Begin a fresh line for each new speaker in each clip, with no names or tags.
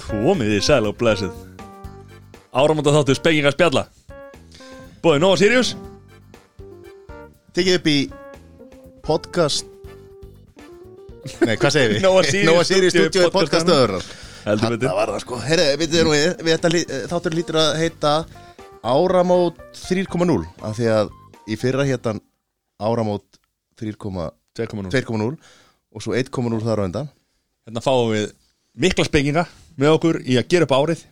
Komið í sæl og blessið Áramönda þáttu spenginga spjalla Bóði Nova Sirius
Tekið upp í podcast Nei, hvað segir við?
Nóa Sirius
Nóa Sirius
stúdíói
stúdíói podcastöður
Heldur
Þetta
betur
var það sko Herre, við þið nú við, við þetta, lí- eh, þáttur lítur að heita Áramót 3.0 Af því að í fyrra hétan Áramót 3.2.0
2.0
Og svo 1.0 þar á undan
Hérna fáum við mikla spenginga með okkur í að gera upp árið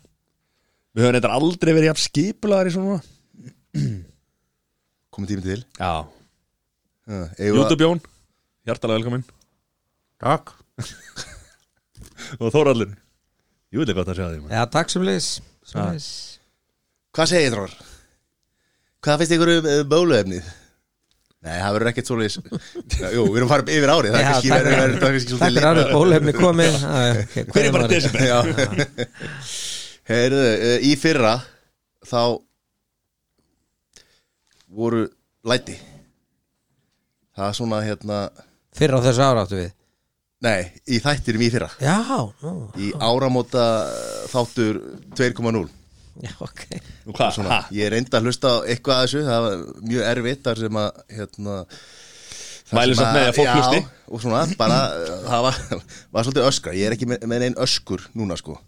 Við höfum eitthvað aldrei verið jafn skipulaðar í svona
Komið tími til
Já
uh, eigum við að-
Jótabjón, hjartalega velkomin
Takk
Og Þóraldur Jú, þetta er gott að segja því
Já, takk sem leis, sem leis.
Hvað segir þér? Hvað finnst ykkur um eh, bóluefnið? Nei, það verður ekkert svoleiðis Jú, við erum farið yfir árið Það er
Já,
kannski
takk
verður- verður-
fyrir-
það er kannski
Takk
svolítið
er aðrið bólefni komið Hver
Hver er bara desember?
Já Heyrðu, eh, í fyrra þá voru læti Það er svona hérna
Fyrir á þessu ára áttu við
Nei, í þættinum í fyrra
Já, nú,
Í áramóta þáttur 2.0
já, ok
Nú hvað,
Svona,
ha?
Ég reyndi að hlusta á eitthvað að þessu Það var mjög erfitt þar sem að hérna, þar
Mælir
sem
samt með að fólk
já,
hlusti?
Og svona, bara, eh, það var, var svolítið öskra Ég er ekki með, með neinn öskur núna sko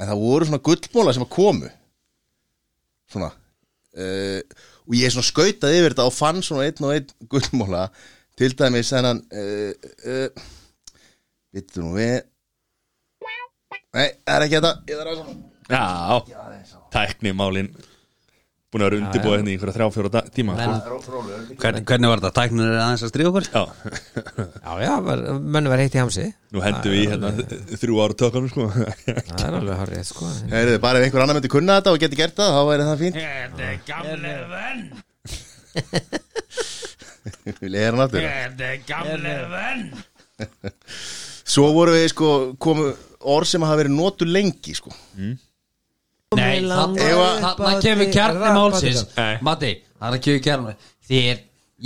En það voru svona gullmóla sem að komu Svona uh, Og ég svona skautaði yfir þetta Og fann svona einn og einn gullmóla Til dæmis þennan uh, uh, Vittu nú við Nei, það er ekki þetta Ég þarf að svona
Já, tæknimálin Búin að vera undirbúið henni í einhverja þrjá, fjóra da- tíma sko.
Hvern, hvernig var þetta? Tæknir er aðeins að stríða okkur?
Já,
Já, já, var, mönnu var heitt í hamsi
nú hendum við í hérna þrjú ára tökum sko
Það er alveg horrið, sko
Heyrðu, bara ef einhver annar myndi kunna þetta og geti gert það, þá væri það fínt
Þetta er gamle venn
Vil ég heyra hann aftur
Þetta er gamle venn
Svo voru við, sko, komu orð sem hafa verið notu lengi, sko
Nei,
Eva-
þarna kemur kjarni málsins Matti, þarna kemur kjarni hérna. Þér,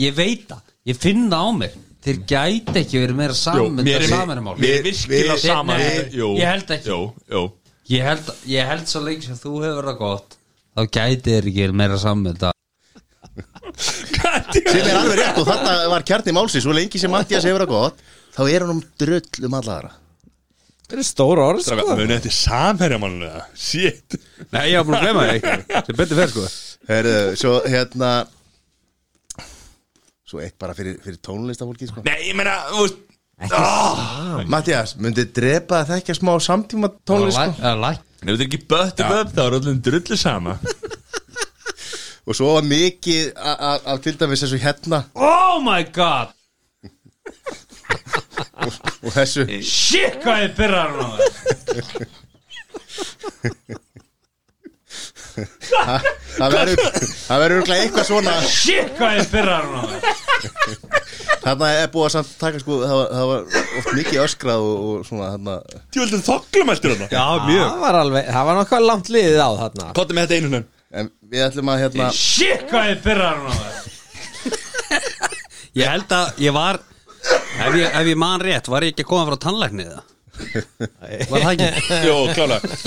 ég veit það Ég finn það á mér Þér gæti ekki verið meira sammynd
mér
að
er-
saminumál
Mér er virkilega
við-
saman
nei, ég held ekki.
Jó, jó
ég, held, ég held svo lengi sem þú hefur það gott Þá gæti þér ekki verið meira sammynd
Sem er alveg rétt og þetta var kjarni málsins Svo lengi sem Mattias hefur það gott Þá er hann um drull um alla aðra
Það eru stóra orð,
Stráka,
sko
munið þetta er samherjamálinu eða? Shit
Nei, ég var búin að glemma þig Sem betur fer sko
Heyrðu, svo hérna Svo eitt bara fyrir, fyrir tónlistafólki, sko
Nei, ég meina, þú veist
Mattias, myndi drepa að þekkja smá samtíma tónlist, sko
Ef þetta er ekki bött í bött, þá er allir drullu sama
Og svo var mikið a- a- af til dæmis þessu hérna
Oh my god
og þessu
Shit, hvað ég byrjar núna
Það verður það verður örugglega eitthvað svona
Shit, hvað ég byrjar núna
Þarna er búið að samt taka sko Það var, það var oft mikið öskrað og, og svona þarna
Tjóldin þoklum eftir hana
Já,
Það var alveg, það var nokkað langt liðið á þarna
Kottum með þetta einu hennan
En við ætlum að hérna
Shit, hvað ég byrjar núna Ég held að ég var ef ég, ef ég man rétt, var ég ekki að koma frá tannlæknið það Var það ekki?
Jó, klálega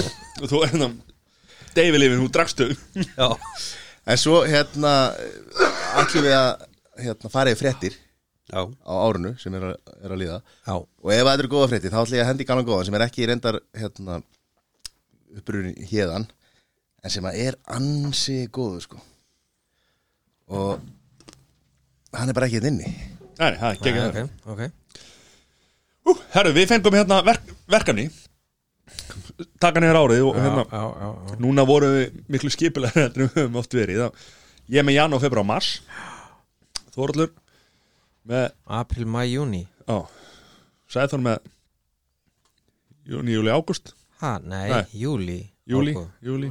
Og þú er hérna David lifin, hún drakstu
Já
En svo hérna ætlum við að hérna, fara í fréttir
Já,
á árinu sem er að, er að líða
Já,
Og ef það eru góða fréttir þá ætlum ég að hendi gaman góðan sem er ekki reyndar hérna upprunni hérðan en sem að er ansi góðu sko Og hann er bara ekki hérna inni
Nei, það er ekki
ok, ok
Ú, herru, við fengum hérna verk, verkefni Takk hann hér árið og
Já,
hérna
já, já, já.
Núna vorum við miklu skipilegri heldur en við höfum oft verið Þá- Ég er með janúar, februar og mars Þorallur með,
April, mæ, júni
á Sæði þar með Júni, júli, ágúst
Ha, nei,
Nei.
júli
Júli,
Ágúst.
júli,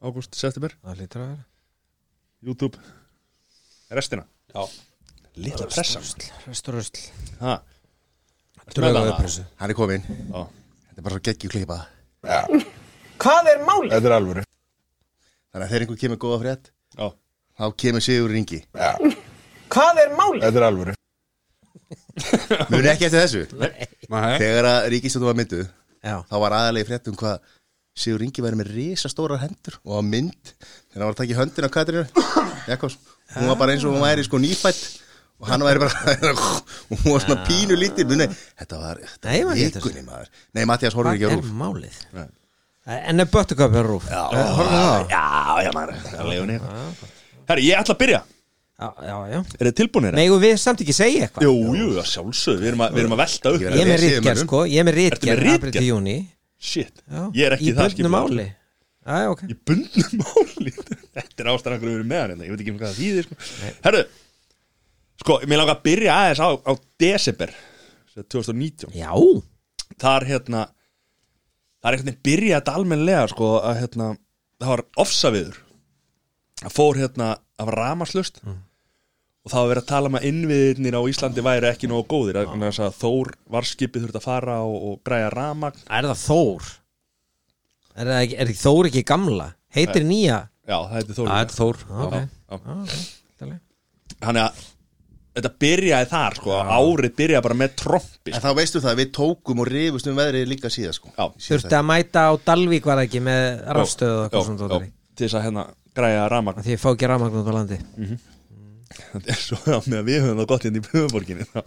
ágúst, september
Það lítur að vera
YouTube Restina Lilla pressa
Rusl, rusl, rusl
ha, með
Drögu
það?
uppressu
Hann er komin
á.
Þetta er bara svo geggjum klipað
Hvað er málið?
Þetta er alvöru
Þannig að þegar einhver kemur góða frétt
Á.
þá kemur Sigur Ringi
Hvað er málið?
Þetta er alvöru
Muni ekki eftir þessu
Nei.
Þegar að ríkistjóttum var mynduð
Já,
þá var aðalegi frétt um hvað Sigur Ingi væri með risastórar hendur og á mynd þegar hann var að taka í höndin á Katrínu Jakobs, hún var bara eins og hún væri sko nýfætt og hann væri bara og hún var svona pínu lítið muni, þetta var,
Ah. Nei,
þetta var
maður getur
vikunni maður Nei, Mattias horfir
Hvað
ekki á
er
rúf
málið? En er Böttuköp er rúf?
Já, horfir það Já, já maður, það leiður niður
Herri, ég ætla að byrja
Já, já, já
Er þið tilbúinir?
Megum við samt ekki segja eitthvað?
Jú, jú, að sjálfsögðu, við erum að, við erum að velta upp
Ég
Ég er með
Við séum
rítgerð
mönnum.
sko, ég er með
með
rítgerð
ritgerð?
april til júni
Shit,
Já.
ég er ekki það
Í bundnu
skipulagður.
máli Já, já, ok
Í bundnu máli Þetta er ástæðan hverju við erum með hann hérna, Ég veit ekki hvað það þýðir sko. Herru, sko, mér langar að byrja aðeins á, á December sem er 2019
Já,
Þar hérna Það er einhvern veginn byrjað þetta almennlega sko, að hérna, það var ofsaviður Það fór hérna af ramaslust og það var verið að tala um að innviðinir á Íslandi væri ekki nógu góðir þannig að þess að Þór varskipið þurfti að fara og, og græja ramagn
er það Þór? Er, það ekki, er ekki Þór ekki gamla? Heitir nýja?
Já, það heiti Þór
Það er Þór
Ok,
Já.
Íttalega.
Þannig að þetta byrjaði þar sko, árið byrjaði bara með trompi
En
sko.
þá veistu það, við tókum og rifust um veðrið líka síðan sko
Já.
Þurfti að mæta á Dalvík var það ekki með rafstöðu og eitthvað
Já,
svona
já,
dótari
Til þess að hérna græja ramagn
Því ég fá ekki rafmagn út á landi
Svo að með að við höfum það gott hérna í Böðuborginni
Já,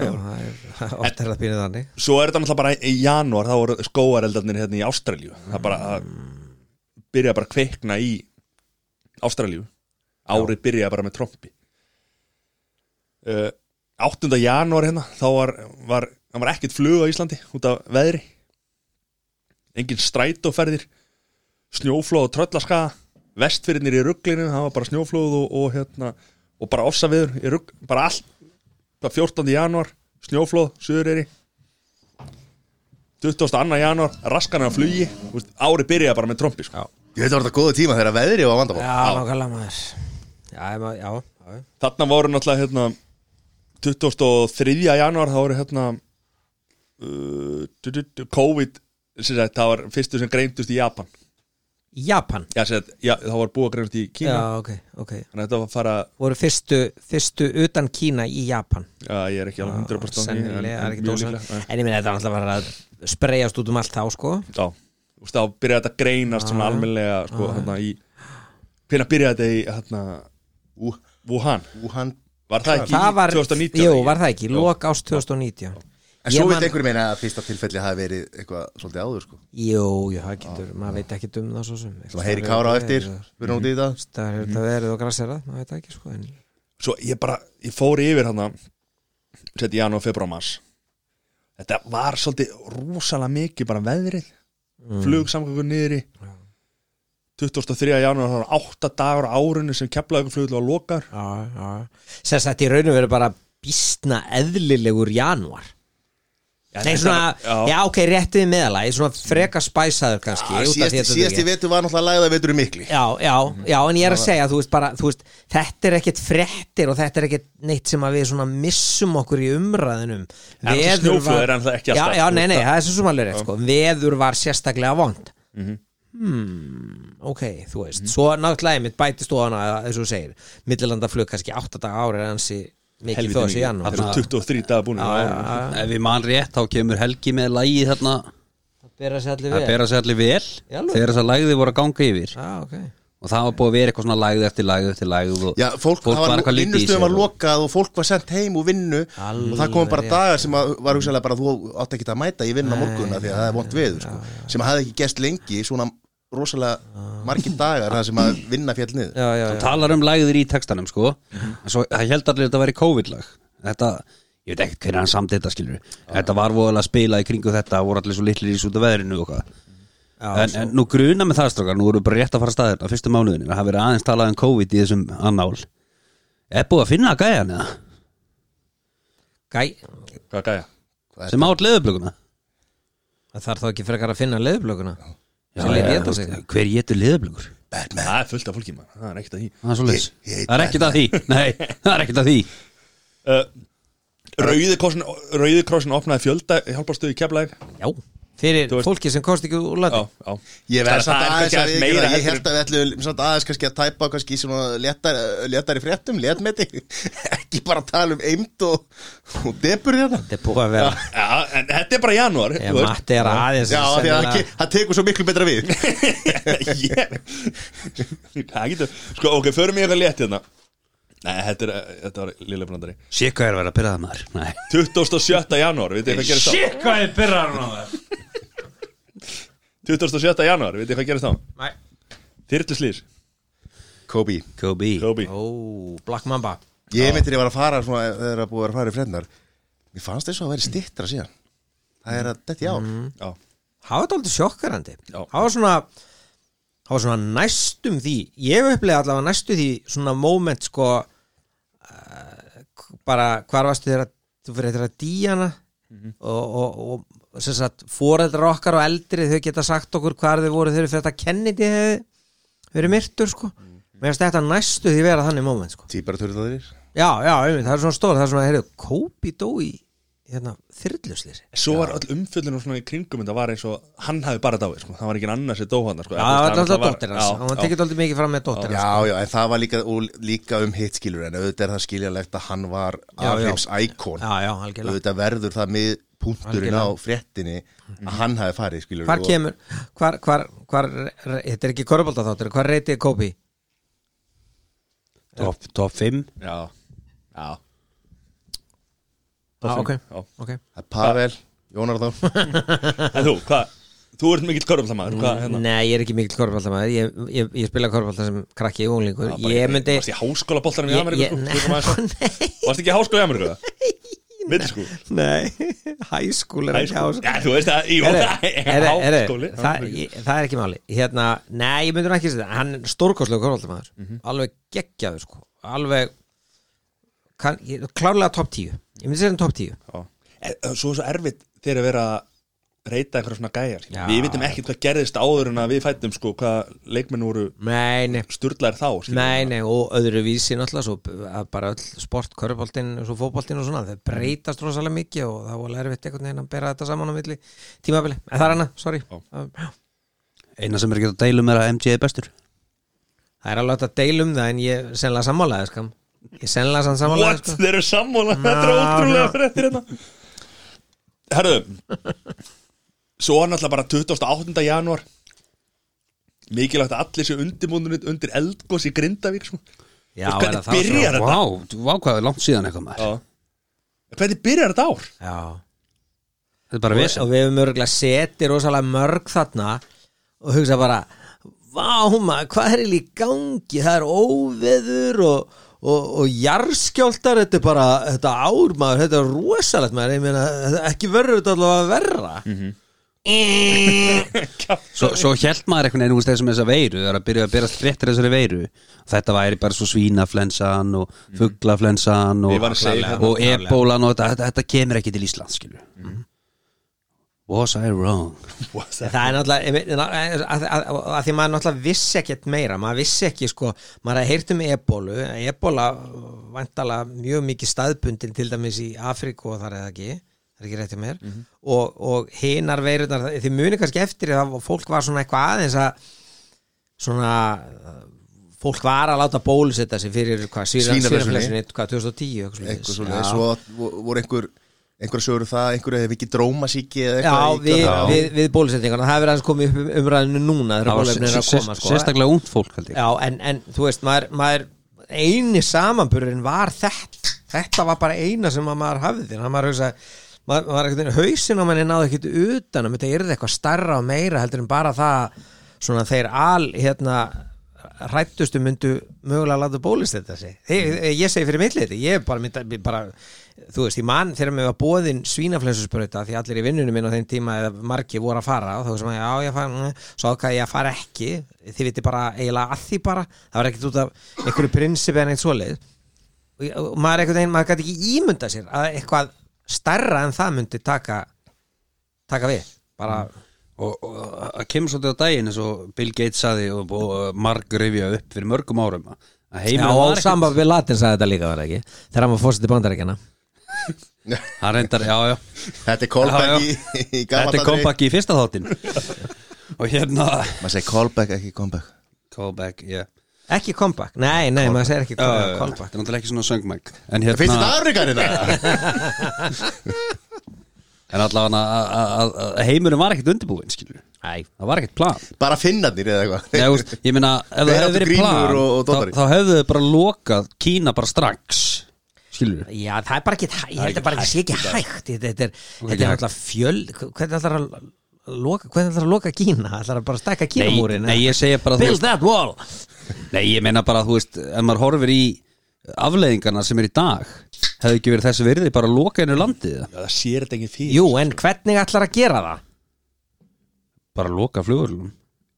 já, það er- oft er það býrið þannig
Svo er þetta náttúrulega bara í janúar þá voru skóareldarnir hérna í Ástralíu Það bara það byrjaði bara að kveikna í Ástralíu Árið byrjaði bara með trompi uh, 8. janúar hérna þá var, var, það var ekkert flug á Íslandi út af veðri Engin strætóferðir Snjóflóð og tröllaska Vestfyrirnir í rugglinu, það var bara snjóflóð og, og hérna og bara ofsaviður í rugg, bara allt bara 14. janúar, snjóflóð, suðureyri 22. janúar, raskana á flugi þú veist, Ári byrjaði bara með trompi sko.
Ég veit að þetta góðu tíma þegar veðrið var vandamál
Já, nákvæmlega maður Já, ég maður- já, já
Þarna voru náttúrulega hérna, 23. janúar þá voru hérna uh, du- du- du- COVID sem sagt, það var fyrstu sem greindust í Japan
Japan
já, sem sagt, já, það var búið að greinast í Kína
Já, ok, ok
þannig að þetta var að fara
Voru fyrstu, fyrstu utan Kína í Japan
já, ég er ekki alveg 100% á því, en-
Sennilega,
en
er ekki
mjög
dósan
líklega, nei.
En ég meina þetta var alltaf bara að spreyjast út um allt þá, sko
já, þú veist, þá byrjaði þetta að greinast svona almennilega sko, hérna, í, hvernig byrjaði þetta í hérna,
Ú-
Wuhan
Wuhan
var það ekki
Það
í
var,
2019
jú, var það ekki,
Jú.
lok ást 2019
En svo
Ég
veit
man-
einhverjum meina að fyrsta tilfelli hafi verið eitthvað svolítið áður sko
Jú, jú, það getur, maður veit ekki um það Mhm. svo sem
Svo heyri Kára á eftir, við erum út í það
Það er þetta verið og grassera, maður veit það ekki, sko en,
svo ég bara, ég fór yfir hann seti janúar, februar, mars þetta var svolítið rosalega mikið bara veðrið mm. flugsamgöngur niðri 23. janúar, það var 8 dagur á árunni sem keflaði flugul og lokar
Já, já Sess að þetta í raunum verið bara býstna eðlilegur janúar Nei, svona, já,
já,
ok, réttið meðalagi Svona freka spæsaður kannski út af því að
Síðasti
þetta
síðasti
ekki-
vetur var náttúrulega læða vetur mikli
Já, já,
Mhm.
já, en ég er að segja, þú veist bara, þú veist, þetta er ekkit frettir og þetta er ekkit neitt sem að við svona missum okkur í umræðinum.
En þessi snjóflóð er ennþá ekki
Já,
alltaf,
já,
þú
nei,
veist
nei,
það.
það er svo sem alveg rétt, sko. Veður var sérstaklega vond.
Mhm.
Hmm, ok, þú veist. Svo náttúrulega mitt bætist ofan að, eins og þú segir, millilandaflug kannski 8 daga ári er hansi mikið
Helvíti
þó að sé
mikið.
janúar.
Þetta
Ah.
eru 23 dagar búin á árunni
Ef við mann rétt þá kemur Helgi með lægi þarna
Það bera sér allir
Það
við.
bera sér allir vel
Í alvöru?
Þegar þess að lægði voru að ganga yfir
Já, ok.
Og það var búið að vera eitthvað svona lægð eftir lægð eftir lægð og
Já, fólk, það var,
eitthvað lítið í sér
vinnustöðum var
og-
lokað og fólk var sendt heim úr vinnu og það kom bara
rétt.
dagar sem að, var hugsaðlega bara þú átt ekki að mæta í vinnu á morgunna því að það er vond veður sko, sem hafði ekki gest lengi í svona rosalega margir dagar það sem að vinna fjall niður
Já, já, Mhm.
Þú
já.
talar um lægðir í textanum sko En svo það held allir að þetta væri COVID-lag Þetta, ég veit ekkert hvernig hann samt þetta skilur Þetta var voðalega að spila í kringu þetta voru allir svo litlir í svo út af veðrinu og hvað
Já,
en, en nú gruna með það strókar, nú erum við bara rétt að fara staðir á fyrstu mánuðinu, það hafi verið aðeins talað um COVID í þessum annál Er búið að finna gæjan eða?
Gæ,
Hvað gæja?
Sem átt leðublökuna?
það þarf þá ekki frekar að finna leðublökuna.
Já,
Sem lét
já,
éta
þú
sig.
veist, Hver getur liðablökur?
Það er fullt af fólki mann, það er ekkert að því
Það er svo leiðis
Ég- ég-
Það er ekkert að því Nei, það er ekkert að því
uh, Rauði krossin, Rauði krossin opnaði fjölda hjálparstöðu í keflaði
Já, fyrir
Þú veist-
fólki sem komst ekki úr landi
já, já.
Ég
Það
verð
er-
samt
það er
aðeins
kannski
að
aðeins
við
meira
Ég
heldur
held að við ætlum samt aðeins kannski að tæpa kannski í svona léttar, léttari fréttum, léttmeti ekki bara tala um eimt og, og hérna. debur þetta
þetta er búið að vera
Já, en þetta er bara janúar
ég matti er aðeins
Já, af því að það
sennilega-
ke- það tekur svo miklu betra við
yeah. Það getur Sko, ok, förum ég þetta létt hérna Nei, þetta, er, þetta var Lille Brandari
Sér hvað er að vera að byrjaða maður Nei.
27. janúar, vitið þið hvað gerist þá?
hvað er byrjaða maður
27. janúar, vitið þið hvað gerist þá?
Nei.
Þyrluslýs,
Kobe
Kobe
Kobe
ó, Black Mamba
Ég myndir ég var að fara svona eh, þegar að búið að vera að fara í fréttnar Mér fannst þess að það væri stittra síðan Það er að þetta í ár
Mhm.
Já,
það var þetta sjokkarandi
Já.
það var svona það var svona næstum því ég upplega allavega næstum því svona moment sko uh, bara hvar varstu þeirra þú fyrir þeirra díjana
Mhm.
og, og, og sem sagt foreldrar okkar og eldri þau geta sagt okkur hvar þau voru þeirri fyrir þetta Kennedy hefði verið myrtur sko
Mhm.
mér finnst þetta næstu því vera þannig moment sko
Típaraturinn að þeir
já, já, einmitt, það er svona stór það er svona, heyrðu, Kobe dó í hérna, þyrluslisir
Svo var öll umfjöllunum svona í kringum þetta var eins og hann hafi bara dáið, sko, það var ekki annars sem dóið hann, sko
Já, það var alltaf dóttir hans hann var tekið alltaf mikið fram með dóttir hans
Já, já, en það var líka, og líka um hitt skilur en auðvitað er það skiljanlegt að hann var
Já, já.
afheims íkon
Já, já, algjörlega
auðvitað verður það mið punkturinn á
Algjörlega. Mhm.
fréttinni að hann hafi farið skilur
Hvar kemur, hvar, hvar, hvar re- þetta er ekki korfbalda þáttur, hvar reytið Kobe?
Top, top 5
Já, já,
Ah, ok,
já
ok
Það er Pavel, Jónarðán
En þú, hvað, þú ert mikill körfaldamaður, hvað, hérna
Nei, ég er ekki mikill korfbalda maður ég, ég, ég spila korfbalda sem krakki í unglingur
bara-
Ég myndi
Varst í háskóla boltarum í
Ég-
Ameríku,
ég-
sko,
nei.
tökum aðeins á- Varst ekki í háskóla í Ameríku, það? Mitt sko
Nei, hæskúl er ekki
Hæskóla.
háskúl
Já, þú veist að, jú,
Heyrðu,
það
heyrðu,
er
heyrðu,
háskóli
það ég- það er ekki máli hérna, Nei, ég myndur ekki að segja það. Hann er stórkoslega korfaldamaður
Mhm.
Alveg geggjaður sko Alveg kann, ég, Klárlega top 10 Ég myndi segja hann top 10
Já. En, ö, Svo er svo erfitt þegar að vera að reyta einhverja svona gæjar sko.
Já.
Við vitum ekkert hvað gerðist áður en að við fættum sko hvað leikmenn voru
Nei, nei
sturlaðir þá skilur við.
Nei, nei, og öðru vísi náttúrulega svo b- að bara öll sport, körfbóltinn og svo fótbóltinn og svona, það breytast rosalega mikið og það var erfitt einhvern veginn að bera þetta saman á milli tímabili, en það er hana, sorry Það- já.
Eina sem er ekki að deilum er að MJ er bestur
Það er alveg hægt að deila um það en ég sennilega sammálaði skam Ég sennilega sann sammálaði
What?
sko.
Þeir eru sammála, þetta er
Já,
ótrúlega
já.
fréttir hérna Herðu Svo er náttúrulega bara 28. janúar Mikilvægt að allir séu undirbúndunit undir eldgós í Grindavík sko.
Já,
Hvernig
er það sko? það
byrjar
svona?
þetta?
Vá, vá hvað er langt síðan eitthvað maður
Hvernig byrjar þetta ár?
Já,
Þetta er bara
og,
vesen
og við hefum örgulega setið rosalega mörg þarna og hugsa bara Vá maður, hvað er eiginlega í gangi? Það er óveður og, og, og jarðskjáltar, þetta er bara þetta ár maður, þetta er rosalegt maður, ég meina, þetta- ekki verður þetta allavega verra
Svo, svo held maður einhvern veginn úr þessum þessa veiru Það er að byrja að byrja fréttir þessari veiru Þetta væri bara svo svínaflensan og fugglaflensan
Ég
og,
var að segja
og,
hérna.
og ebólan og þetta, þetta, þetta kemur ekki til Ísland skilur Was I wrong?
En Það er náttúrulega ég meina, að, að, að, að því maður náttúrulega vissi ekkert meira maður vissi ekki sko, maður hafði heyrt um ebólu ebóla vantala mjög mikið staðbundin til dæmis í Afríku og þar eða ekki það er ekki rétt hjá mér
Mhm.
og, og hinar veirurnar, þið muni kannski eftir að fólk var svona eitthvað aðeins að svona uh, fólk var að láta bólusetta sig fyrir hvað, svíra-
Svínaflensunni.
svínaflensunni, hvað, 2010 eitthvað svoleiðis.
eitthvað svona,
Já.
svo vo- voru einhver einhver sögur um það, einhver hefði ekki drómasíki eða
Já,
eitthvað í
við,
gangi.
við, við bólusetningarna það hefur aðeins komið upp um umræðinu núna þegar
Það var
bóluefnin er að
sér-
koma sko.
sérstaklega ungt fólk held ég
Já, en, en þú veist, maður, maður eini samanburðurinn var þetta þetta var bara eina sem að maður hafði þannig að maður hugsa maður, maður einhvern veginn hausin og manni náði ekkert utan um þetta yrði eitthvað starra og meira heldur en bara það svona þeir al hérna hrættustu myndu mögulega að láta bólist þetta sig ég, ég segi fyrir mitt liti, ég bara, mynda, bara þú veist, ég man þegar mér var bóðin svínaflensusbrauta því allir í vinnunum minn á þeim tíma eða margir voru að fara og þá sem að já, ég fara, mm, svo ákvað ég að fara ekki þið viti bara eiginlega að því bara það var ekkert út af einhverju prinsipi en eitt svoleið og ég- og maður einhvern veginn, maður gæti ekki ímynda sér að eitthvað starra en það myndi taka taka við bara,
og, og að kemur svolítið á daginn eins og Bill Gates saði og, og marg rifja upp fyrir mörgum árum að
já,
heimurinn
og
var ekkert
samband við Latin sagði þetta líka var það ekki, þegar hann var fórsetið bandarækjana
Hann reyndar, já, já
Þetta er callback
Já, já.
í, í gamla
Þetta er comeback í fyrsta þáttin Og hérna
Maður segir callback, ekki comeback
Comeback, yeah
Ekki comeback, nei, nei, maður segir ekki
Þetta Eh, er
comeback
náttúrulega ekki svona söngmæk En hérna
Finnst þetta hérna. afrikan þetta?
En allavega að- að- að- að heimurinn var ekkert undirbúinn, skilur Nei Það var ekkert plan
Bara finnarnir eða eitthvað
Nei, úst, ég meina, ef það
Þeir
hefði
áttu
verið
Grímur
plan
og- og Doddari.
þá, þá hefðu þau bara lokað Kína bara strax Skilur
Já, það er bara ekki, hæ- ég held að bara ekki sé ekki hægt Þetta þetta er, þetta
ekki
er
hægt.
alltaf fjöl Hvernig ætlar að loka, hvernig ætlar að loka Kína? Ætlar að bara stækka Kínamúrin?
nei, ég segja bara, þú
Build
veist-
that wall
Nei, ég meina bara, þú veist, ef maður horfir í afleiðingarna sem er í dag hefðu ekki verið þessi virði bara að loka einu landið eða?
Já, það sér þetta enginn fyrir
Jú, en hvernig ætlar að gera það?
bara að loka flugurlum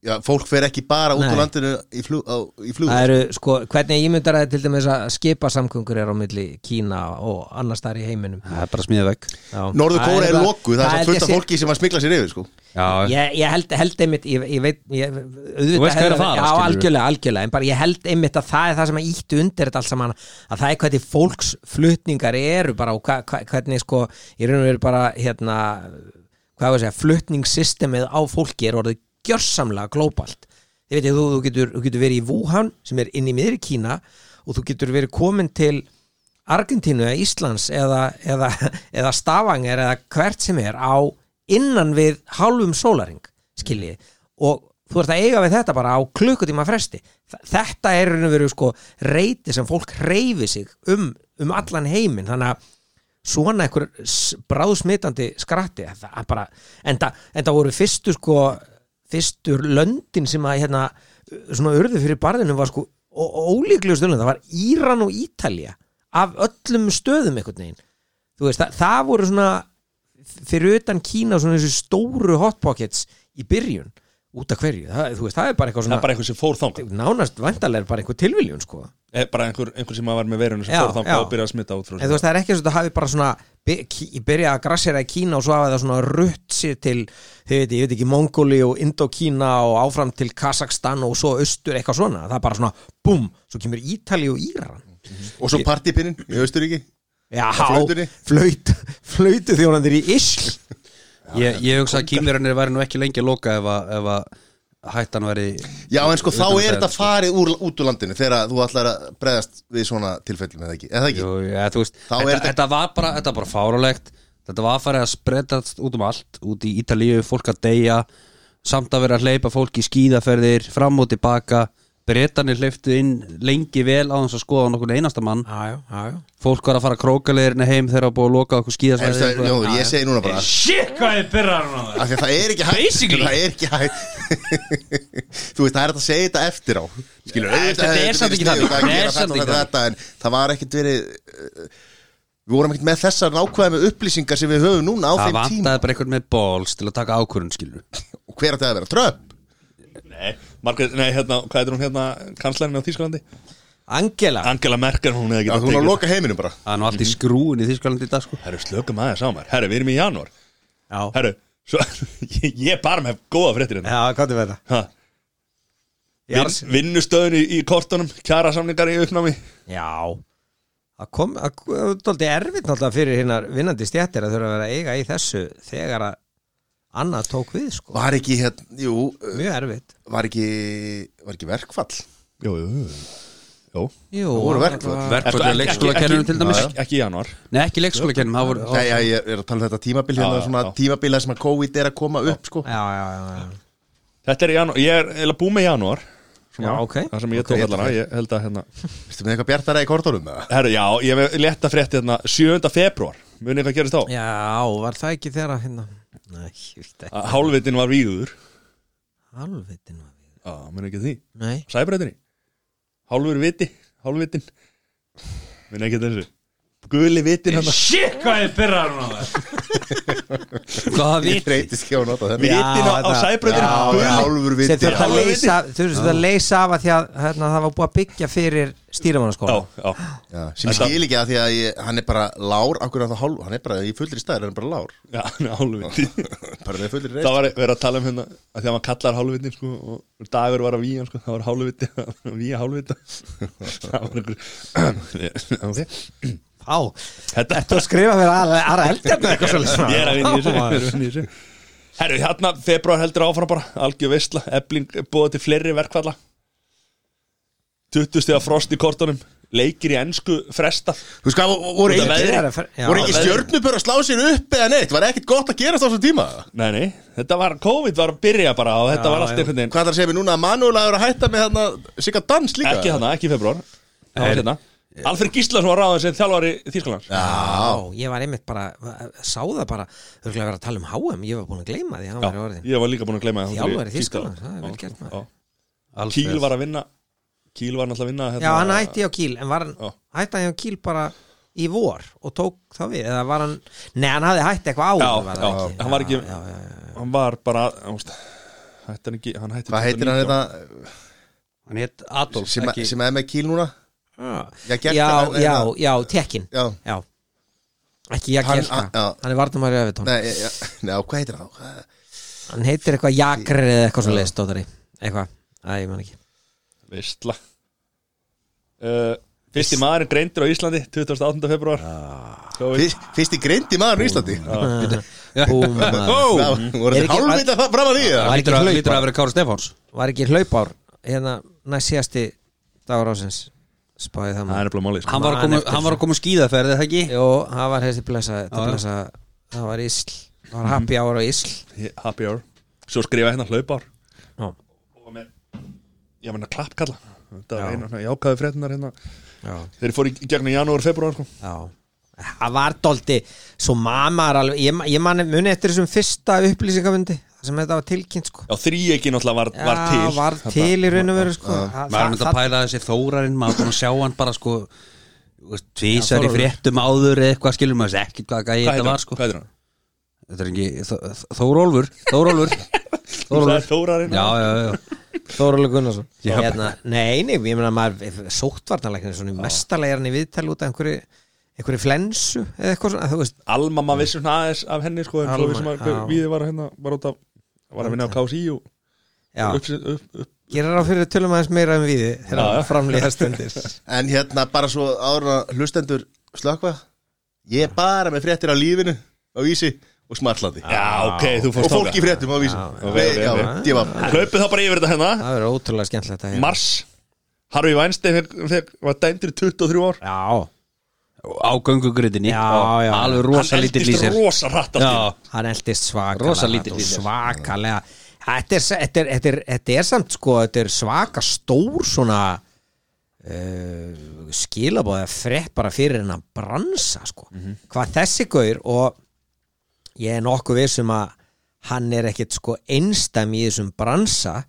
Já, fólk fer ekki bara út
Nei.
úr landinu í flug, á, í flug.
Það eru, sko, hvernig ímyndar það til dæmis að skipa samkungur er á milli Kína og annars þar í heiminum
Það er bara smíða vekk
Já.
Norður Kóra
Það
er
bara-
lokuð, það er svo
held
fullt
ég
af
sé-
fólki sem að smikla sér yfir sko.
Já,
Ég, ég held, held einmitt, ég, ég veit ég, Þú
veist hvað er að fara,
Já,
skilurðu.
algjörlega, algjörlega En bara ég held einmitt að það er það sem að íttu undir þetta allt saman Að það er hvernig fólksflutningar eru bara Og hva, hva, hvernig sko, ég raunum verið bara, hérna Hvað var að segja, flutningssystemið á fólki er orðið gjörsamlega glóbalt Ég veit, þú, þú, getur, þú getur verið í Wuhan sem er inn í miðri Kína Og þú getur verið komin til Argentínu eða Íslands eða, eða, eða Stavanger eða hvert sem er á innan við hálfum sólaring skiljið og þú ert að eiga við þetta bara á klukkutíma fresti Þa- þetta er raun og veru sko reyti sem fólk reyfi sig um, um allan heiminn þannig að svona einhver s- bráðsmitandi skratti það er bara, en það voru fyrstu sko fyrstur löndin sem að hérna, svona urðu fyrir barðinu var sko ólíklegur stundum, það var Íran og Ítalja af öllum stöðum einhvern veginn þú veist, það, það voru svona fyrir utan Kína svona þessu stóru hot pockets í byrjun út af hverju, það, þú veist, það er bara eitthvað
Það
svona
er bara einhver sem fór þangað
nánast vantarlega bara einhver tilviljun sko
Eh, Bara einhver, einhver sem var með verunum sem
Já,
fór þangað
já.
og byrjaði að smita út frá
en þú veist það er ekki eins og þetta hafi bara svona by- Kí- byrjað að grassera í Kína og svo hafa það svona rutt sér til þið veit, ég veit ekki, Mongóli og Indokína og áfram til Kazakstan og svo austur eitthvað svona, það er bara svona búm, svo kemur Ítali og Íran
Og svo partypinnin í Austuríki
Já,
flautunni?
flöyt, flöytu þjónandir í Ísl
ég, ég hugsa að kýmverðanir væri nú ekki lengi að loka ef að, ef að hættan væri
Já, en sko þá er
Utan það,
þetta
sko.
farið úr, út úr landinu þegar þú ætlar að bregðast við svona tilfellum eða ekki, eða ekki?
Jú, ja, þú veist,
Þá er
þetta,
þetta-
þetta var bara, þetta var bara fárálegt Þetta var farið að spreddast út um allt Út í Ítalíu, fólk að deyja Samt að vera að hleypa fólk í skíðaferðir Fram og tilbaka Bretanir hleyptu inn lengi vel á þess að skoða nokkur einasta mann
Já, já, já
Fólk var að fara krókaleirinu heim þegar að búið að loka
En
okkur
þú veist,
skíðasvæði
Jón, ég segi núna bara
Shit, hvað er byrjar hann á það?
af því að það er ekki hægt
Basically.
það er ekki hægt þú veist, það er hægt að segja þetta eftir á skilur,
Ja,
auðvitað
þetta
hefði
er
verið
samt ekki
sniðugt að
þannig. Þetta
gera
er
þetta
samt
og
ekki
þetta, þetta, en það var ekkert verið uh, við vorum ekkert með þessar nákvæmi upplýsingar sem við höfum núna á
Það
þeim tíma
vantaði bara einhvern með balls til að taka ákvörun skilur
og hver átti að vera tröpp
Nei, Margrét, nei, hérna, hvað heitir hún hérna kanslarinn á Þýskalandi?
Angela,
Angela Merkel, hún hefði
já,
getað
hún á að
tekið
loka heiminum bara
Það er nú allt í skrúin í Þýskalandi í dag sko
Herru, slökum aðeins á mér Herru, við erum í janúar
já,
Herru, svo, ég, ég bara með góða fréttir hérna
já, hvað er þetta?
Ha,
Já,
Vin, Vinnustöðun í, í kortunum Kjara samningar í uppnámi
já Það kom, það er dálítið erfitt náttúrulega fyrir hinnar vinnandi stjættir að þurfa að vera að eiga í þessu þegar að annað tók við, sko
var ekki, hérna, jú, uh,
Mjög erfitt
var ekki var ekki verkfall
Jú, jú, jú
Jú,
það voru verkfall
Verkvöldu leikskólakerfinu til dæmis
Ekki í janúar
Nei, ekki leikskólakerfinu, það voru
Nei, já, ég er að tala um þetta tímabil hérna,
Já, já,
svona
já.
tímabil þar sem að COVID er að koma upp sko.
Já, já, já, já.
Þetta er í janúar, ég er eiginlega búið með janúar
Já, ok.
Það sem ég tók
ég
allana, ég held að hérna
Vistu með eitthvað bjartara í kortorum?
Herru, já, ég hef letta frétti hérna 7. februar Munið hvað gerist þá?
Já, var það ekki þegar að hérna Nei, ég veit ekki
Að Hálfvitin var víður
Alvitin var við
Já, munið ekki því
Nei,
Sæbreytinni Hálfur viti, hálfvitin Minn ekki þessu Guli hérna. vitin hann
Shit, hvað er byrjar hann á það? Hvaða
Ég
vit?
reytist ekki á að nota þetta
Vitin á, á
þetta-
sæbreytinni
Já,
Guli
hálfur
sem
viti
þurft að
Já.
leysa þurft að leysa af að því að hérna, það var búið að byggja fyrir stýramannaskóla
Já, já
Já, sem ég
Þetta-
skil ekki að því að ég, hann er bara lár akkur að það hálf, hann er bara í fullri stær hann er bara lár,
Já, hálfviti
bara með fullri
Það
reist
var verið að tala um hérna að Því að maður kallar hálfvitin sko Og dagur var að víja hann, sko Það var hálfviti Víja hálfvita Það var einhver Ok
Á,
Þetta-
ertu að skrifa fyrir aðra- aðra eldjarnu eitthvað svolítið
Ég er að vinna í þessu,
Vá,
ég er
maður.
að vinna í þessu Herru, hérna, februar heldur áfram bara Algjör veistla, ebling búið til fleiri verkfalla 20 stiga frost í kortunum Leikir í ensku frestað
Þú veist hvað, voru,
Út af
voru,
veðri.
Ég er að fer- já.
voru ekki stjörnubur að slá sér upp eða neitt, var ekkert gott að gerast á þessum tíma
Nei, nei, þetta var, COVID var að byrja bara Og þetta
Já,
var allt
já.
einhvern veginn
Hvað þarf að segja mér núna að Manuela er að hætta með hérna, sigga dans líka
Ekki þarna, ekki í februar Það var hérna Alfred Gíslason var ráðan sem þjálfari Þýrskalands
Já,
Á, ég var einmitt bara, sá það bara Þurflega verið að tala um HM, ég var búin að gleyma því að hann var í orðin
Ég var líka búin að gleyma það
Þjálfari Þýskalands, það er vel gert, maður.
Kíl var að vinna Kíl var náttúrulega að vinna hérna-
Já, hann hætti á kíl, en var hann
Já.
hætti hann á kíl bara í vor og tók þá við, eða var hann Nei, hann hafði hætti eitthvað
Já,
áður var það
já,
ekki?
hann var ekki-
Já, já, já, já.
Hann var bara ást, hætti hann, ekki, hann hætti
hvað heitir hann
2019.
þetta
Hann hétt Adolf
sem,
ekki,
sem er með kíl núna Já,
Já,
Gjerka,
já,
en-
já,
en-
já, tekkin
Já,
Já, ekki
Hann-
Jagerka
a- já.
Hann er varnamæri öfitón
nei, já, já, hvað heitir hann þá?
Hann heitir eitthvað Jagri eða eitthvað svo leiðist Dóttari, eitthvað, að ég man ekki
hérna?
Vistla uh, Fyrsti maðurinn greindur á Íslandi 28. februar COVID.
Fyrst- Fyrsti greindi maður í Íslandi
Búm, maður.
Já, voru
Er
þetta
ekki-
hálfvita það fram að því
Var
eða?
ekki
Lítur að
hlaup,
lítur
bara?
að vera Kára Stefáns
Var ekki hlaupár hérna næst síðasti dagur ásins spáði
Það
það
er
maður
nefnilega málið sko.
Hann var að
Man
koma-
eftir
hann var að koma skíðaferð eða ekki
Jó, það var þessi blessa,
Já, já.
blessa það var ísl, það var happy hour á ísl
Happy hour Svo skrifa hérna hlaupár
Já,
Og með- Ég menna klappkalla Þetta
Já.
var einu jákaði fréttinar hérna
já,
Þeir fóru í gegnum janúar, februar sko.
já Það var dólti, svo mamar alveg, ég, ma- ég mani muni eftir þessum fyrsta upplýsingafundi þar sem þetta var tilkynnt sko
Já, þríegi náttúrulega var, var til
var til í raun og veru sko Það-
maður er
það-
myndið að pæla þessi þórarinn maður er búin að sjá hann bara sko þú veist,
Já,
tvisar í
Þórarinn.
fréttum áður eða eitthvað skilur maður þessi ekkert hvað
Hvað
gæði þetta
heitir
var
hann?
sko
Hvað heitir hann?
þetta er ekki Þó- Þó- Þórólfur Þórólfur
sagðir Þórarinn.
já já já
Þórulega Gunnarsson
Já.
hérna, Nei, nei, ég meina maður sóttvarnalæknir svona mestalega er hann í viðtali út af einhverju, einhverju flensu eða eitthvað svona, þú veist
Alma maður vissi svona aðeins af henni sko, en svo
Alma,
vissum að
já.
hver- við var hérna var út af var að vinna á KSI og
Já,
upp, upp, upp.
gerir á fyrir tölum aðeins meira um viði
Já, já.
þegar framlega stundir
En hérna bara svo ára hlustendur slökva Ég er bara með fréttir á lífinu á vísi og smartlandi
Já, ok, þú
Og
fórst
fólk í fréttum á vísi
Já,
já,
Nei,
já,
Já,
já.
ég var
Hlaupið þá bara yfir þetta hérna
Það verður ótrúlega skemmtilegt að hérna
Mars Harfi Weinstein fekk- fekk- var dæmdur í 23 ár
Já,
á göngugriðinni
Já, já.
alveg rosa lítið
Hann
lýsir
eldist rosa hratt allt í einu.
já
hann eldist svakalega
Rosa lítið
þetta var
lítið.
Svakalega Þetta er, þetta, er, þetta, er, þetta er samt sko Þetta er svaka stór svona uh, skilabóða frett bara fyrir hennar bransa sko. Hvað þessi gaur og ég er nokkuð vissum að hann er ekkit sko einstam í þessum bransa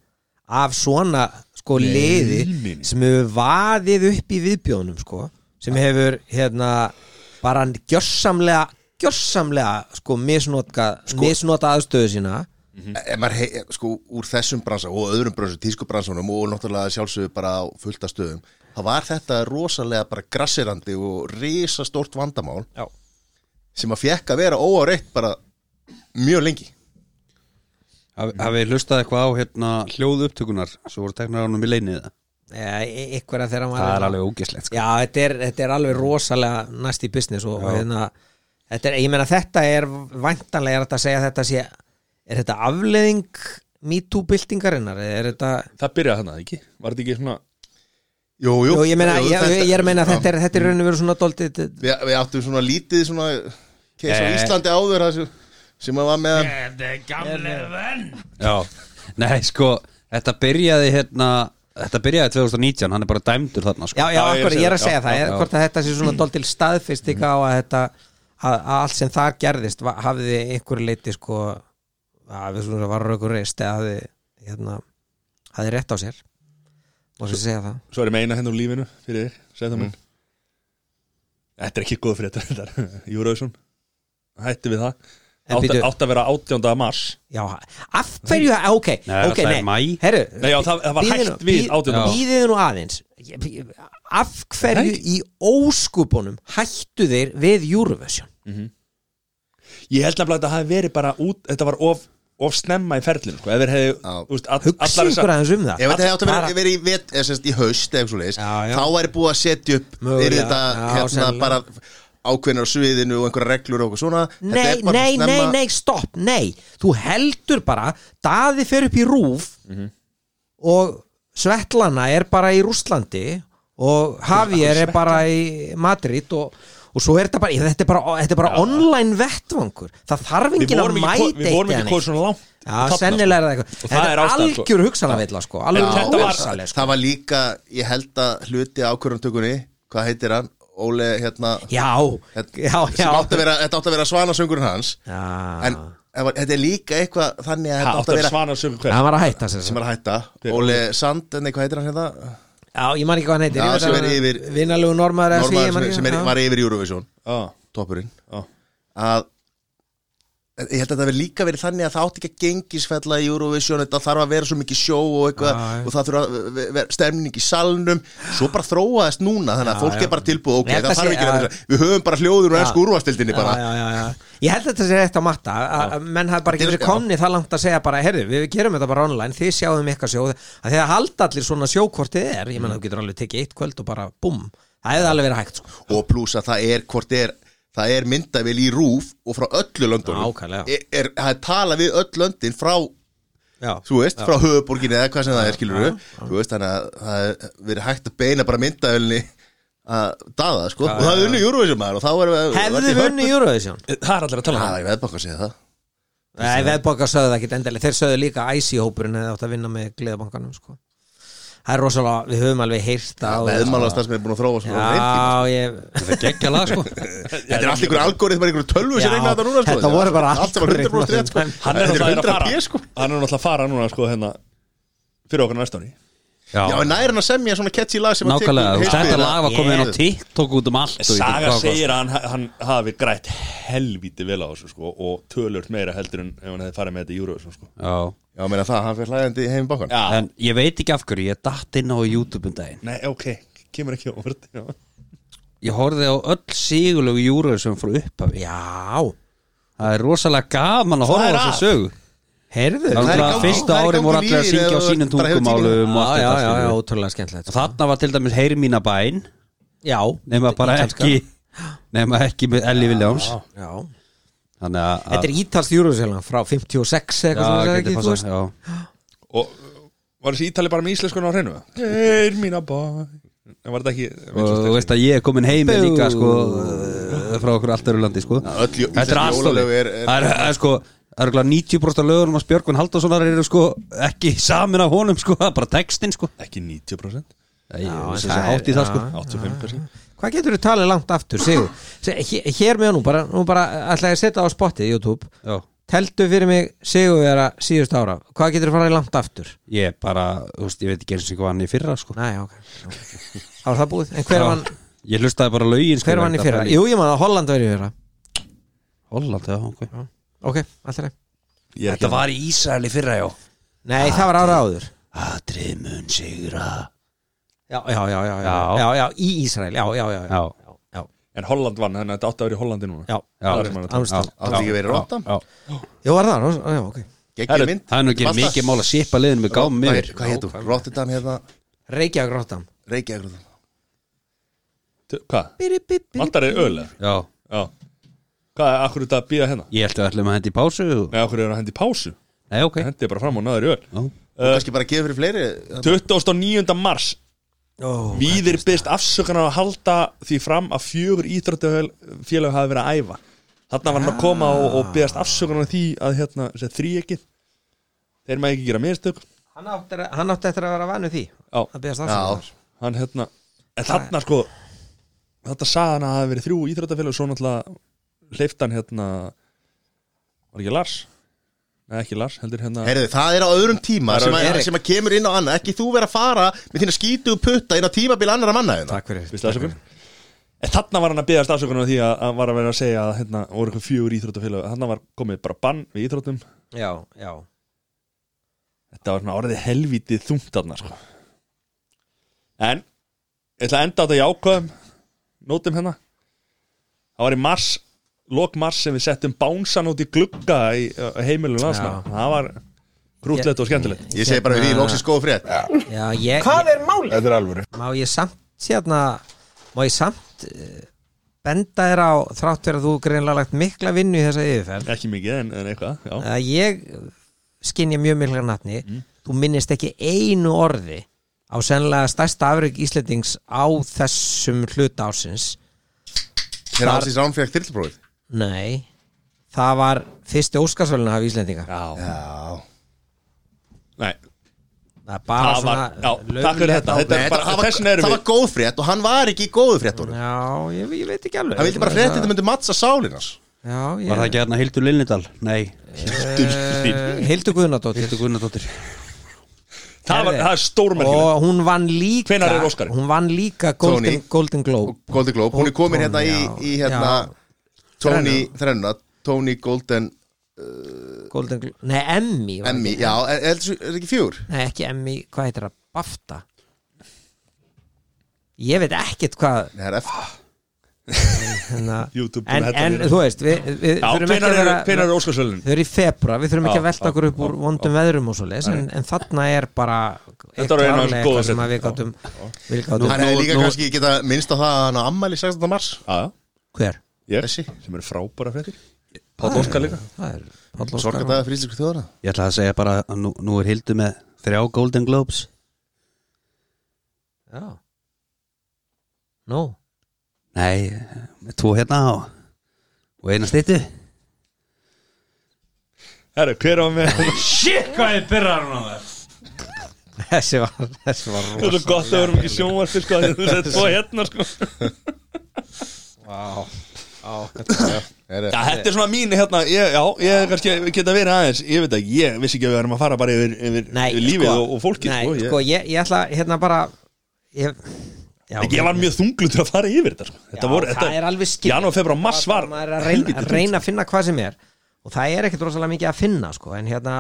af svona sko liði
nei, nei.
sem hefur vaðið upp í viðbjóðnum sko sem hefur hérna bara hann gjörsamlega gjörsamlega sko misnotað sko, misnotað aðstöðu sína
Ef maður hei, sko úr þessum bransa og öðrum bransa, tískubransanum og náttúrulega sjálfsögur bara á fullta stöðum þá var þetta rosalega bara grassirandi og risastórt vandamál
Já.
sem að fekk að vera óáreitt bara mjög lengi
Haf- hafið hlustað eitthvað á hérna hljóðu upptökunar sem voru teknar ánum í leiniða
e ykkur að þeirra
það er alveg ógislegt sko.
Já, þetta er, þetta er alveg rosalega næst í business og og hérna, þetta er, ég meina þetta er væntanlega er þetta að segja að þetta sé er þetta afleðing MeToo-byltingarinnar eða er þetta
Það byrjaði þannig, ekki? Var þetta ekki svona
Jú,
Jú, ég meina, ég,
þetta-
ég er að meina að
já.
þetta er, þetta
Mm.
er raun og veru svona doldið
við, við áttum svona lítið svona keis á
Eh.
Íslandi áður það sem, sem að var með
já nei sko þetta byrjaði hérna þetta byrjaði 2019 hann er bara dæmdur þarna sko
Já,
Já,
já,
ég er að
akkur,
segja
ég er að
það.
segja
Já, Mm.
það,
já,
já,
já.
hvort að þetta sé svona doldil staðfistik á að þetta að, að allt sem þar gerðist va- hafði ykkur leiti sko að við svona varum ykkur reist eða hafði, hérna, hafði rétt á sér og svo segja það
Svo er ég meina hendur úr lífinu fyrir þér Segð það minn Þetta er ekki góð fyrir þetta reyndar. Eurovision Hætti við það
En
Átt
býtu-
átt að vera 18. mars
Já, af hverju, á, ok,
Nei,
ok,
það er
nei,
maí.
herru
Nei, já, það- það var
bíðið
hætt
nú-
við
bíð-
18. mars.
Bíðið nú aðeins Ég- ég- Af hverju í óskupunum hættu þeir við Eurovision?
Ég held nefnilega að þetta hafi verið bara út Þetta var of, of snemma í ferlinu sko. Ef þeir hefði
Já.
úst, all,
Hugsa ykkur aðeins um það
Ef þetta hefði átt að vera,
Bara-
vera í, vet, eða, semst, í haust eða eitthvað svo leiðis,
Já, já.
þá væri búið að setja upp
Mögulega,
er þetta
já,
hérna
sennilega.
bara ákveðnar á sviðinu og einhverja reglur og okkur svona Þetta
Nei,
er bara
nei,
snemma-
nei, nei, stopp, nei Þú heldur bara, daði fer upp í rúf
Mhm.
og Svetlana er bara í Rússlandi og Javier er bara í Madrid og, og svo er þetta bara, þetta er bara, þetta er bara online vettvangur það þarf
Við
enginn að
vorum ekki,
mæta
ko- við vorum
eitt
ekki
henni.
komið svona langt í
Já,
taflna,
sennilega er það eitthvað
Og
Þetta
það
er
er ástæðan, sko.
algjör hugsanavilla sko, alveg
En þetta var-
hugsanavilla sko.
Það var líka, ég held að hluti ákvörðantökunni, hvað heitir hann Óli, hérna
Já,
þetta-
já, já
sem átti að vera, Þetta átti að vera svanasöngurinn hans
Já,
En það var- þetta er líka eitthvað þannig að
Ha,
þetta átti
áttu
að
að
vera
svana sögum
hann
hver
var að hætta sér
sem er að hætta
Hver-
Óli Sand, nei, hvað heitir hann hérna?
Já, ég man ekki hvað hann heitir
Já,
Ég veit
sem
að
er
hann-
yfir-
Vinalegu normaður eða því, ég man
Normaður sem,
ekki-
sem er,
já.
var yfir Eurovision
Já,
Toppurinn
já
að ég held að það verið líka verið þannig að það átti ekki að gengisfella í Eurovision þetta þarf að vera svo mikið sjó og eitthvað
Já, já.
og það þurfa að ve- vera stemning í salnum svo bara þróaðist núna þannig að
Já,
fólk
já.
er bara tilbúð ok,
Ég held
það
að
þarf
sé-
ekki að
já.
vera við höfum bara hljóður og ennsku úrvastildinni
já,
bara
já, já, já. Ég held að þetta sé rétt að matta að að menn hafði bara ekki
Þetta er-
verið komni það langt að segja bara, heyrðu, við gerum þetta bara online þið sjáum ykkar sjóð, að því að halda allir svona sjókortið er, ég
Mm.
menna þú getur alveg tekið eitt kvöld og bara búm, það hefði alveg verið hægt sko.
og pluss að það er hvort er það er myndavél í rúf og frá öllu
Já,
löndunum
ákaflega.
er, er, það er tala við öll löndin frá
Já,
þú veist, frá höfuborginni eða hvað sem það er skilur þú veist, þannig að það er verið hægt að beina bara myndaölni að daða, sko, og það er unni Eurovision maður og þá erum við
hefði vunni Eurovision
Það er allir að tala um
Já,
það
ég veit bara hvað að segja það
Nei, veðbanka sögðu það ekki endilega þeir sögðu líka IC-hópurinn hefði átt að vinna með gleðabankanum sko. það er rosalega, við höfum alveg heyrta
Veðmála stað sem er búin að þróa svona á þeim tíma.
Já, ég
Þetta er geggja lag sko
Þetta er allt ykkur algórið, bara ykkur tölvu sem
Já,
reyna þetta núna, sko
þetta voru bara
Allt var 100% rétt, sko
algoritmar.
Hann er
Þetta
náttúrulega að
100
fara
pés, sko
Hann er náttúrulega að fara núna sko hérna Fyrir okkar á næsta ári
Já, en næri hann að semja svona catchy lag sem að tekur um
Nákvæmlega,
heilsbyggðina.
þetta lag var komið inn á
Ég-
TikTok út um allt og ég veit
Saga
hvað-
segir að hann, hann hafi grætt helvíti vel á þessu sko og tölur meira heldur en ef hann hefði farið með þetta í Eurovision sko
Já,
Já, meina það, hann fyrir hlæðandi heim í bankan
Já,
en ég veit ekki af hverju, ég datt inn á YouTube um daginn
nei, ok, kemur ekki á orð já.
Ég horfði á öll sigurlegu Eurovision frá upphafi
Já,
Það er rosalega gaman að horfa á
er
þessu
að.
sögu
heyrðu
Það
er í
er
gangi-
fyrsta
það er í
árin voru
gangi
allir að
lífið
syngja á
eða
sínum
bara hefur
tungumálum og allt
Já, já,
þetta
já,
skilur.
ótrúlega skemmtilegt sko.
Og þarna var til dæmis Heyr mína bæn
Já,
nema bara
ítalska.
ekki nema ekki með Ellie Williams
Já.
Þannig að
Þetta er ítalst júruvísjölan frá 56 eða eitthvað sem
Já,
það er
gæti
ekki, þú
passað,
veist
já.
og uh, var þessi ítali bara með íslenskun á hreinu er mína bæ en var þetta ekki
og þú veist að ég er komin heim með líka sko, uh, frá okkur allt öru landi sko.
öll jó-
Þetta er
íslensk jólalög er-
aðstofið
er-
Það er það er, sko Það eru glæð 90% af lögunum hans Björgvin Halldórssonar eru sko ekki samin af honum sko, það er bara textin sko
ekki 90%
Ég
en
vissi
það
þessi
er-
hátt í það sko
já.
85%
Hvað getur þú talið langt aftur, Sigur? Se- hér- Hér með nú, bara, nú bara ætla ég að setja á spottið YouTube
Já.
Teldu fyrir mig Sigur vera síðust ára Hvað getur þú farið langt aftur?
Ég er bara, þú veist, ég veit ekki eins og hvað hann í fyrra sko
Nei, ok Það var það búið, en hver
Já.
var hann,
Ég hlustaði bara á lögin sko,
hver var hann í
þetta
fyrra?
bara
Jú, ég maður að Holland var í fyrra
Holland, já, ok
Ok, alltaf leið
Þetta var í Ísraeli fyrra, já
Nei, það var ára áður
Atrið mun sigra
Já, já, já, já, já,
Já.
já, já í Ísrael, já, já, já, já,
Já,
já.
en Holland vann þannig að þetta átti að vera í Hollandi núna
Já,
já,
Það er sem hann að tala.
Amsterdam.
Átti ekki verið rótta
já.
Jú, var það, Rós- já, ok
Gekkið
Herru,
mynd
Það er nú ekki
Basta.
mikið mál að um sipa liðin með gáum
Hvað
yfir
hét- Hvað hétu? Rotterdam hérna,
Reykjavík Rottam
Reykjavík
T- hvað? vantar er öl eða?
Já,
já hvað er akkur þetta að býða hérna?
ég held að ætlum að hendi í pásu og-
nei, akkur er að hendi í pásu
Nei, ok
hendi bara fram og náður í öl
Já.
Og kannski bara gefa fyrir fleiri hérna.
29. mars
Ó,
Víðir byrst afsökunar að halda því fram að fjögur íþróttafélag hafi verið að æfa Þarna var hann að koma og, og byrst afsökunar á því að hérna, þrý ekki Þeir maður ekki gera mistök
Hann átti, hann átti eftir að vera vannu því
Já,
að beðast
Já,
afsökunar
hann hérna En þarna sko Þetta sagði hann að það hafi verið þrjú íþróttafélag Svo náttúrulega hleyftan hérna Var ekki Lars? Nei, ekki Lars, heldur hérna
Herðu, það er á öðrum tíma
Það er
sem að,
Erik.
sem að kemur inn á annað Ekki þú vera að fara með þína skítugu putta inn á tímabil annara manna hérna.
Takk fyrir
Býstu afsökun? En þarna var hann að byggast afsökunar á því að hann var að vera að segja að hérna voru eitthvað fjögur íþróttafélag Þarna var komið bara bann við íþróttum
Já, já
Þetta var svona orðið helvítið þungt þarna sko. En Ég ætla að enda á þetta jákvæðum Nótum hérna Það var í mars, lok mars sem við settum bánsan út í glugga í uh, heimilu landsna Það var krútlegt og skemmtilegt
Ég segi bara við því, loksins góð frétt
Já, ég,
Hvað er málið?
Þetta er alvöru
má ég samt hérna, má ég samt uh, benda þér á þrátt fyrir að þú greinlega lagt mikla vinnu í þessa yfirferð
Ekki mikið en, en eitthvað já.
að ég skinja mjög mikla natni þú minnist ekki einu orði á sennilega stærsta afrygg Íslendings á þessum hluta ásins
Þegar Ásins Rán fekk þyrluprófið
nei, það var fyrsti óskarsvölinu af Íslendinga
Já.
Já
Nei,
það er bara
Það var-
svona
já, takk fyrir þetta. Þetta er-
Nei,
bara-
það, var,
þess vegna erum
það
við-
var góð frétt og hann var ekki í góðu fréttunum
já, ég, ég veit ekki alveg
Hann vildi bara frétt þetta myndi mattsa sálinas
já, ég,
Var það ekki hérna Hildur Linnindal? Nei,
uh, Hildur Guðnadóttir
Hildur Gunnardóttir
það, var,
Herði.
það er stórmerkilegt
og hún vann líka
Hvenær er Óskarinn?
hún vann líka Golden,
Tony.
Golden Globe
Golden Globe, hún er komin hérna í, í hérna
já.
Tony, þrenna, Tony Golden
Golden Globe, nei Emmy var
Emmy,
ekki-
já, er, er, er ekki fjúr?
nei ekki Emmy, hvað heitir það, BAFTA ég veit ekkert hvað
Nei, það er eftir
hérna,
YouTube búin
en,
að hella
en
mér.
þú veist við, við
Já,
þurfum ekki
hvenær
að
eru-
vera
hvenær eru Óskarsvölin?
þau eru í februar, við þurfum ekki að
Já,
velta okkur upp
já,
úr
já,
vondum veðrum og svo leis en, en þarna er bara
Þetta var eina af þessum góðu
sem að við
fréttum.
gáttum við gáttum
Hann hefði
nú-
líka
nú-
kannski geta minnst á það að hann á ammæli 16. mars
Já,
hver?
já, ég,
Þessi.
sem eru frábæra fréttir Páll Óskar líka
það er Páll Óskar.
Sorgadaði fyrir íslensku þjóðana
Ég ætla að segja bara að nú, nú er Hildur með þrjá Golden Globes
já nú
Nei, með tvo hérna á og eina styttu
Herra, hver á með
Shit, hvað er byrjar hún á það?
þessi var, þessi var rosa
Þetta er Sko, gott að verðum ekki sjónvarpi sko Þetta er þetta tvo hérna sko
Er-
Já, þetta er svona mín hérna ég, Já, ég er kannski ég geta verið aðeins Ég veit ekki, ég vissi ekki að við erum að fara bara yfir, yfir,
Nei,
yfir lífið
sko,
og, og fólkið
Nei,
sko, ég,
sko, ég, ég ætla hérna bara Ég, já,
ég, var mjög þunglutur að fara yfir þetta sko. Þetta
Já,
voru,
það er alveg skil
Janúar, februar, mars var
Maður er að reyna,
helvítið
að reyna að finna hvað sem er Og það er ekkert rosalega mikið að finna sko, En hérna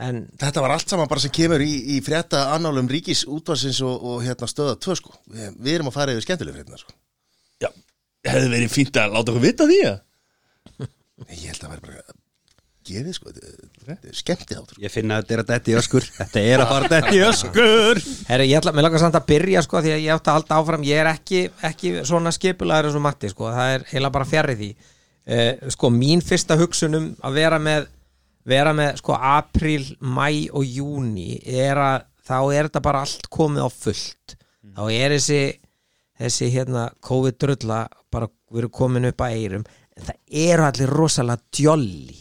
En
Þetta var allt saman bara sem kemur í, í frétta annálum ríkis útvarsins og, og hérna stöða tvö sko Við, við erum að fara yfir skemmtileg fréttina sko
Já, hefði verið fínt að láta okkur vita því ja.
Nei, Ég held að það væri bara gefið sko Skemmti þáttur sko.
Ég finna að þetta er að detti öskur Þetta er að fara að detti öskur
herri, ég ætla, mér langar samt að byrja sko, Því að ég átti að halda áfram Ég er ekki, ekki svona skipulaður eins og Matti sko, Það er heila bara fjarri því eh, Sko, mín fyrsta hugsun um að vera með vera með sko april, mæ og júni er að þá er þetta bara allt komið á fullt þá er þessi þessi hérna COVID drulla bara verið komin upp að eyrum en það eru allir rosalega djolli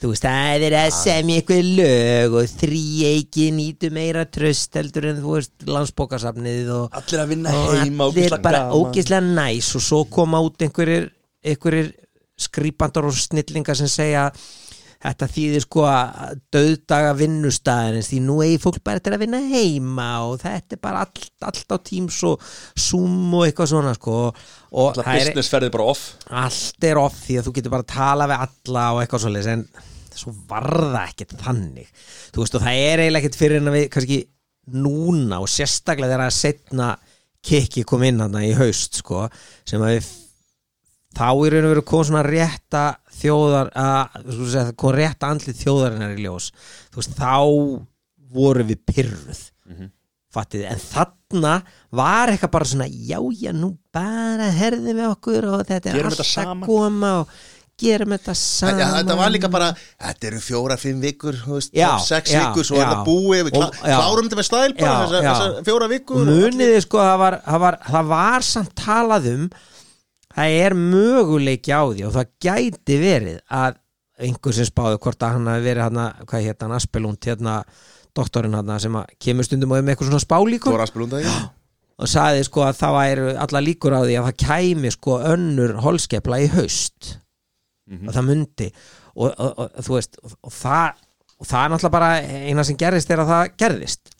þú veist það er verið að semja ykkur lög og þríeiki nýtu meira tröst heldur en þú veist landsbókasafnið og
Allir að vinna
og
heima
allir
ógeðslega
bara
gaman.
ógislega næs og svo koma út einhverjir, einhverjir skrýpandar og snillingar sem segja þetta þýðir sko að döðdaga vinnustæðinins því nú eigi fólk bara til að vinna heima og þetta er bara allt, allt á Teams og Zoom og eitthvað svona sko og og
Alla
það er-
business ferði bara off
allt er off því að þú getur bara að tala við alla og eitthvað svoleiðis en svo varða ekkert þannig þú veist og það er eiginlega ekkert fyrir en að við kannski núna og sérstaklega þegar að setna kikki kom inn hann í haust sko sem að við þá í raun og veru kom svona rétta þjóðar, að, segja, það kom rétta andlið þjóðarinnar í ljós þú veist þá voru við pyrruð
Mhm.
fattið, en þarna var eitthvað bara svona, já, já, nú bara herðum við okkur og þetta er
Gerum
allt
þetta
að
saman.
koma og gerum
Þetta-
þetta saman
Þetta var líka bara, þetta eru fjóra, fimm vikur, þú veist,
Já,
sex
já,
vikur, svo er
já.
það búið, við klá,
Og- já.
klárum þetta með stæl bara,
Já,
þessar
já.
þessa fjóra vikur
og muniði sko, það var, það, var, það var samt talað um það er möguleiki á því og það gæti verið að einhver sem spáði hvort að hann hafi verið hann hvað hétt hann, Aspelund hérna, doktorinn hann sem að kemur stundum og er með eitthvað svona spálíkur
Þóra Aspelunda, já
og sagði sko að það væru allar líkur á því að það kæmi sko önnur holskepla í haust og það myndi og, og, og, og þú veist og, og, það, og það er náttúrulega bara eina sem gerðist er að það gerðist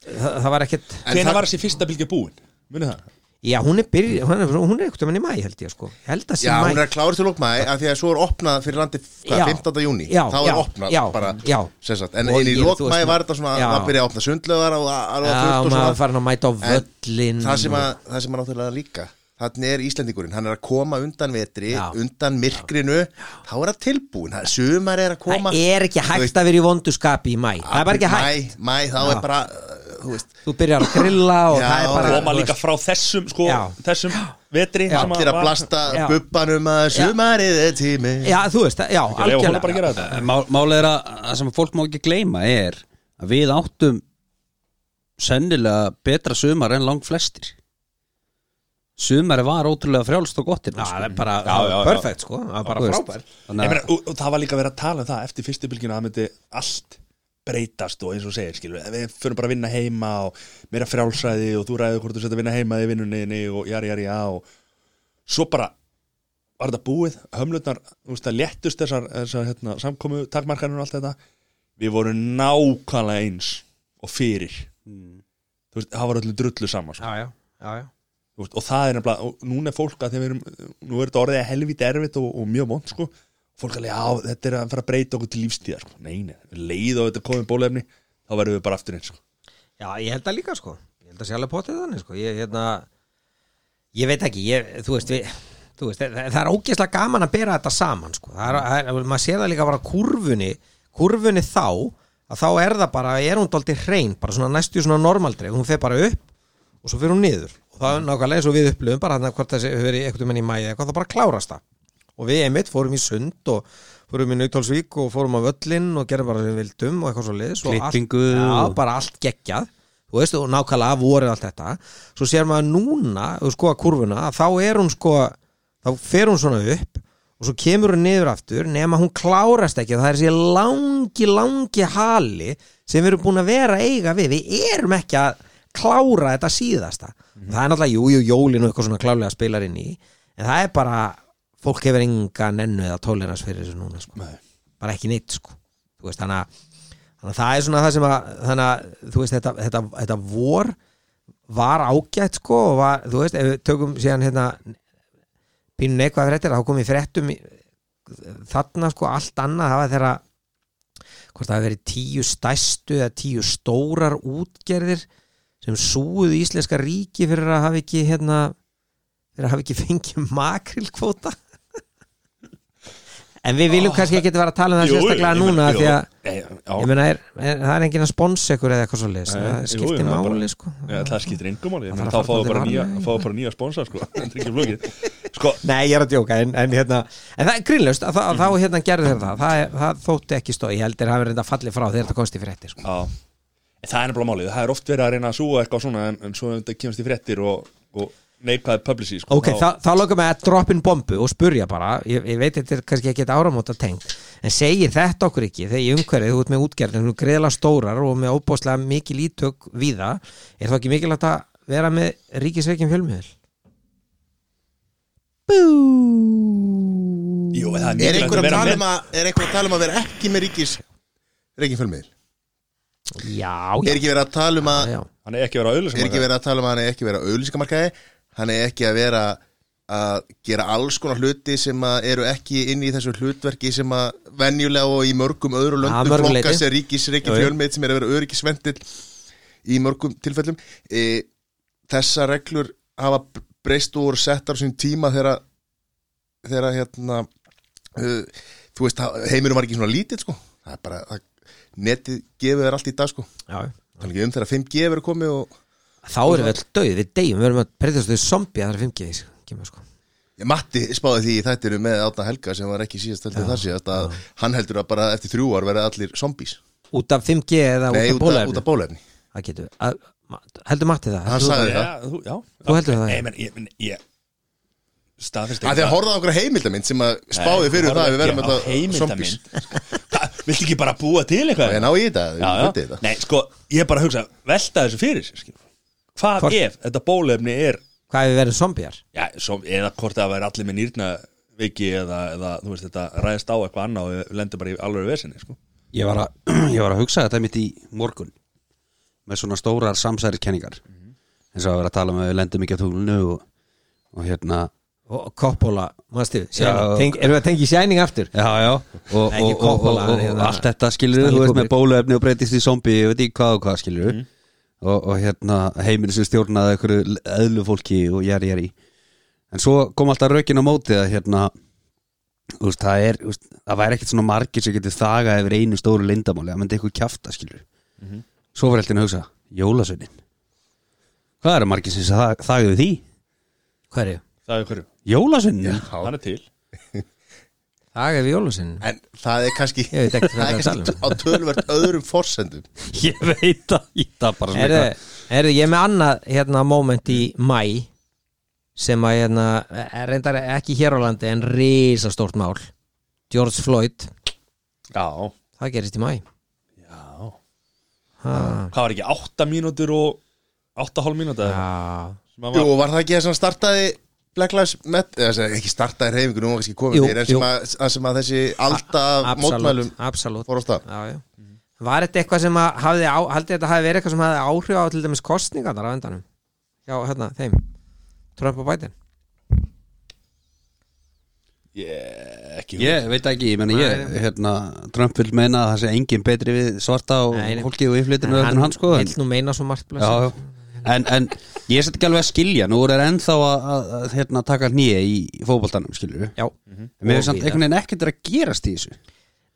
Þa, það var ekkert
Hvena var þessi fyrsta bylgja búin? Munið það?
já hún er byrj, hún er, hún er ekkert um henni mæ held ég sko Ég held að sé
Já,
mæ
hún er kláður til lókmaði af því að svo er opnað fyrir landi hvað,
Já.
15. júni,
Já,
þá er
já,
opnað
já,
bara,
já.
sem sagt, en
Og
inn í
ég- þú veist,
lókmaði var þetta svona
já.
það byrjaði að opna sundlöðar og alveg
Já,
fullt og
maður Mm.
svona
farin að mæta á
En
völlin
það sem að, það sem að náttúrulega líka þannig er Íslendingurinn, hann er að koma undan vetri,
Já.
undan myrkrinu þá er það tilbúin, það- sumar er að koma
það er ekki hægt að vera í vonduskapi í mæ það er bara ekki hægt,
mæ, mæ, þá er bara, uh, þú veist
þú byrjar að grilla og
Já,
það er bara
og
Koma líka frá þessum sko,
Já.
þessum vetri
Já.
sem
Allir að
var-
blasta
Já.
bubbanum að sumarið er tími
Já, þú veist, já,
Ég leifa honum bara að
algjörlega
gera þetta
En Eh, Mál, mál er að, að sem fólk má ekki gleyma er að við áttum sennilega betra sumar en langt flestir sumari var ótrúlega frjálst og gott
Já, það
hérna, sko.
er bara
Já, já, já.
perfect, sko Það er
Þú
bara
veist,
frábær
Ég
þannig
meina,
að
og, og það var líka verið að tala um það eftir fyrstu bylginu að það myndi allt breytast og eins og þú segir skilur við, við fyrir bara að vinna heima og meira frjálsræði og þú ræður hvort þú setja að vinna heima í vinnunni og jari, jari, já og svo bara var þetta búið, hömlutnar, þú veist það léttust þessar, þessar hérna, samkomu takmarkanir og allt þetta, við vorum nákvæmlega eins og fyrir þú veist, það var öllu drullu saman sko.
Já, já, já, já
Þú veist, og það er nefnilega, og núna er fólk að þegar við erum, nú er þetta orðið helvítið erfitt og, og mjög vond sko, fólk alveg, já, þetta er að fara að breyta okkur til lífstíðar sko. nei, nei, við leið og þetta komið bólefni þá verðum við bara aftur eins sko.
Já, ég held að líka sko Ég held að sé alveg potið þannig sko Ég, hérna, ég veit ekki, ég, þú veist við Þú veist, það, það er ógeðslega gaman að bera þetta saman sko. það er, það er, maður sér það líka bara á kurfunni kurfunni þá að þá er það bara, er hún dálítið hrein bara svona næstu svona normaldri, hún fer bara upp og svo fer hún niður og það er nákvæmlega eins og við upplöfum bara hann hvort þessi hefur verið einhvern veginn í mæði eitthvað, það bara klárast það og við einmitt fórum í sund og fórum í Nautálsvík og fórum á völlinn og gerum bara sem við vildum og eitthvað svo liðs
Klippingu
Já,
og-
bara allt geggjað þú veist, og nákvæmlega vorið allt þetta svo sér maður núna, ef þú sko að kurfuna að þá er hún sko þá fer hún svona upp og svo kemur hún niður aftur nema hún klárast ekki það er þessi langi, langi hali sem við erum búin að vera að eiga við við erum ekki að klára þetta síðasta það er náttúrulega, jú, jú, jólin og eitthvað svona klálega spilar inn í en það er bara, fólk hefur enga nennu eða tólerans fyrir þessu núna sko. bara ekki neitt sko. Þú veist, þannig að þannig að það er svona það sem að þannig að þú veist þetta, þetta, þetta vor var ágætt sko og var, þú veist, ef við tökum síðan hérna pínu neikvað fréttir þá komið fréttum í- þarna sko allt annað það var þeirra hvort það hafi verið tíu stæstu eða tíu stórar útgerðir sem súðu íslenska ríki fyrir að hafa ekki hérna fyrir að hafa ekki fengið makrilkvóta en við viljum kannski ekki vera að tala um það sérstaklega núna því að ég
að
meina, er, er, það er enginn að sponsa ykkur eða eitthvað svo leiðis, það skiptir máli sko.
Já, það skiptir engum máli, ég meina, þá
þarf að fara
fáum við bara
dálítið
nýja
varlega í
fáum við bara nýja sponsor sko, þetta er ekki flókið sko,
Nei, ég er að djóka, en, en hérna en það er grínlaust, að, að, þá hérna gerðu þeir það það, er- það þótti ekki stóð, ég heldur hafi reynda fallið frá þegar þetta komst í frétti sko.
á, það er nefnilega málið, það er oft verið að reyna að súa eitthvað svona en, en svo þetta kemst í fréttir og, og neikvæði publicity sko,
Ok,
þá-
þá, þá lokum við að drop in bombu og spurja bara, ég, ég veit þetta er kannski ekki áramóta tengt, en segir þetta okkur ekki þegar ég umhverfið, þú ert með útgerðin greiðlega stórar og með óbóðslega mikil ítök víða, er þá ekki mikilvægt að vera með ríkisveikin fjölmiðil? Bú
Jú, en það er
Er
mikilvægt að vera
einhver að tala
með
um að Er einhver að tala um að vera ekki með ríkis Reykjum fjölmiðil
Já, já,
Er ekki verið að tala um að
já.
hann er ekki að vera auðlýsum
Er ekki verið að tala um að hann er ekki verið að auðlýsingamarkaði Hann er ekki að vera að gera alls konar hluti sem að eru ekki inn í þessu hlutverki sem að venjulega og í mörgum öðru
Að
löndum
mörgu leyti.
flokkast er ríkis Reykjum
Jú, jú.
fjölmiðil sem er að vera öryggisvendill í mörgum tilfellum e, Þessa reglur hafa breyst úr settar sem tíma þegar þegar að, hérna uh, þú veist, það- heiminum var ekki svona lítill sko, það er bara það, netið gefur þér allt í dag sko
já.
þannig ekki um þegar 5G verður komið og
Þá erum við öll döið, við deyjum, við erum að breytast við zombi að það er 5G sko, kemur, sko.
Ég, Matti spáði því í þættinu með Átna Helga sem var ekki síðast heldur þar síðast að hann heldur að bara eftir þrjú ár verða allir zombies
Út af 5G eða
Nei,
út af bólefni
út af bólefni
Það getur, að, ma- heldur Matti það?
Hann
Heldur
sagði það
Já, þú, já.
Þú heldur það, já.
Nei, menn, ég, menn, ég staðfist
Það er að horfa á okkur heimildamind sem að spáði fyrir það að við verðum alltaf zombies
heimildamind Viltu ekki bara búa til eitthvað?
Ég ná í þetta,
já,
ég veit
já.
þetta
Nei, sko, ég er bara að hugsa velta þessu fyrir sér, skilur Hvað
Hvort-
ef þetta bólefni er
þú- Hvað ef við verðum zombiar?
já, som, eða hvort það væri allir með nýrnaveiki eða, eða, þú veist, þetta ræðist á eitthvað annað og við lendum bara í alveg vesinni, sko
ég, var að, ég var að hugsa þetta mitt í morgun með svona stórar samsæriskenningar
Mhm.
eins og að vera að tala um að við lendum ekki að tunglunu og, og hérna
Og Coppola, mannstu,
Já.
erum við að tengja sæning aftur?
já, já, og,
Ekki
og, og, og,
Coppola,
og, og,
hérna,
allt þetta skilur
Stanley
þú veist með
Kubrick. Mhm.
bóluefni og breytist í zombi ég veit ekki hvað og hvað skilur og, og hérna heiminn sem stjórnaði einhverju eðlu fólki og jari jari en svo kom alltaf rökin á móti að hérna þú veist, það er, þú veist, það væri ekkert svona margir sem getur þagað yfir einu stóru lindamáli það myndi eitthvað kjafta skilur
Mhm.
svo var alltaf að hugsa, jólasönin hvað eru margir sem þa- þagðu því?
Hverju?
Það er hverju,
Jólasinn
hann er til
Það er við jólusinn
En það er kannski,
Ég veit ekki hvað
það
það
er
er
kannski
að
á tölvert öðrum forsendum
Ég veit það, ég það bara svona
Erðu, erðu, ég er með annað hérna moment í mæ sem að hérna, er reyndar ekki hér á landi en risastórt mál George Floyd,
Já,
það gerist í mæ
já
ha,
Hvað var ekki, 8 mínútur og 8,5 mínútur
já,
Jú,
Jú, var það ekki það sem startaði Black Lives Matter, eða sem- ekki startaði reyfingu, nú var kannski komið
Jú,
fyrir, en sem
jú.
að, að sem að þessi alda af mótmælum
absolutt absolutt,
fór á stað.
já, já Var þetta eitthvað sem að hafði á, haldið þetta hafi verið eitthvað sem hafði áhrif á til dæmis kostningarnar á endanum Já, hérna, þeim Trump og Biden
yeah, ekki hugmynd.
Ég veit ekki, ég menna ég, hérna Trump vil meina að það sé engin betri við svarta og
Nei, nei.
fólkið og yfirflytinu en hann sko en,
vill nú meina svo margt
já,
blessa
já. en, en ég set ekki alveg að skilja nú er ennþá að, að, að hérna, taka nýja í fótboltanum, skilur við
Já,
Mér er samt
Og víðar.
einhvern veginn ekkert að gerast í þessu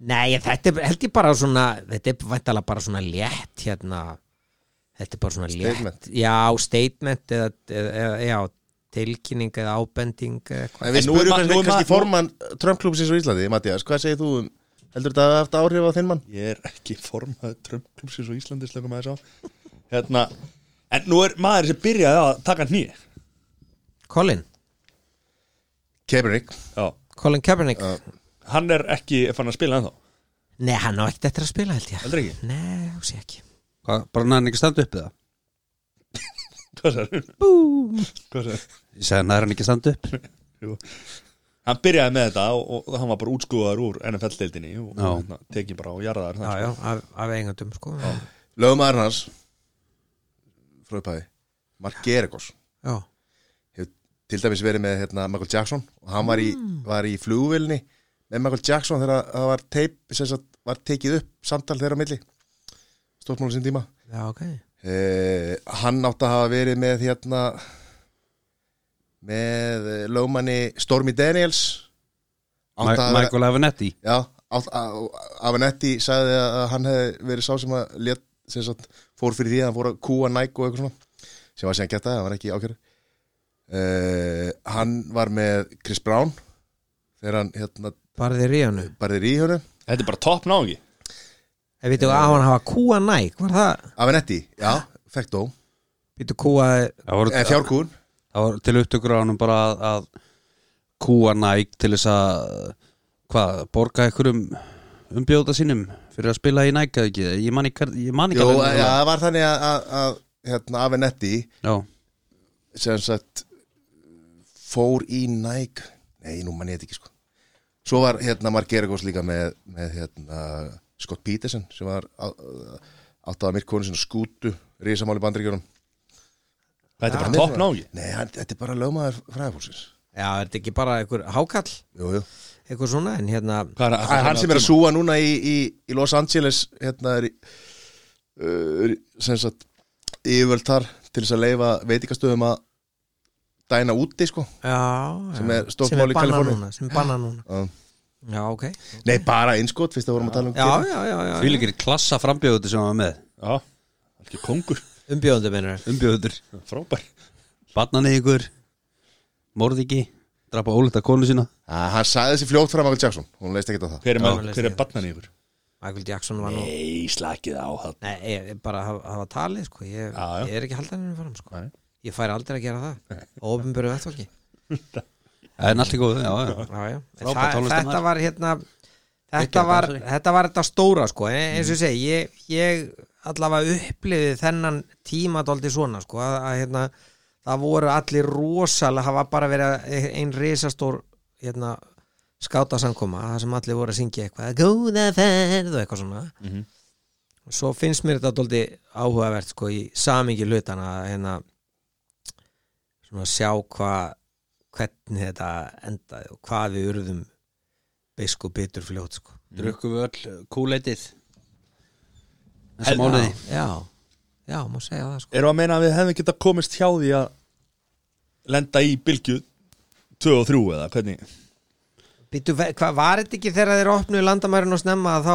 Nei, þetta er held ég bara svona þetta er væntalega bara svona létt hérna þetta er bara svona létt
Statement.
Já, statement eða, eða, eða já, tilkynning eða ábending eða eitthvað
En við
En nú er
spurum
ma- nú er
kannski,
ma-
kannski
nú-
formann Trump klúpsins á Íslandi, Mattias, hvað segir þú um, heldur þetta hafa haft áhrif á þinn mann?
Ég er ekki formaður trömmklubsins og Íslandis lögum að þess á Hérna, en nú er maður sem byrjaði að taka nýja
Colin,
Kebrick,
Já,
Colin Kaepernick
hann er ekki fann að spila ennþá
Nei, hann á ekkert eftir að spila held ég
Heldur ekki?
Nei, hús ég ekki
Hvað, bara hann ekki standa upp eða?
Hvað sagði? Hvað sagði?
Ég segi hann er hann ekki standa upp
Jú. Hann byrjaði með þetta og, og hann var bara útskúðar úr NFL-deildinni og
Já.
hérna, tekið bara á jarðar sko.
Já, já, af, af eigandum sko Já,
lögumæður hans, fröðpæði, Mark Geregos,
já,
hefur til dæmis verið með hérna, Michael Jackson og hann var í, var í flugvilni með Michael Jackson þegar það var, teip, sagt, var tekið upp samtal þeirra á milli, stórmálum sinn tíma.
já ok
Eh, hann átti að hafa verið með hérna með eh, lögmanni Stormy Daniels
Ma
átti að vera
Michael Avenetti
já, átti að- Avanetti sagði að hann hefði verið sá sem að lét, sem sagt, fór fyrir því að hann fór að kúa Nike og eitthvað svona sem var síðan getaði, það var ekki ákjör uh, hann var með Chris Brown þegar hann hérna
Barðir í hannu
barðir í hönum
Þetta er bara topp náðungi
Ég veitum að hann hafa kúa næk, var það?
Avanetti, já, fekk dó
Veitum kúa,
Það voru-
eh, fjárkún
Það var til upptökur á hann bara að, að kúa næg til þess að hvað, borga einhverjum umbjóta sínum fyrir að spila í næg eða ekki, ég man ekki, ég man ekki
Jú,
alveg-
já, það var þannig að, að, að hérna, Avenetti
já,
sem sagt fór í Nike nei, nú mann ég þetta ekki sko svo var hérna Mark Geragos líka með, með hérna, Scott Peterson sem var átt að myrkonu sinna skútu risamáli bandaríkjörnum
Þetta er bara topp náðungi
nei, hann, þetta er bara lögmaður fræðfólksins
já, er þetta ekki bara einhver hákall,
jú, jú.
einhver svona en hérna
Hvað er
hann, hann sem er að súa núna í, í, í Los Angeles hérna er í, uh, sem sagt yfirvöld þar til þess að leifa veitikastöðum að dæna úti sko
já,
Sem
já.
er stórt
Sem
mál í
banna
Kaliforníu.
núna, sem banna núna
Já.
já, ok
nei, bara einskot, fyrst að vorum að tala um
já,
Kyrra.
já, já, já,
því líkir klassa frambjóðutur sem hann var með
Já, ekki kongur,
umbjóðandi mennur
umbjóðutur,
frábær
bannan ykkur morðiki, drapa ólita konu sína
Að hann sagði þessi fljótt frá Michael Jackson hún leist ekki á það
Hver er,
Já.
maður- hver er barnan í ykkur?
Michael Jackson var nú
Nei, slakið á það
Nei, ég, ég bara hafa, hafa talið sko. ég,
Já, já.
ég er ekki haldaninu fram sko.
Nei.
ég fær aldrei að gera það ofinböru vettfólki
en allt í góðu, já, já
já, já. En
Frábær
það-
tónlistarmaður.
þetta var hérna þetta
Gekkjaður
var,
dansari.
þetta var þetta stóra sko. En eins og ég segi ég, ég allavega upplifið þennan tíma dóldi svona sko, að, að hérna það voru allir rosalega það var bara verið e, ein risastór hérna skátasamkoma það sem allir voru að syngja eitthvað góða ferð og eitthvað svona svo finnst mér þetta dóldi áhugavert sko í samingi hlutana hérna svona sjá hvað hvernig þetta endaði og hvað við urðum beisk og bitur fljótt sko.
drukkum við öll kúleitið þess að mánuði
já, já, má segja það sko.
Erum við að meina að við hefðum geta komist hjá því að lenda í bylgju 2 og 3 eða hvernig
Bitu, hvað var þetta ekki þegar þeir opnuðu landamærin og snemma að þá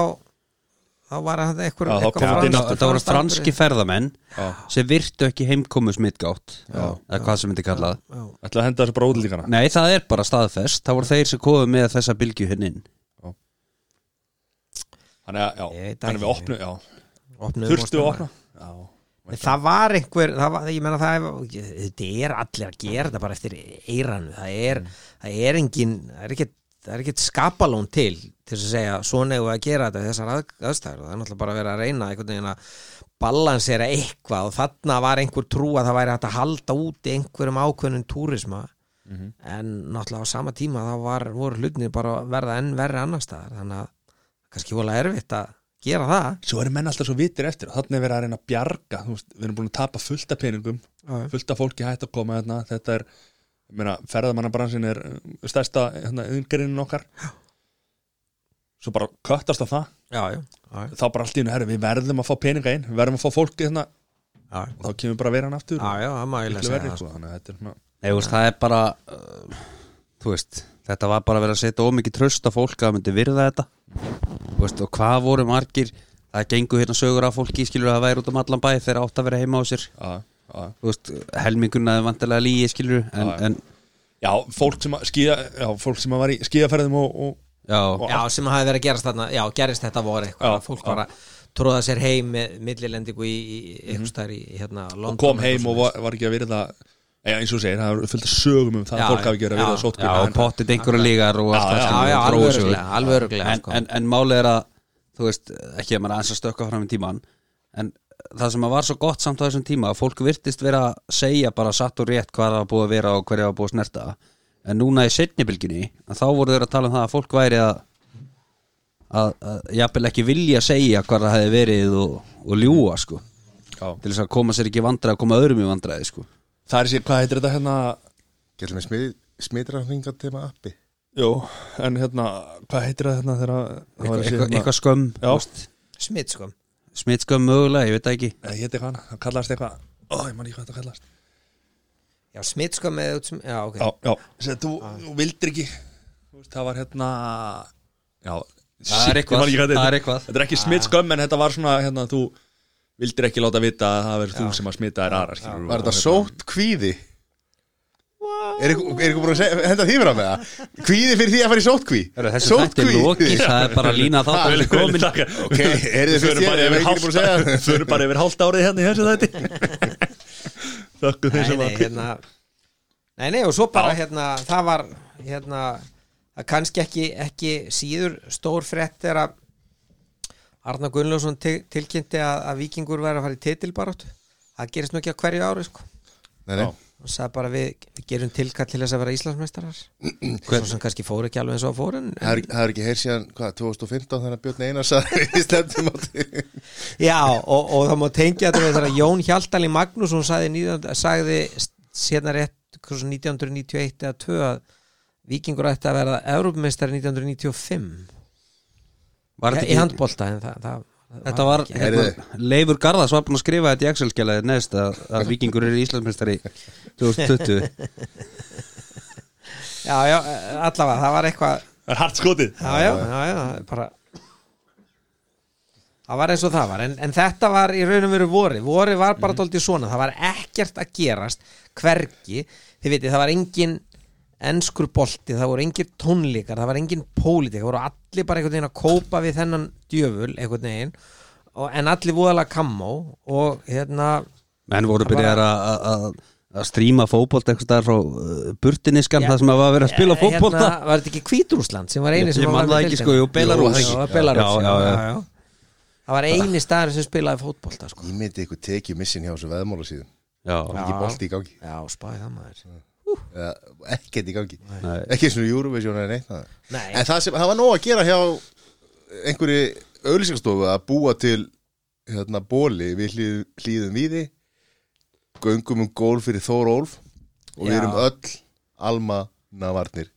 þá var það einhver,
Já, þá kom þetta inn
Þetta
Franskt-
þetta voru franski ferðamenn
Já.
sem virtu ekki heimkomu smittgátt eða hvað sem myndi kallað
Ætlaði að henda þessu bara útlíkana
Nei, það er bara staðfest, það voru þeir sem komið með þessa bylgju hinn inn
Þannig að, já,
Ég veit
þannig að við
ekki.
opnum, já Þurftu
Opnuðu
að
mostamæður.
opna Já,
En það var einhver, það var, ég meina það er- þetta er allir að gera þetta bara eftir eiranu, það er það er engin, það er ekkert það er ekkert skapalón til til þess að segja svona eigum við að gera þetta við þessar að, aðstæður og það er náttúrulega bara að vera að reyna einhvern veginn að balansera eitthvað og þarna var einhver trú að það væri hægt að halda úti einhverjum ákveðnum túrisma en náttúrulega á sama tíma þá var, voru hlutni bara að verða enn verri annar staðar þannig að kannski vola erfitt að gera það
svo eru menn alltaf svo vitir eftir og þannig er verið að reyna að bjarga þú veist, við erum búin að tapa fullt af peningum
Já, já.
fullt af fólki hætt að koma þarna þetta er, ég meina, ferðamannabransin er uh, stærsta yngirinn okkar svo bara köttast á það
Já, já, já,
þá bara allt í hennu, herri, við verðum að fá peninga inn við verðum að fá fólki þarna
já.
og þá kemur bara veran aftur
Já, já, það má ég
Miklu
lesa
verri,
það sko.
sko, þannig að þetta er svona
Nei, þú veist, það er bara uh, þú veist, þetta var bara að vera að setja ómikið tröst á fólk að það myndi virða þetta Þú veist, og hvað voru margir það gengur hérna sögur af fólki skilur að það væri út um allan bæ þegar átt að vera heima á sér
já, já.
Þú veist, helminguna er vantilega líi skilur en,
Já, já.
en
já, fólk sem að skýja já, fólk sem að var í skýjaferðum og, og
já,
sko. Já, sem hafi verið að gerast þarna Já, gerist þetta voru eitthvað
Já,
Fólk
já. Mhm.
bara tróða sér heim með millilendingu í, í, í einhvers staðar í hérna, London
og kom heim
eitthvað
og var, var ekki að virða já, eins og þú segir, það er fullt að sögum um það
Já,
að fólk
já,
hafi ekki verið að virða
já,
sótkvíða
já og pottið einhverja lígar og allt
Já,
það
já,
skilur,
Já, já,
og
alveg
gróusögur.
öruglega, alveg öruglega
en,
sko.
en, en málið er að þú veist, ekki að maður er aðeins að stökka fram í tíman en það sem að var svo gott samt á þessum tíma að fólk virtist vera að segja bara satt og rétt hvað það var búið að vera og hverja var búið að snerta en núna í setnibylginni þá voru þeir að tala um það að fólk væri að að, að jafnvel ekki vilja segja hvað það hefði verið og, og ljúa sko
Já.
til þess að koma sér ekki í vandræði að koma öðrum í vandræði sko
það er sér, hvað heitir þetta hérna
Gætlum við smið, smitrarhinga tema appi
jú, en hérna, hvað heitir þetta hérna þegar það var
eitthvað,
þessi,
eitthvað,
hérna-
eitthvað skömm
Já.
Smitt sko
smitskömm mögulega, ég veit það ekki
Nei, héti hvað hana, það kallast eitthvað ó, ég man ekki hvað þetta kallast
Já, smitt sko með út sem Já, ok
já, já, þessi, þú, þú vildir ekki þú veist, það var hérna já,
Það er
shit, ég
eitthvað,
man ekki hvað þetta
það er
heitir.
eitthvað
þetta er ekki smitt skömm en þetta var svona hérna, þú vildir ekki láta vita að það verður þú sem að smita þér aðra skilur,
Var þetta sótt kvíði? Er ykkur er ykkur búin að segja, henda því vera með það? Kvíði fyrir því að fara í sótt kví?
Þessi þetta er lokið, það er bara lína þá
Vel, vel,
komin
takk.
Ok, er þið
Við förum
fyrst ég,
bara
er
yfir
ekki búin að
hálft
segja
árið-
það?
við förum bara yfir hálft árið hérna í þessu þætti Þökkum þeir
Nei,
sem
nei,
að
hérna Nei, nei, og svo bara hérna Það var hérna það kannski ekki, ekki síður stór frétt er að Arna Gunnljósson til, tilkynnti að, að vikingur væri að fara í titilbarátt Það gerist nú ekki á hverju ári sko
Nei, nei,
og sagði bara við, við gerum tilkall til þess að vera Íslandsmeistarar svo sem kannski fóru ekki alveg eins og að fóru en,
það er- það er ekki heyr síðan, hvað, 2015 þannig að Björn Einar sagði í stefnum
já og, og það má tengja þetta við þegar Jón Hjaltalí Magnússon sagði, 19 sagði sérna rétt hversu 1991 eða 2 að Víkingur ætti að vera Evrópumeistar 1995
Var
ja, í
þetta ekki-
handbolta en það, það, það
Þetta var,
ekki.
hérna, Leifur Garðas var búin að skrifa þetta í Excel-skjalaði neðst að, að vikingur eru Íslandsmeistari 2020
já, já, allavega, það var eitthvað
Það er hart skotið
já, já, já, já, það er bara það var eins og það var en, en þetta var í raunum veru vori vori var bara mm. svona, það var ekkert að gerast hvergi, þið veitir það var engin enskur bolti það voru engin tónleikar, það var engin pólitík, það voru allir bara einhvern veginn að kópa við þennan djöful, einhvern veginn og, en allir voðalega kammó og hérna,
Menn voru byrjar að að- að stríma fótbolt eitthvað þar frá uh, burtiniskan
Já.
það sem að var að vera að spila fótbolta
hérna var þetta ekki Kvíturúsland sem var eini
Ég-
sem
ég
var með
man það ekki,
deildina?
sko, jú, Belarús.
Jú, það var
Já,
Belarús,
já, já, já.
það var eini staður sem spilaði fótbolta sko.
Ég myndi ykkur tekið missin hjá þessu veðmála síðan
Já,
Ekki bolti í gangi,
Já, spáði það maður
eða ekkert í gangi
Nei.
Ekki svona Eurovision eða neitt maður.
Nei.
En það sem, það var nóg að gera hjá einhverju auðlýsingastofu að búa til hérna bóli við hlýð, hlýðum víði göngum um gól fyrir Þór Ólf og við
Já.
erum öll Alma Navarnir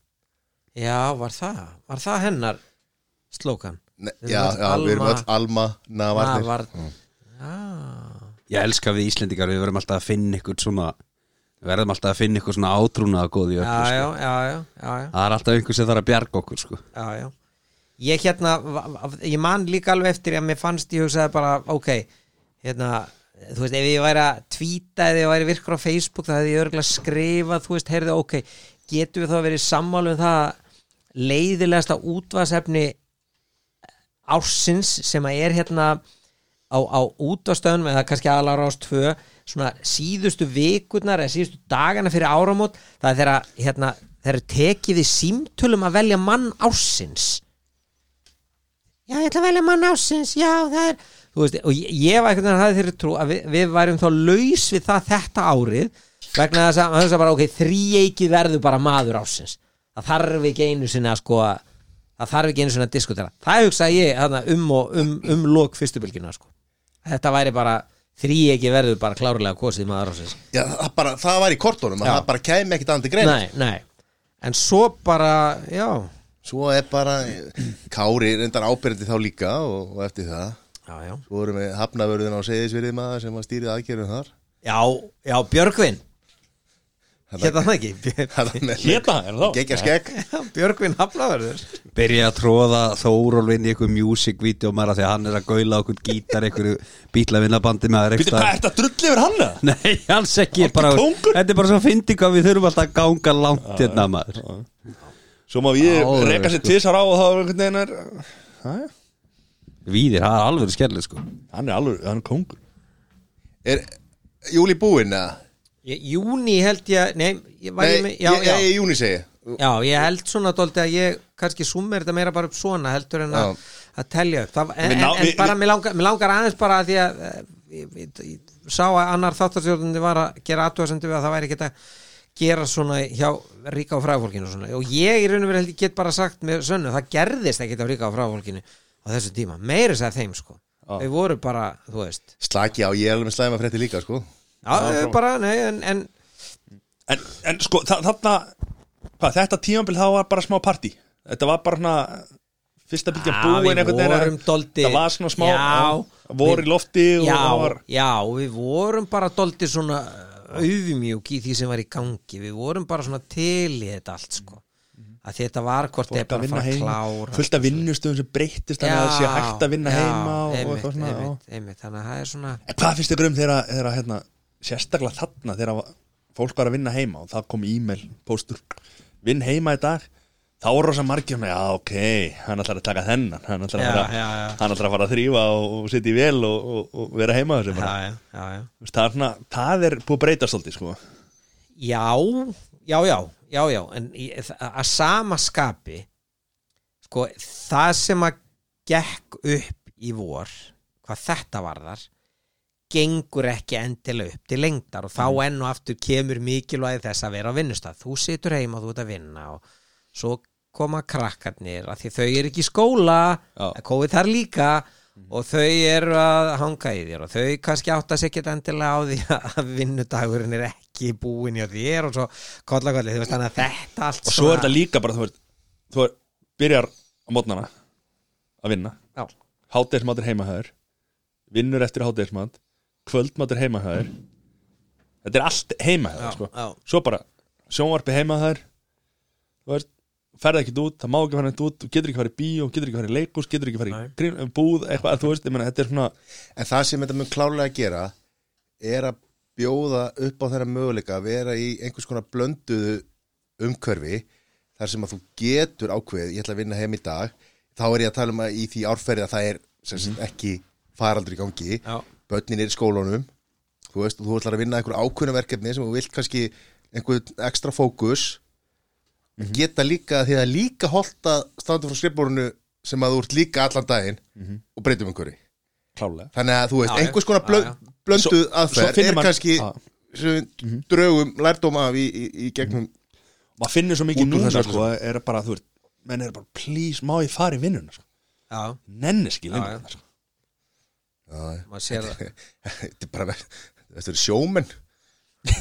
Já, var það, var það hennar slókan
Ne,
Við erum
já,
öll
já, við erum
Alma-
öll Alma Navarnir
var Mm. Ah. Já,
ég elska við Íslendingar við verðum alltaf að finna ykkur svona við verðum alltaf að finna ykkur svona átrúnaða góð í öllu
já,
sko.
já, já, já, já, já,
Það er alltaf einhver sem þarf að bjarga okkur sko.
já, já. ég hérna va- va- ég man líka alveg eftir að mér fannst ég hugsaði bara, ok hérna, þú veist, ef ég væri að tvíta eða ég væri virkur á Facebook þá hefði ég örgulega skrifað, þú veist, heyrðu, ok getum við þá verið sammálu um það að leiðilegasta útvarsefni ársins sem að er hérna á, á útastöðunum eða kannski aðlar ást tvö svona síðustu vikurnar eða síðustu dagana fyrir áramót það er þeirra, hérna, þeirra tekið í símtölum að velja mann ársins já ég ætla að velja mann ársins já það er þú veist, og ég, ég var einhvern veginn að hafa þeirri trú að við, við værum þá laus við það þetta árið vegna þess að, þess að bara, ok, þríeikið verður bara maður ársins það þarf ekki einu sinni að sko að- það þarf ekki einu sinni að diskutera það hugsaði ég hana, um, og, um, um lok fyrstu bylginu sko. þetta væri bara þríeikið verður bara klárlega kosið maður ársins
Já, það, bara, það var í kortunum, að
Já.
það bara kæmi ekkit andir greina
nei, nei, en svo bara já,
Svo er bara eh, Kári reyndar ábyrgandi þá líka og, og eftir það
já, já
Svo erum við hafnavörðin á Seyðisverið maður sem að stýrið aðgerðum þar
já, já, Björgvin hérna það ekki Björ-
Hét það, er það þá?
Gekja skegg
Björgvin Hafnaverður
byrja að tróða Þórólf inn í einhver music-vídeó maður af því að hann er að gaula okkur gítar einhverju bílavinnabandi með
Býttu, hvað, ert að drull yfir hann eða?
Nei, alls ekki
Algjör
bara,
kóngur.
Þetta er bara svo fyndi hvað við þurfum alltaf að ganga langt hérna maður
Svo má ég
Áður,
reka sér
sko.
tvisar á og það er einhvern veginn er Jæja.
Víðir, það er alveg skerlið sko
Hann er alveg, hann er kongur
Er júli búinn eða?
Júni held ég, nei, ég var ég
Nei,
með já,
ég,
já,
ég, júni segi ég
já, ég held svona dóldi að ég kannski summer þetta meira bara upp svona heldur en
Já.
að, að telja upp það, en,
Við
en,
ná-
en
við-
bara
við-
mér langar, mér langar aðeins bara að því að eh, ég, ég, ég, sá að annar þáttarstjórnandi var að gera aðtúasendu við að það væri ekki að gera svona hjá ríka og fræðfólkinu og, svona. og ég í raun og verið held ég get bara sagt með sönnu, það gerðist ekki á ríka og fræðfólkinu á þessu tíma, meiri sér þeim sko þau voru bara, þú veist
Slaki á, ég er alveg með slæma frétti líka sko
já, já bara, nei, en, en
En, en sko, þa þarna hvað, þetta tímambil þá var bara smá partí Þetta var bara svona fyrsta bylgja
Já,
búin
við
einhvern veginn að-
vorum dálítið-
Það var svona smá
Já.
vor í lofti og
já,
það var
já, við vorum bara dóldi svona auðumjúk í því sem var í gangi við vorum bara svona til í þetta allt sko. að þetta var hvort
Mhm. Fólk
eða
að
bara að
vinna
fara að
heima,
klára
fullt af vinnustöðum sem breyttist þannig að það sé hægt að vinna heima og, og
einmitt,
eitthvað svona já.
einmitt, einmitt, þannig að það er svona
En hvað finnst ykkur um þegar, þegar hérna, sérstaklega þarna þegar var- fólk var að vinna heima og það kom e-mail, póstur vinn heima í dag þá voru rosa margir svona, já ok, hann ætlar að taka þennan hann ætlar að,
Já,
fara,
já, já.
Hann ætlar að fara að þrýfa og, og sitja í vel og, og, og vera heima þessu bara.
já, já, já.
Þú veist, það, er svona, það er búið að breyta svolítið sko.
já, já, já, já, já en í- að að sama skapi sko, það sem að gekk upp í vor hvað þetta varðar gengur ekki endilega upp til lengdar og þá
Mm.
enn og aftur kemur mikilvægi þess að vera á vinnustaf þú situr heima, þú ert að vinna og svo koma krakkarnir að því þau eru ekki í skóla
Já. Mm.
að kóið þar líka og þau eru að hanga í þér og þau kannski átta sig ekki endilega á því að vinnudagurinn er ekki búin hjá þér og svo kolla kolli, þú veist þannig að þetta allt
og svo er þetta líka bara þú, veist, þú er, byrjar á mótnana að vinna
Já.
hátegismatur heimahöður vinnur eftir hátegismat kvöldmatur heimahöður þetta er allt
Já,
heimahöður sko.
já.
svo bara sjónvarpi heimahöður þú veist ferða ekki út, það má ekki fara neitt út, þú getur ekki farið í bíó, getur ekki farið í leikus, getur ekki farið í grín, búð, eitthvað, þú veist, ég meina, þetta er svona
En það sem þetta mun klálega að gera er að bjóða upp á þeirra möguleika að vera í einhvers konar blönduðu umkörfi þar sem að þú getur ákveð ég ætla að vinna heim í dag þá er ég að tala um að í því árferði að það er sem sagt, ekki faraldur í gangi
Mhm. Já.
börnin er í skólunum þú veist, og þú ætlar að vinna einhver ákveðna verkefni sem þú vilt kannski einhver ekstra fókus geta líka því að það er líka holdt að standa frá skrifborinu sem að þú ert líka allan daginn og breytum einhverju
klálega
þannig að þú veist,
Já, já.
einhvers konar
Já,
blönd, blönduð
Svo- svo
aðferð
finnur
er
maður-
kannski
Já.
sem við draugum lærdóm af í, í, í gegnum
maður finnir svo mikið
Út úr
núna,
þessu öllu
sko, er bara, þú veist menn er bara, please, má ég fara í vinnuna sko.
Já,
nenniski
Já, já.
vinnuna, sko.
maður sér það
þetta er bara ver- þetta er sjómen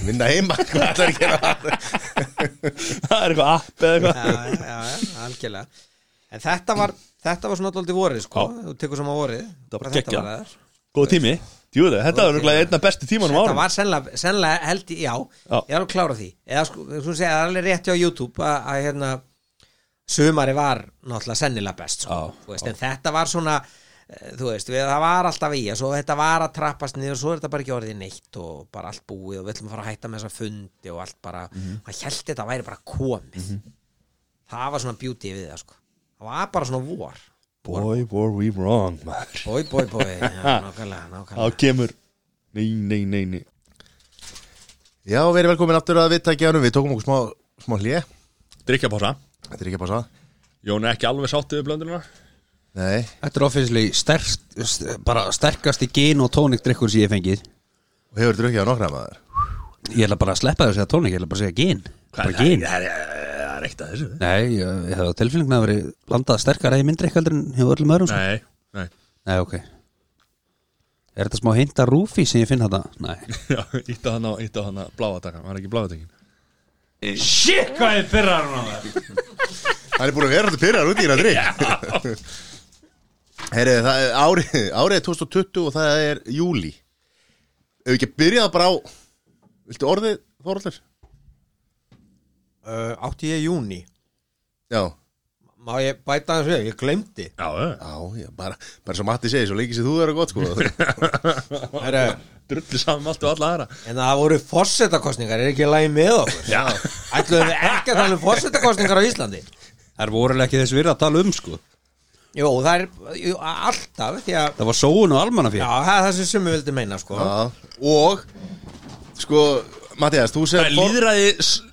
vinna heima hvað ætlar að gera
það er eitthvað app eða eitthvað
já, já, já, algjörlega en þetta var, þetta var svona alltaf vorið sko, þú tekur sem að vorið
var
Bara
geggjað.
var það.
Góð tími Djúðu, þetta var örugglega einn af bestu tímanum
þetta
ára
var sennilega, sennilega held ég, já,
Já.
ég er alveg klára því eða sko, þú segja, það er alveg rétt hjá YouTube að, að hérna sumari var náttúrulega sennilega best sko.
Já,
Þú veist, en þetta var svona eh, þú veist, við, það var alltaf í og svo þetta var að trappast niður og svo er þetta bara ekki orðið neitt og bara allt búið og við ætlum að fara að hætta með þessa fundi og allt bara, mm
Mhm.
maður held þetta væri bara komið það var svona beauty við það sko það var bara svona vor
Boy, were we wrong, maður
bói, bói, bói, já, nákvæmlega, nákvæmlega
Þá kemur Nei, nei, nei, nei
Já, verið velkomin aftur að viðtækjaðanum Við tókum okkur smá, smá hlje
Drykja pása
Þetta er ekki að passa
Jón er ekki alveg sáttið við blöndununa
Nei,
Þetta er ofislega sterk, st- bara sterkasti gin og tónik drikkur sem ég hef fengið
og hefur drukkið á nokkra maður
Ég ætla bara að sleppa þér að segja tónik, ég ætla bara að segja gin Bara gin
Það er- það er eitt að þessu
Nei, ég, ég hefði á tilfélingna að verið blandað sterkara í myndri heldur en hjá öllum öðrum sko.
Nei, nei
Nei, ok Er þetta smá hinta rúfi sem ég finn þetta? Nei
Já, ítta hann á, ítta hann á bláatakan Var ekki bláatakin
Hann er búin að vera alltaf pyrrar út í hérna drikk Herri, það er árið Árið er 2020 og það er júli Ef við ekki að byrja það bara á Viltu orðið, Þorallur?
uh, átti ég júni
Já,
má ég bæta þessu, við? ég glemdi
Já, já
já, já, bara, bara sem Matti segir Svo lengi sem þú er að gott sko
Heru,
Drulli saman um allt og alla aðra
en það voru fórsetakostningar, er ekki lægi með okkur
Já
ætluðum við ekki að tala um fórsetakostningar á Íslandi
Það er vorulega ekki þess virða að tala um sko
Jú, það er jú, alltaf því að,
Það var sóun og almannafér
já, það er það sem sumi vildi meina sko.
Já, og Sko, Mattias, þú
Það er
segir
líðræði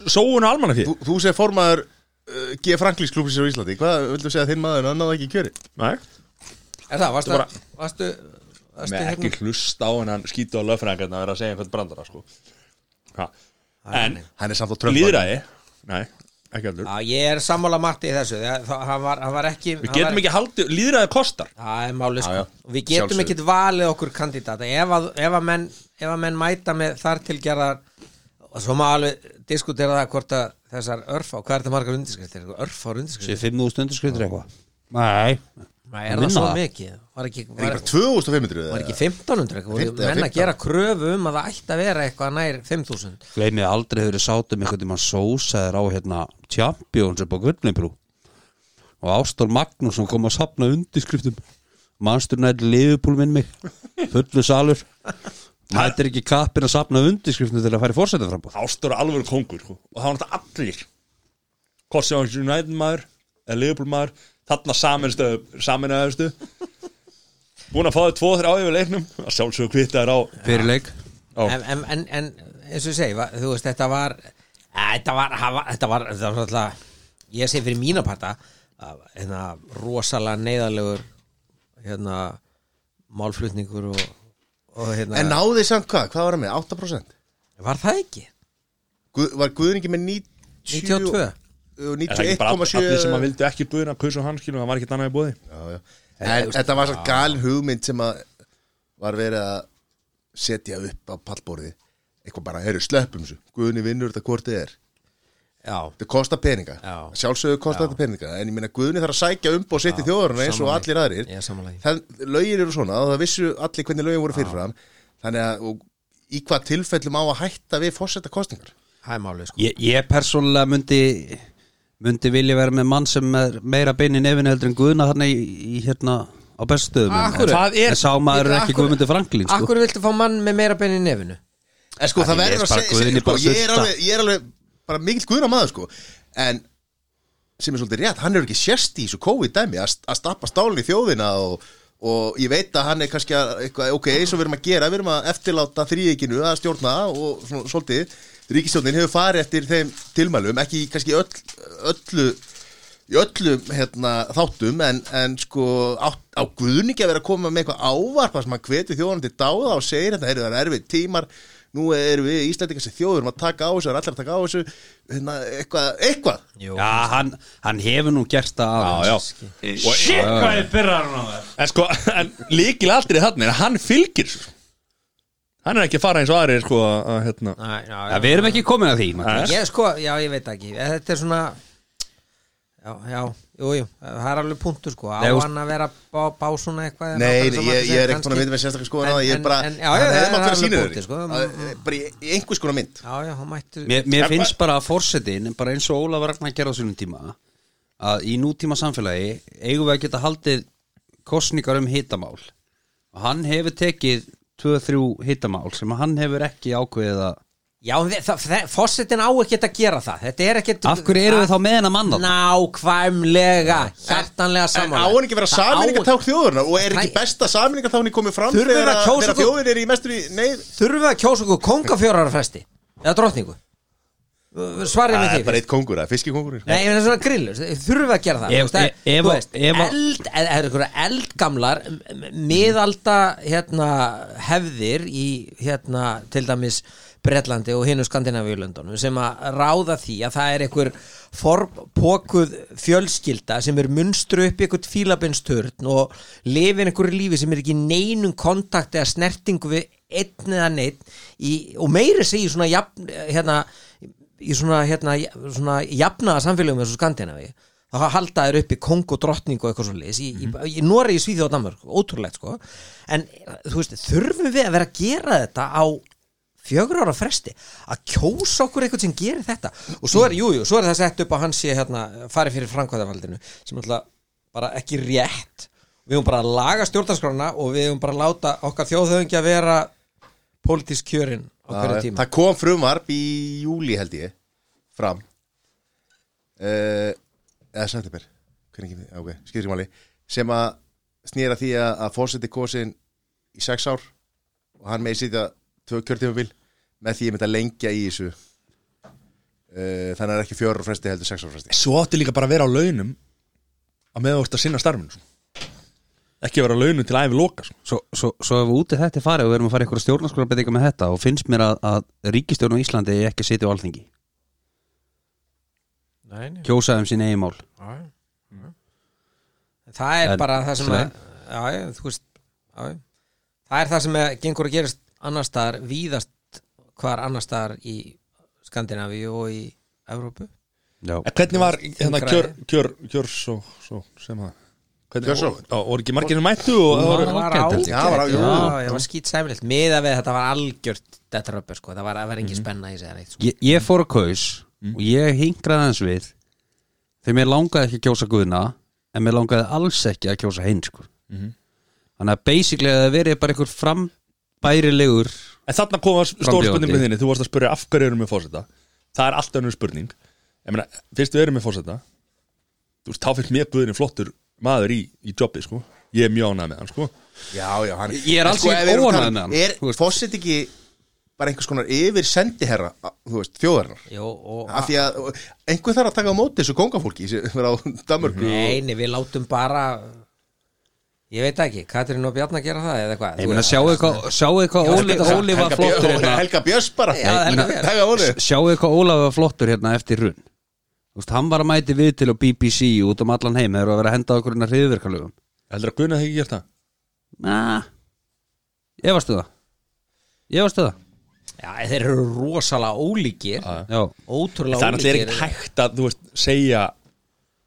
sóun og almannafíð
Þú, þú segir formaður uh, G. Franklís klúbsins á Íslandi Hvað vildu segja að þinn maður en annað ekki í kjöri?
Nei
Er það, varstu,
Þetta
varstu, varstu hérna-
Með ekki hlust á en hann skýtu á löffræðingarna að vera að segja einhvern brandara sko Ha. En
Hann er samt á trömpa
líðræði Nei, ekki aldur
Já, ég er sammála Matti í þessu það, það, hann, var, hann var ekki
Við getum ekki haldið, líðræði kostar
Það er máli
Já, já.
sko. Og Við getum
Sjálfsögðu.
ekki valið okkur kandidata ef að, ef að, menn, ef að menn mæta með þar tilgerðar og svo má alveg diskutera það hvort að þessar örfá, hvað er það margar undirskriftir örfár
Sér
undirskriftir,
5.000 undirskriftir eitthvað Nei
Nei, er
Vinna
það svo
það.
mikið var ekki,
Er ekki
var,
bara 2500
var
eða?
ekki 1500 eitthvað, voru
15,
menn
15.
að gera kröfu um að það ætti að vera eitthvað nær 5000
Gleimið aldrei þau eru sátum einhvern tímann sósaðir á hérna Champions upp á Gullnibrú og Ástór Magnússon kom að safna undirskriftum Manstur nætti liðupúl minn mig fullu salur Mættir ekki kappin að safna undirskriftum til að fara í fórsæta frambúð
Ástur er alveg kongur sko. og það var náttúrulega allir hvort sem hann er United maður eða Liverpool maður, þarna saminæðustu búin að fá þau tvo þrjá yfir leiknum að sjálfsögur kvittaður á
fyrir leik
Já.
en, en, en, en eins og ég segi, va- þú veist, þetta var eh, þetta var, hafa- þetta var, þetta var alltaf, ég segi fyrir mína parta að, hérna, rosalega neyðarlegur hérna, málflutningur og, og hérna,
En náði samt hvað? Hvað var það með? 8%?
var það ekki?
Guð, var Guðningi með 90
92
og
Er það ekki bara all- allir sem að
91,7
vildu ekki buðina kusu hann skilum, það var ekkert annað í búði
Já, já. En þetta var svo galin hugmynd sem að var verið að setja upp á pallborði eitthvað bara, heyrðu, sleppum þessu Guðni vinnur þetta hvort þið er
já,
þetta kostar peninga,
Já.
sjálfsögur kostar þetta peninga en ég meina Guðni þarf að sækja umboð sitt í
Já,
þjóðurinn eins og
sammála.
allir aðrir
Ég er sammála því.
það, lögin eru svona og það vissu allir hvernig lögin voru fyrirfram þannig að og, í hvað tilfellum á að hætta við fórsetta kostingar
það er málið sko
Ég, ég persónulega myndi myndi vilja vera með mann sem er meira bein í nefinu heldur en Guðna þarna í, í hérna á beststöðum
Akkur-
en, Ah, en sá maður er ekki
Akkur-
Guðmundur Franklín sko.
Akkur viltu fá mann með meira benni í nefinu?
En sko það
Æ, ég
verður
er
að
bara
segja
Guðni
segja- sko,
bara
ég, er
sulta.
alveg, ég er alveg bara mikill guðna maður sko En sem er svolítið rétt, hann er ekki sérst í þessu COVID-dæmi að, að stappa stálinn í þjóðina og, og ég veit að hann er kannski að eitthvað, ok, eins og við erum að gera, við erum að eftirláta þrýikinu að stjórna og svona, svolítið, ríkistjórnin hefur farið eftir þeim tilmælum, ekki í kannski öll, öllu í öllum hérna, þáttum en, en sko á, á guðningi að vera að koma með eitthvað ávarpa sem hann hveti þjóðan til dáða og segir þetta heyrðu, það er erfið tímar, nú erum við Íslandingar sem þjóðurum að taka á þessu, það er allir að taka á þessu hérna, eitthvað, eitthvað
Jú,
Já, hann, hann hefur nú gert það aðeins.
shit hvað ég byrjar hann á það en sko, en líkil aldrei þannig að hann fylgir þessu. hann er ekki að fara eins og aðri sko, að, að, hérna.
Æ, já,
Já, við erum ekki komin að því Matthías.
Ég sko, já, ég veit ekki Þetta er svona Já, já, jú, jú, það er alveg punktur sko Á
Nei, þú-
hann að vera bá, bá svona eitthvað
Nei,
nákvæmlega
ég,
sem hann
ég er
segir,
ekkert búin að
kannski.
vita með sérstakar skoðan á það, ég
En-
er bara,
en- já, já,
hann
það
hefði
er
mátt vera
alveg
sýnir
punktur,
þeir
sko.
Að- eh, bara í, í einhvers konar mynd
Já, já, hann mættu
mér, mér finnst bara að fórsetin bara eins og Ólaf Ragnar gerði á sínum tíma að í nútíma samfélagi eigum við að geta haldið kosningar um hitamál og hann hefur tekið 2-3 hitamál sem hann hefur ekki ákveðið að
Já, en þe- það- þe- forsetinn á ekkert að gera það Þetta er ekkert
Af hverju eru við þá með hennar mann þarna?
Nákvæmlega, hjartanlega
En
saman
á hann ekki vera saminningatákn þjóðurna og er ekki
Nei.
besta saminningatáknin komið fram
Þurfum
þegar
við að
að-
kjósa
þegar
okkur?
þjóðin er í mestur í neyð?
Þurfum við að kjósa okkur konga fjórara fresti Eða drottningu Svarið
Það
með
er
því
bara eitt kongur, það er sko. fiskikongur
Nei, ég meina svona grillur, þurfum við að gera það
Ef- e-
Þú veist, það-
ef-
þú veist,
ef-
eld, eða það eru einhverja eldgamlar m- m- miðalda hérna, hefðir í hérna, til dæmis Bretlandi og hinu Skandinavíulöndunum sem að ráða því að það er einhver forpokuð fjölskylda sem er munstru upp í einhvern fílabinsturn og lifir einhverju lífi sem er ekki í neinum kontakt eða snertingu við einn eða neitt í, og meiri sig í svona jafn, hérna, í svona, hérna, svona jafnaða samfélögum eins og Skandinavíu þá halda þeir upp í kong og drottning og eitthvað svo leis í, mm í, í Noregi, Svíði og Danmark, ótrúlegt sko en þú veist, þurfum við að vera að gera þetta á fjögur ára fresti að kjósa okkur eitthvað sem gerir þetta og svo er, jú, jú, svo er það sett upp að hann sé hérna, farið fyrir framkvæðavaldinu sem alltaf bara ekki rétt við höfum bara að laga stjórnarskrána og við höfum bara að láta okkar þjóðhöfingja vera pólitísk kjörin á hverju tíma
Það kom frumvarp í júli held ég fram uh, eða september hvernig ekki, ok, skýrðum máli sem að snýra því að, að fórseti kosin í sex ár og hann megi sitja tvö kjörtímabil með því ég myndi að lengja í þessu uh, þannig að það er ekki fjör og fresti heldur sex ára fresti
Svo átti líka bara að vera á launum að með þú ert að sinna starfinu svona. ekki að vera á launum til æfi loka sko. svona.
Svo, svo, svo ef úti þetta er farið og við erum að fara í eitthvað stjórnarskólabreytinga með þetta og finnst mér að, að ríkistjórn á Íslandi eigi ekki að sitja á alþingi
Nei, nei.
kjósa um sín eigin mál
það er
En-
bara það sem
Nei.
að, já, ég, þú veist, já, ég. það er það sem að gengur að gerast annar staðar, víðast hvar annar staðar í Skandinavíu og í Evrópu
Já,
En hvernig var hérna
Þingræði.
kjör, kjör, kjör svo, svo sem að hvernig,
Kjörsó?
Já, voru ekki margirinu mættu og
Hún
það
var-
voru
var
ágætt,
ágætt
held
ég. Já, var á- jú.
já, ég var skýt sæmilegt miða við þetta var algjört þetta röppu sko, það var að vera engin spenna í sig eða neitt, sko.
ég, ég fór að kaus
Mm.
og ég hingraði hans við þegar mér langaði ekki að kjósa guðna en mér langaði alls ekki að kjósa hinn sko.
Mhm.
þannig að basically að það verið bara einhver frambærilegur
En þarna kom að stóra
Frambjóðandi.
spurning með þinni Þú varst að spyrja af hverju erum við fórseta Það er allt önnur spurning Ég meina, fyrst við erum við fórseta Þú veist, þá finnst mér guðinni flottur maður í, í jobbi, sko Ég er mjónað með hann, sko
já, já, hann,
Ég er
En
alls ekki
ef við erum að tala
óánægður
um-
með hann, þú
er
veist.
fórseti ekki bara einhvers konar yfir sendiherra að- þú veist, þjóðarinnar
Jú, og,
af því að einhver þarf að taka á móti þessu kongafólki sem er á Danmörku
nei, nei, við látum bara ég veit ekki, Katrín og Bjarna gera það eða hvað
ég meina sjáu eitthvað sjáu eitthvað Óli, Óli var
Helga Björns-
flottur hérna
Helga Björns bara
Já, Helga
Meina,
Björns.
taka á móti.
sjáu eitthvað Óla var flottur hérna eftir runn Úst, hann var að mæti við til á BBC út um allan heim þegar að vera að henda okkur hérna hriðverkarlögum
Heldur að guðinni það ekki gert það?
Næ, ég varstu það Ég varstu það
já, þeir eru rosalega ólíkir
Já,
ótrúlega
Það er náttúrulega
ólíkir
ekkert hægt að, þú veist, segja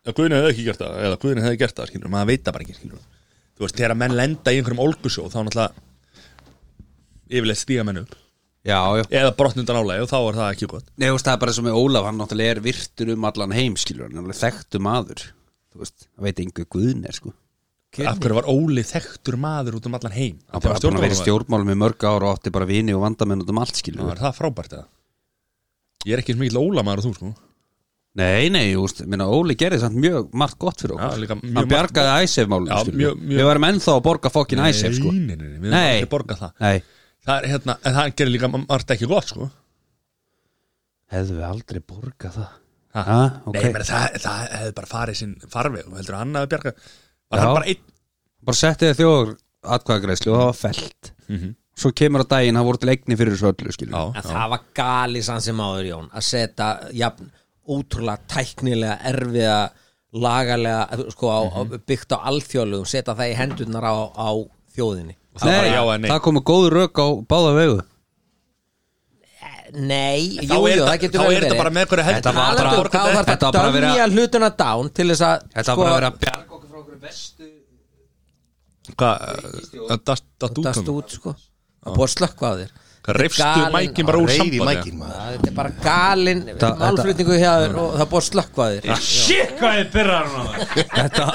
að guðinni hefði ekki gert það eða guðinni hefði gert það, skilur, maður veit það bara ekki, skilur Þú veist, þegar menn lenda í einhverjum olgusjó þá náttúrulega yfirleitt stíga menn upp
já, já
eða brotnundan álega og þá er það ekki gott
Nei, þú veist, það er bara sem með Ólaf, hann náttúrulega er virtur um allan heim, skilur hann, hann er þekktu maður Þú veist, hann veit einhver guðn er, sko
Af hverju var Óli þekktur maður út um allan heim
Hann bara búin að vera í stjórnmálum í mörg ára og átti bara vini og vandamenn út um allt,
Já,
skilur
er það frábært eða? Ég er ekki eins mikið ólamaður og þú sko
Nei, nei, þú veist, minna Óli gerði samt mjög margt gott fyrir
Já,
okkur
líka mjög
Hann
margt
bjargaði æsef-málum,
Já,
skilur
mjög- mjög-
Við varum ennþá að borga fokkin æsef, sko
Nei, nei, nei, við erum
Nei.
ekki að borga það
Nei,
Það er hérna, en það gerir líka margt ekki gott sko
hefðu við aldrei borgað það
Ha?
Ha, Ah, ok.
Nei, menn það, það hefði bara farið sinn farveg og heldur að hann hafi bjarga Var
Já.
hann bara einn
bara setti þið þjóður atkvæðagreislu og það var felt svo kemur á daginn, það voru til eigni fyrir þessu öllu skilur
Mhm. Já,
En það var gali sann sem áður Jón að setja jafn ótrúlega tæknilega erfiða lagalega sko, á, byggt á alþjóðlegum setja það í hendurnar á, á þjóðinni
það var já eða nei
það komu góð rök á báða vegu
Nei,
þá
jú,
er
jú,
þetta-
það getur
þá
vel
er þetta
verið.
bara með hverju heldur.
Þetta var bara
Talandi um hvað
Þá
þarf
þarf
þetta
þetta
bara að vera-
dömja hlutina down til þess að sko,
þetta var bara að
Sko,
vera að bjarga okkur frá okkur bestu
Hvað, uh, það dast- datt út
dast
honum.
út sko Það er búið að slökka á þér
Rifstu
galin-
mækin bara úr
Reyði
sambandi
mækin maður
þetta er bara galinn málflutningu hjá þér og það er búið að slökkva þér
Shit, hvað þið byrjar hann á það
þetta,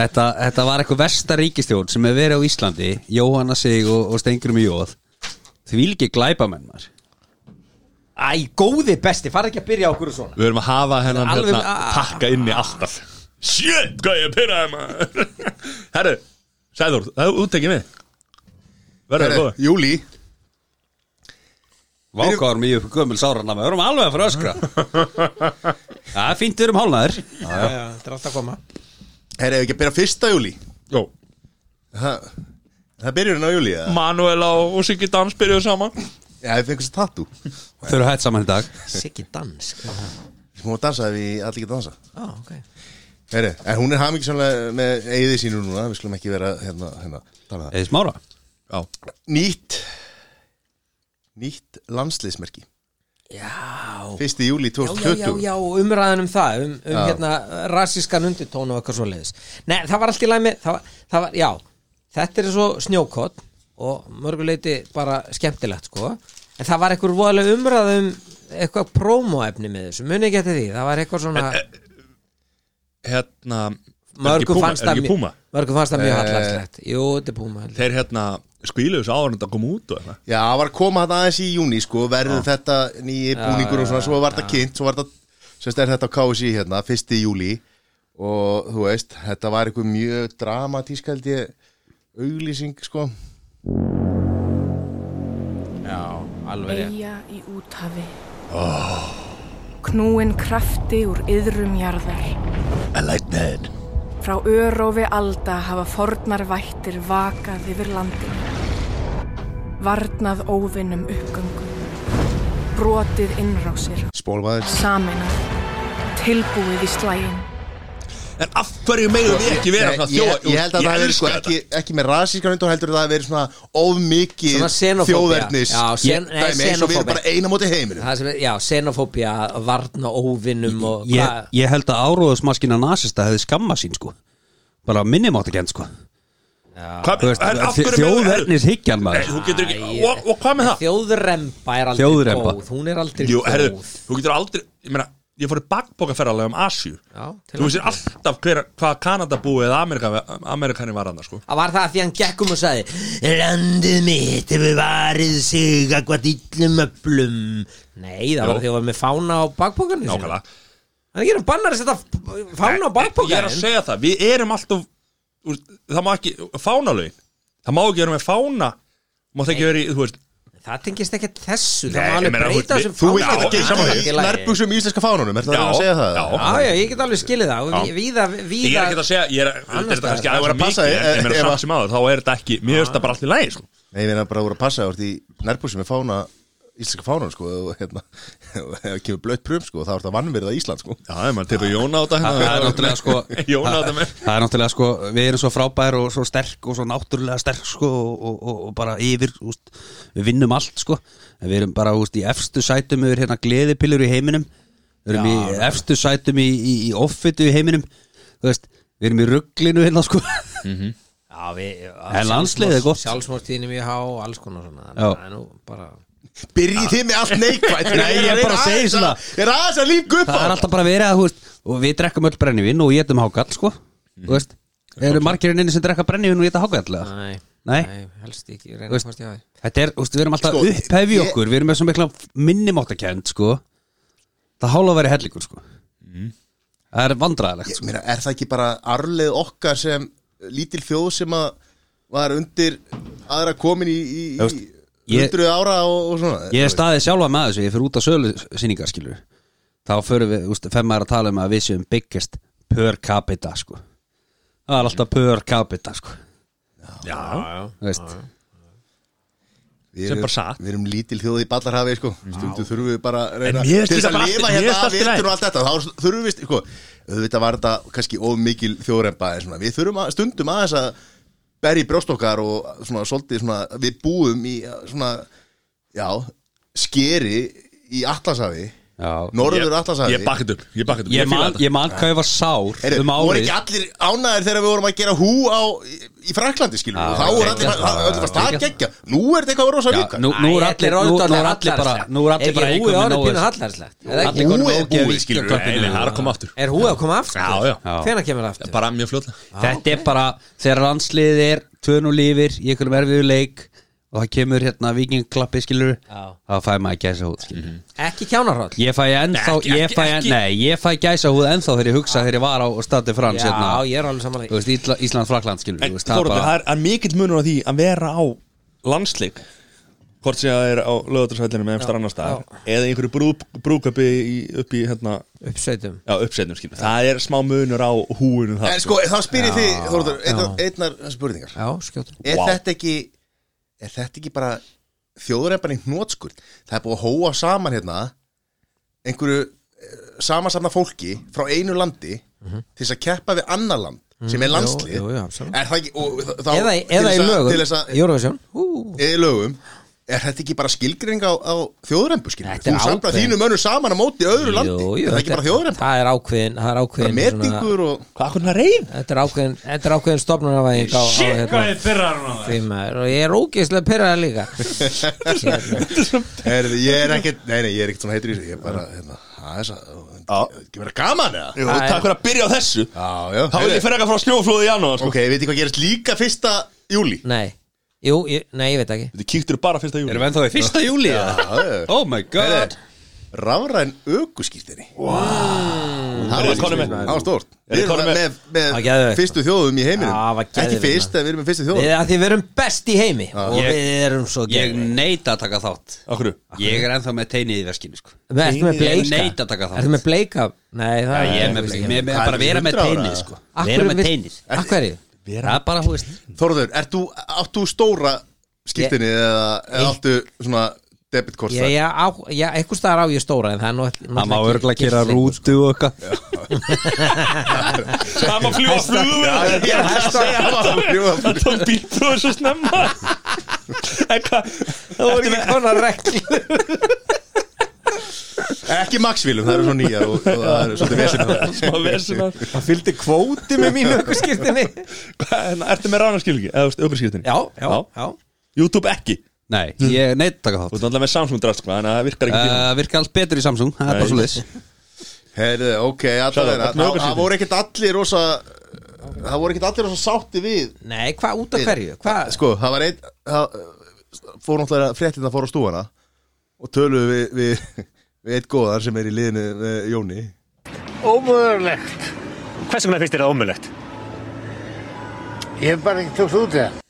þetta, þetta var eitthvað versta ríkistjón sem hefur verið á Íslandi Jóhanna Sig og, og Stengrum í Jóð því líki glæpamenn maður
Æ, góði besti, fara ekki að byrja á okkur og svona
Við erum að hafa hennan
Alveg-
hérna pakka inni alltaf Shit, hvað ég pyrraði maður Herru, Sæður, það er úttekið mig Verður það
Herre,
góð
Júli,
Vákáður mjög upp gömul sárana Við erum alveg að fara að öskra Það er fínt við erum hálnaður
Þetta er alltaf að koma
herri, ef ekki að byrja fyrsta júli
Jó,
Það, það byrjur hann á júli, eða?
Manuela og Siggi Dans byrjuðu saman
Já, ég fengið sér tattu
Þau eru hætt saman í dag
Siggi dansk
Hún var að dansa ef ég allir geta dansa
Á, ok
Herri, en hún er hamingisamlega með eigið sínu núna Við skulum ekki vera hérna, hérna tala um það.
Eða smára
Já,
Nýtt Nýtt landsliðsmerki
Já,
1. júli
já, já,
2020
já, og umræðan um það um, um hérna rasískan undirtón og eitthvað svo leiðis Nei, það var allt í læmi það var, það var, Já, þetta er svo snjókott og mörguleiti bara skemmtilegt sko en það var eitthvað voðalega umræð um eitthvað prómóefni með þessu, muni ekki eftir því það var eitthvað svona,
hérna er Eh, ekki
mörgum
Puma-
fannst
Er
það
ekki
mjög-
Puma? Eh.
mörgum fannst það mjög hallarslegt Jú, þetta er púma held ég.
Þeir hérna skvíluðu þessu áður en þetta kom út og eitthvað
Já, það var að koma þetta aðeins í júni sko, verður þetta nýji búningur og svona, svo var þetta kynnt, svo var þetta semst er þetta á KSI hérna, 1. júli og þú veist, þetta var eitthvað mjög dramatísk held ég auglýsing, sko
Eyja í úthafi Knúin krafti úr yðrum jarðar
I like that
Frá örófi alda hafa fornar vættir vakað yfir landinu Varnað óvinnum uppgöngum Brotið innrásir
Spólmaður
Saminað Tilbúið í slægin
En af hverju meðum við ekki vera svona
Ég-
þjóða
Ég held að það hafi verið sko, ekki, ekki með rasískan undur heldur að það hafi verið svona ofmikið
Svona xenofóbía.
þjóðverðnis
Já, sen- nei,
dæmi, eins og við
xenofóbía.
erum bara eina móti heiminum
Það sem er- Já, xenofóbía, varna óvinnum og
ég, ég held að áróðusmaskina nasista hefði skamma sín sko Bara minnimátt ekki enn sko Þú veist, Þjóðverðnis hyggjan maður
Þú getur ekki, og, og hvað með það?
Þjóðremba er aldrei
Þjóðremba.
góð Hún er aldrei
Jú, herru,
góð
þú getur aldrei Ég meina, ég fór í bakpokaferðarlega um Asju
Já, til
Þú veist alltaf hver, hvað Kanadabúi eða Amerika, Amerikani var annars sko
Það var það því hann gekk um og sagði Landið mitt hefur varið sig Akvað illum öflum Nei, það var
Jú.
því að var með fána á bakbókarnir
Nákvæmlega
Það er ekki um bannar að setja f-
Ég
fána á
er að
bakbókarnir
segja það, við erum alltaf úr- Það má ekki, fánalögin Það má ekki vera með fána Má það ekki vera í, þú veist
Það tengist ekki þessu
Nei,
Það má
ég
alveg
meina, þú-
breyta þessum
Þú
Já,
vilt
ég
þetta
er sammála því.
ekki nærbuksum í íslenska fánunum, er það að segja það?
já,
Já, já, ég get alveg skilið það
Já.
og ví- Víða,
Ég er ekki
víða
að segja, ég er, þetta er
staðar.
kannski
Það var
aðeins
að passa,
mikið en
eh,
Ég meina
ef að-
samt sem áður, þá er þetta ekki Mér finnst það bara allt í lægi, sko
Nei, ég meina bara að voru að passa þér, þú ert í nærbuksum með fána íslenska fánunum, sko og hérna, ef það kemur blött prum, sko, þá er þetta vannverða Ísland, sko
Já, ef maður tekur Jón á þetta
Það það er náttúrulega sko
Jón á
það-
þetta með
Það er náttúrulega sko Við erum svo frábær og svo sterk og svo náttúrulega sterk sko og, og- og, og bara yfir úst, Við vinnum allt sko En Við erum bara úst, í efstu sætum Við erum hérna gleðipillur í heiminum Við erum í efstu sætum í, í, í offitu í heiminum Þú veist Við erum í rugglinu hérna sko
Mm.
Já, við
En landsliðið er gott.
Sjálfsmórtíðinni mjög há og alls konar svona
Já.
Það er nú bara
Byrjið þið með allt neikvægt
Nei, ég er bara að segja svona.
Ég er aðeins að líka upp
Það er alltaf bara verið að þú veist, Og við drekkum öll brennivinn og getum hákall sko Þú veist Eru margirinn inni sem drekka brennivinn og geta hákall eða?
Nei,
Nei.
helst ekki reyna
Veist-
að komast í það
Þetta er, úst, við erum alltaf
Sko,
sko, upphefi
ég-
okkur Við erum með svo mikla minnimáttakend sko. Það hálfa að vera hellingur sko. Það er vandræðilegt
Ég
sko.
meina, er það ekki bara arleið okkar sem lítil þjóð sem að var undir aðra komin í, í,
Þú veist,
í
ég-
hundruð ára og, og svona
Ég er staðið sjálfa með þessu Ég fyrir út á sölu sýningar skilur Þá fyrir við, úst, fem maður að tala um að við séum biggest per capita sko. Það er alltaf per capita sko.
Já,
Þú veist.
Við
sem
erum-
bara satt.
Við erum lítil þjóð í ballarhafi sko. stundum þurfum við bara að
En
reyna
mér finnst
til þess
líka
að
bara
lifa
allt- mér
hérna
finnst
að
allt í lagi.
vittur og allt þetta þá þurfum við, sko, auðvitað var þetta kannski of mikil þjóðremba en svona, við þurfum að, stundum aðeins að berja í brjóst okkar og svona, svolítið svona, við búum í svona, já skeri í Atlasafi
Já.
Norður
Ég
Atlantshafi
bakkið upp, ég bakkið upp
Ég
fíla
man,
þetta.
ég man hvað ég var sár
Heyrðu,
um
voru
árið
ekki allir ánæðir þegar við vorum að gera hú á í- í Fraklandi skilur
Já,
við, þá voru allir
geggjað,
það-
já,
öllu fast það
geggjað.
geggja nú er þetta eitthvað rosa
Já,
vika
nú, nú er allir, nú, nú er allir bara Nú er allir bara
Er húið árið pínu hallarslegt? Er
Allir
ekki-
konum
Húið er
ógeð
búið,
Skilur, nei, nei, það er að koma aftur
Er húið að koma aftur?
Já, já.
Já.
Hvenær kemur það aftur?
Bara mjög fljóðlega
Ah, Þetta er bara þegar landsliðið er tvön og lífir í einhverjum erfiðu leik og það kemur hérna vikingklappi skilur
Já.
þá fæ maður gæsa húð skilur
Ekki kjánarhóll?
Ég fæ ennþá,
Ekki-
ég
ekki-
fæ,
ekki-
nei, ég fæ gæsa húð ennþá þegar ég hugsa þegar ég var á stati frans hérna,
Já, ég er alveg saman
þú veist, Ísla- Ísland-Frakland skilur
En Þorvaldur, það er, er mikill munur á því að vera á landsleik hvort sem það er á lögatarsvællinum eða einhver annar staðar eða í einhverju brú, brúköpi í, upp í hérna,
Uppsveitum
já, uppsetnum skilur það er smá munur á húinu það
en sko þá spyrir því Þorður einnar, einnar spurningar
Já, skjóttum
er
Vá.
þetta ekki er þetta ekki bara þjóðurempan í hnótskurð það er búið að hóa saman hérna einhverju eh, samansafna fólki frá einu landi til þess að keppa við annar land sem er landslið
Mhm. jú, jú, absolutt.
er það ekki og, þ- þá,
Eða,
til þess
eða í
að-
lögum
til þess að-
Eurovision Ú,
eða í lögum er þetta ekki bara skilgreining á, á þjóðurempu skilur
Þetta er
þú samlar
ákveðin-
þínu mönnur saman á móti öðru landi
Jú, jú,
er það ekki
þetta-
bara þjóðurempu
Það er ákveðin Það er
bara
ákveðin
metingur og
hvað akkur hann að reyð?
Þetta er ákveðin Þetta er ákveðin stofnunarvæðing á, á
Shit, hvað
hérna,
ég pyrrar hún á það
því maður Og ég er ógeðslega pyrraða líka
Herði, ég er ekkert, nei, nei, ég er ekkert svona heitur í þessu Ég er bara, hérna, það er svo Ekki vera gaman eða
Jú, takk fyrir að byrja á þessu
Já, já
þá vil ég fyrir að frá snjóflóði í janúar sko.
Ok, veit ég hvað gerist líka fyrsta júli
Nei Jú, ég, nei, ég veit ekki
þetta kíktur bara fyrsta júli
Erum við ennþá í fyrsta júli? Oh my god
Rafræn aukuskýrtinni
Eruð þið konum með-
Það var stórt
Eruð
Við
þið
erum
konum með-
með, með
Það var geðveikt.
fyrstu þjóðum í heiminum
Já, það var
Ekki
geðveikt.
fyrst, en við erum með fyrstu
Við,
þjóðum
að því við erum best í heimi Og
Ég-
við erum svo
Ég
geðveik.
neita að taka þátt
okkur
Ég er ennþá með teinið í veskinu sko
Við erum með
Ég
bleika
neita að taka þátt
Ertu með bleika? Nei, það
Ég er með bleika Mér mér er bara að vera
100
með
ára?
teinið sko
Af
Vera
hverju
með
vill-
teinið
Af hverju?
Það er bara, hú veist
Þorður, ert þú, áttu stóra skýrtinni eða eða áttu svona debitkort
Já, já, á, já, eitthvað staðar á ég stóra en það er nú all- náttúrulega ekki gilt lengur.
rútu og eitthvað
það má fljúa flugum
Ég er að segja það
það tók bílpróf svo snemma en hvað
Það voru ekki konar reglu
Ekki Maxvílum, það eru svo nýjar og, og það eru svolítið vesinu
smá vesina
Það fylgdi kvóti með mínu ökkurskirtinni
ertu með ránarskilgi eða aukurskilginni
Já, já, já
YouTube ekki
Nei, ég neita að
Þú
taka þátt
ert náttúrulega með Samsung drast sko, þannig að það virkar ekki fyrir
Uh, Virka allt betur í Samsung, það er bara
Nei.
svo liðs
Herðu, ok,
Sjáðu,
allavega
þetta er
Það
aukaskýrting.
það voru ekkert allir rosa Það voru ekkert allir rosa sátti við
Nei, hvað út af hverju? Hvað?
Sko, það var einn það, uh, Fór náttúrulega fréttina fór á stúfana Og töluðu við, við, við eitt góðar sem er í liðinu með Jóni
Ómögulegt. Hvað sem það finnst þér það ómögulegt? Ég hef bara ekki tókst út það.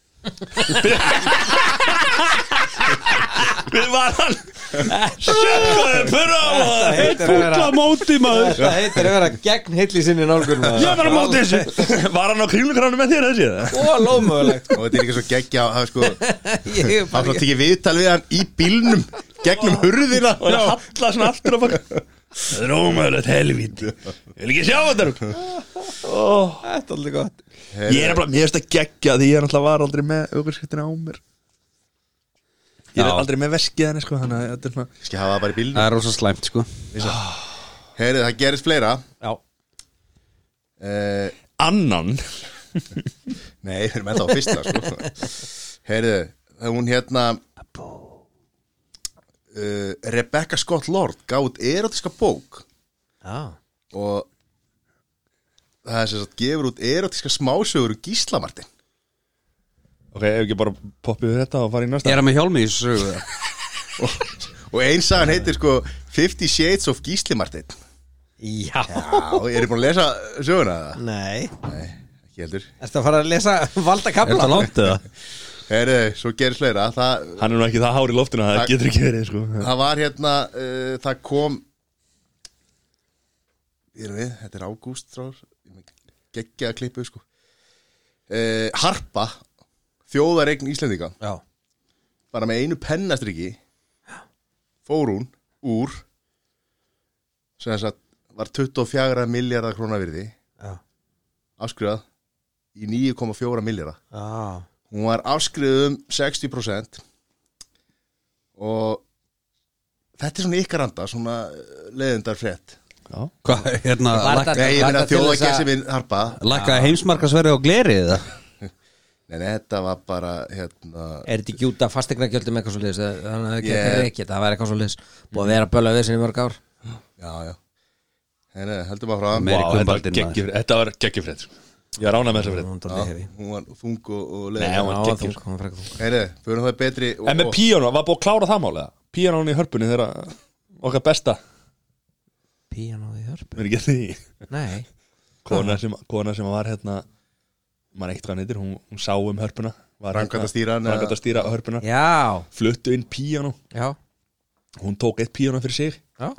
Við var hann Sjökkaði purra á það
heitir að vera-
Fúll á móti maður
Sko, Það heitir að vera gegn heilli sinni nálgun
Ég var á móti þessu Var hann á krílugránu með þér þessi eða?
Og lómögulegt
Og þetta er ekki svo geggja Það er sko,
Ég er
það
bara
var tekið viðtal við hann í bílnum Gegnum hurðina
Og hann hallar svona aftur á baka Það er ómögulegt helvíti Ég vil ekki sjá þetta rugl.
Þetta er aldrei gott
Ég er bara, mér finnst að gegja því ég er náttúrulega var aldrei með aukurskiptina á mér Ég er
Já.
aldrei með veskið henni sko Þannig að þetta er svona
Skal hafa það bara í bílnum
Það er rosa slæmt sko
Herðu, það gerist fleira
Já
uh,
Annan
Nei, við erum ennþá á fyrsta sko. Heyrðu, það hún hérna uh, Rebecca Scott Lord gátt erotiska bók
Já
og það er sem sagt gefur út erotiska smásögur um Gísla Martin
Ok, ef ekki bara poppið við þetta og farið í
Ég
næsta
er að með hjálmi í þessu sögu eða?
og einsagan heitir sko Fifty Shades of Gísli Martin
Já
Já, eru búin að lesa söguna það?
Nei
Ekki heldur
Ertu að fara að lesa valda
Er
kapla?
þetta langt eða?
Heyrðu, svo gerist fleira það,
Hann er nú ekki það hár í loftinu að Það
Takk.
getur ekki verið sko
það var hérna uh, það kom ég erum við, þetta er ágúst þrár, geggja að klippu sko uh, Harpa þjóðaregn Íslendinga
Já
bara með einu pennastriki fór hún úr sem þess að var 24 miljardar krónar virði
Já.
afskrifað í 9,4 miljardar
Já
hún var afskrifið um 60% og þetta er svona ykkar anda, svona eh, leiðindar frétt
Hvað, hérna,
Var þetta-
Nei, ég
Laka
meina
til
þjóða
þess að-
gæsi minn harpa
lakka heimsmarkasverði á gleri eða?
Nei, nei, þetta var bara, hérna
Er þetta ekki út af fastegnagjöldum eitthvað svo liðs Þannig að
Ég-
það er ekki, það væri eitthvað svo liðs Búið að vera að böla við sinni mörg ár
Já, já Nei, nei, heldur maður frá
Vá,
Meiri
þetta var
kumbaldinn,
geggjufrétt- þetta var geggjufrétt sko. Ég er ánað með þessa frétt
Hún dálítið hefi.
Hún var þung og, og
Nei, hún
leiðindar
var-
Já,
geggjur.
þung, hún var frekar þung.
Nei, nei, fyrir það betri og,
En með
og,
píónu, var búið að klára það málega Píónu í hörpunni þeirra okkar besta
Píanóið í hörpu.
Mér ekki því
Nei,
Kona sem, kona sem var hérna maður eitt hvað hann heitir, hún, hún sá um hörpuna
Framkvæmdastýran, eða-
Rangat að stýra hörpuna
já,
Fluttu inn píónu,
já,
hún tók eitt píónu fyrir sig
já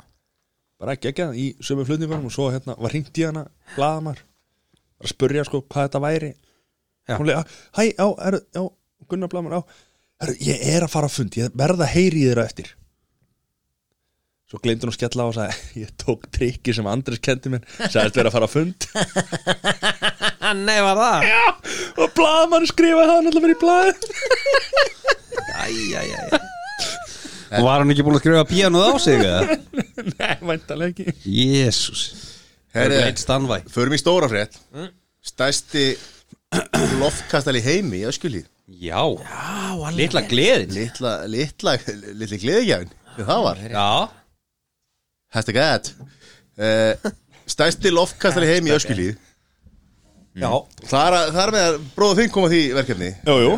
bara ekki ekki í sömu flutningunum og svo hérna var hringt í hana blaðamar var að spurja sko hvað þetta væri
Já.
hún leiði, hæ, já, er, já Gunnar blaðamar, já, er, ég er að fara að fund ég verð að heyri í þeirra eftir svo gleymdi hún að skella á og sagði ég tók trikki sem Andris kendi mér sagðist vera að fara að fund
Nei, var það?
já, og blaðamar skrifaði það náttúrulega verið í blaði
Og var hann ekki búin að skrifa píanuð á sig eða?
nei, væntalega ekki
Jésús Það
Herre,
er eitt stanvæ
Förum í stóra frétt
Mm.
Stærsti loftkastal í heimi í öskulíð
Já, litla gleðin
Litla, litla, litli gleðigjafin Það var,
Já,
hætti gæt uh, Stærsti loftkastal í heimi í öskulíð
Já,
Þar, þar með að bróða þinn koma því verkefni
jú, jú,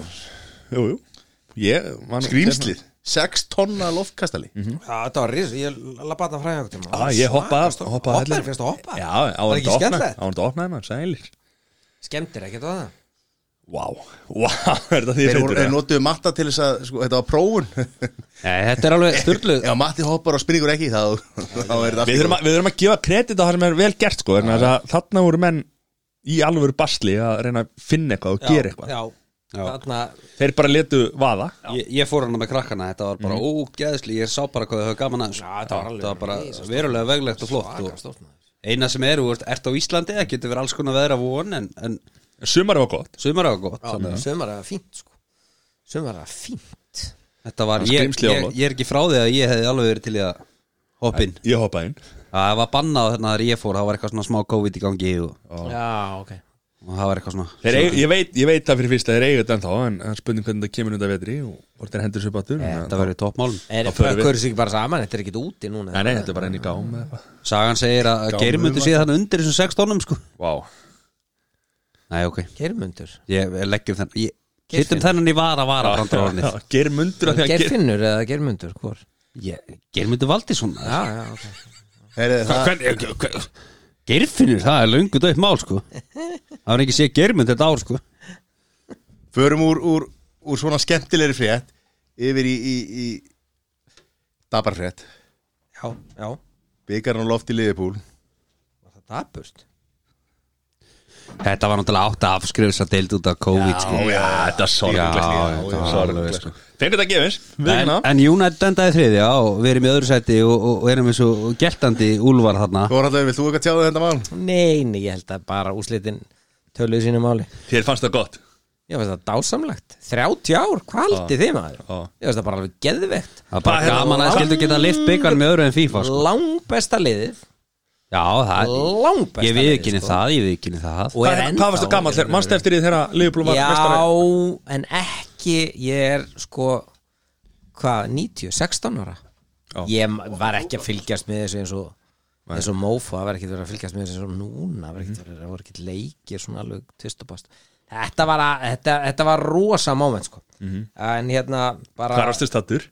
jú, jú. Ég, man,
Skrýmslið, 6 tonna loftkastali
Mhm.
þetta var rís, ég lappaði það fræði okkur
Já, Ah, ég hoppaði af hoppaði af
Hoppaði,
hellinum.
fyrst að hoppa?
Já,
Var
áður
ekki
þetta opnaði
skemmtilegt?
Áður þetta opnaði maður, sælir
Skemmtir ekki, þetta var það
Vá, vá, er þetta því
Þeir voru-
feitur
þeir notuðu matta til þess að sko, Þetta var prófun
Nei, þetta er alveg styrlu
Ef matti hoppar og springur ekki þá, þá er þetta
Við þurfum, að, við þurfum að gefa kredit á það sem er vel gert sko, vegna þess að Þarna voru menn í alvöru basli að reyna að finna eitthvað og gera eitthvað
Já, þarna
Þeir bara letu vaða
Ég, ég fór hana með krakkana, þetta var bara mm. ógeðsli Ég sá bara hvað þau höfðu gaman að þessu.
þetta var alveg
þetta var bara verulega veglegt og flott og Eina sem er, þú ert, ert á Íslandi Það getur verið alls konar veðra von En, en
Sumari var gott
sumar á gott þannig að-
Sumar er fínt, sko Sumar er fínt
Þetta var,
Hann
ég,
skrimsli á
ég,
loft.
ég er ekki frá því að ég hefði alveg verið til í að hoppin
Ég hoppaði inn
Það var bannað þarna þegar ég fór Það var eitthvað svona smá COVID í gangi og,
Já, ok
og það var eitthvað svona
Þeir eig, ég, veit, ég veit það fyrir fyrst að þeir eiga þetta ennþá En en spurning hvernig það kemur undan vetri og hvort þeir hendur sér bátur
Þetta verið toppmálum
Er
Þá förum við.
bökkur sig bara saman, þetta er ekki úti núna
Nei, nei, þetta er bara enn í gám eða eitthvað
Sagan segir að geirmundur sé þannig undir þessum 6 tónum sko
Vá,
Nei, ok,
Geirmundur
ég ég leggjum þennan ég-
Geirfinnur.
Hittum þennan í vara vara brandarornið
ger mundur að því að ger
Geirfinnur eða Geirmundur, hvor?
Ég- Geirmundur Valdísson
Já, já, ok
Heri, það,
Hvernig- hver- Geirfinnur, það er löngu dætt mál sko Það var ekki sé Geirmund þetta ár sko
Förum úr, úr, úr svona skemmtilegri frétt yfir í, í, í dabarfrétt
Já, já,
byggarinn á loft í liðipúl
var það dapust?
Þetta var náttúrulega átt að afskrifsa deild út af COVID sko
já, þetta er sorglegt
Já,
líka.
þetta var alveg,
Sorglegt
sko.
sko. Fengur þetta gefins
En,
viðurkenna.
en United endaði þriðja og við erum í öðru sæti og, og, og erum eins og geltandi úlvar þarna
Þórhaldur, vilt þú eitthvað tjáðu þetta mál?
Nei, nei, ég held að bara úslitin töluðu sínu máli
Þér fannst það gott
Ég finnst það dásamlegt 30 ár, hvað haldið þið maður?
Já.
Ég finnst það bara alveg geðvegt
Það er bara gaman að skildu geta lift byggar með öðru en FIFA sko.
Langbesta liðið
Já, það
Langbesta
Ég
liðið,
viðkynni
sko.
það, ég viðkynni það
Og er
Hvað
ennþá-
hvað varstu gammal þér? Manstu eftir því þegar Liverpool var mestari?
Já, en ekki Ég er sko Hvað, 90, 16 ára
Já.
Ég var ekki að fylgjast með þessu eins og eins og mófa, það var ekki verið að fylgjast með þessu eins og núna, það var
Mhm.
ekki verið, það var ekki leikir svona alveg tvist og bast Þetta var, að, þetta, þetta var rosa moment sko. en hérna bara
Hvað Mhm. varstu stattur?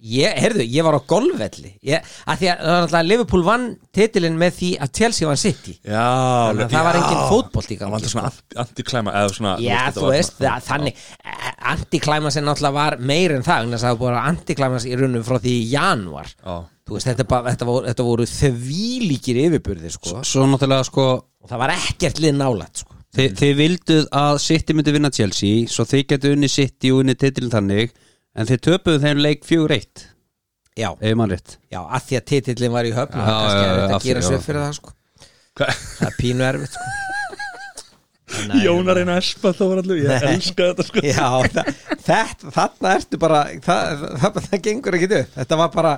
Ég, heyrðu, ég var á golfvelli ég, að því að það var náttúrulega að Liverpool vann titilinn með því að Chelsea vann City
Já,
Þannig að það var engin fótbolt í
Það
gangi sko.
var alltaf svona anti- antiklæma eða svona
Já,
þetta
þú
var
veist,
svona-
það, þannig e, antiklæmasin náttúrulega var meir en það þannig að það var bara antiklæmas í raunum frá því í janúar
Já.
Þú veist, þetta, bara, þetta, voru, þetta voru þvílíkir yfirburði sko.
Svo náttúrulega sko
og það var ekkert lið nálægt sko.
þi, Þið vilduð að City myndi vinna Chelsea Svo þið getu unni City og unni titilin þannig En þið töpuðu þeim leik 4-1
Já,
Ef mann rétt
já, að því að titillin var í höfn
Já,
og kannski
já,
er
já,
þetta
af
að
því,
gera
já.
sér fyrir það sko.
Hvað-
það er pínu erfitt sko. Þannig að-
Jón að reyna að espa þá var allir Ég elska þetta sko
Já, þa- þetta, þarna ertu bara það, það, það, það gengur ekki upp þetta var bara,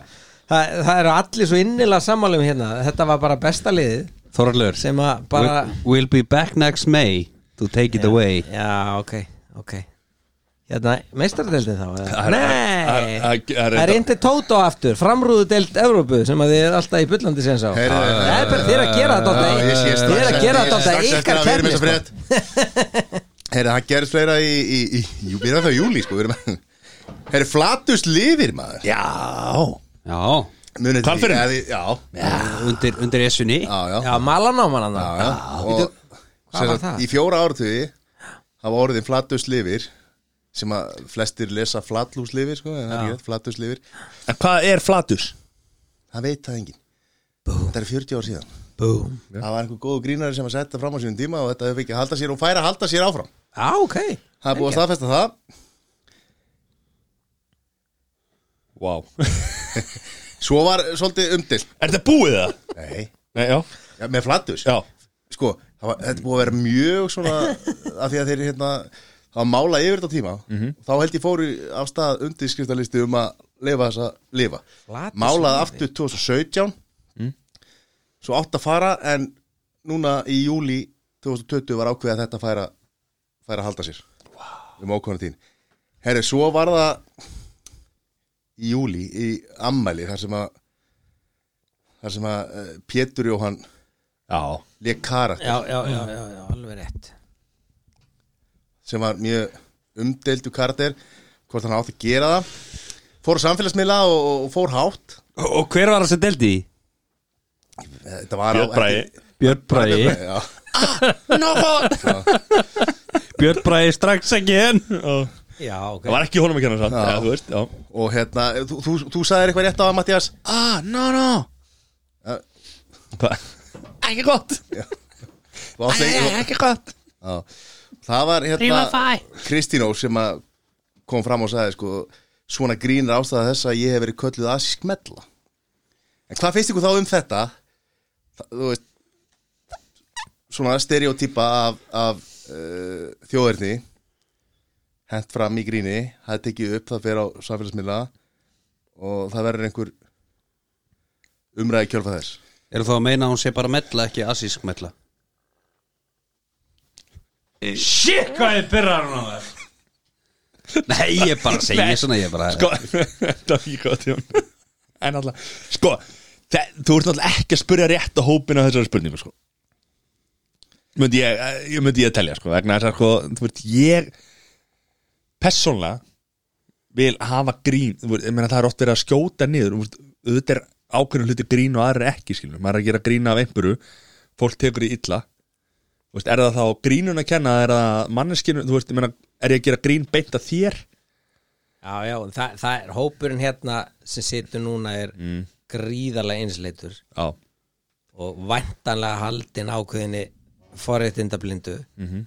það, það eru allir svo innilega sammálum hérna Þetta var bara besta liðið
Þorlur
Sem að bara-
We'll be back next May To take it away
Já, ok, ok Hérna, meistaradeildin þá eða?
er- það
Nei,
er- það er- það er-
það er indi Tóto aftur Framrúðudeild Evrópu sem að þið er alltaf í bullandi sem sá
Heyrðu,
Það er bara þér að gera þetta
Já, ég sé
alltaf Þið er að
strax eftir-
gera þetta
ég
alltaf
sé strax eftir
ykkar
að við erum
kemni
þessa
sko.
frétt. Herra, það gerist fleira í, í, í, í Við erum það í júli, sko við erum- Herra, flatus lifir, maður
Já
Já
Munið því-
Hvalfirðin?
eða því- Já,
Undir, undir essunni
já, já,
Já, malanáman hann
já,
það
já. Og
hvað
sem
var
sagt,
það?
Í fjóra áratugi hafa orðin flatus lifir sem að flestir lesa flatlús lifir, sko en það er ekki flatus lifir
En hvað er flatus?
Það veit það enginn Þetta er 40 ár síðan
Búm
Það var einhver góð grínari sem að setja fram á sínum tíma og þetta hefur ekki að halda sér og færa að halda sér áfram
Já, ok
Það er búið að staðfesta það
Vá
Svo var eh, svolítið umdilt
Er þetta búið það?
Nei,
Nei, já
ja, með flatus
Já
Sko, það var, þetta er búið að vera mjög svona af því að þeir hérna það var mála yfir þetta tíma
Mhm.
þá held ég fóru af stað undirskriftalisti um að lifa þessa lifa
Flatus
Málaði
lifi.
aftur 2017
Mhm.
Svo átt að fara en núna í júli 2020 var ákveðið að þetta færa færa að halda sér wow. um ákvæmna tíðin Herri, svo var það í júli í ammæli þar sem að þar sem að eh, Pétur Jóhann
Já
leik karakter
Já, já, já, já, já alveg rétt
sem var mjög umdeildu karakter hvort hann átti að gera það fór á samfélagsmiðla og, og fór hátt
Og hver var það sem deldi í?
Eh, þetta var
Björn Bragi
Björn Bræði
já,
Björn Bræði strax ekki enn
Já, ok
Það var ekki honum að kenna satt Já, þú veist, já
og hérna, þú, þú, þú sagðir eitthvað rétt á það Eh. Mattias
Ah, no, no
Já.
Hvað? Ekki gott
Þú átt lengi-
Ekki gott
Já. það var hérna Kristín Ó sem að kom fram og sagði sko, svona grínir ástæða þess að ég hef verið kölluð asísk mella en hvað finnst ykkur þá um þetta Þa- þú veist svona stereotypa af, af uh, þjóðerni hent fram í gríni það er tekið upp, það fer á samfélagsmiðla og það verður einhver umræði kjölfa þess
Eru þá að meina að hún sé bara mella ekki assísk mella?
Shit, hvað þið byrjar hún á það
Nei, ég bara segi
Nei.
svona ég bara
Sko, þetta var ekki gott Jón En alltaf, sko þe- Þú ert náttúrulega ekki að spyrja rétt á hópin á þessari spurningu, sko Möndi ég, ég myndi ég að telja, sko vegna þess að, sko, þú veist, ég persónlega vil hafa grín, þú veist, ég meina það er oft verið að skjóta niður, þú veist, auðvitað er ákveðnum hluti grín og aðra ekki, skilur maður er að gera grín af einhverju, fólk tekur í illa Þú veist, er það þá grínun að kenna, eða er það manneskinu, þú veist, ég meina, er ég að gera grín beint að þér?
Já, já, en það, það er hópurinn hérna sem situr núna er
Mm.
gríðarlega einsleitur
Já,
og væntanlega haldin ákveðinni forréttindablindu -hmm.
Mhm.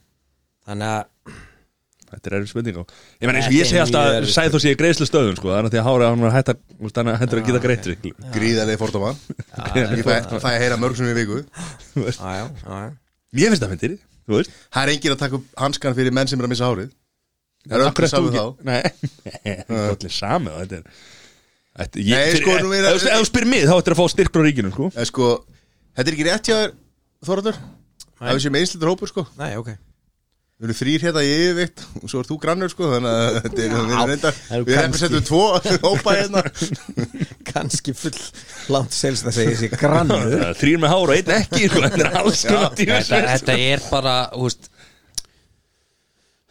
þannig að
Þetta er erfið spurning og Ég meina eins og
Þetta
ég segi
er mjög
alltaf
erfið
Sæð þú sé greiðslu stöðun sko Þannig að því að hára hann var hættar Þannig að hættur að geta
Ah,
greiðri
gríðarlega fordóma ég fæ, fæ að heyra mörg sem í viku
á, já, á, já.
Mér finnst það fyndir Þú veist
það er engin að taka upp hanskan fyrir menn sem er að missa hárið Það er
Af hverju ert
öllu saman
þú
þá
ekki- Nei Það er allir sami og Þetta er Þetta, ég,
Nei,
fyrir,
sko, nú er-
ef, ef, ef þú spyrir mig þá ættir að fá styrk frá ríkinu sko.
En sko, þetta er ekki rétt hjá þér Þorður Það er sem einslitur hópur sko
Nei, ok
Við erum þrýr hérna í yfirvikt og svo er þú grannur sko Þannig að þetta er, við erum reyndar
það eru
Við erum
kannski-
setjum tvo hópa hérna
Kanski full langt selst að segja sér grannur
Þrýr með hára, einn ekki sko. Þetta er alls konar
þetta,
dýr
þetta er bara húst,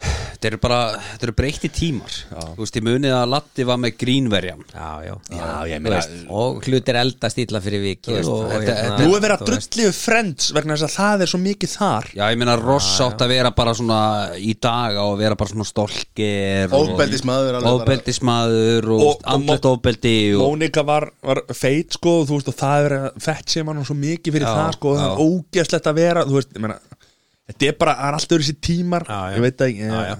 Þetta eru bara Þetta eru breytti tímar Húst, Ég munið að Latti var með grínverjan
Já, já,
Já, ég meina
og hlutir eldast illa fyrir viki
veist,
og,
sko, þetta-
hérna,
Nú er verið að
þú veist.
drullið friends vegna þess að það er svo mikið þar
Já, ég meina Ross átt að vera bara svona í dag á að vera bara svona stolkir
Ofbeldismaður alveg bara.
Óbeldismadur og,
Og-
og
og
andlet óbeldi og,
Mónika var, var feit sko og þú veist og það er fett sem hann svo mikið fyrir
Já,
það sko og það er ógeðslegt að vera þú veist, ég meina þetta er bara, það er alltaf þessi tímar
Já, já.
ég veit að,
Já, já.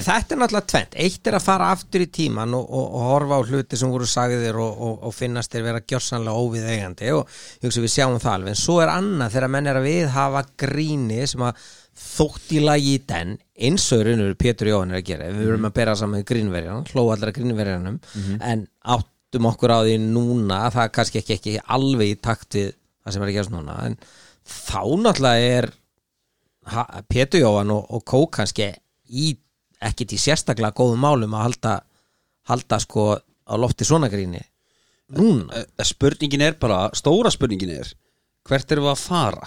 En þetta er náttúrulega tvent Eitt er að fara aftur í tíman og, og, og horfa á hluti sem voru sagðir og, og, og finnast þeir vera gjörsanlega óvið eigandi og ég hugsa við sjáum það alveg en svo er annað þegar menn er að viðhafa gríni sem að þótt í lagi í den eins og Mhm. raunur Pétur Jóhann er að gera við verum að bera saman við grínverjan hló allra grínverjanum en átt áttum okkur á því núna það er kannski ekki, ekki alveg í takt við það sem er að gerast núna en þá náttúrulega er ha- Pétur Jóhann og, og Kók kannski í, ekkit í sérstaklega góðum málum að halda, halda sko á lofti svona gríni núna,
Eh, spurningin er bara, stóra spurningin er hvert erum við að fara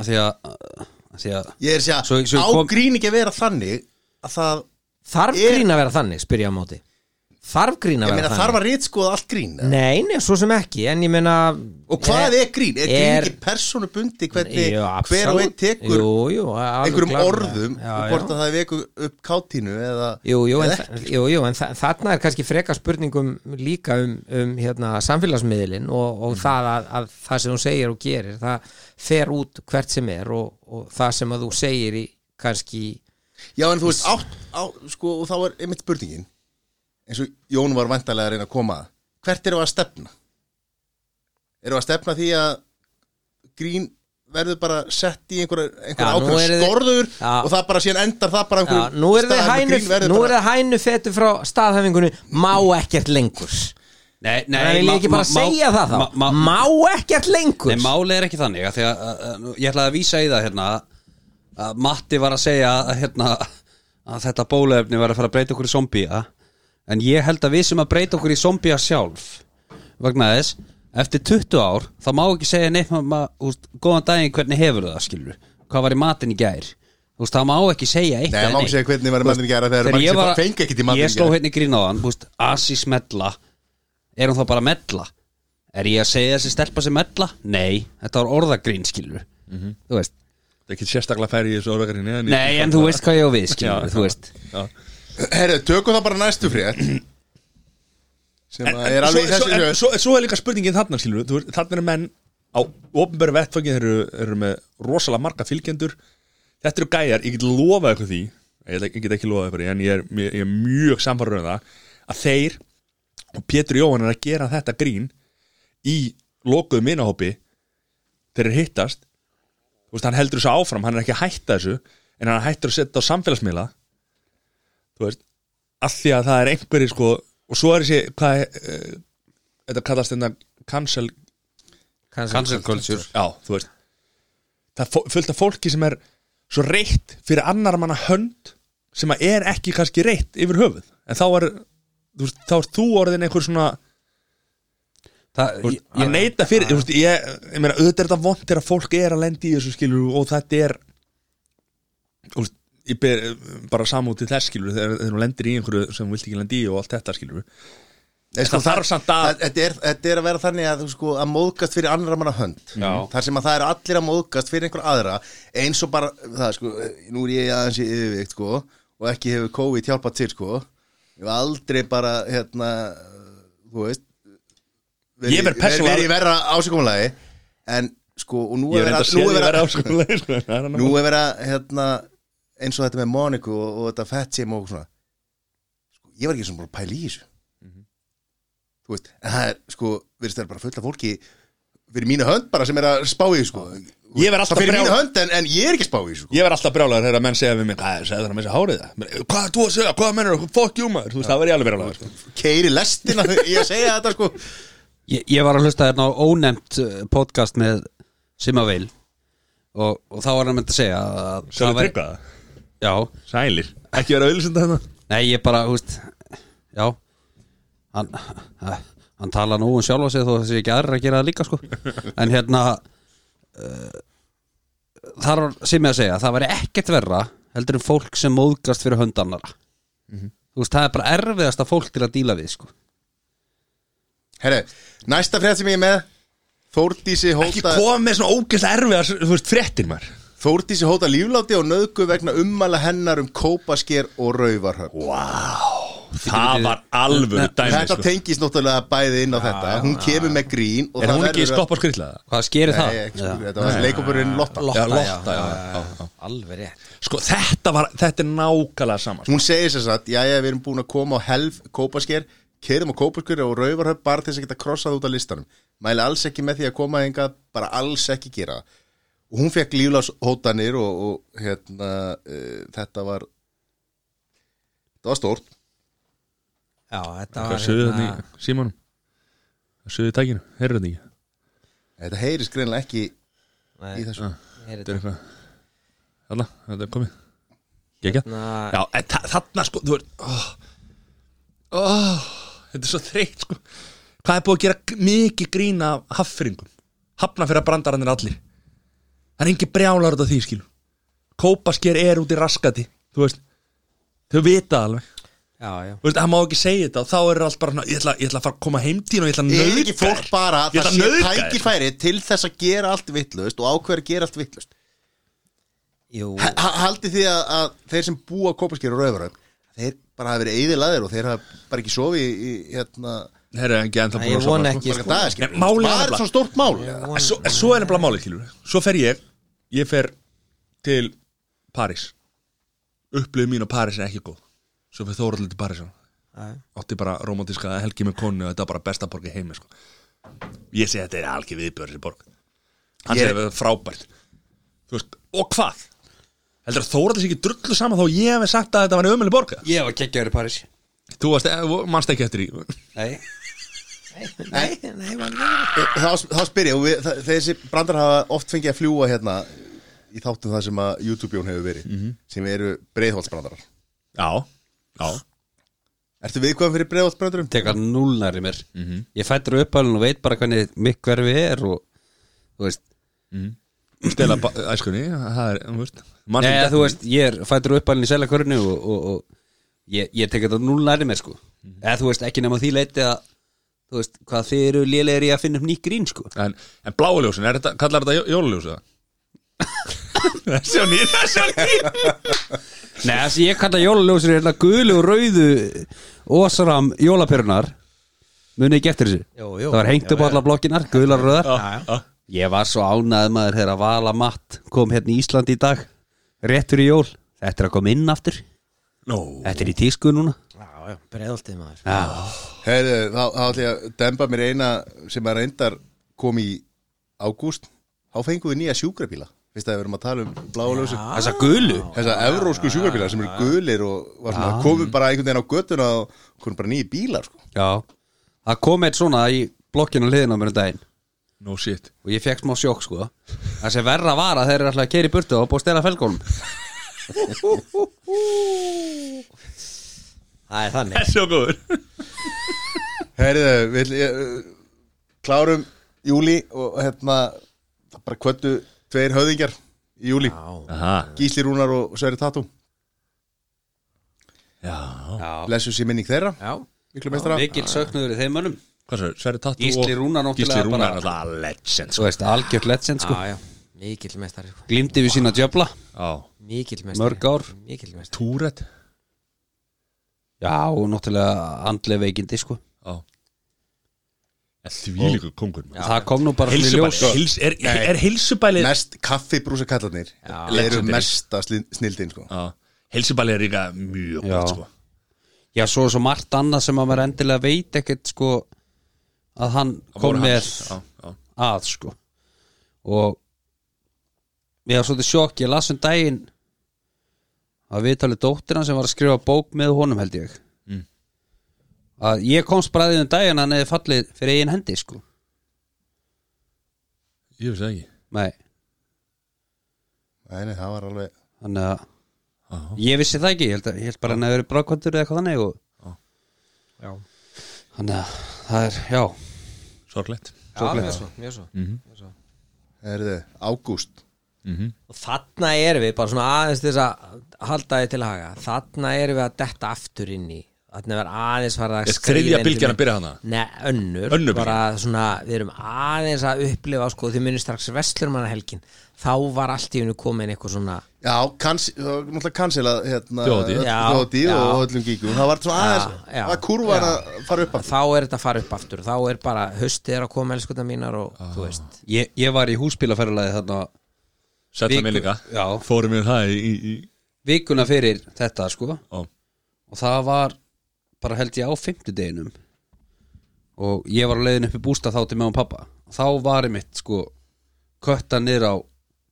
af því að af því að
Ég er að segja,
Svo- svo
á
kom-
grín ekki að vera þannig að það,
þarf
Er-
grín að vera þannig spyrja á móti, þarf grín
ég
að vera
meina
þannig
þarf að rítskoða allt grín eða?
Nei, nei, svo sem ekki, en ég meina eh,
Og hvað er grín? Er grín
Er-
ekki personubundi hvernig
Jú,
hver og
absolutt.
einn tekur
jú, jú, alveg
einhverjum
klárlega.
orðum
Já,
og
já.
hvort að það veku upp kátínu eða,
Jú, jú, en,
eða
þa- jú, jú, en þa þarna er kannski freka spurningum líka um, um hérna, samfélagsmiðlin og, og það að, að það sem þú segir og gerir það fer út hvert sem er og, og það sem að þú segir í kannski
Já, en þú veist, átt, á, sko, og þá er einmitt spurningin eins og Jón var vantarlega að reyna að koma að hvert eru að stefna? Eru að stefna því að grín verður bara sett í einhverja einhver
Já, nú
ákveður
eru þið-
skorður
Já.
og það bara síðan endar það bara
já,
einhverjum
nú er það
stað þar
hænu,
grín verður
nú er
bara-
það hænu fetu frá staðhæfingunni má ekkert lengur
Nei, nei,
Það vil ég
ma-
ekki bara
ma-
segja það þá
ma- ma-
má ekkert lengur
Nei, máli er ekki þannig að því að, að, að nú- ég ætlaði að vísa í það hérna að Matti var að segja að, hérna, að þetta bóluefni var að fara að breyta okkur í zombía en ég held að við sem að breyta okkur í zombía sjálf vegna þess eftir 20 ár þá má ekki segja neitt um ma, ma, úst, góðan daginn hvernig hefur það skilur hvað var í matin í gær Úst, það má ekki segja eitt
Nei,
eða
má ekki
neitt.
segja hvernig var í matinn í gær, að þegar margir
ég
sem
var-
fengu ekkert í matinn í
Ég sló
gær.
hérna í grín á hann, búst, asi smetla Er hún þá bara mella? Er ég að segja þessi stelpa sem mella? Nei, þetta var orðagrín, skilur Þú veist,
Það er ekki sérstaklega færi í þessu orðvekarinni
nei, en þú veist hvað ég á við, skilur Þú veist,
Herru, tökum það bara næstu frétt sem að er alveg í
svo,
þessu
en, svo, en svo er líka spurningin þarna skilur þú, veist, þarna eru menn á ofnbæru vettfangin þeir eru, eru með rosalega marga fylgjendur þetta eru gæjar, ég get lofað ykkur því ég, get- ég get ekki lofað ykkur því en ég er, ég, ég er mjög samfarrur um það að þeir og Pétur Jóhann er að gera þetta grín í lokuðu minahópi þeir eru hittast þú veist, hann heldur þessu áfram, hann er ekki að hætta þessu en hann er hættur að setja á samfélagsmiðla þú veist af því að það er einhverjir sko og svo er þessi, hvað er eh, þetta kallast þetta cancel
cancel culture
já, þú veist það er fó- fullt af fólki sem er svo reitt fyrir annar manna hönd sem að er ekki kannski reitt yfir höfuð en þá er þú, veist, þá er þú orðin einhver svona
Það,
þú veist, að neita fyrir, þú veist, ég, ég meina auðvitað er þetta vond þegar fólk er að lendi í þessu skilur og þetta er þú veist, ég ber bara samúti þess skilur þegar þegar þú lendir í einhverju sem þú vilt ekki lendi í og allt þetta skilur
Nei, sko,
það þarf samt að-
það- Þetta er, þetta er að vera þannig að, þú sko, að móðgast fyrir annara manna hönd
Já.
Þar sem að það eru allir að móðgast fyrir einhver aðra Eins og bara, það sko, nú er ég aðeins í yfirvikt sko Og ekki hefur COVID hjálpað til sko Ég hef aldrei bara, hérna, þú veist
Ég verð persónulega-
Verið í verra ásökumulagi En sko, og nú
ég er
verið
enda að sé því
að- nú er
að
verið
vera
að-
áskulega sko, það er annað
Nú
mál.
er verið að, hérna, eins og þetta með Moniku og, og þetta fett sem og svona sko, Ég var ekki svona bara að pæla í þessu Þú veist, en það er, sko, virðist það er bara fulla fólki Fyrir mínu hönd bara sem er að spá í þessu, sko
Ég verð alltaf
Það fyrir
brjál-
mínu hönd en, en ég er ekki að spá í þessu, sko
Ég verð alltaf brjálagur þegar að menn segja við mig Hvað er það að menn segja hárið það? Men, Hvað er þú að segja? Hvað mennur það? Fuck you maður Þú veist, það verð ég alveg brjálagur sko.
Keiri lestina, ég að segja þetta, sko
ég, ég var að hlusta hérna á ónefnt eh, podcast með Simaveil og, og þá var hann myndi að segja að, að
Sjáðu
væri-
tryggva það
Já,
Sælir Ekki vera hérna. auðlisenda þetta
Nei, ég bara, þú veist Já Hann, eh, hann tala nú um sjálfa sig þó þessi ekki aðrir að gera það líka sko En hérna uh, Þar var sem ég að segja Það væri ekkert verra heldur en fólk sem móðgast fyrir hönd annara
Mhm.
Þú veist, það er bara erfiðasta fólk til að díla við sko
Herre, næsta frétt sem ég er með Þórdísi
Ekki
hóta,
koma með svona ógeðslega erfiðar Þú veist, fréttir maður
Þórdísi hóta lífláti og nöðgu vegna ummæla hennar um kópasker og rauvarhöfn
Það var alveg dæmi
Þetta
sko.
tengist náttúrulega bæði inn á þetta Hún kemur með grín og
Er
það
hún ekki í
verður að-
stopp og skrýtla það?
Hvað skerir það?
Nei, ekki spurning, þetta var leikopurinn
Já,
Lotta
Lotta, já,
Lotta, já, já, já.
alveg rétt
Sko, þetta var, þetta er nákvæmlega sama sko.
Hún segir sér satt, jæja við erum búin að koma á helf kópasker Keirðum á kópasker og rauvarhöf bara til þess að geta krossað út af listanum Mæli alls ekki með því að koma hingað, bara alls ekki gera það. Og hún fekk líflashótanir og, e, og hérna, uh, þetta var Þetta var stórt
Já, þetta
Hvað
var hérna-
sögðu þarna í símanum? Hvað sögðu í tækinu? Heyrðu þetta ekki?
Þetta heyrist greinlega ekki í
Nei,
Ah.
þessu
heyrðu
Þetta er
þetta.
eitthvað Þarna, þetta er komið Gekja?
Na,
Já, en þa- þarna sko, þú veist oh, oh, Þetta er svo þreytt sko Hvað er búið að gera g- mikið grín af haffiringum? Hafna fyrir að brandarannir allir Það er engin brjálar út af því skilum Kópasker er út í raskati Þú veist, þau vita það alveg
já, já
Þú veist, hann má ekki segja þetta og þá er allt bara svona, ég ætla, ég ætla að fara að koma heimtíðin og ég ætla að
Er
nauðga
ekki fólk
þér.
bara að
Ég ætla
það
að
sé
nauðga þér.
tækifæri til þess að gera allt vittlust og ákveður að gera allt vittlust
Jú,
Haldið því að, að þeir sem búa kópaskir og rauðvarögn þeir bara hafa verið eyðilaðir og þeir hafa bara ekki sofið í, í hérna
Herra, ekki ennþá
Nei,
búin
ég
að sofa, sko.
vona ekki
marga
sko.
daga, skilur.
Nei, málið er
Var
nefnilega-
þetta svona stórt mál?
En Svo, en svo er nefnilega málið, skilur Svo fer ég, ég fer til París Upplifið mín á París er ekki góð Svo fer Þóraldur til París
Já.
Átti bara romantíska helgi með konu og þetta var bara besta borg í heimi, sko Ég segi þetta er algjör viðbjörn þessi borg Hann
Ég-
segir þetta er frábært Þú veist, og hvað? Heldur að Þóraldur sé ekki drullu saman þá ég hef sagt að þetta var ömuleg borga?
Ég var kekkjaður í París
Þú varst, eh, manst ekki eftir í
Nei
nei, nei, var ekki
þá, þá spyr ég, og við, þa- þessi brandar hafa oft fengið að fljúa hérna í þáttum það sem að YouTube-jón hefur verið sem eru breiðholtsbrandarar
Já, já
Ertu viðkvæðan fyrir Mhm. breiðholtsbrandarum?
Tekar núlnar í mér Ég fættur uppalinn og veit bara hvernig mikk hverfi er og þú veist
Stela ba- æskunni, það er, þú veist manstu
Nei,
þetta?
þú veist, ég er fættur uppalinn í selakörnu og, og, og ég, ég tek þetta núlnar í mér sko Eða þú veist, ekki nema því leiti að þú veist, hvað þið eru lélegir í að finna upp nýtt grín sko
En, en bláu ljósin, er þetta, kallar þetta jó- jólaljósið það? Þessi á nýr, þessi á nýr
Nei, þessi ég kalla jólaljósir hérna gulu og rauðu ósaram jólaperunar muni ekki eftir þessu
Jú, jú.
það var hengt upp á alla blokkinar, gular og rauðar
já.
ég var svo ánæð maður þegar að vala matt kom hérna í Ísland í dag réttur í jól, þetta er að koma inn aftur
Nó,
þetta er í tísku núna
Já, já, breiðoltið maður
já,
Herðu, þá, þá ætla ég að demba mér eina sem að reyndar kom í ágúst, þá fengum við nýja sjúkrabíla Veist að við erum að tala um bláulösu
þessa gulu
Þessa evrósku sjúkrabíla sem eru gulir og var svona, komum bara einhvern veginn á göttuna og komum bara nýja bílar sko.
já, það kom eitt svona í blokkinu hliðin á mér um daginn
no shit
og ég fekk smá sjokk sko það sem verra var að þeir eru alltaf að keira í burtu og búið að stela felgólum
Það er þannig
Þessi á góður
Herðu, við ætla- ég, uh, klárum júli og hérna það bara kvöldu tveir höfðingjar í júli,
Aha,
Gísli Rúnar og Sverri Tatú
já
blessu sér minning þeirra,
Já,
miklu meistara
mikil söknuður í þeim mönnum
Hvað svo, Sverri Tattu
Gísli Rúnar náttúrulega
Gísli Rúnar,
bara-
alltaf legend
Svo
sko.
veist, algjört legend sko
já, já, mikill mestari sko.
Glimti við sína djöfla
Já,
Mikill mestari
Mörg ár.
Mikill mestari
Túret
Já, og náttúrulega andlega veikindi sko
Já En því líka kongur
já, Það kom nú bara svona í ljós
Hilsubæli, hils, er, er hilsubæli
mest kaffibrúsa kallarnir eru
Legendary.
mesta sli- snilldin sko.
Já, hilsubæli er líka mjög
Já.
gott sko
Já, svo er svo margt annað sem að maður endilega veit ekkert sko að hann kom
Voru
með
hans. Já, já
að sko og ég var svolítið sjokk, ég las um daginn að viðtalið dóttir hann sem var að skrifa bók með honum held ég að ég komst bara að því um daginn að hann hefði fallið fyrir eigin hendi sko
Ég veist það ekki
Nei,
Nei, nei, það var alveg
þannig að ég vissi það ekki, ég held, að, ég held bara að hann hefði verið brákvöldur eða eitthvað þannig og
Já,
Þannig að það er, já
Sorglegt
já mjög svo, mjög svo.
Mm.
Herðu, ágúst
Og þarna erum við bara svona aðeins til þess að halda þið til haga Þarna erum við að detta aftur inn í Þarna er aðeins farið að
Er
skríða
þriðja
inn til
bylgjan
mín.
að byrja hana?
Nei, önnur,
Önnur
bara svona, við erum aðeins að upplifa sko, þið munir strax vestlurmanna helgin þá var allt í hennu komin eitthvað svona
Já, kans, það var náttúrulega kansilað hérna,
Þjóðhátíð.
öll-
Já,
þjóðhátíð og
já.
öllum gíkum það var svona aðeins,
já,
að kurvan
já.
að fara upp aftur
þá er þetta að fara upp aftur þá er bara, haustið er að koma elskutna mínar og
Ah,
þú veist
Ég, ég var í húsbílaferðalagi þarna
Setta
Viku-
mig líka
Já.
Fórum við það í, í, í
vikuna fyrir þetta sko
Ó.
og það var bara held ég á fimmtudeginum og ég var á leiðin upp í bústa þá til með og pappa og þá var ég mitt sko kötta niður á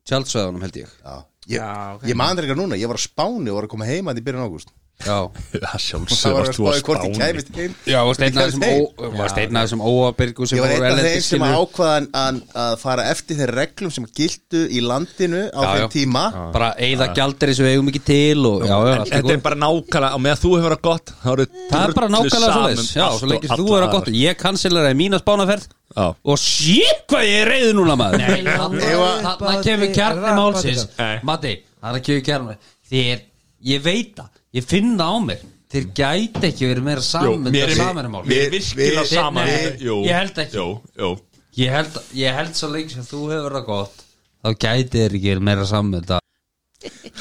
tjaldsvæðunum held ég
Já, ég, já, okay. ég maður ekki núna, ég var á Spáni og var að koma heima í byrjun ágúst
Já
Það
Það
sjálfsög
var að
varst þú að
spáði hvort ég
spáni
kæmist heim
Já, varst einn af
Ég kæmist heim.
þessum ó- varst einn af þessum óabirgu sem
Ég var einn af þeim sem
skilur.
ákvaðan að, að fara eftir þeir reglum sem giltu í landinu á
Já, já.
þeim tíma
Bara eigða gjaldir sem við eigum ekki til og, já, já, allt í
Þetta
góðu.
er bara nákvæmlega, á meðan þú hefur verið gott
Það er bara nákvæmlega svo þess Já, svo leikist þú er að gott Ég kansilera í mína spánaferð
Já.
Og sík hvað ég er reyði núna maður Nei,
Eva-
þarna kemur kjarni málsins
Nei.
Matti, þarna kemur kjarni Þér, ég veit það Ég finna á mér Þér gæti ekki verið meira saman
Mér er
samanmál
mér er virkilega
við-
sama
Nei,
Jú,
ég held ekki.
Jú, jú
ég, held- ég held svo lengi sem þú hefur það gott Þá gæti þér ekki verið meira saman þetta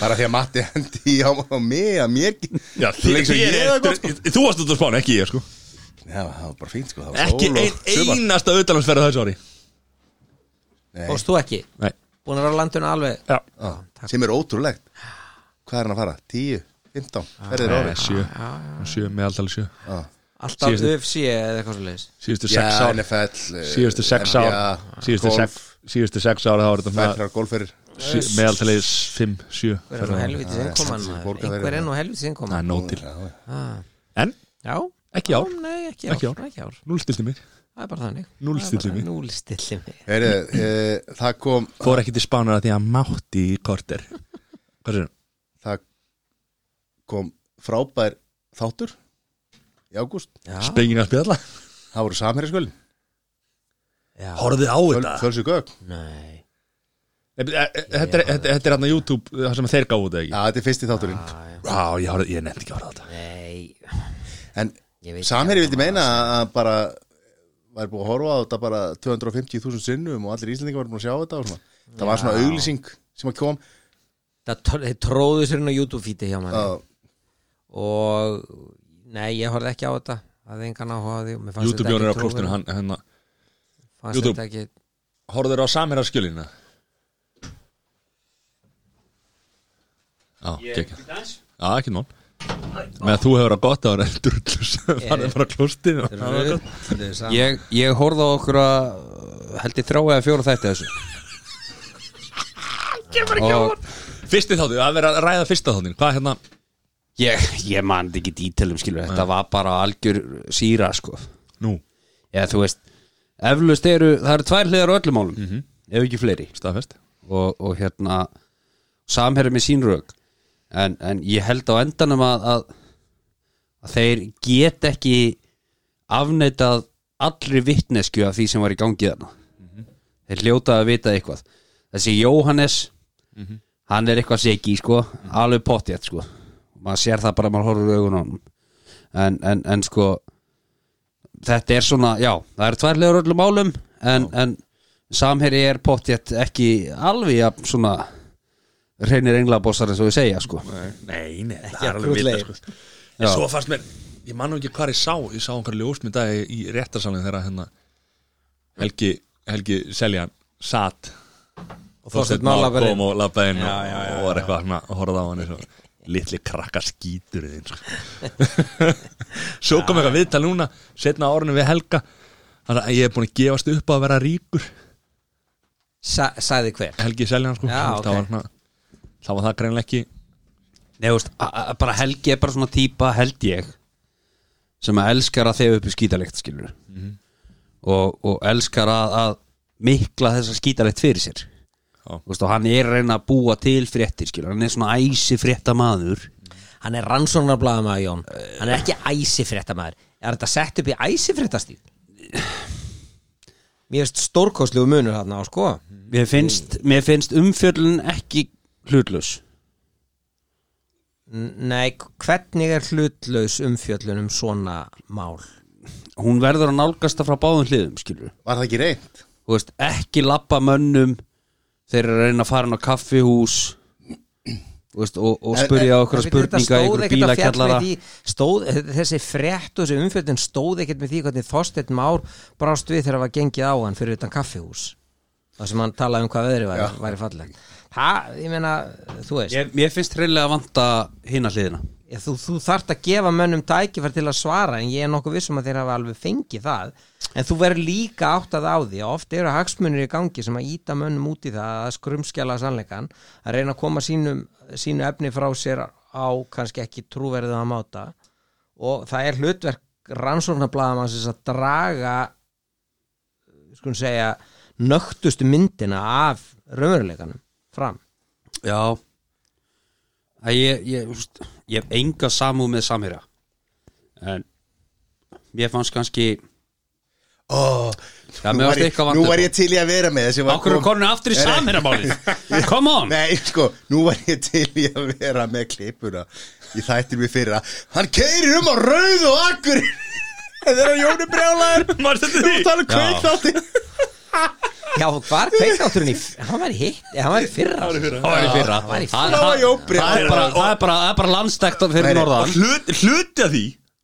bara því að Matti hendi á, á mig að mér já,
Já, þér
Leik sem ég er
er sko.
gott,
Þú varst út að spáni, ekki ég sko
það var bara fínt sko það var
Ekki
sól og
ein,
sumar.
einasta auðvitaðlansferð þessu ári
Nei,
Fórst þú ekki?
Nei.
Búin að vera á landinu alveg
Já
á, sem er ótrúlegt hvað er hann að fara? 10, 15, ferðir
Ah, Nei,
árið Ah.
sjö, sjö, meðaldali sjö
Alltaf
Síðustu-
UFC eða eitthvað svo leiðis
Síðustu
Já,
sex ár
NFL, eh,
Síðustu sex
NBA,
ár Síðustu sex Ah. Síðustu sex ár Það var þetta
Fætrar golferir
meðaldali fimm, sjö
Hver er nú helvítið innkoman?
þessi
maður?
borgarverðir.
Einhver er nú helvítið
Það
innkoman?
er nótil
Ah.
En,
Já,
ekki ár
nei, ekki
Ekki
ár
ár.
Ekki ár,
núlstilti mig
það er bara þannig
Núllstilli
Það er bara-
mig.
Núllstilli mig
Heri, e, það kom
Fór ekki til spánar að því að mátti í korter Hvað er
það kom frábær þáttur í ágúst
Já,
Spengina að spjalla
það voru samherjaskvölin
já,
Horfið á þetta
Fölsu Gögg
Ah.
nei
Nei, betur, e- e- Þetta er- þetta- þetta er hann að YouTube Það sem þeir gáðu þetta ekki
Já, þetta er fyrsti þátturinn
Já, ég, horfði- ég nefndi ekki að horfa á þetta
Nei,
En
ég veit
Samherji
ekki
vildi meina að bara væri búið að horfa á þetta bara 250.000 sinnum og allir íslendingar væri búin að sjá þetta og svona. Það var svona auglýsing sem að kom
Það tr- þeir tróðu sér inn á YouTube-fíti hjá manni
að
Og, nei, ég horfði ekki á þetta Það er engan áhuga á því og mér fannst
YouTube
þetta
Jónir á
ekki
klostinu
trúverðugt.
hann, hann,
Fannst
YouTube.
þetta ekki
Horfður á samherra skjölina Já,
Ég,
ekki Já, ekki nón Með að þú hefur að gott að vera drullus Farðið bara á klostinu
Rödd- saman.
Ég, ég horfði á okkur að held ég þrá eða fjóra þætti af þessu og
Fyrsti þáttu, að vera að ræða fyrsta þáttin Hvað hérna?
ég, ég man þetta ekki dítilum skilur þetta var bara algjör síra sko
Nú,
eða þú veist eflust eru, það eru tvær hliðar á öllum málum ef ekki fleiri
staðfest
og, og hérna samherri með sín rög en, en ég held á endanum að, að, að þeir get ekki afneitað allri vittnesku af því sem var í gangi þarna þeir hljóta að vita eitthvað þessi Jóhannes hann er eitthvað segi sko alveg pottjætt sko maður sér það bara að maður horfður augun á honum en, en, en sko þetta er svona, já, það er tværlegur öllum málum en, en samherri er pottjætt ekki alveg jafn svona reynir englabossar eins og við segja sko
Nei, nei, það er alveg vita sko. En
Já.
svo fannst mér, ég man nú ekki hvað ég sá Ég sá einhver ljósmynda í, í réttarsalinn Þegar hérna Helgi, Helgi Seljan satt Og
Þorsteinn
Már
Már labbaði inn.
kom og labbaði inn og- Og var eitthvað svona að horfða á hann eins og Litli krakka skítur þinn sko. Svo kom eitthvað viðtal núna Setna á orðinu við Helga Þannig að ég er búin að gefast upp á að vera ríkur
Sa- Sagði hver
Helgi Seljan sko
Já,
Þú veist, það var
ok.
svona- þá var það greinlega ekki
Nei, þú veist, a- a- bara Helgi er bara svona típa held ég sem að elskar að þefa upp í skítalikt skilur
Mhm.
og, og elskar að, að mikla þessa skítalikt fyrir sér
Já.
Þú veist, og hann er að reyna að búa til fréttir skilur, hann er svona æsi frétta maður
Mhm.
Hann er rannsóknarblaðamaður Jón Hann er ekki æsifréttamaður Er þetta sett upp í æsifréttastíð? Mér finnst stórkostlegu munur þarna á sko
mér finnst, mér finnst umfjöllun ekki hlutlaus
N- Nei, hvernig er hlutlaus umfjöllun um svona mál?
hún verður að nálgasta frá báðum hliðum skilur
var það ekki reynd
þú veist, ekki lappa mönnum þeir eru að reyna að fara inn á kaffihús þú veist, og, og spurja okkur
En bíddu, þetta stóð ekkert
spurninga ykkur
að fjalla
bílakjallara
með því- stóð, Þessi frétt og þessi umfjöllun stóð ekkert með því hvernig Þorsteinn Már brást við þegar það var gengið á hann fyrir utan kaffihús Það sem hann talaði um hvað veðri væri, væri falleg Það, ég meina, þú veist
ég, mér finnst hreinlega að vanta hina hliðina
Já, þú, þú þarft að gefa mönnum tækifær til að svara en ég er nokkuð vissum að þeir hafa alveg fengið það en þú verður líka áttað á því að oft eru hagsmunir í gangi sem að íta mönnum út í það að skrumskjala sannleikan að reyna að koma sínu, sínu efni frá sér á á kannski ekki trúverðið að máta og það er hlutverk rannsóknarblaðamannsins að draga skulum segja nögtustu myndina af raunveruleikanum fram
Já Æ, ég, ég, úst, ég hef enga samúð með Samira En Mér fannst kannski
oh,
Já,
nú, var
mér varst
ég,
eitthvað
nú
vandur
var ég til í að vera með þessi var
Akkur er
kom-
konin aftur í Samira málið Come on
Nei, sko, nú var ég til í að vera með klippuna Ég þættir mér fyrir að Hann keirir um á rauð og akkur Það er að Jóni brjálæður
Maður stendur því
Það er kveik þátti
Já, hvar kveikátturinn í hann var í hitt, eh, hann var í fyrra
Það var í fyrra
var í
Það-
Það var
það-
Jóni
Það er
brjálæður
bara- það er bara- það er bara landstækt fyrir
Nei,
norðan
Hlut, Hluti af því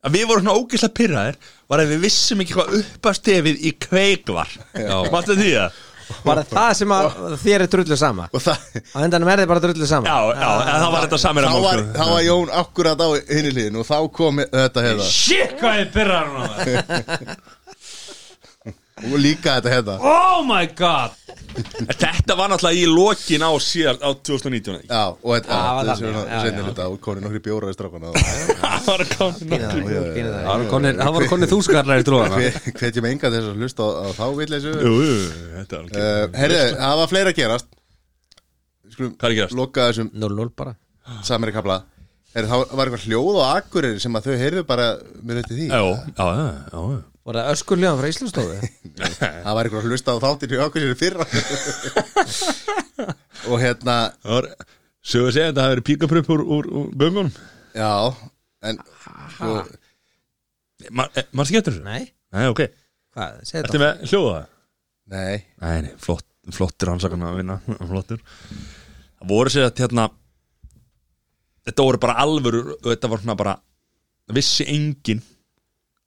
að við vorum svona ógeðslega pyrraðir var að við vissum ekki hvað uppastefið í kveik var Mástu því að?
bara það sem að þér er drullu sama
Og það
á endanum er þið bara drullu sama
Já, já, en það var þetta samir
Þá var, þá var Jón akkurat á hinni liðin og þá kom þetta hérna. hefða
Shit, hvað þið byrjar hún á það
og líka þetta hérna. hefða
Oh my god
Þetta var náttúrulega í lokin á síðar á 2019 ekki?
Já, og þetta
Já,
þetta er
var þannig, já,
svona
já,
seinni
já.
hluta og konið nokkri bjóraði strákana og-
Það var að koma
Pínu
Já,
það,
já, já.
pínu það.
Það voru konir- það voru konir þúskarlar í tróðan
Hve- Hvetjum enga þess að hlusta á, á þá villeysu
Jú, jú, þetta var ekki
uh, Herri, það var fleira að gerast Við Skulum
Hvað er að gerast?
loka þessum
0-0 bara
samari kapla Herri, það var eitthvað hljóð á akkurir sem að þau heyrðu bara mér eftir því
Já, já, já, já, já
Var það öskur ljóðan frá Íslandstofu?
Það var eitthvað að hlusta á þáttir hjá okkur sér í fyrra Og hérna,
Það var, sögur segja þetta hafi verið píkapröp úr, úr, úr göngunum
já En svo,
Ma- eh, Manstu ekki eftir þessu?
Nei,
Nei, ok
hvað, segðu
Ertu
það
með hljóða það?
nei
Nei, nei, flott, flottir rannsakana að vinna Flottir Það voru sér að hérna Þetta voru bara alvöru Þetta var svona bara Vissi engin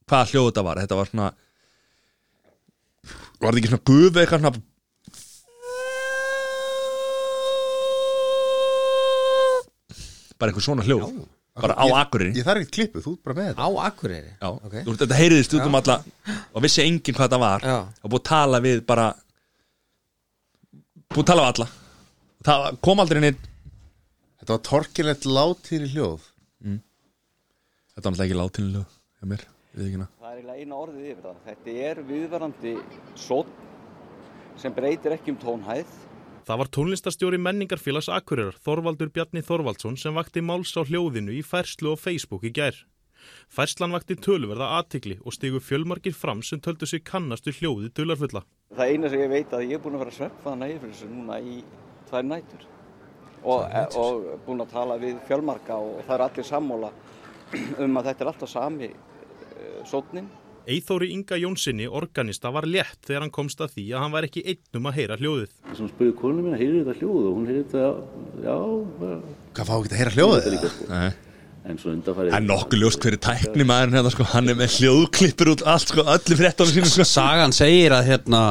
Hvaða hljóð þetta var Þetta var svona Var þetta ekki svona gufi eitthvað svona Bara einhver svona hljóð Bara á akkurinni
Ég þarf ekkert klippu, þú ert bara með þetta
Á Akureyri
Já,
Ok.
þú veist, þetta heyriðist út um alla og vissi enginn hvað það var
Já.
og búið að tala við bara búið að tala við alla það kom aldrei neitt
Þetta var torkilegt látir í hljóð
þetta var náttúrulega ekki látinlega hjá mér við ekki
Það er eiginlega eina orðið yfir það. Þetta er viðvarandi sót sem breytir ekki um tónhæð.
Það var tónlistastjóri menningarfélags Akureyrar, Þorvaldur Bjarni Þorvaldsson, sem vakti máls á hljóðinu í færslu á Facebook í gær. Færslan vakti tölverða aðtikli og stigu fjölmargir fram sem töldu sig kannastu hljóði dularfulla.
Það eina sem ég veit að ég er búin að vera að sveppa hana yfir þessu núna í tvær nætur. Og, og búin að tala við fjölmarka og það er allir sammóla um að þetta er alltaf sami eh, sótnin.
Eithóri Inga Jónssoni, organista, var létt þegar hann komst að því að hann var ekki einn um að heyra hljóðið.
Sem spurði konu mín að heyri þetta hljóð og hún heyri þetta, já,
Hvað fá ekki að heyra hljóðið? eða?
hérna
en svo undanfarið.
það er nokkuð ljóst hverju tækni maður hérna sko, hann er með hljóðklippur út allt sko, öllu fréttanum sínum sko.
Sagan segir að hérna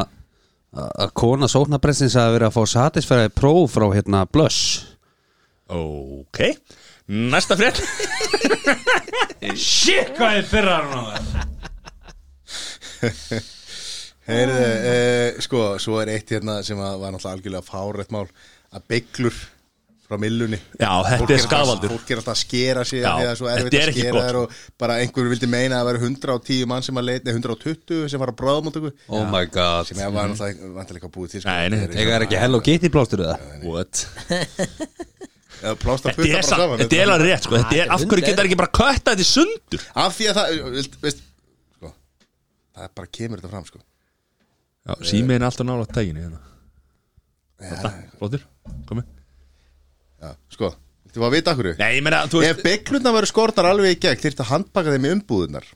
að að kona sóknaprestins að vera að fá satisfæraði próf frá hérna Blöss
ok, næsta frétt
Shit, hvað þið byrjar hún á það
Heyrðu,
Ah.
e, sko, svo er eitt hérna sem að var náttúrulega algjörlega fárætt mál að bygglur frá millunni
já, þetta er skavaldur
Fólk er alltaf að skera sig
Já,
af því að svo
þetta
erfitt
er
að
ekki
skera
gott.
þær og bara einhverju vildi meina að það væri 110 mann sem að leita, nei, 120 sem var að bráða mútu sem
Oh my god
ég var náttúrulega vantilega eitthvað búið til sko.
Nei, nei, þetta
Þegar er ekki Hello Kitty plástur það
What?
Eða plásta
þetta
putta
er
bara
samt,
saman
þetta er alveg rétt sko, þetta er, af hverju
hundleiðinlegt.
geta þær ekki bara kötta þetta í sundur
af því að það, veist, veist sko, það bara kemur þetta fram sko.
já, símiðin er alltaf nála tækinu hérna.
Ja,
Flottur, komið
já, sko, þú var að vita okkur
Nei, ég meina, þú
Ef bygglurnar væru skortar alveg í gegn þyrfti að handbaka þeim í umbúðunar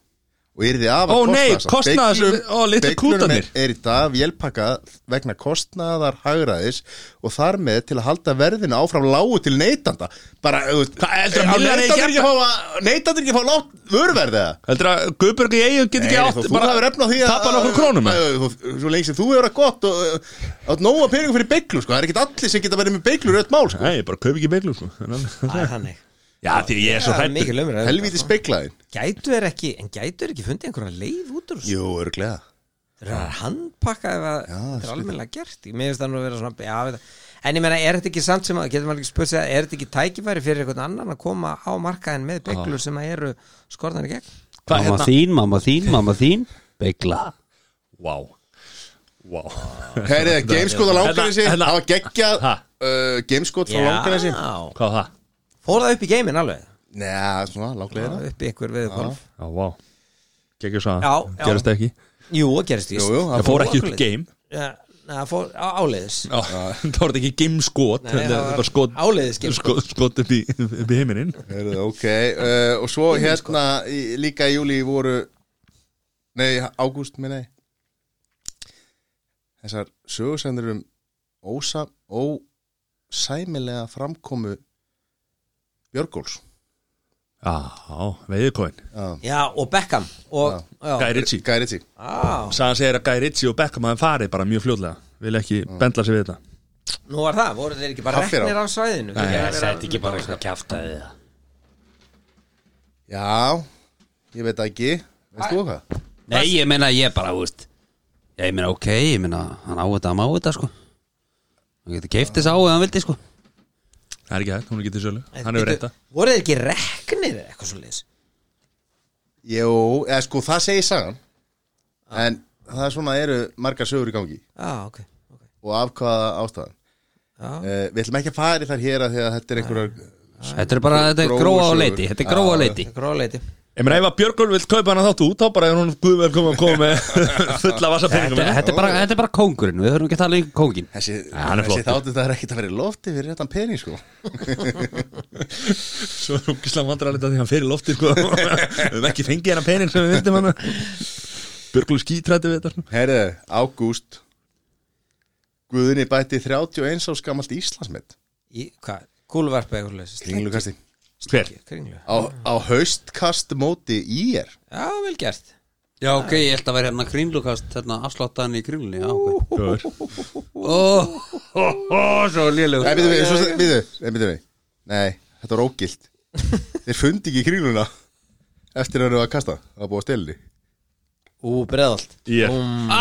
og yrði af
Ó, nei, kostnaðar- ó, litlu
er,
klútarnir.
er í dag vélpakkað vegna kostnaðar hagraðis og þar með til að halda verðinu áfram lágu til neytanda bara, þú veist,
Hvað, heldur að milljarðar
neytandir
eigi
ekki að fá neytandir ekki að fá lágt vöruverðið
Heldur að Guðbjörg í eigum get ekki
Nei,
átt
þú bara hefur efna því að
Tapa nokkur krónum
Æ,
eða?
þú- Svo lengi sem þú hefur að gott og uh, átt nóga peningur fyrir bygglur sko. það er ekkit allir sem geta verið með bygglur öll mál sko.
Nei, ég bara kaup ekki beiglu sko Já,
Það er þannig
því ég er svo
Það er
hættur
mikil umræð
helvítið speglaðin
Gætu er ekki, en gætu er ekki fundið einhverja leið út úr þessu?
Jú, örglega
Það er að handpakka ef að þetta er almennilega gert Ég meðist það nú að vera svona já, veit það. en ég meina, er þetta ekki samt sem að, getur maður ekki spurt sig að er þetta ekki tækifæri fyrir einhvern annan að koma á markaðin með
Ah.
bygglur sem að eru skorðan í gegn
Mamma
hérna-
þín, mamma þín, mamma þín Begla
Vá Vá
Herri, gameskot á langanessi
Hérna-
Það var geggjað
Ha?
uh, Gameskot frá langanessi
Hvað var það?
fór það upp í geimin alveg
Nei, svona, hérna. langlega
upp í einhver veðukolf
Já, vá Gekkur svo
Já,
að
já.
Gerist það ekki
jú, það gerist víst
Jú, jú,
Það fór ekki upp game
Já, na, það fór á, áleiðis
Já, það var ekki game skot
Nei,
heldur
það
þetta
var
var skot
áleiðis game
skot, skot upp í, upp í heiminin
Herri, ok uh, Og svo hérna í, líka í júli voru Nei, ágúst minna ég Þessar sögursendur um ósa, ósæmilega framkomu Björgóls
Já, veiðkóin
já, og Beckham og, já,
Guy Ritchie
Gæriði
á,
Sagan segir að Guy Ritchie og Beckham hafði farið bara mjög fljótlega Vil ekki bendla sig við þetta
nú var það, voru þeir ekki bara
Haffir á.
reknir á svæðinu Þeir eru að vera-
ekki bara eitthvað kjaftaði
Já, ég veit það ekki Veist þú hvað?
Nei, ég meina ég bara, þú veist Já, ég meina ok, ég meina hann á þetta, hann má þetta sko Hann getur keift þess á eða hann vildi sko
Það er ekki hægt, hún er ekki til sölu Hann hefur
Bíddu,
reynda
voru þeir ekki reknir eða eitthvað svo leiðis
Jú, eða sko það segir sagan En það er svona eru margar sögur í gangi
já, ok, ok
Og af hvaða ástæðan
Já.
uh, Við ætlum ekki að fara í þar hér að því að þetta er einhverjar
Þetta er bara, þetta er
Gróa
gróa á
sögur.
leiti Þetta er gróa á leiti
Gróleiti
Ég meina ef að Björgólf vill kaupa hana þáttu út þá bara er hún guðvel komið að koma með fulla vasa
Þetta,
peningum
þetta, er bara, þetta er bara kóngurinn, við höfum ekki að tala um kóngin
Þessi,
hann er
þessi
flottur.
þáttu það er ekkert að vera í lofti fyrir þetta pening sko
Svo er hún gísla vandrarleita því hann fer í lofti sko. Við höfum ekki fengið hennar pening sem við vildum hana Björgólf skítrætti við þetta
Herðu, ágúst Guðunni bætti 31 árs gamalt Íslandsmet
í, hvað, kúluvarpa eitthvað svo leiðis
Kringlukasti
Hver?
kringlu
Á, á haustkast móti í er
já, vel gert
Já, ok, ég held að vera hérna kringlukast hérna afsláttaðan í kringlunni, já, ok
Hver?
Ó, ó, ó, svo lélegur
Nei, byrju, byrju, svo, byrju, nei, byrju, nei. nei, þetta var ógilt Þeir fundi ekki kringluna Eftir að þau var að kasta Það var búið að stelni
ú, breðalt
Yeah.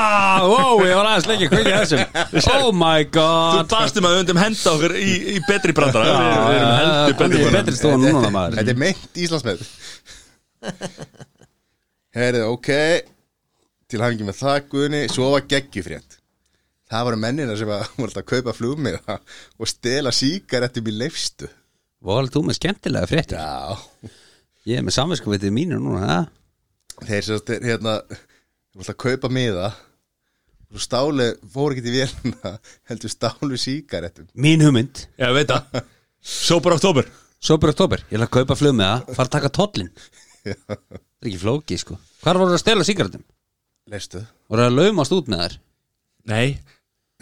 Ah, wow, ég var aðeins lengi að kveikja þessum Oh my
Þú
god
baðst um að við höndum henda okkur í, í betri brandara
Já,
Við við erum
já,
heldur
komdu
betri
í
brandara
betri stofan núna maður
Þetta er meint Íslandsmeð Herðu, ok Til hafingi með það, Guðni Svo var geggjufrétt Það voru mennina sem að voru alltaf að kaupa flugmiða og stela síkarettum í leifstu
Vol, þú með skemmtilega fréttir
Já
Ég er með samvinskuvitið mínu núna, ha?
Þeir sem sagt, hérna voru alltaf að kaupa miða og stálu, fóru ekki til vélina heldur stálu síkarettum
Mín hugmynd
Já, ég veit það Sober Oktober
Svo bara oktober, ég ætla að kaupa flug með það Fara að taka tollin Það er ekki flókið sko Hvar voru að stela sigaretum?
Leifstu
Voru að laumast út með þær?
Nei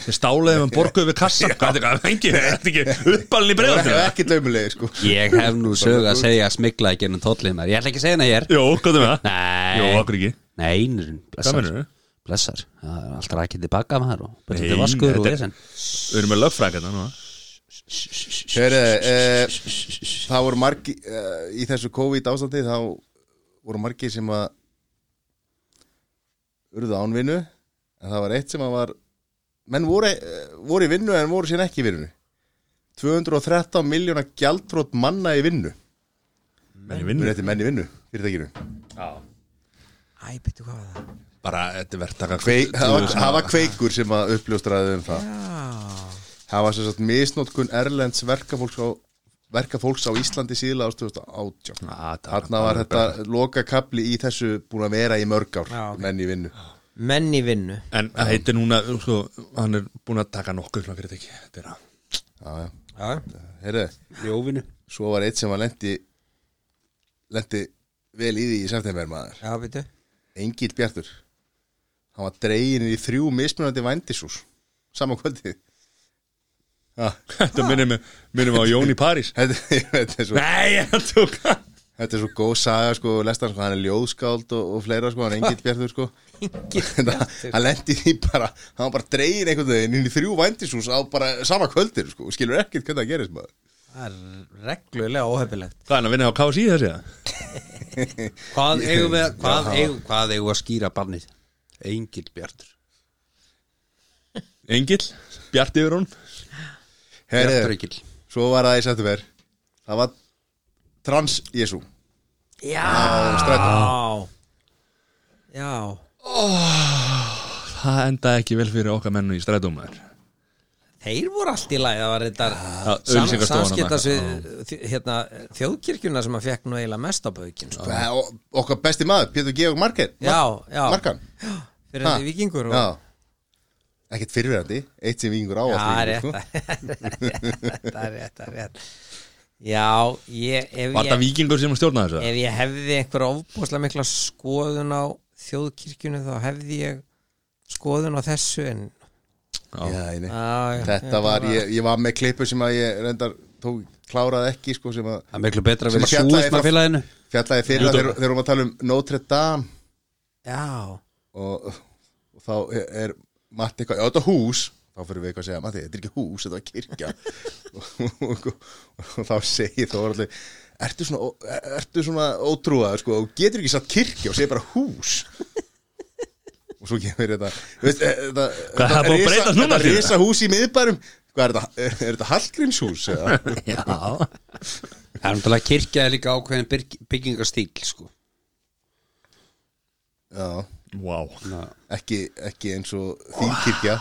Þið stálaðum um borguðu við kassa Hvað er þetta? Engi, þetta er ekki uppalinn í
Það
breyðan
er ekki laumulegi sko
Ég hef nú sög að segja að smikla ekki ennum tollin með þær Ég ætla ekki að segja hana hér
Jó, hvað er með það?
Nei
Jó, okkur ekki
Nei, einurinn
Hvað
Blessar
mennur þau?
Blessar Það er alltaf rækið tilbaka með þær og Bara
Nei,
þetta vaskur og
þetta er-
vesen
Við erum með löffræk hérna núna
Hörru, e, það voru margi e, í þessu COVID ástandi þá voru margi sem að urðu ánvinnu en það var eitt sem að var menn voru, e, voru í vinnu en voru síðan ekki í vinnu 213 miljóna gjaldrótt manna í vinnu
Menni
Munu
vinnur
þetta er menn í vinnu, fyrirtækinu
æ, betur hvað var það
Bara, þetta er verðtaka
Kveik, það, var, það var kveikur sem að uppljóstraði um það
já,
það var sem sagt misnótkun Erlends verkafólks á, verkafólks á Íslandi síðlega ást 2018 Þarna Ah, var þetta loka kapli í þessu búin að vera í mörg ár
Já, ok.
menn í vinnu
menn í vinnu
En það heitir núna, sko, hann er búin að taka nokkuð svona fyrirtæki Þetta er að
já, já.
já,
Heyrðu,
Ljófinu
svo var eitt sem var lendi lendi vel í því í september maður
já, betur
Engil Bjartur hann var dregin í þrjú mismunandi vændisús saman kvöldi já,
Þetta minnum, minnum á Jón í París
þetta, þetta, er svo,
Nei, hann tók
þetta er svo góð saga sko, lestan, sko, hann er ljóðskáld og, og fleira sko, hann Engil Bjartur sko. Þetta- hann lendi því bara hann var bara dregin einhvern veginn inn í þrjú vændisús á bara sama kvöldir sko, og skilur ekkert hvernig það gerist maður
það er reglulega óhefilegt
Hvað er hann að vinna á KSI þessi það?
Hvað eigum við Hvað eigum, hvað eigum við að skýra barnið? Engil Bjartur
Engil, Bjart yfir hún
Herðu, svo var það í september Það var Trans-Jesú
Já
strætó.
Já
Það endaði ekki vel fyrir okkar mennu í strætómaður
Þeir voru allt í lagi, það var
Já,
þetta
auglýsingastofan
samskiptas
og
við hérna, þjóðkirkjuna sem að fekk nú eiginlega mest á baukinn sko.
Það er Okkar besti maður, Pétur Georg Market
Já, já,
Markan
fyrir þetta vikingur og...
Já Ekkert fyrirverandi, eitt sem vikingur á
Já,
allt sko.
rétt,
vikingur,
það er rétt, það er rétt Já, ég, ef,
Var það
ég,
vikingur sem stjórnaði þessu?
ef ég hefði einhver ofbúslega mikla skoðun á þjóðkirkjunu þá hefði ég skoðun á þessu en
sko. Já, ég nei.
á,
Þetta var, ég, ég var með klippu sem að ég reyndar tók, kláraði ekki sko, sem að
Það er miklu betra að
Sem
vera
að fjallaði frá-
súðismafélaginu
fjallaði fyrir það
YouTube.
þegar þegar við vorum að tala um Notre Dame
Já,
og, og þá er Matti eitthvað, já þetta er hús þá fyrir við eitthvað að segja, Matti þetta er ekki hús, þetta er kirkja og, og, og, þá segir þó allir ertu svona, ertu svona ótrúað sko, og getur ekki satt kirkja og segir bara hús og svo kemur þetta veist, eh, þetta,
Hvað, það er búið að breytast núna,
þetta
Hlynur?
risa hús í miðbærum hvað er þetta, er, er þetta Hallgrímshús eða?
Já Það er náttúrulega kirkja er líka ákveðin byrg- byggingastíl sko
já,
Vá
ekki, ekki eins og þín kirkja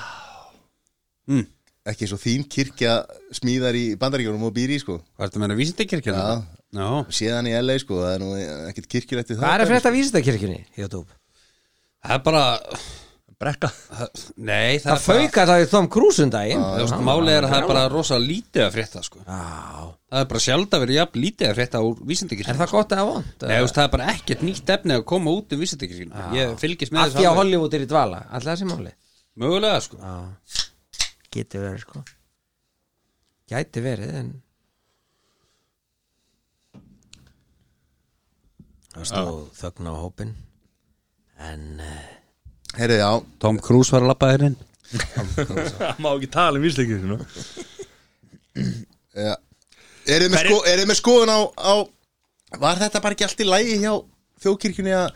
Hmm.
ekki eins og þín kirkja smíðar í bandaríkjunum og býr í sko
Hvað er þetta að meina vísindakirkjana?
Já.
Já
séðan í LA sko, það er nú ekkert kirkjulegt við
hvað er að
það
frétta vísindakirkjunni, YouTube?
Það er bara
Brekka
Nei, það,
Það faukar það í Tom Cruise um daginn
Þú veist, Málið er að það er bara rosa lítið að frétta sko. Það er bara sjálf að vera jafn lítið að frétta úr
Er
vísindakirkjana
það gott eða vond?
Nei, þú veist, það er bara ekkert nýtt efni að koma út um vísindakirkjana Ég fylgist með
Af því að
alveg.
Hollywood er í dvala, alltaf þessi máli
Mögulega sko
Getur verið sko Gæti verið en Það stóð þögn á hópin En eh,
herrið já,
Tom Cruise var að labba þér inn
Það má ekki tala um vísleikir sinu
já. Eruð með, sko, eruð með skoðun á, á var þetta bara ekki allt í lægi hjá þjóðkirkjunni að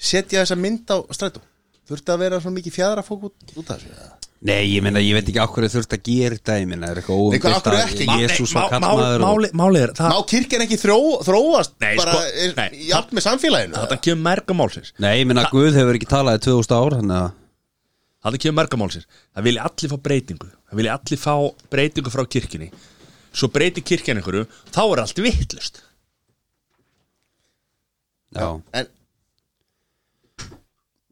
setja þessa mynd á strætó þurfti að vera svona mikið fjæðra fók út, út af þessu eða?
Nei, ég meina, ég veit ekki á hverju þurft að gera þetta Ég meina, er eitthvað
Nei, hvað, af
óumdeilt
hverju
að
ekki?
Jesús var kallmaður og-
Máli er það
má kirkjan ekki þró, þróast
Nei,
bara
sko-
sko,
nei.
í allt með samfélaginu
Þetta kemur mergamálsins
Nei, ég meina, Guð hefur ekki talað í 2000 ár Þannig að
Þetta kemur mergamálsins Það vilja allir fá breytingu Það vilja allir fá breytingu frá kirkjunni Svo breytir kirkjan einhverju Þá er allt vittlust
Já,
en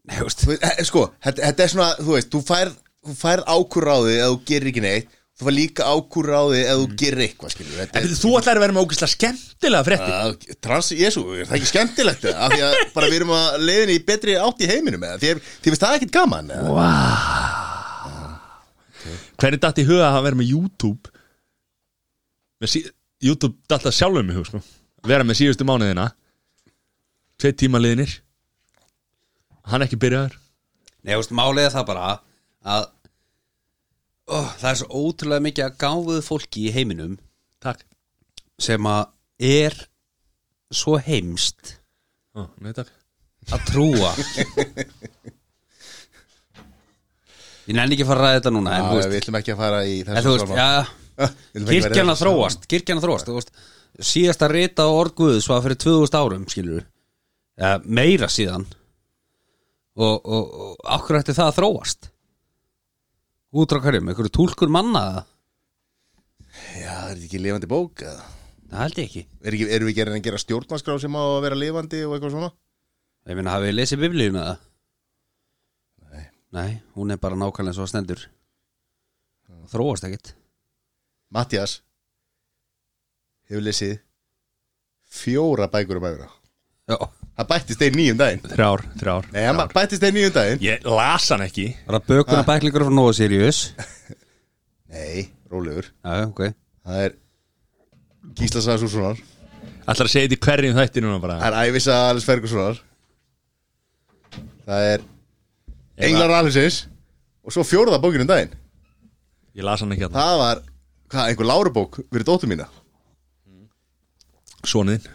Nei, þú veist,
þú veist, eh, sko, þetta, þetta er svona, þú veist, þú færð, þú færð ákurráði ef þú gerir ekki neitt þú færð líka ákurráði ef þú
Mm.
gerir eitthvað, skilur
En veitir, þú ætlar að vera með ógislega skemmtilega frétti
Að- Trans, jésu, er það ekki skemmtilegt eða? af því að bara við erum að leiðin í betri átt í heiminum eða, því að því finnst það ekkit gaman eða?
Hvernig datt í huga að vera með YouTube með sí, YouTube datt það sjálfum í hug sko. vera með síðustu mánuðina tveit tíma liðinir hann ekki byrjaður
Nei, þú veist, málið er það bara að ó, það er svo ótrúlega mikið að gáfuðu fólki í heiminum
Takk
sem að er svo heimst
Ó, Nei takk
að trúa Ég nenni ekki að fara að ræða þetta núna en,
Já,
þú
við
veist,
ætlum ekki að fara í
en þú veist,
þessu
já kirkjan að þróast, kirkjan að þróast þú veist, síðasta rita á orð Guðs var fyrir 2000 árum, skilur ja, meira síðan og, og, og akkur ætti það að þróast út á hverjum, einhverju túlkur manna eða?
já, er þetta ekki lifandi bók eða?
það held ég ekki
Er ekki, erum við ekki að reyna að gera stjórnarskrá sem á að vera lifandi og eitthvað svona
ég meina, hafið þið lesið biblíuna það? Nei Nei, hún er bara nákvæmlega svo stendur þróast ekkit
Mattias hefur lesið fjóra bækur um æfra
Já,
það bættist einn nýjum daginn
Þrjár, þrjár
Nei, hann bættist einn nýjum daginn
Ég las hann ekki
bara bökuna bæklingur frá Nóa Sirius
Nei, rólegur
Já, ok
Það er Gísla Sæðsússonar
Ætlar að segja þetta í hverjum þætti núna bara
Það er Ævisa Alice Fergusonar Það er Englar Aliceins Og svo fjórða bókinu um daginn
Ég las hann ekki hérna. að það
Það var, hvað, einhver lárubók Fyrir dóttu mína
Soniðin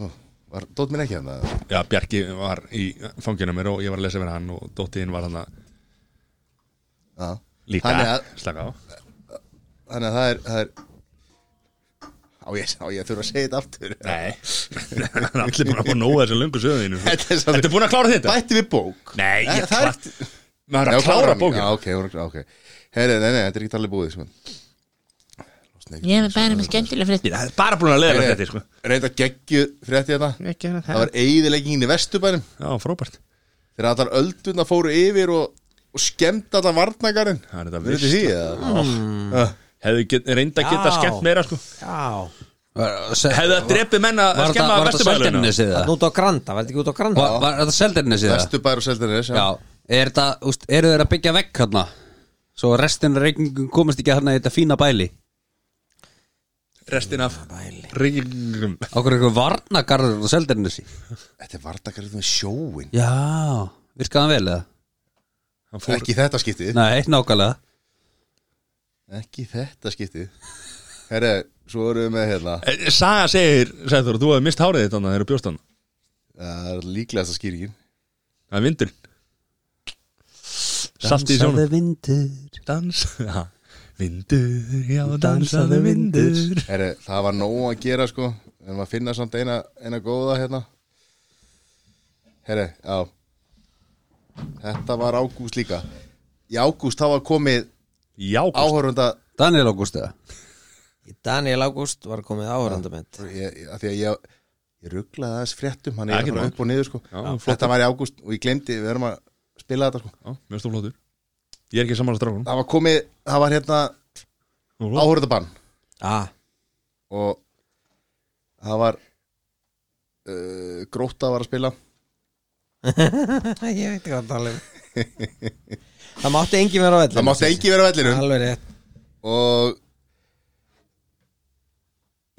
Ó, Var dóttu mín ekki hérna? hann að
Já, Bjarki var í fangina mér og ég var að lesa fyrir hann og dóttiðin var hann að
Já
líka
Þannig að
Slaka á
þannig að það er, það er á ég, á ég að þurfa að segja þetta aftur nei,
allir búin að fá nóga þessu löngu sögðinu
Þetta er svolítið-
Þetta er búin að klára þetta
bætti við bók
Nei,
Nei,
ég
það er
klart Maður er
Já,
að klára
hann.
bókina
já, ok, hún er að klára, ok Heri, nei, nei, þetta er ekki allir búið sko.
Ég er bara með skemmtilega fréttir
Það er bara búin að leiða
Heyri,
þetta sko.
reynda geggju frétti þetta
Ekki hérna það.
það var eigðileggingin í vesturbænum
já, frábært
þegar allar öldurna fóru yfir og, og skemmt allar varnagarinn
Það er þetta sko. Mm.
Vitið
veist
því, eða? Ah,
Hefðu get, reynd að geta
Já.
skemmt meira sko.
Já
Hefðu það drepið menn að
Var
skemma
þetta- var þetta
vesturbæluna
Seltjarnarnesið eða?
Þarna út á Granda, var þetta ekki út á Granda?
Var, var þetta Seldernesið það?
vesturbær og seldarinn
Já, er þetta, úst, eru þeir að byggja vekk hérna? Svo restin af reikningum komast ekki hérna í þetta fína bæli
Restin af ringum
Ákveður eitthvað varnagarður á Seldernesi
þetta er varnagarinn með sjóin
Já, virkaði hann vel eða?
fór,
ekki í þetta skiptið
Nei, nákvæmlega
ekki í þetta skiptið herri, svo erum við með hérna
Eh, Saga segir, segir þú, þú hefði mist hárið þetta þegar þú bjóst hann
það er líklegasta skýringin
Það er vindur Salt í sjónum
vindur
Dans já. Vindur, já, dansaðu vindur
herri, það var nóg að gera sko við erum að finna samt eina, eina góða hérna herri, já þetta var ágúst líka í ágúst þá var komið
Já, kost,
áhörunda
Daniel Ágúst eða?
Í Daniel Ágúst var komið áhörandament
ég, ég- af því að ég, ég rugglaði aðeins fréttum hann
Ja,
er
ekki
að fara
mál.
upp og niður sko
Já, flott.
þetta var í ágúst og ég glemdi við erum að spila þetta sko
já, mjög stóð flottur Ég er ekki saman að strákunum
það var komið, það var hérna áhörðabann
ah,
og það var uh, gróta var að spila
Ég veit ekki hvað að tala um Það mátti engin vera á vellinu
það mátti engi vera á vellinum
Alveg rétt
og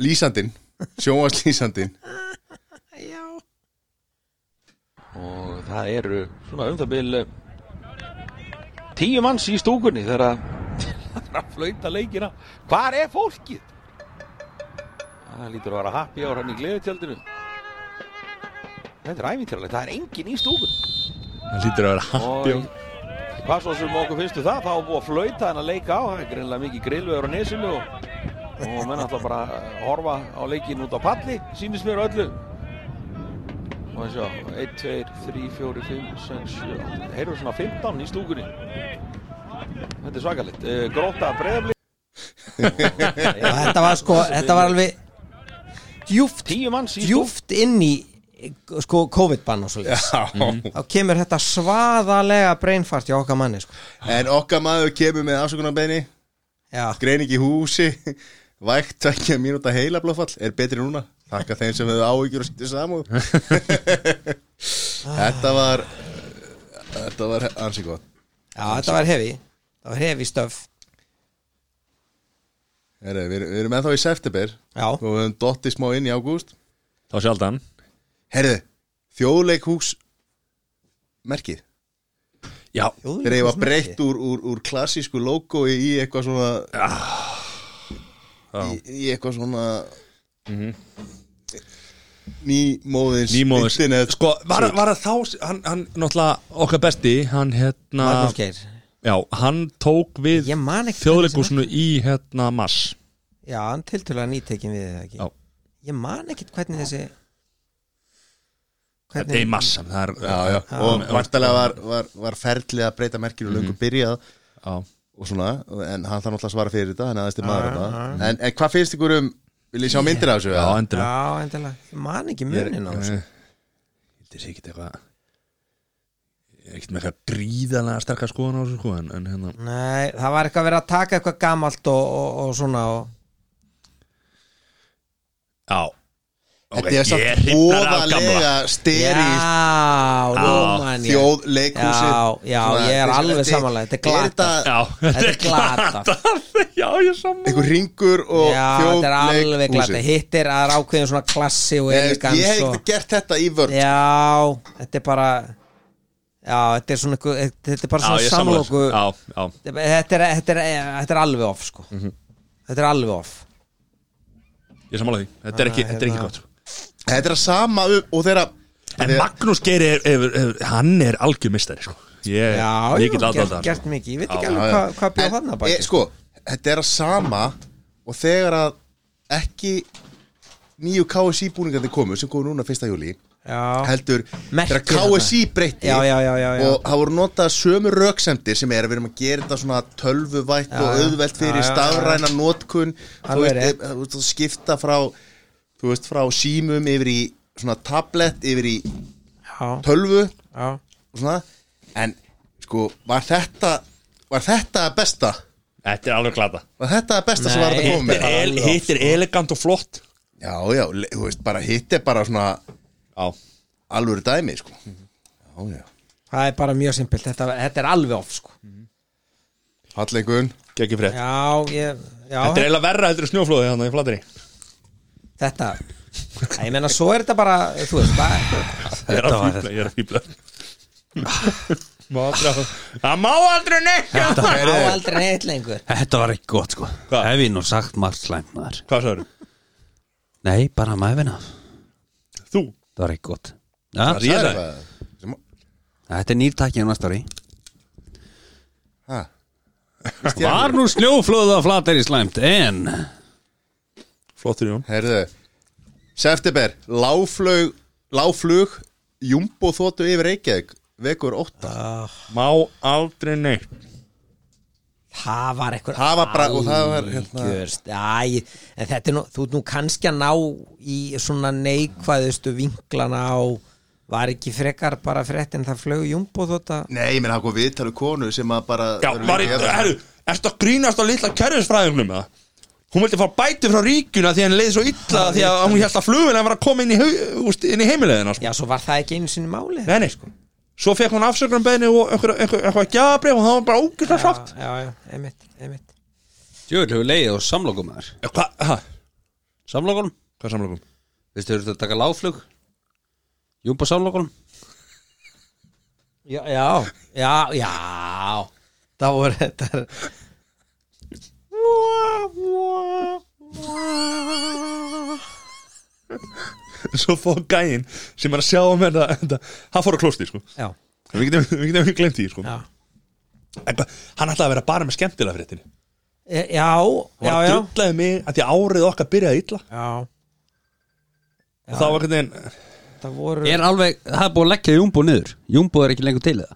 lýsandinn sjónvast lýsandinn
og það eru svona um það bil eh, tíu manns í stúkunni þegar að þegar að flauta leikina hvar er fólkið? það lítur að vera happy ára hann í gleðutjaldinu þetta er æfintjálfilegt, það er engin í stúkun
Það lítur að vera happy og...
hvað svo sem okkur finnstu það þá er búið að flauta hann að leika á það er greinlega mikið grillveður á nesinu og, og menn alltaf bara að horfa á leikin út á palli, sýnist mér á öllu og þess að 1, 2, 3, 4, 5, 6, 7 átta. þeir eru svona 15 í stúkunni þetta er svakalitt uh, gróta breyðabli
Já, Þetta var sko, þetta var alveg djúft,
10 manns í stúkunni
djúft inn í sko COVID-bann og svo leys
Mhm.
Þá kemur þetta svaðalega breinfart hjá okkar manni sko
en okkar maður kemur með afsökunarbeini
Já,
greining í húsi vægt tvekja mínúta heila blóðfall er betri núna, þakka þeim sem hefur áhyggjur og sýttir samúð þetta var þetta var ansi gott
já þetta var hefi Það var hefi stöf
Heri, við, við erum ennþá í september
Já,
og við höfum dottið smá inn í ágúst
Þá sjaldan
herðu, þjóðleikhús merkið
Já,
þegar ég var breytt úr, úr, úr klassísku logo í í eitthvað svona
Ah,
í, í eitthvað svona
Mhm.
nýmóðins
nýmóðis
internet
Sko, var, var það þá hann, hann, náttúrulega okkar besti Hann, hérna
Magnús Geir
Já, hann tók við
Ég man ekki
þjóðleikúsinu í, hérna, mass
Já, hann tiltölulega nýtekin við þetta ekki
Já.
Ég man ekkit hvernig þessi
Þetta er í mass Það er,
já, já.
Ah,
og vartalega var, var, var ferli að breyta merkinu löngu
Mhm.
byrjað
Já.
og svona, en hann þarf náttúrulega að svara fyrir þetta hann
Ah,
aðeins til maður þetta en, en hvað finnst ykkur um, vil ég sjá myndir af þessu?
já,
eða?
endilega Eh,
Já, endilega, ég man ekki munin á þessu
Þetta er ekkert eitthvað ekkert með eitthvað gríðanlega sterkar skoðan á þessu sko en, en hérna
Nei, það var eitthvað verið að taka eitthvað gamalt og, og, og svona og...
Já
Þetta er samt
hrifnar af gamla.
óðalega steri
Já, nú man ég
þjóð leikhúsi
Já, já, ég er alveg samanlega, þetta er glatað.
Já,
Þetta er glata
Já, ég er saman
einhver ringur og
Já, þetta er alveg glata
þjóðleikhúsi
Hitt er að það er ákveðin svona klassi og
Ég ég
elegans
hef
og...
ekki gert þetta í vörn
Já, þetta er bara Já, þetta er svona eitthvað- Þetta er
Já, ég
bara svona
er saman
samlóku
Já, já
þetta, er- þetta, er- þetta er alveg off sko.
Mhm.
Þetta er alveg off
Ég er saman því Þetta er ekki,
Ah,
þetta er ekki
hérna.
gott sko.
Þetta er að sama um- og þeirra
En Magnús Geir er, er, er Hann er algjör mistari sko Ég, ég
Já, já,
get
gert,
aðdáð það
gert mikið Ég veit ekki
Já,
alveg hvað hva bjóð þarna baki
Sko, þetta er að sama og þegar að ekki nýju KSI búningandi komu sem komu núna 1. júli
Já.
heldur
Merkið
þegar KSI
þarna.
breytti
Já, já, já, já, já.
og það voru notað sömu röksemdir sem er að við erum að gera þetta svona tölvuvætt
Já,
og
já.
auðvelt fyrir
Já, já, já.
stafræna notkun þú
Alveg
veist,
rétt.
e- þú veist, að skipta frá þú veist, frá símum yfir í svona tablet yfir í
já.
tölvu
já.
og svona en sko, var þetta var þetta að besta
Þetta er alveg glata
var þetta að besta sem var að koma
Hitt er el-
með
hitt er elegant og flott
já, já, le- þú veist, bara hitt er bara svona
já. Mhm.
alvöru dæmi sko. já, já,
það er bara mjög simpelt þetta, þetta er alveg off sko.
hallengun
Gekki frétt
já, ég, já,
Þetta er eiginlega verra heldur en snjóflóðið þannig í flatri
þetta Æ, ég meina svo er þetta bara þú veist, það,
Ég er að fýbla, ég er að fýbla Má aldrei Það má aldrei neitt
þetta
Hvað
á aldrei neitt lengur
Þetta var ekki gott sko Hef ég nú sagt margt slæmnaðar
sagður?
Nei, bara mæfina
Þú?
Það var ekki gott ja,
Það er ég sagði.
Þetta er nýrtækja á næsta ári
Ha?
Var nú snjóflóða flatir í slæmt En
Flottur Jón
herðu september, láflug láflug, jumbo þóttu yfir Reykjavík, vekur 8
Má aldrei neitt
það var eitthvað
Það var bara- og það var, hérna-
æ, en þetta er nú, þú ert nú kannski að ná í svona neikvæðustu vinglana á var ekki frekar bara frétt en það flög jumbo þótt að
nei, ég menn hafa viðtalið konu sem að bara hérna.
Já, var ég, herru, ertu að grínast á litla kerfisfræðingnum eða? Hún vildi fá bæti frá ríkuna því að henni leiði svo illa því að hún held að flugin að vera að koma inn í, hau- úst, inn í heimilegina sko.
já, svo var það ekki einu sinni máli
Nei, nei, sko Svo fekk hún afsökunum beðinu og einhver- einhver- eitthvað gjafabrif og það var bara ógæslega sátt
já, já, einmitt, einmitt
Jöfnir hefur leiðið á samlokum þar
Eh, Hvað, ha,
Samlokunum?
hvað samlokum?
Veistu, hefur þetta að taka láflug? Júmpa samlokunum?
já, já, já, já það voru þetta
Svo fóð gæinn sem er að sjá um þetta, þetta hann fór að klósti sko
já,
Við getum, við getum ekki glemt því sko
já
En hvað, Hann ætlaði að vera bara með skemmtilega fréttinni
E- Já,
Hún var
já,
að
já
drullaði mig að því árið okkar byrjaði illa
Já,
og það var hvernig en
það voru
Er alveg, það er búið að leggja Júmbo niður Júmbo er ekki lengur til það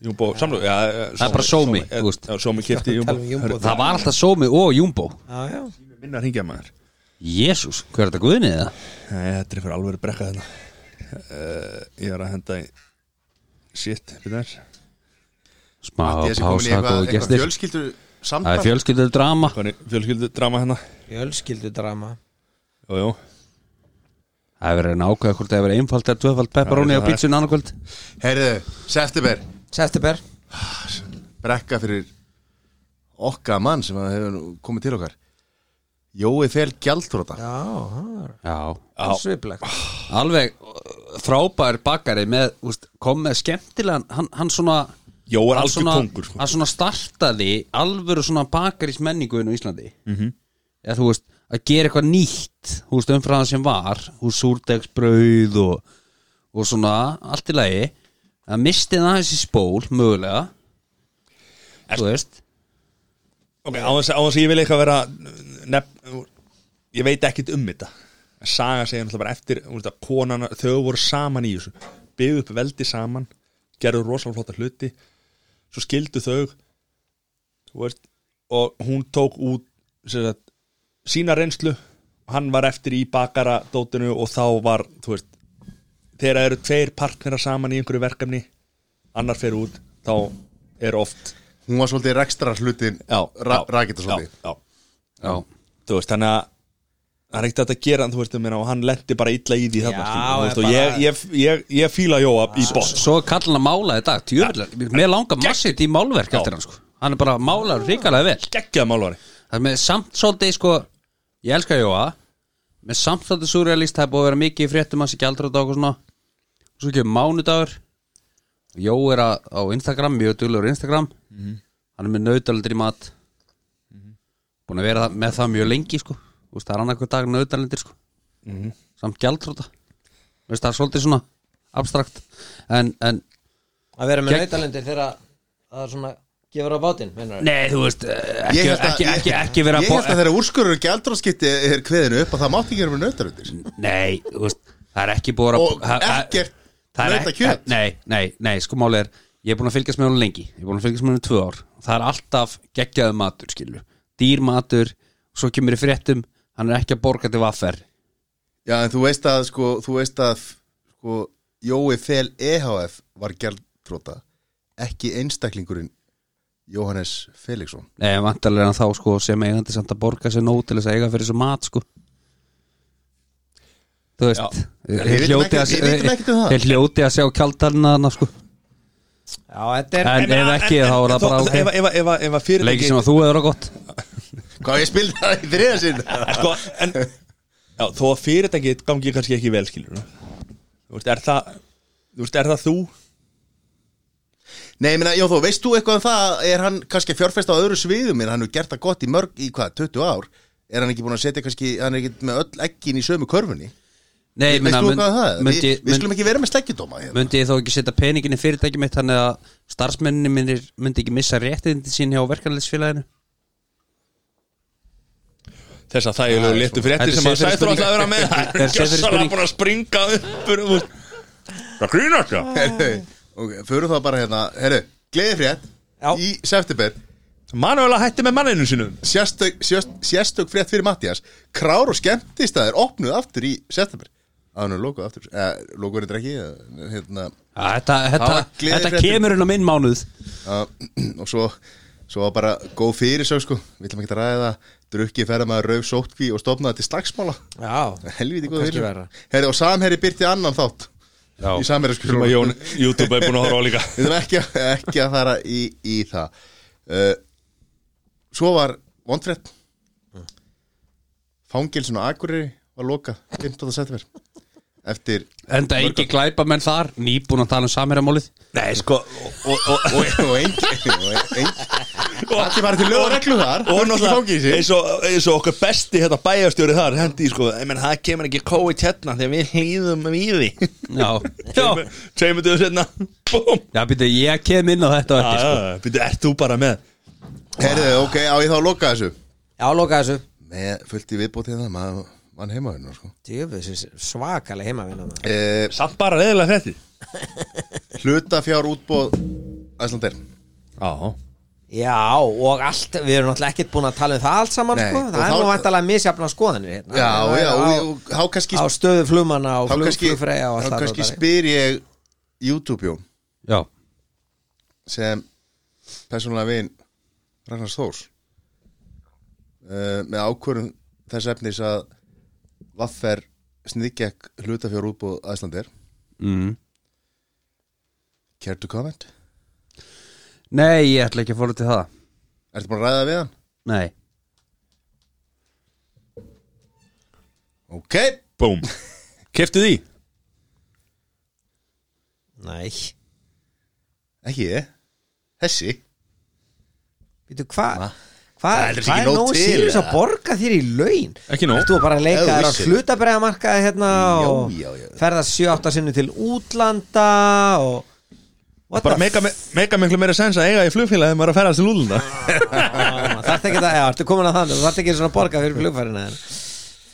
Júmbó, samlug já, eh,
Það er bara sómi,
eh,
þú veist.
já, Sómi kipti Júmbó
Tala um Jumbo.
Það var alltaf Sómi og Júmbo
Já, já
Minna að ringja maður
Jésús, hver er þetta guðnið það?
Nei, þetta er fyrir alveg brekka þetta uh, Ég er að henda í Shit, við þær
Smá pása, góðu
eitthvað
gestir
fjölskyldur
Það er
samtal
fjölskyldur drama
Hvernig fjölskyldu drama hérna
Fjölskyldu drama
Jú, jú
Það er verið að ákveða hvort það er verið einfald eða tvöfald pepperoni
Já,
á pítsun annarkvöld
herðu, september
September
brekka fyrir okkar mann sem að hefur nú komið til okkar Jói Fel Gjaldróta
Já, það er-
Já,
það er sviplegt
alveg uh, frábær bakari með, úst, kom með skemmtilegan hann, hann svona
Jó er
hann
algjör
svona,
kongur sko.
hann svona startaði alvöru svona bakaris menningu inn á Íslandi -hmm.
Mhm.
eða þú veist, að gera eitthvað nýtt þú veist, umfram það sem var hús súrdegsbrauð og, og svona, allt í lagi að misti það þessi spól, mögulega þú veist
Ok, á þess á þess að ég vil eitthvað vera nefn, Ég veit ekkit um þetta En Saga segja náttúrulega bara eftir þú veist, að konana, Þau voru saman í þessu Byggðu upp veldi saman Gerðu rosalega flotta hluti Svo skildu þau þú veist, Og hún tók út sem sagt, Sína reynslu og Hann var eftir í bakaradótinu Og þá var, þú veist Þegar það eru tveir partnera saman í einhverju verkefni Annar fer út Þá er oft
hún var svolítið rekstra hlutin
já, já,
rakita svolítið
já, já,
já,
þú veist, þannig að það er ekkert hægt að gera hann, þú veist, ég meina, og hann lendi bara illa í því þarna,
Já,
skilur, þú veist,
er
og ég,
bara-
ég, ég, ég fíla Jóa í bótt
svo kallan að mála í dag tjöfnilega, mér langar massið í málverk eftir hann sko, hann er bara málar ríkalega vel
geggjað málvari,
Það er með samt svolítið sko Ég elska Jóa Með samt svolítið surrealist Það er búið að vera mikið í fréttum hans í gjaldröð og svona Svo kemur mánudagur Jó er að, á Instagram Mjög duglur Instagram
Mhm.
Hann er með nautalundir í mat Búin að vera það- með það mjög lengi sko Úst, Það er annað hver dag nautalundir sko
Mhm.
Samt gjaldröða Veist, Það er svolítið svona abstrakt En, en
Að vera með
Gegn-
nautalendir þegar að- það er svona gefur á bátinn meinarðu?
Nei, þú veist, eh, ekki,
Ég held að-
ekki,
ég-
ekki, ekki vera
Ég held að þeirra úrskurur gjaldrarskipti er kveðinu upp að það mátti ekki vera með nautaröndir
Nei, þú veist, það er ekki búið að
Og
það- það-
ekkert
það er ekki-
nautakjöt.
Nei, nei, nei, sko málið er Ég er búin að fylgjast með hún lengi Ég er búin að fylgjast með hún í tvö ár Það er alltaf geggjaðu matur, skilju Dýr matur, svo kemur í fréttum Hann er ekki að borga til vaffer
Já, en þú veist að, sko, þú veist að sko, Jói Fel EHF var gjaldróta ekki einstaklingurinn Jóhannes Felixson
Nei, vantarlega er hann þá sko sem eigandi samt að borga sér nóg til þess að eiga fyrir þessu mat sko Þú veist
Já.
þeir
Við vitum
hljóti
ekki-
að-
við vitum ekkert um það.
Þeir hljóti að sjá kjaldarinn að sko
Já, þetta er
En ef ekki þá er það bara ok. Leikir sem að þú hefur á gott
Hvað ég spildi það í þriða sinn
sko, en, já, Þó að fyrirtækið gangi kannski ekki vel skilur Þú veist, er það Þú veist, er það þú?
Nei, ég meina, já, þú veist þú eitthvað um það er hann kannski að fjárfesta á öðru sviðum en hann hefur gert það gott í mörg, í hvað, 20 ár er hann ekki búin að setja kannski, hann er ekki með öll ekkin í sömu körfunni
Nei,
Veist þú hvað það er?
myndi,
Við- við skulum ekki vera með sleggjudóma hérna.
Myndi ég þá ekki setja peningin í fyrirtæki mitt Þannig að starfsmenninni minnir myndi ekki missa réttindi sín hjá verkanleysfélaginu
Þess að það er léttu fréttir sem að sættur alltaf að vera með Það er gjössalega búin að springa upp um, Það grínast já
Ok, förum þá bara hérna, herru, gleði frétt í september
Manuela hætti með manninu sínum
Sérstök, sérst, sérstök frétt fyrir Mattias Krár og skemmtistæðir opnuð aftur í september Það er nú lókuð aftur, eh, lókuð er þetta ekki, eh, hérna
Ja, Þetta,
Það
þetta,
var gleðifréttir.
þetta kemur inn á minn mánuð
Já, og svo, svo var bara góð fyrir sig sko, við ætlum ekki að ræða það drukki ferða maður rauf sótkví og stofnaði til slagsmála
Já,
helviti góð
Og kannski
fyrir
verra.
Heri, og samherri byrti annan þátt
Já.
í samherri sko
Sem að Jón- YouTube er búin að horfa á líka.
við þurfum ekki, að- ekki að fara í, í það uh, svo var vondfrett fangilsin á Akureyri var lokað 15. september eftir
Enda engi glæpamenn þar Nýbúin að tala um samherjamálið
Nei, sko Og, og, og,
og engi Allir bara til lög og reglu þar
og
Þú ert ekki í
náttúrulega
fangelsi.
eins og, eins og okkar besti hérna, bæjarstjóri þar hendi í sko, ég menn það kemur ekki COVID hérna þegar við hlýðum við því
Já,
tveimur döðu setna búm
já býttu, ég kem inn á þetta á eftir, sko.
Býtu, ert þú bara með
Herðu,
Ah.
ok, á ég þá að loka þessu
Já, loka þessu
Með fullt í viðbótið það, maður vann heima hérna sko.
Djöfus, svakalega heimavinna maður.
eh,
Samt bara reyðilega þetta
Hlutafjár útbóð Æslandir
Já
Já, og allt, við erum náttúrulega ekkert búin að tala um það allt saman
Nei,
sko.
og
Það er
þá-
nú vantalega misjafna skoðanir hérna.
Já,
Það er
já,
á,
og- og þá kannski
á stöðu flugmanna og
Þá
flug,
kannski,
flugfreyja og
þá
allt það
kannski
dótari.
spyr ég YouTube Jón
Já.
sem persónulega vin Ragnars Þórs eh, með ákvörðum þess efnis að Vaffer sniðgekk hlutafjár útbóð Æslandir
mm.
Care to comment?
Nei, ég ætla ekki að fóra til það
Ertu búin að ræða við hann?
Nei
Ok,
búm keftu því
Nei,
ekki ég Þessi
veitu hvað
Það
Hvað
er heldur ekki
hva er
nóg
nóg
til,
sírus að
eða?
borga þér í laun?
Ekki nóg.
Ertu bara að
Ef
leika
þú
þér á
vissir.
hlutabræðamarkaði hérna og
já, já.
ferða 7-8 sinni til útlanda og What
bara
the
mega, mega miklu meira sens að eiga í flugfélagi þegar maður er að ferðast til úlunda
f- Þarf ekki það, já, ertu komin að þannig, þarf ekki svona að borga fyrir flugfærina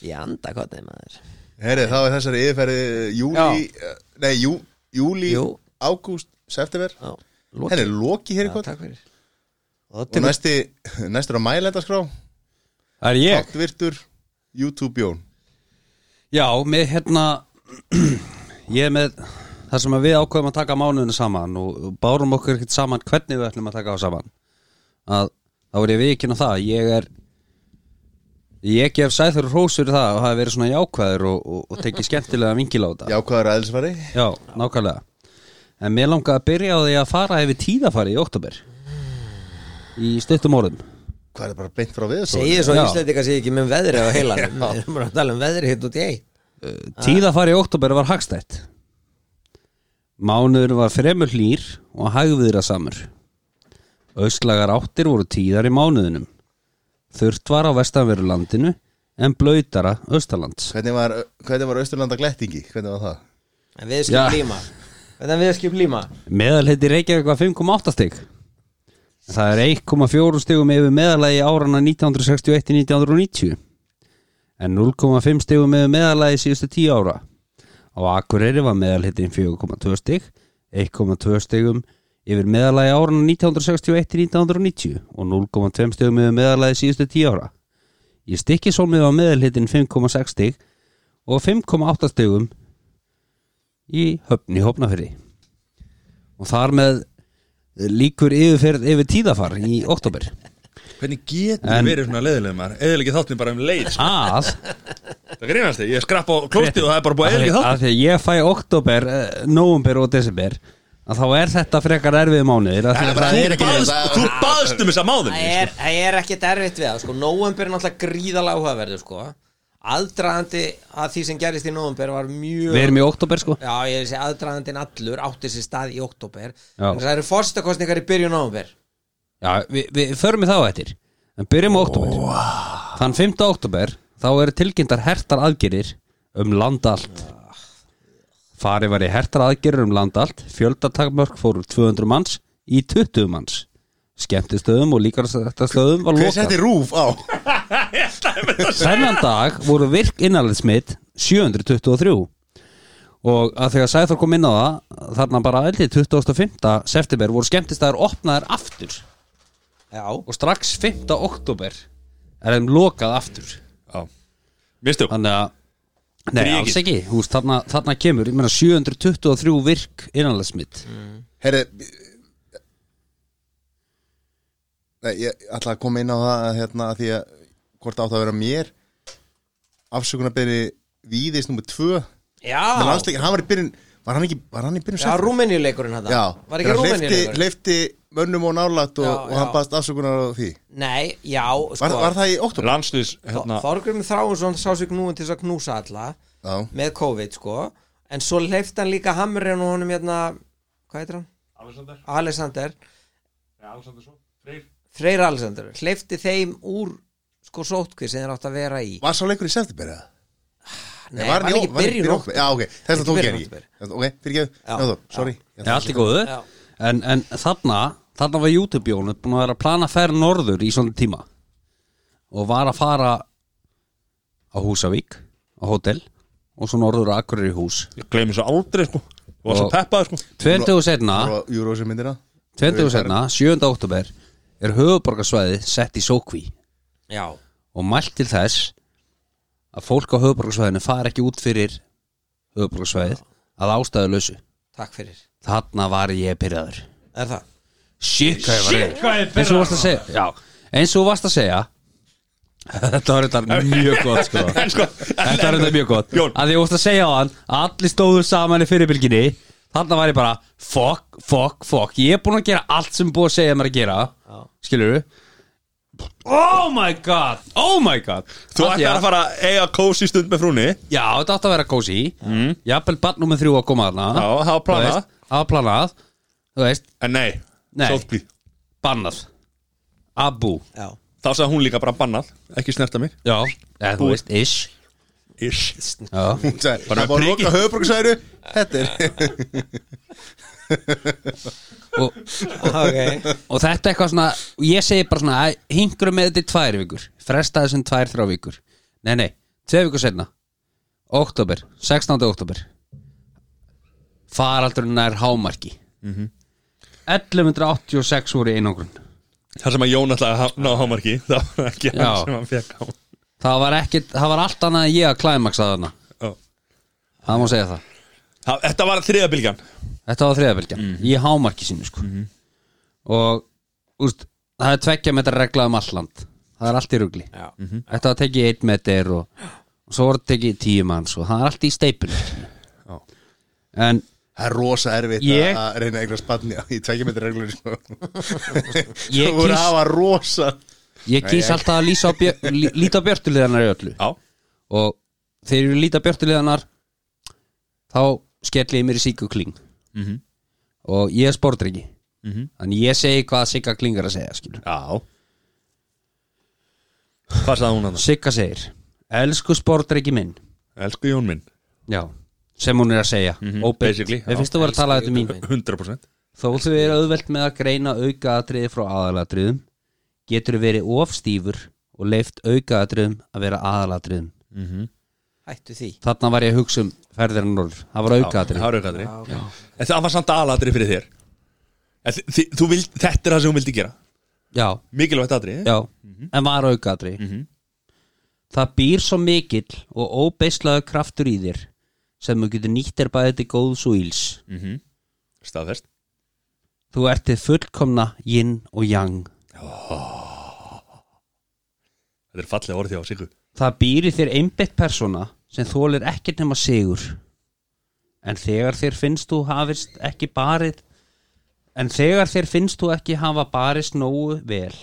Ég anda hvað þeim maður
Herri, þá er þessari yfirferði júli, eh, nei, jú, júli,
Jú.
ágúst, september
Já,
Herri, loki hér í
Já,
kvöld
takk fyrir Og
Og
til
næsti, næstur á mælendaskrá
Það er ég
Háttvirtur, YouTube Jón
Já, með hérna Ég er með Það sem að við ákveðum að taka mánuðinu saman og og bárum okkur ekkert saman hvernig við ætlum að taka á saman að þá er ég vikin á það ég er ég gef sæður hrósur það og það hafi verið svona jákvæður og, og, og tekið skemmtilega vingil á þetta
Já, hvað er aðeinsfari?
Já, nákvæmlega En mér langaði að byrja á því að fara yfir tíðafari í oktober Í stuttum orðum
Hvað er bara beint frá við?
Segir svo
Já.
Íslandika sé ekki með veðri á heilanum Við erum bara að tala um veðri hitt út í ei
Tíðafari í oktober var hagstætt Mánuður var fremur hlýr og hægviðra samur Östlagar áttir voru tíðar í mánuðinum Þurft var á vestanveru landinu en blöytara austalands
Hvernig var, hvernig var Austurlanda glettingi? Hvernig var það?
En við skip
Já.
líma Þannig að við skip líma
Meðal heiti Reykjavík var 5,8 stig Það er 1,4 stegum yfir meðalagi árana 1961-1990 en 0,5 stegum yfir meðalagi síðustu 10 ára. Á Akureyri var meðalhittin 4,2 steg, 1,2 stegum yfir meðalagi árana 1961-1990 og 0,2 stegum yfir meðalagi síðustu 10 ára. Í stikkisólmið var meðalhittin 5,6 steg og 5,8 stegum í höfn í hófnafyrri. Og þar með líkur yfirferð yfir tíðafar í oktober
Hvernig getur
En-
en... verið svona leiðilegum maður? Eða ekki þátt mér bara um leið sko.
Að?
Það grínast þig, ég skrapp á klósti og það er bara búið að eða ekki
Af
þátt
því að ég fæ oktober, eh, november og desember að þá er þetta frekar erfið mánuðir af því að það er
Þú baðst- Þú baðst um þess að máðum
Það er, það er ekki derfitt við það sko. Nóvember er náttúrulega gríðalega áhugaverður sko. Aðdraðandi að því sem gerist í nóvember var mjög
Við erum í oktober sko
Já, ég er þessi aðdraðandinn allur átti sér stað í oktober
Já.
En það eru fórstakostningar í byrjun nóvember
Já, við, við förum í þá eftir En byrjum á oktober Þann 5. oktober þá eru tilkynntar hertar aðgerir um land allt Farið var í hertar aðgerir um land allt Fjöldatakmörk fór úr 200 manns í 20 manns Skemmtistöðum og líkarastöðum var
Hver
lokað
setti rúf á?
Þennan dag voru virk innanlandsmitt 723 og að þegar Sæþór kom inn á það þarna bara eldið 25. september voru skemmtistæður opnaðir aftur
Já.
og strax 5. oktober er þeim lokað aftur
Já. Mistu
Þannig að Nei,
Þrír
alls
ekki.
ekki, húst, þarna, þarna kemur ég meina 723 virk innanlandsmitt
Herri Nei, ég ætla að koma inn á það að, hérna, að því að hvort átt að vera mér afsökunarbyrði Víðis nummer 2
Já.
með landsleikin, hann var í byrjun var hann, ekki, var hann í byrjun
Já, Rúmeníuleikurinn þetta
Já,
Var ekki
leifti,
Rúmeníuleikurinn?
leifti mönnum og nálægt og,
Já,
og hann
já.
baðst afsökunar á því
Nei, já sko,
var, var það í oktober?
Landslýs
hérna... Þorgrim Þráinsson sá sig knúin til þess að knúsa alla
Já.
með COVID sko en svo leifti hann líka hamrin og honum hérna hvað heitir hann?
Alexander.
Alexander
Já, Alexander svo Freyr
Freyr Alexander leifti þeim úr sko sótkvið sem þeir átt að vera í
Var sá leikur í september eða?
Nei,
var hann í ó- var hann
ekki
í
byrjun
byrjun
okkur
október? Já, ok, þess að
Ekki
tók ég
byrjun
ekki Ok, fyrir ekki, já, þú, sorry
Já, allt í góðu
Já.
en, en þarna, þarna var YouTube-jónu búin að vera að plana að færa norður í svona tíma og var að fara á Húsavík á hótel og svo norður að akkurir í hús
Ég gleymi svo aldrei sko Þú var svo
Og-
peppað sko
20 setna
Júrósi myndina
20 setna, 7. oktober er höfuborgarsvæði sett í sókví
Já,
og mælt til þess að fólk á höfuborgarsvæðinu fara ekki út fyrir höfuborgarsvæðið að ástæðu lausu
takk fyrir
þarna var ég pyrraður
Er það?
Shit, hvað ég var
Shit, hvað ég
reyður Eins og þú varst að segja Já, eins og þú varst að segja Þetta var þetta mjög gott sko
En sko,
Þetta var þetta mjög gott
Jón.
Að ég varst að segja á hann Allir stóðu saman í fyrirbylginni Þarna var ég bara Fuck, fuck, fuck Ég er búinn að gera allt sem búið að segja mér að gera Skilur
Oh my god
Oh my god
Þú
Af því
ætlar að fara að eiga kósi stund með frúni
Já, þetta átti að vera kósi mm. Jafnvel barn nummer þrjú að koma þarna
Já, það var
Þú
planað.
veist, Það var planað Þú veist,
En nei,
Nei.
sótkví
bannað Abu
Já,
Þá sagði hún líka bara bannað, ekki snerta mig
Já, eða, þú veist, ish
Ish
Já
Hún sagði,
Bara
Það var að
priki.
loka höfuborgsvæðinu Þetta er
og,
ok
og þetta er eitthvað svona og ég segi bara svona að hingurum með þetta í tvær vikur fresta þessum tvær, þrjá vikur nei, nei, tvei vikur senna oktober, 16. oktober faraldurinn nær hámarki Mhm. 1186 voru í einangrun
Það sem að Jón ætlaði að ha- ná hámarki Það var ekki hann
Já.
sem hann fekk á
það var, ekkit, það var allt annað en ég að klæmaksa þarna
Já.
það má segja það
Það- Þetta var þriða bylgjan
Þetta var þriðabylgjan í hámarki sínu sko. og úst, það er tveggja metra regla um allt land það er allt í rugli
Já.
Þetta var tekið einn metr og, og svo var tekið tíu manns og það er allt í steipun en
Það er rosa erfitt
Ég-
að- að reyna einhver spanni í tveikjumetri reglur sko.
Ég
Þú voru
kýs-
að hafa rosa
ég kýs alltaf að lýsa á björ, lí, líta á björtuliðanar í öllu
Já.
og þegar ég líta á björtuliðanar þá skelli ég mér í Sigga Kling
Mhm.
og ég er sportrengi
Mhm.
þannig ég segi hvað Sigga Kling er að segja skilur
Já Hvað sagði hún hann?
Sigga segir Elsku sportreiki minn
Elsku Jón minn
Já, sem hún er að segja mm
Mhm, basically,
Mér
já.
finnst þú vera að tala þetta mín
100%
Þó þú er auðvelt með að greina aukaatriði frá aðalatriðum getur verið ofstífur og leift aukaatriðum að vera aðalatriðum
Mhm.
Hættu því
Þarna var ég að hugsa um ferðirinn norður Það var aukaatriði
það var aukaatriði. En það var samt aðalatri fyrir þér En þi- þi- þú vild, Þetta er það sem hún vildi gera
Já
Mikilvægt aðri
Já,
Mhm.
en var aukaðri Það býr svo mikill og óbeislaðu kraftur í þér sem þú getur nýtt er bæði til góðs og íls
Mhm. Staðfest
Þú ert til fullkomna yin og yang
Þetta er fallega orðið á Sigur
Það býr í þér einbett persóna sem þólir ekkert nema sigur en þegar þér finnst þú hafist ekki barið en þegar þér finnst þú ekki hafa barist nógu vel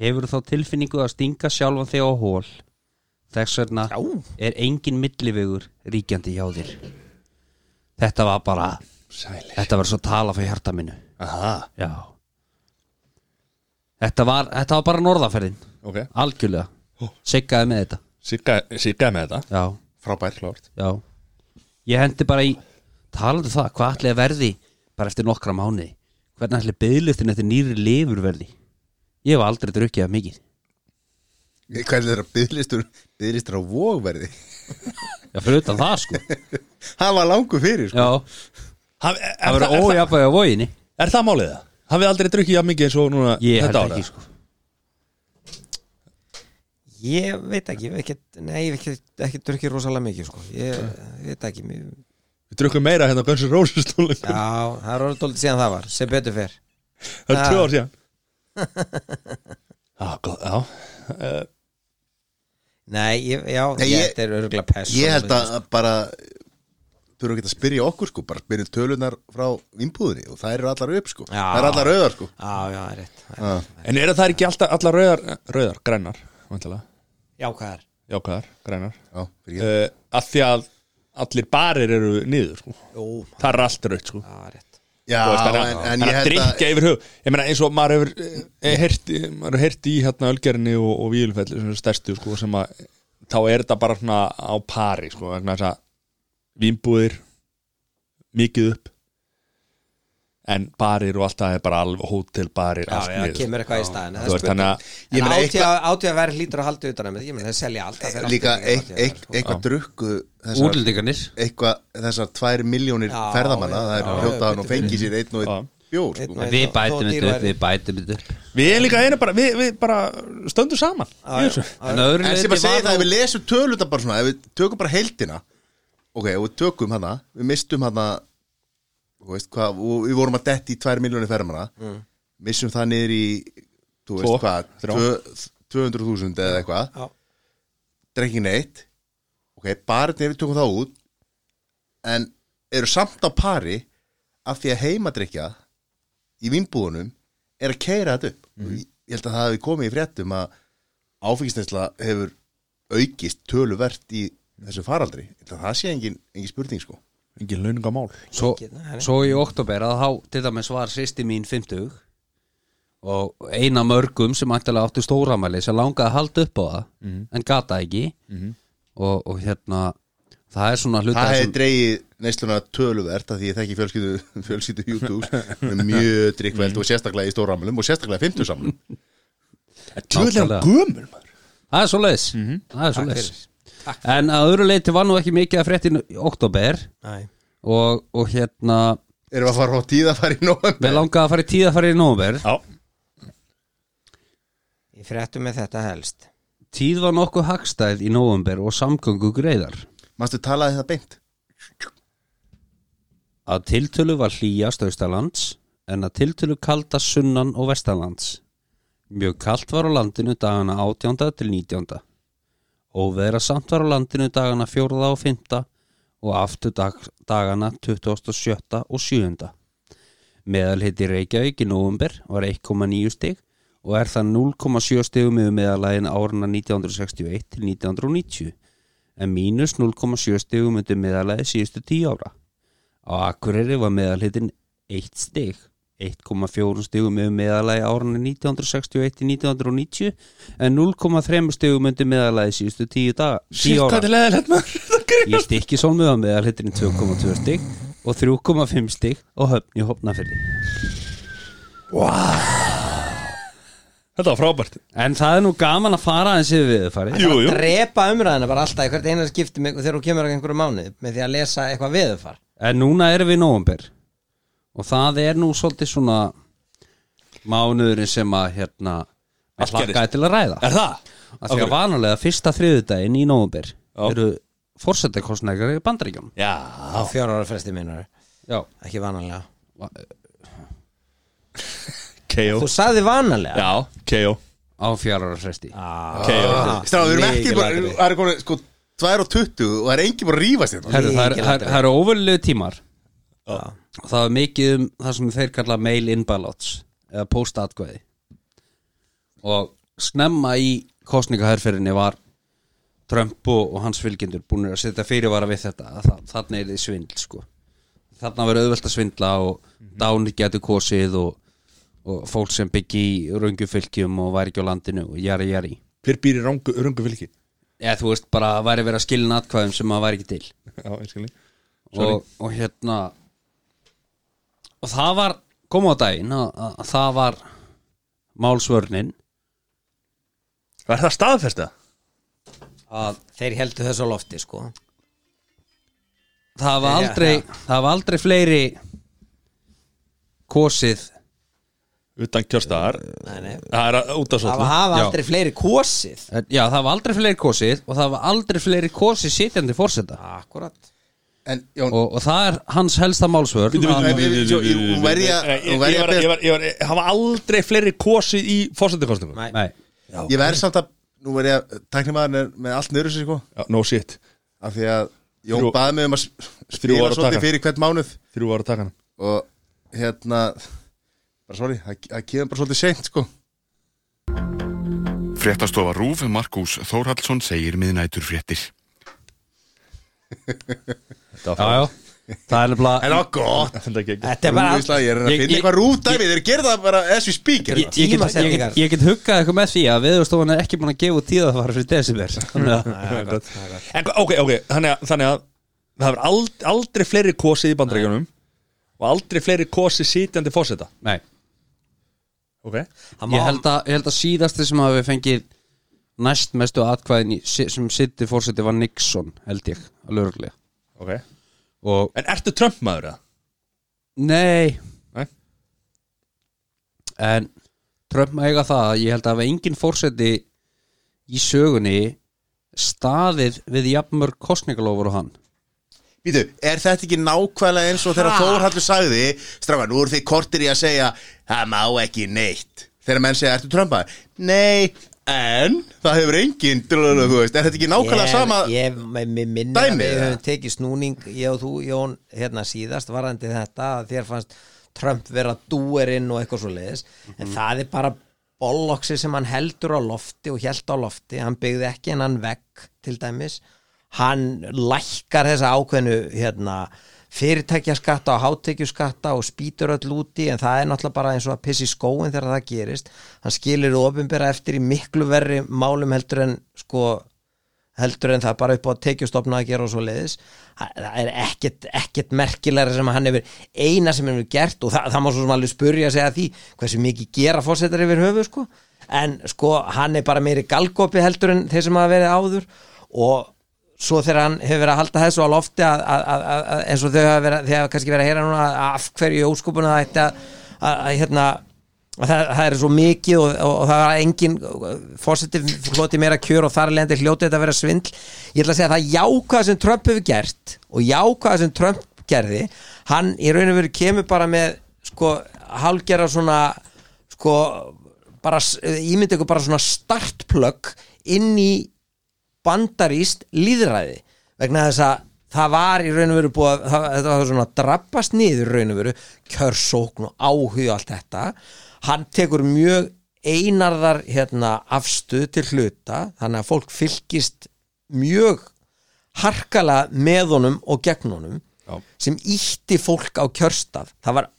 hefur þá tilfinningu að stinga sjálfan þig á hól þess vegna er engin millivegur ríkjandi hjá þér þetta var bara
Sælir.
þetta var svo tala fyrir hjarta minu
Aha.
já þetta var, þetta var bara norðaferðin
Ok.
algjörlega siggaði með þetta
siggaði, siggaði með þetta
já.
frábær klárt
Já Ég hendi bara í Talandi um það, hvað ætli að verði Bara eftir nokkra mánuði Hvernig ætli byðlustin eftir nýri lifur verði Ég hef aldrei drukkið að mikið
Hvað er þetta bygglistur Bygglistur á vógverði
Já, fyrir utan það sko
Hann var langur fyrir sko
Já
Haf, er,
Það verður ójafnvæg á voginni
Er það málið það? Hafið aldrei drukkið jafn mikið eins og núna
Ég held
þetta
ekki,
sko
Ég veit ekki, ég hef ekki, nei, ég hef ekki, ekki drukkið rosalega mikið, sko. Ég veit ekki, mér,
Við drukkum meira hérna á Guns N' Roses tónleikum
já, það er orðið dólítið síðan það var, sem betur fer.
Það er tvö ár síðan
Já,
góð, já.
nei, ég, já,
Nei,
ég,
ég-
þetta er örgulega pest. sko,
Ég held að bara Þurfum ekki að spyrja okkur sko Bara spyrja tölunar frá vinnbúðinni Og það eru allar upp sko Það eru allar auðar sko
Já, já, það er rétt.
En eru það ekki alltaf, allar rauðar, rauðar, grænar vantilega.
Já, hvað er?
Jákvæðar, grænar
Ah, Já,
uh, Að því að allir barir eru niður sko.
Jó.
Það er allt rauð sko.
Já,
Þú veist, þannig að-
en- en
þannig
ég
að
held að-
drikka yfir hug Ég meina eins og maður hefur eh, heyrt, í- maður hefur heyrt í hérna Ölgerinni og, og Vílfelli sem er stærstu sko, sem að þá er þetta bara svona á pari sko, vegna þess að vínbúðir mikið upp en barir og allt það er bara alveg hótelbarir
Já,
allt
já,
niður.
kemur eitthvað í staðinn, það er
Þú veist, þannig að
En átíð að vera hlýtur að halda utan að með, ég menn, það selja allt. það fer allt
Líka
í
eit-
ATVR,
eit-
sko.
eitthvað
Já.
drukku
Útlendingarnir.
Eitthvað þessar tvær miljónir
Já,
ferðamanna
já,
Það er
já,
hljótaðan
betur
og fengið
fyrir.
sér einn og einn bjór sko.
Við bætum þetta upp, við bætum þetta upp
Við erum líka einu bara, við, við bara stöndum saman í þessu.
En öðru
En sem
leyti
að segja
var
það,
nú-
ef við lesum tölunda bara svona Ef við tökum bara heildina Ok, og við tökum hana, við mistum hana Þú veist hvað, og við vorum að detti í 2 miljónir fermana
Mm.
Missum það niður í Þú
Tvo,
veist hvað,
þrjá.
tvö- 200.000 eða eitthvað
Já.
Drekking neitt Ok, bara þegar við tökum það út En eru samt á pari Af því að heimadrykja Í vinnbúðunum Er að keira þetta upp mm. Ég held að það hafi komið í fréttum að áfengisnesla hefur aukist töluvert í þessu faraldri það, það sé engin, engin spurning sko
Engin launungamál
svo,
nei.
svo í oktober að þá til dæmis var sýsti mín 50 og eina mörgum sem ættilega áttu stóramæli sem langaði að halda upp á það
Mhm.
en gata ekki
Mhm.
og, og hérna það er svona hluta
það hefði
sem-
dreigið neysluna töluvert af því ég þekki fjölskyldu, fjölskyldu YouTube með mjög drikkveld og sérstaklega í stóramlum og sérstaklega 50 samlum
Tjóðlega gömur
Það er svo leiðis Það er svo
Takk
leiðis En að öðru leiti var nú ekki mikið að fréttin í oktober
Nei.
og, og hérna
Erum við að fara á tíða að fara í nóvember?
Við langaði að fara í tíða að fara í nóvember
Já
Ég fréttum með þetta helst.
Tíð var nokkuð hagstæð í nóvember og samgöngu greiðar
Manstu talaði það beint?
Að tiltölu var hlýjast austalands en að tiltölu kalda sunnan og vestalands Mjög kalt var á landinu dagana 18. til 19. Óveðra samt var á landinu dagana 4. og 5. og aftur dag, dagana 27. og 7. Meðal heiti Reykjavík í nóvumber var 1,9 stig og er það 0,7 stigum yfir meðalægin árna 1961 til 1990 en mínus 0,7 stigum undir meðalægi síðustu 10 ára. Á Akureyri var meðalhitin 1 stig, 1,4 stigum yfir meðalægi árna 1961 til 1990 en 0,3 stigum undir meðalægi síðustu 10 daga. 10
Sýtt
ára.
hvað þetta er leðilegt maður
Í stikkisólmi var meðalhitturinn 2,2 stig og 3,5 stig og höfn í hopnafyrði
Þetta var frábært
En það er nú gaman að fara eins yfir við farið
jú, jú. drepa umræðina bara alltaf í hvert einar skipti með, þegar þú kemur á einhverju mánuð með því að lesa eitthvað veðufar
En núna erum við í nóvumber Og það er nú svolítið svona Mánuðurinn sem að hérna
Allt
Að hlakka
gerist.
til að ræða
Er það?
Af því
Af hverju?
að vanalega fyrsta þriðudaginn í nóvumber Eru fórsetakostnækjar í bandaríkjum
Já
á fjóra ára fresti minnar
Já
ekki vanalega
KO
þú sagði vanalega
Já, KO
Á fjóra ára fresti
KO
Stráð, við erum ekki bara, það er komin sko 2 og 20 og það er engin bara að rífast hérna
Herru, það er- það er- það eru óverulegu tímar
Já.
og það er mikið um það sem þeir kalla mail in ballots eða post-atkvæði og snemma í kostningaherferinni var Trump og, og hans fylgjendur búinir að setja fyrirvara við þetta að það, þannig er þið svindl sko. þannig að vera auðvelt að svindla og dánir getur kosið og, og fólk sem byggi í röngufylgjum og væri ekki á landinu og jari jari
Hver býr í rungu, rungu fylki?
eða þú veist bara væri verið að skilna atkvæðum sem að væri ekki til
Já, ég skilji Sorry.
og, og hérna og það var kom á daginn að, að, að það var málsvörnin
Var það staðfesta?
að
þeir heldu þessu á lofti sko
það var
Já,
aldrei
já.
það var aldrei fleiri kosið
Utan kjörstaðar
Nei, nei.
Það er út af
það
svolítið
hafa
Já.
aldrei fleiri kosið
eh, já það var aldrei fleiri kosið og það var aldrei fleiri kosið sitjandi fórseta
akkurat
En Jón,
og, og það er hans helsta málsvörn
Bíddu, bíddu,
að-
bíddu, bíddu,
Jó,
bíddu,
hún
bíddu,
verja-
bíddu. Nei,
hún
ég-
verja
ég var-
best-
ég var- ég var- Það var aldrei fleiri kosið í fórsetakostningum
Nei.
Nei.
Ég verð samt að, nú verð ég að tækni maður með allt nöðru sig sko
Já, No shit
Af því að Jón
Þrjú-
baði mig um að s-
þrjú
spila
ára
svolítið
taka.
fyrir hvert mánuð
Þrjú ára takan
Og hérna, bara sorry, það það kemur bara svolítið seint sko
Fréttastofa Rúf Markus Þórhallsson segir miðnætur fréttir.
já, já. það er nefnilega
En það var gott
Þetta gekk
þetta er bara
Rúfisla, Ég er að
Ég-
finna
ég-
eitthvað rúdæmi, þeir gerða það bara as we speak
Ég, ég, get, ég, get, ég get huggað eitthvað með því að viðurstofan er ekki búin að gefa út tíða það var fyrir desember Þannig að-
En hva- ok, ok, þannig að, þannig að það hefur ald, aldrei fleiri kosið í bandrækjunum og aldrei fleiri kosið sitjandi fóseta
Nei,
Ok
ég held, að, ég held að síðasti sem hafi fengið næst mestu atkvæðin í- si- sem sitti fórseti var Nixon held ég, alveg örglega
Ok
og
En ertu Trump maður það?
nei,
Nei.
en Trump eiga það að ég held að hafa engin fórseti í sögunni staðið við jafnmörg kostningalofur og hann
Býtu, er þetta ekki nákvæmlega eins og þegar Þórhallur sagði Strafa, nú eru þið kortir í að segja Það má ekki neitt Þegar menn segja, ertu Trumpa? Nei, en það hefur engin drlölu, þú veist, Er þetta ekki nákvæmlega
Ég-
sama
ég minni að
dæmi,
við
eða?
höfum tekið snúning ég og þú Jón hérna síðast varandi þetta að þér fannst Trump vera dúerinn og eitthvað svo leiðis
Mhm.
en það er bara bolloksi sem hann heldur á lofti og held á lofti hann byggði ekki en hann vekk til dæmis hann lækkar þessa ákveðnu hérna fyrirtækjaskatta og hátekjuskatta og spýtur öll úti en það er náttúrulega bara eins og að pissi skóin þegar það gerist hann skilir ofinbera eftir í miklu verri málum heldur en sko heldur en það bara upp á tekjustofna að gera og svo leiðis það það er ekkert, ekkert merkilega sem hann hefur eina sem hefur gert og það, það má svo sem alveg spurja að segja því hversu mikið gera fórsetar yfir höfu sko. en sko hann er bara meiri galgopi heldur en þeir sem hafa verið áður og svo þegar hann hefur verið að halda þessu á lofti að, að, að, að, að, eins og þau hafa verið, þau hafa kannski verið að heyra núna að af hverju í óskupuna það ætti að, að, að hérna Og það, það er svo mikið og, og, og það var engin fórsetið hloti meira kjör og þar lendi hljótið þetta að vera svindl ég ætla að segja að það jákvæða sem Trump hefur gert og jákvæða sem Trump gerði hann í raun og veru kemur bara með sko hálgera svona sko bara ímyndi ykkur bara svona startplögg inn í bandaríst líðræði vegna þess að það var í raun og veru búið að það, þetta var svona að drabbast niður í raun og veru kjörsókn og áhug og allt þetta hann tekur mjög einarðar hérna, afstuð til hluta þannig að fólk fylgist mjög harkala með honum og gegn honum
Já.
sem ítti fólk á kjörstað það var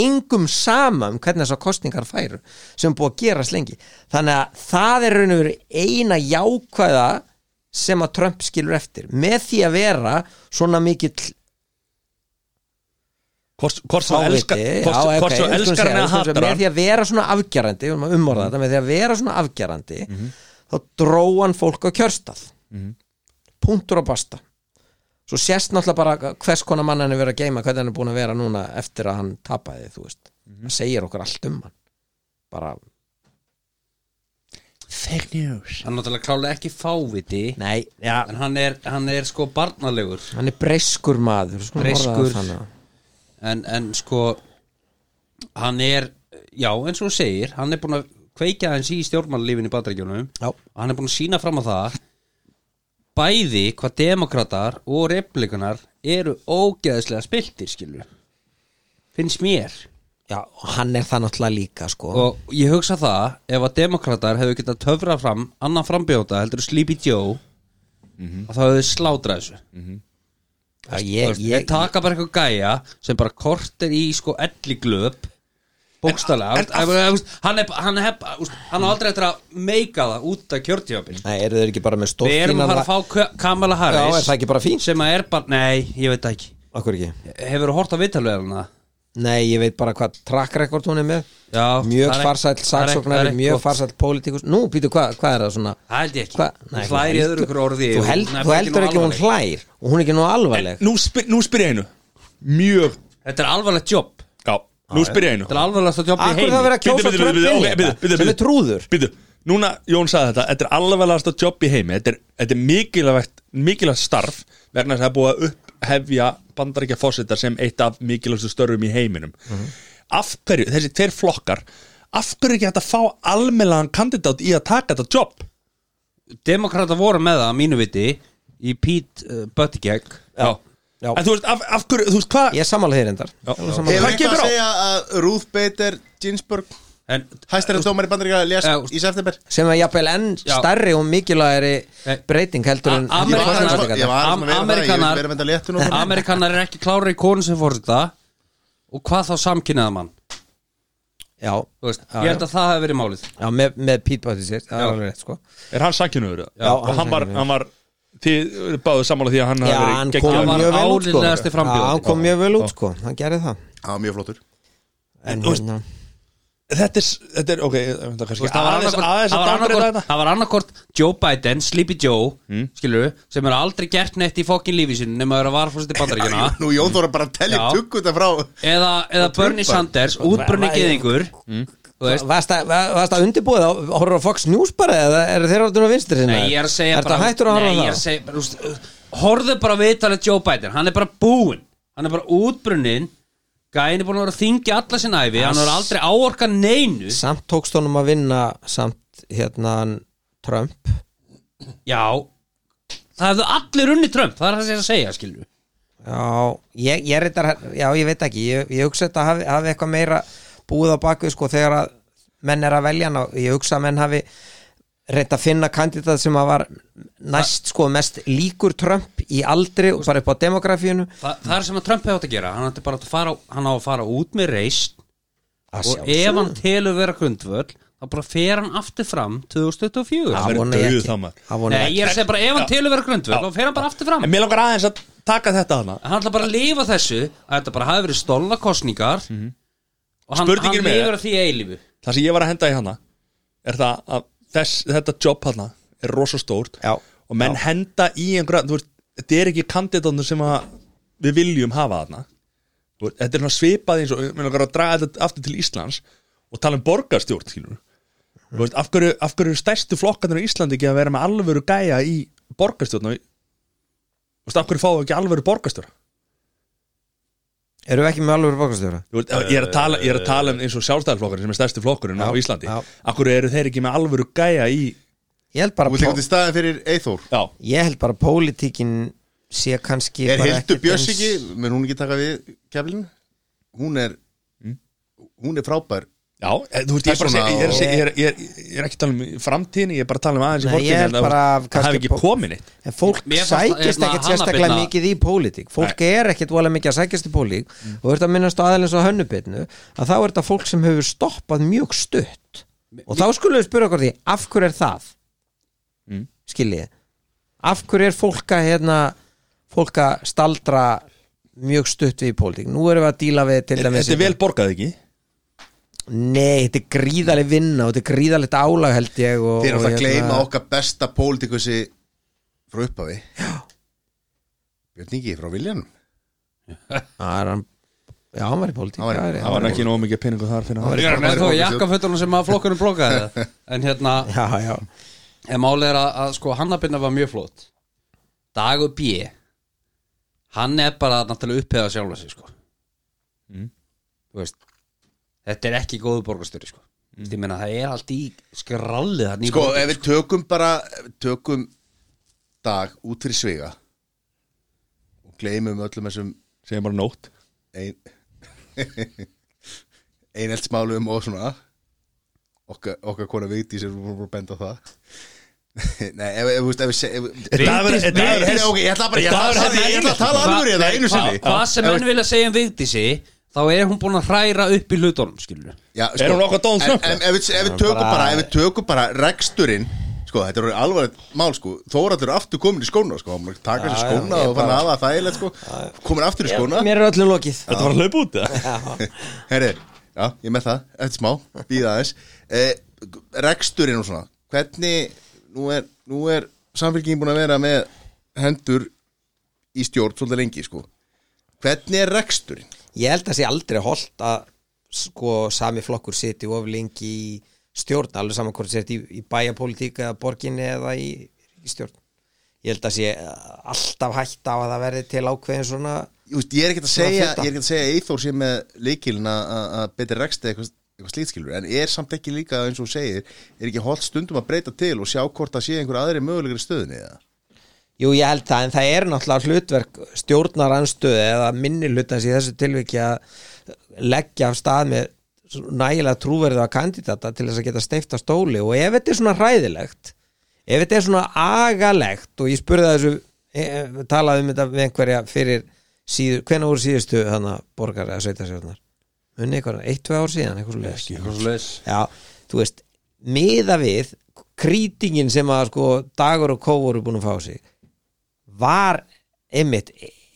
engum sama um hvernig þessar kostningar færu sem er búið að gerast lengi þannig að það er raun og veru eina jákvæða sem að Trump skilur eftir með því að vera svona mikill
Hvort hvort sem þú elskar hvort- hvort sem þú elskar hann eða hatar
Með
hann Mhm.
því að vera svona afgerandi, við erum að umorða þetta Með því að vera svona afgerandi Þá dró hann fólk á kjörstað
Mhm.
Punktur og basta Svo sést náttúrulega bara hvers konar mann hann er verið að geima Hvernig hann er búin að vera núna eftir að hann tapaði Þú veist,
Mhm.
það segir okkur allt um hann Bara
Fake news Hann er náttúrulega klálega ekki fáviti
Nei, já
En hann er, hann er sko barnalegur
Hann er breyskur maður við skulum orða það
Breyskur
þannig.
en, en sko Hann er, já eins og hún segir Hann er búin að kveikja hans í stjórnmannlífin í bandaríkjunum
Já
Og hann er búin að sína fram á það Bæði hvað demokratar og replikunar Eru ógeðslega spiltir skilur Finnst mér
Já, og hann er það náttúrulega líka sko
og ég hugsa það ef að demokrater hefðu getað töfrað fram annan frambjóta heldur Sleepy Joe að það hefðu slátrað þessu mm -hmm.
það, ég,
ég taka bara eitthvað gæja sem bara kort er í sko elli glöp bókstálega hann er hann er hann er aldrei eftir að meika það út af kjörtjöfabin
Nei, eru þeir ekki bara með
við erum
stórfínan
að fara að fá Ka- Kamala Harris
Já, er það ekki bara fínt?
sem að er bara, nei, ég veit það ekki
Akkur ekki?
hefur þú hort að vitalvega hana?
Nei, ég veit bara hvað track record hún er með
Já,
Mjög
það er ekki-
farsæll
það er ekki- það er
saksóknari,
ekki
mjög
gott.
farsæll pólitíkus Nú, býtu, hvað hvað er það svona?
það held ég ekki
Hva?
hún hlæri í öðru ykkur orði
Þú,
og
held,
hún er
þú
bara
heldur
nógu
ekki að hún
alvarleg.
hlær og hún er ekki nú alvarleg
Nú, spyr, nú spyr ég einu Mjög
Þetta er alvarlegt jobb
Já, nú spyr ég einu
Þetta er alvarlegasta jobb í
Akkur
heimi
það verið að
Bíddu,
kjósa
bíddu,
Trump
bíddu,
vilja
ok, bíddu,
þetta,
bíddu,
sem er
bíddu.
trúður
Býtu, núna Jón sagði þetta Þetta er alveglegasta jobb í heimi Þetta er, þetta er mikilvægt, mikilvægt starf vegna þess að það er búið að upphefja bandaríkja fósita sem eitt af mikilvægstu störfum í heiminum
Mhm.
Af hverju, þessi tveir flokkar Af hverju er ekki hægt að fá almennlegan kandidat í að taka þetta jobb?
Demokrata voru með það, að mínu viti í Pete uh, Buttigieg Já,
já.
En þú veist, af, af hverju, þú veist hvað
Ég er sammála þér endar
Hefur eitthvað
gengur á?
að segja að Ruth Bader Ginsburg
En,
Hæstæri dómar í bandaríka lés
Já,
í september
sem er jafnvel enn
Já.
stærri og mikilvægari
Nei.
breyting heldur en
A-
Ég var aðeins
Amerikanar-
að- ég var aðeins að vera með það, ég vil vera með þetta léttu nú
Amerikanar Amerikanar er ekki klára í konu sem fór þetta og hvað þá samkynnaða mann
Já,
Þú veist,
Já,
Ég held að það hefði verið málið
já með, með Pete Buttigieg það
Já.
er alveg rétt sko
Er hann sakinuður?
Já,
og hann var, hann var Þið eru báðu sammála því að hann
Já,
hafi
hann
verið
kom
geggjaður.
mjög vel út sko
áliðlegasti frambjóðandi.
Já, hann kom mjög vel út sko, hann gerði það
Já, mjög flottur
En
þú veist,
hérna
Þetta er, þetta er, ok, þetta er
Þú
kannski
veist, Það var
aðeins,
annarkvort-
aðeins
það
að
var
dagbreyta
annarkvort-
þetta
það var annarkort Joe Biden, Sleepy Joe mm. sem er aldrei gert neitt í fokkin lífi sinu nema að vera varfórsitt í bandaríkjuna
Nú Jón Þóra bara telli
Já.
tugguta frá
eða, eða Bernie Sanders, útbrunni
Hva- hva-
geðingur Þú veist,
Varst að, varst að undirbúið á horror á Fox News bara eða eru þeir orðin á vinstri sinna?
Nei, ég er að segja
Ertu hættur að horfa á
nei, ég er að
það?
segja bara, úst, Horðu bara viðtalið Joe Biden Hann er bara búinn Hann er bara útbrunnin Gæin er búinn að vera að þingja alla sinna æfi Hann er aldrei áorka neinu
Samt tókst honum að vinna samt hérna Trump
Já Það hefðu allir unni Trump Það er það sem ég er að segja, skilju
Já, ég, ég reyndar, já, ég veit ekki ég, ég hugsa þetta hafi, hafi eitthvað meira búið á bakvið sko þegar að menn er að velja hann og ég hugsa að menn hafi reynd að finna kandidat sem að var næst sko mest líkur Trump í aldri og bara upp á demografíunu
Þa, Það er sem að Trump hefði átt að gera Hann, átti bara að fara, hann á að fara út með reist
Að
Og
sjálfsögðu.
ef hann telur vera grundvöll Þá bara fer hann aftur fram 2024
Það
verður
vona ég
dauður
ekki.
þá, maður.
Það vona
Nei,
ég
ég er að segja bara ef hann
Já.
telur vera grundvöll
Já.
Þá fer hann bara aftur fram
En mér langar aðeins að taka þetta hana
hann ætla bara að lifa þessu að þetta bara hafi verið stolna kostningar og hann, hann
Mhm. Spurningin með-
lifir að því eilífu
Það sem ég var að henda í hana Er það að þess, þetta jobb hana Er rosa stórt
Já.
Og menn henda í einhverja þú veist, Þetta er ekki kandidatnur sem að við viljum hafa hana Þetta er svona svipað eins og Mér langar að draga þetta aftur til Íslands Og tala um borgarstjórn skilur Þú veist, af hverju, af hverju eru stærstu flokkarnir á Íslandi ekki að vera með alvöru gæja í borgarstjórn og í- Þú veist, af hverju fáum við ekki alvöru borgarstjóra
Eru við ekki með alveg borgarstjóra?
Þú veist, Ég er að tala, ég er að tala um eins og sjálfstæðarflokkurinn sem er stærsti flokkurinn á
Já,
Íslandi
já.
Akkur eru þeir ekki með alvöru gæja í
Ég held bara
Þú tekur til staðin fyrir Eithór
Já,
ég held bara að pólitíkin sé kannski
Er
bara
Hildur
ekkert
Björns
eins-
ekki, menn hún ekki taka við keflinu? Hún er hún er frábær
já e, þú veist, ég er bara að segja- ég er að segja- ég er- ég er- ég er ekki að tala um framtíðin Ég er bara að tala um aðeins í
Nei, ég er
fólkinu
bara
Það
kannski
hefði ekki
pó-
komin eitt
en fólk
Mér fannst það-
sækist
hérna,
ekkert
Hanna
sérstaklega
Birna-
mikið í pólitík fólk er ekkert vola mikið að sækjast í pólitík og þú ert að minnast á aðeins á hönnubitnu að þá er þetta fólk sem hefur stoppað mjög stutt og þá skulum við spura okkur því af hverju er það
Mm.
skiljið af hverju er fólk að hérna, fólk að staldra mjög stutt við í pólitík Nú erum við að díla við til
Er-
dæmis
þetta er vel borgað ekki?
Nei, þetta er gríðaleg vinna og þetta er gríðalegt álag held ég og,
Þeir eru
og
að gleyma
hérna-
okkar besta pólitikusi frá upphafi Já Björn Ingi frá Viljanum
Það er hann Já, hann var í pólitík
Hann var í-
já, já,
Það var ekki nóg mikið peningu þar fyrir
Hann var í-
hann.
hann var í
Þó
borgarstjórn.
jakkafötunum sem að flokkunum blokkaði það. En hérna
já, já.
En málið er að, að sko hannabinna var mjög flott Dagur B Hann er bara náttúrulega uppheða sjálfa sig sko
Mm.
Þú veist Þetta er ekki góðu borgarstjóri sko mm. Ég meina það er allt í skrallið þarna í
Sko,
borginni,
ef við tökum bara ef við tökum dag út fyrir sviga og gleymum öllum þessum
Segjum bara nótt
ein, eineltsmálum og svona okkar, okkar kona viti sem við vorum að benda á það Nei, ef, ef, ef, ef, ef, ef
Dagur-
Nei,
Dagur-
nei, ok, Ég ætla bara ég ætla
Dagur-
að- ég ætla að tala alvöru þetta einu
Hva-
sinni
Hvað sem enn vilja segja um Vigdísi Þá er hún búin að hræra upp í hlutunum skilur
Já, sko.
Er hún okkar Donald Trump,
En, en ef, við- ef við tökum bara, ef við tökum bara reksturinn Sko, þetta er alvarlegt mál sko Þóraldur er aftur komin í skóna sko Hann taka sér
Já, já,
skóna
ég
og fann
bara-
aða þægilegt sko Komin aftur í skóna
Mér er öllum lokið
Þetta var að hlaupa út eða?
Herri, já, ég er með það, eftir smá, býða aðeins eh, Reksturinn og svona Hvernig, nú er, nú er samfélkingin búin að vera með hendur í stjórn svolítið lengi sko Hvernig er reksturinn?
Ég held að sé aldrei holdt að sko sami flokkur siti of lengi í stjórn, alveg saman hvort sér í, í bæjapólitík eða borginni eða í, í stjórn. Ég held að sé alltaf hægt á að það verði til ákveðin svona
Ég, veist, ég er ekkert að
Svona
segja,
fita.
ég er ekkert að segja að Eithór sé með leikilin að betri reksti eitthvað, eitthvað slítskilur en er samt ekki líka eins og þú segir er ekki holdt stundum að breyta til og sjá hvort það sé einhver aðri mögulegur í stöðinni eða?
Jú, ég held það, en það er náttúrulega hlutverk stjórnaranstöðu eða minni hlutans í þessu tilviki að leggja af stað með svona nægilega trúverðu að kandidata til þess að geta steifta stóli og ef þetta er svona hræðilegt ef þetta er svona agalegt og ég spurði að þessu e, e, talaði um þetta við einhverja fyrir síður, hvenær voru síðustu hana borgar eða sveitasjörnar munni eitthvað, eitt, tvei ár síðan eitthvað svo leis
Eitthvað svoleiðis.
Já, þú veist, miða við krítingin sem að sko dagur og kó voru búin að fá sig var einmitt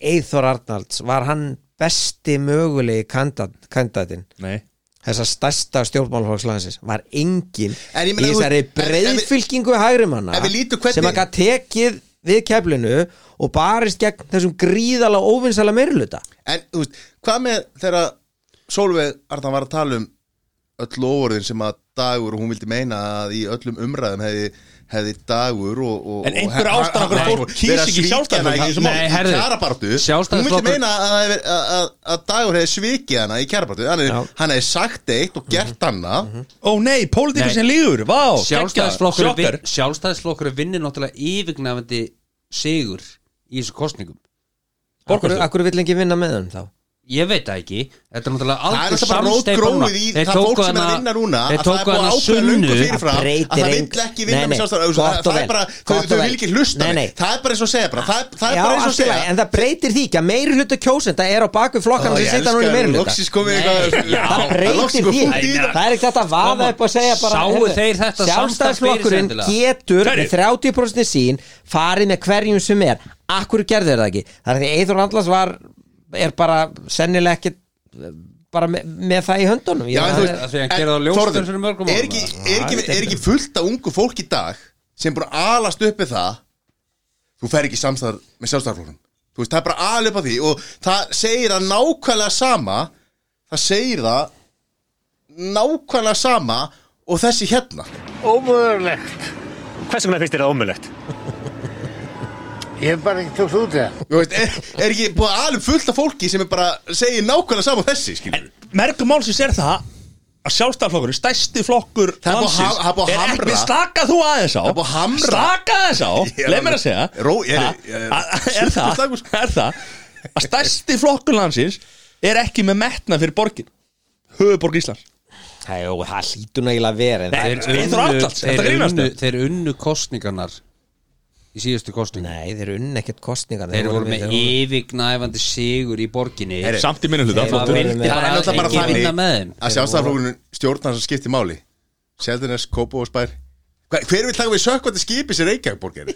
Eithor Arnalds, var hann besti mögulegi kandat- kandidatinn
Nei
þessa stærsta stjórnmálfólkslandsins var engin
En ég
í
meina, þú-
þessari
en- en-
breiðfylkingu hægrimanna
en við lítum hvernig-
sem að gæt tekið við keflinu og barist gegn þessum gríðala óvinnsala meirluta
En, þú veist, hvað með þegar Sólveig Arna var að tala um öll lofurðin sem að dagur og hún vildi meina að í öllum umræðum hefði, hefði dagur og, og
En einhver ástæða okkur fólk kýs ekki Sjálfstæðisflokkinn í þessu máli. Nei, herðu,
kjærabartu Hún vildi
Sjálfstæðisflokkur-
meina að, að, að, að dagur hefði svikið hana í kjærabartu hann, hefði- hann hefði sagt eitt og gert annað
Ó nei, pólitíkur
Nei.
sem lígur, vá
Sjálfstæðisflokkur
geggjað,
vin,
sjokkar.
Sjálfstæðisflokkur vinnir náttúrulega yfirgnafandi sigur í þessu kostningum
Akkur, akkur vill ekki vinna með hann þá
Ég veit það ekki Þetta er náttúrulega
Það er
algjör
náttúrulega bara
samsteypa núna.
rótgróið í
Þeir
það fólk
tóku
sem er að
hana-
vinna núna
Þeir
að það er
tóku
búið
hana
að ákveða löngu
sunnu
fyrirfram að
breytir
það
engu-
vill ekki vinna
Nei, nei,
með sjálfstæðar
gott og
það er
vel,
bara, þau,
gott og
þau
vel.
vil ekki hlusta
Nei,
mig.
nei.
það er bara eins og að segja bara það er, það er
Já,
bara eins og að
allt í
segja
lagi, en það breytir því ekki að meiri hluta kjósenda er á baku flokkana
Ó,
sem
ég
sita núna í
elska
meiri hluta
loksins komið eitthvað- Já,
það breytir
loksins
því
komið punkt í þetta.
það er ekki þetta að vaða
Koma,
upp og segja bara
sáu
heyrðu,
þeir þetta
sjálfstæðisflokkurinn
samstarf
getur
Hverjir?
með 30% sín farið með hverjum sem er akkur gerðu þeir það ekki það er því Eithor Andlas var er bara sennilega ekki bara með, með það í höndunum Ég
Já, en
meina,
þú
hann er-
Af því að hann gerði það ljóst
Þórður,
fyrir mörgum
er
árum,
ekki,
eða?
er, ekki, er ekki fullt af ungu fólk í dag sem búin að alast upp við það þú fer ekki samstæðar með sjálfstæðarflóknum þú veist, það er bara alveg upp á því og það segir það nákvæmlega sama það segir það nákvæmlega sama og þessi hérna
Ómögulegt Hvers vegna finnst þér það ómögulegt?
Ég er bara ekki tókst út það veist, er, er ekki búin að alveg fullt af fólki sem er bara segir nákvæmlega sama og þessi, skilur
Mergum málsins er það að sjálfstæðarflokkurinn, stæsti flokkur
Það er búið að
landsins,
ha- það er búið að
er
hamra.
ekki slaka þú aðeins á
Það er búið að hamra.
slaka aðeins á,
Ég er
leið mér
alveg-
að segja
Ró- ég er-
Ha?
ég er-
A- er það er það að stæsti flokkur landsins er ekki með metna fyrir borgin höfuborg Íslands
Nei, jú, það hlýtur nægilega að vera en
Nei,
þeir-
Þeir
Þeir
unnu-
unnu-
Þetta
þeir
grínast
unnu-
þau.
Þeir unnu kostningarnar Í síðustu kostningar
nei, þeir eru unn ekkert kostningar
Þeir voru með yfirgnæfandi sigur í borginni
Heyri,
samt í minni hluta
Þeir voru
flottur.
með-
það er náttúrulega bara
enginn vinna með þeim.
þannig að
Þeir voru-
sjálfstæðarflokkurinn stjórnar sem skiptir máli Seldinnes, Kópo og Spær Hva- hver vil taka við sökkvandi skipi sem Reykjavíkborg er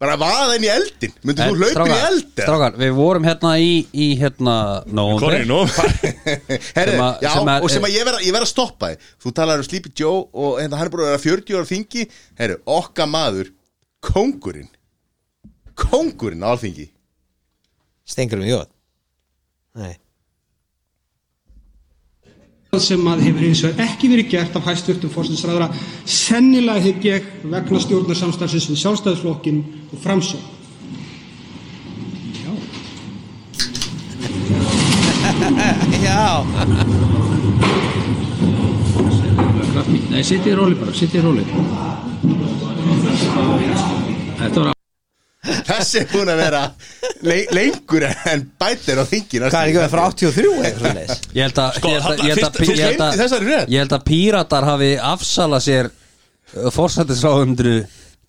bara vaða inn í eldin myndir þú hlaupin í eldin
Strákar, við vorum hérna í, í hérna Nóvember
Herri,
Sem að-
já,
sem að-
og sem að ég verð ver að stoppa þið Þú talar um Sleepy Joe og hérna, hann er búin að vera 40 ára á þingi Herri, okka maður, kóngurinn Kóngurinn á alþingi
Stengurum í jóð Nei
sem að hefur eins og ekki verið gert af hæstvirtum fórsinsræðara sennilega hygg ég vegna stjórnarsamstarfsins við sjálfstæðisflokkin og framsókn.
Já
Nei, sittið í róli bara, sittið í róli Þetta var
Þessi er búin að vera le lengur en bætir á þingi
Hvað er ekki verið frá 83 eitthvað svoleiðis?
Ég held að-
Sko,
ég held að-
þarna,
ég held
fyrst- fyrst gleymdi þessari
að-
frétt.
ég held að píratar hafi afsalað sér fórsættisráðundru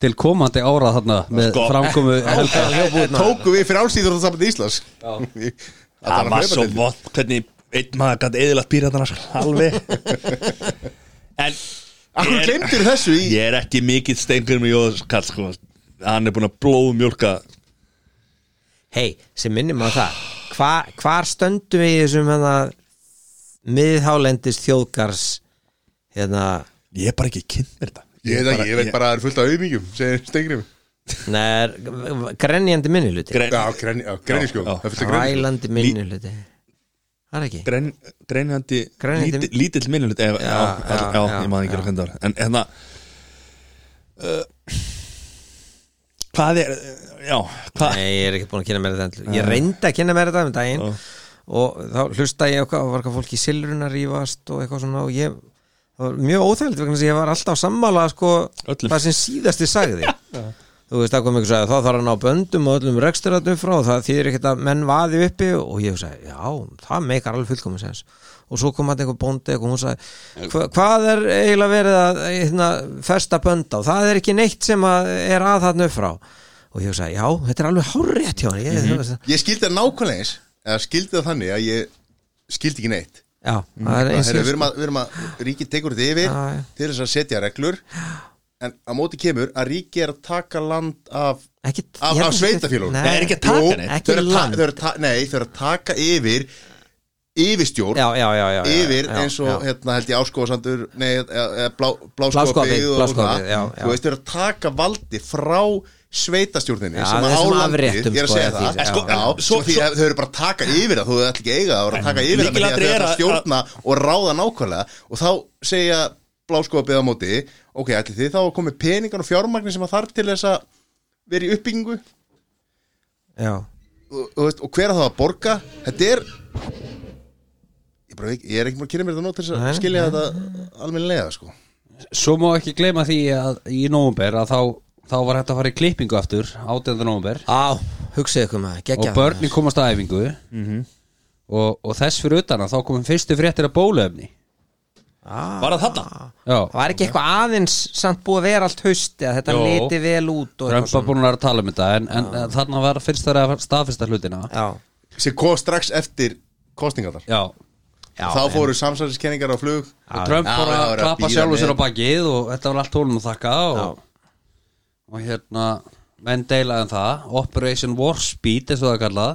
til komandi ára þarna með
Sko.
framkomu Helga Ljóbúðna.
Tóku við fyrir álsýður og það Íslands
Það var svo vott hvernig einn maður gæti eðilagt píratana sko, alveg En
Akkur glemdir þessu í
Ég er ekki mikill stengur með Jóðskall sko. Hann er búin að blóðmjólka
Hei, sem minnum á það Hva, Hvar stöndum við í þessum hérna, miðhálendis þjóðgars hérna
Ég er bara ekki kynnt þetta
Ég, ég, ég, veit bara að það er fullt af auðmyggjum segir Stengrim
Nei, grenjandi minniluti
Gren-
Já, grenj- já, grenjuskjól. Það er fullt af grenjuskjól.
Grælandi minniluti Það er ekki
Gren, Greinandi,
Greinandi-
lítill, lítill minnlut já, já, já,
já,
já,
já,
ég maður ekki
já.
alveg hendur En hérna uh, Hvað er Já, hvað
Nei, ég er ekki búin að kynna mér þetta endur Ég reyndi að kynna mér þetta um daginn og þá hlusta ég okkar og var eitthvað fólk í silrun að rífast og eitthvað svona og ég það var mjög óþægild vegna þess að ég var alltaf sammála sko, það sem síðasti sagði þú veist það kom eitthvað sagði, þá þarf hann á böndum og öllum reksturatum frá og það þýðir ekkert að menn vaði uppi og ég sagði, já, það meikar alveg fullkomis sens og svo kom hann eitthvað bóndi og hún sagði, hva, hvað er eiginlega verið að hérna, festa bönd á það er ekki neitt sem að er að þarna upp frá og ég sagði, já, þetta er alveg hárrétt hjá hann ég,
Mhm.
mm -hmm.
Ég skildi það nákvæmlega eins eða skildi það þannig að ég skildi ekki neitt
Já, það
Mhm.
er eins og
Herra,
ég
við, erum að, við erum að ríkið tekur þetta yfir til þess að setja reglur en á móti kemur að ríkið er að taka land af,
ekki,
af,
ég held
af
að
sveitafélagum
þetta- Nei, er ekki að taka neitt. Ekki land.
Nei, þau eru að taka yfir yfirstjórn
já, já, já, já, já,
yfir
já,
eins og
já.
hérna held ég áskofasandur nei, eða eða blá,
Bláskópabyggð,
bláskópabyggð og
Bláskópabyggð, já, já.
þú veist, þau eru að taka valdi frá sveitastjórninni
Já,
sem að
það er svona
álandið,
afréttum,
ég er að
sko,
segja
eða
það já,
því- já,
sko,
já.
já, svo, því að þau eru bara að taka yfir það þú ætl ekki að eiga það, þú eru að taka yfir það með því að
Lykilatriði
þau
er
eru að
að-
stjórna og ráða nákvæmlega og þá segja bláskópabyggð á móti ok, ætli þið þá komið peningar og fjármagnir sem að þarf til þess að vera í uppbyggingu
Já
og, og, veist, og hver að það að borga þetta er ég, bara, veit- ég er ekki mér að kynna mér þetta nót til þess
Nei,
að skilja
nei.
þetta almennilega sko.
Svo má ekki gleyma því að í nóvember að þá, þá var hægt að fara í klippingu aftur 18. nóvember
Á, hugsaðu ykkur maður, geggjað.
Og börnin komast að æfingu og, og þess fyrir utan að þá komum fyrstu fréttir að bóluefni
Var það þarna?
Já
Var ekki eitthvað aðeins samt búið að vera allt hausti að þetta
Jó.
liti vel út og
Trump var búin að vera að tala um þetta en, en þarna var fyrst þar að staðfesta hlutina
Já
sem kom strax eftir kostningarnar
Já
Já,
þá
en-
fóru samsæðiskenningar á flug
og Trump fór að klappa sjálfur sér á bakið og þetta var allt hólum að þakka og, og hérna menn deilaði um það, Operation War Speed eins og það er kallað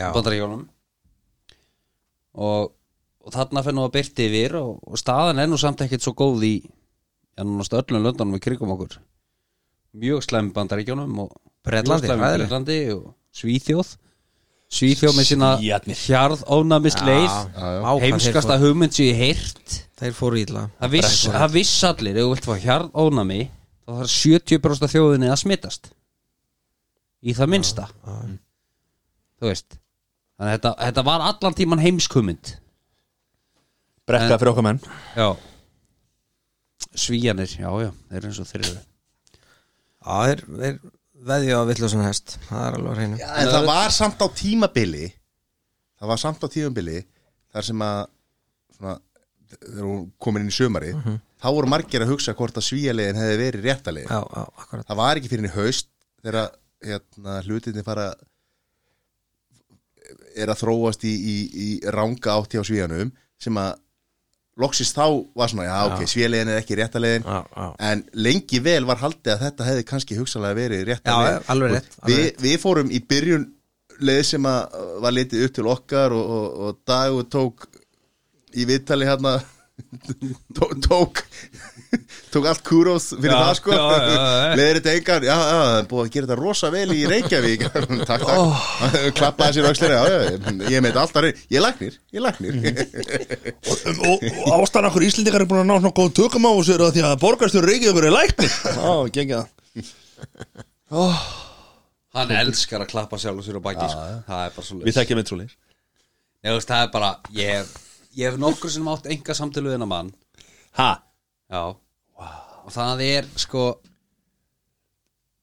Já.
Bandaríkjónum og, og þarna fyrir nú að byrti yfir og, og staðan er nú samt ekkert svo góð í en núna stöllum löndunum í krigum okkur mjög slæmi bandaríkjónum og
Bretlandi,
mjög slæmi
hræðilegt.
Bretlandi og Svíþjóð Svíþjóð með sína
Svíarnir.
hjarðónamist leið
Já, já, já.
heimskasta
Ákvæm, þeir fóru-
hugmynd sem ég heyrt
Þeir fóru ítla
Það viss, það viss allir, ef þú vilt fá hjarðónami þá þarf 70% af þjóðinni að smittast í það minnsta þú veist þannig að þetta, þetta var allan tíman heimskumund
Brekka fyrir okkar menn
Já Svíjanir, já já, þeir eru eins og þeir eru
Já, þeir, þeir veðja á villusan hest Það er alveg á hreinu
en það var samt á tímabili það var samt á tímabili þar sem að svona, þegar hún komin inn í sömari þá voru margir að hugsa hvort að svíjalegin hefði verið réttalegin
já, já, akkurat.
það var ekki fyrir henni haust þegar að, hérna, hlutinni fara er að þróast í, í, í ranga átti á svíjanum sem að loksist þá var svona, já, ok,
Já.
svélegin er ekki rétta leiðin en lengi vel var haldið að þetta hefði kannski hugsalega verið rétta
Já,
leiðin
já, alveg rétt,
Og
alveg
við, við fórum í byrjun leið sem að var litið upp til okkar og, og, og dagur tók í viðtali hérna tó- tók tók allt kúrós fyrir
Já,
það sko
já, já, já.
leiðir þetta engan, já, já, það er búið að gera þetta rosa vel í Reykjavík takk, takk, oh. klappaði sér aukslir já, já, ég- ég meit alltaf, reynd. ég er læknir ég er læknir
Um, og, og ástæðan okkur Íslendingar er búin að ná svona góðum tökum á þessu er að því að borgarstjóri Reykjavíkur er læknir Já, gengja oh.
Hann elskar að klappa sjálf og sér á baki sko. Það er bara svo
Við þekkjum eitt svo leir
Nei, þú veist, það er bara, ég hef, ég hef nokkur sem átt enga samtölu en að mann
Ha?
Já Og það er, sko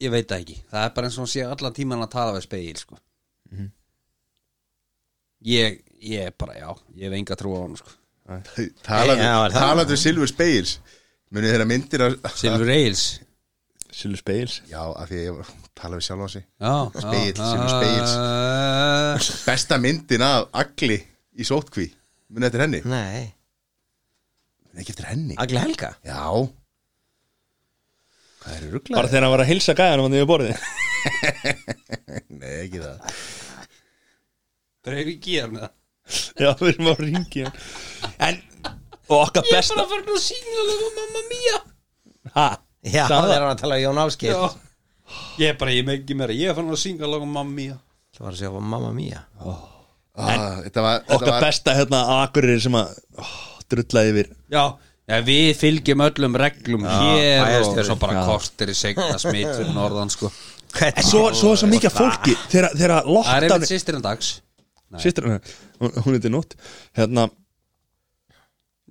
Ég veit það ekki Það er bara eins og hann sé allan tíman að tala við spegil, sko
Mhm.
Ég, ég er bara, já Ég hef enga trú á hann, sko
Talandi-
Já, var það-
talandi um Silfur Speils munið þeirra myndir að
Silfur Eils
Silfur Speils
já, af því að ég var tala við sjálf á sig
Já,
Speil,
já,
Silfur
já.
Speils besta myndin af Agli í sótkví munið eftir henni
nei
munið ekki eftir henni
Agli Helga
já hvað eru rugglaðir?
Bara þegar hann var að hilsa gæðanum hann yfir borðið
nei, ekki það
Dreifir ekki hann með það
Já, við erum að ringi hann En, og okkar
Ég er
besta
bara að fara að sína lögum mamma mía
Ha?
Já,
Sagði
það
það?
er hann að tala um Jón Áskil
Já. Ég er bara, ég með ekki meira Ég er fann að syngja lögum mamma mía
Það var að segja Mamma Mia
Ah, þetta var, þetta
Okkar
var-
besta hérna Akureyri sem að ó, drulla yfir
Já, já við fylgjum öllum reglum hér og
bæjarstjóri.
svo bara
Já.
kortir í segna smitt fyrir norðan sko
En svo, svo er svo mikið af fólki þegar- Þegar að
Það er
lokta
einmitt sýstir en dags
Sýstur hún, hún heitir Nótt Hérna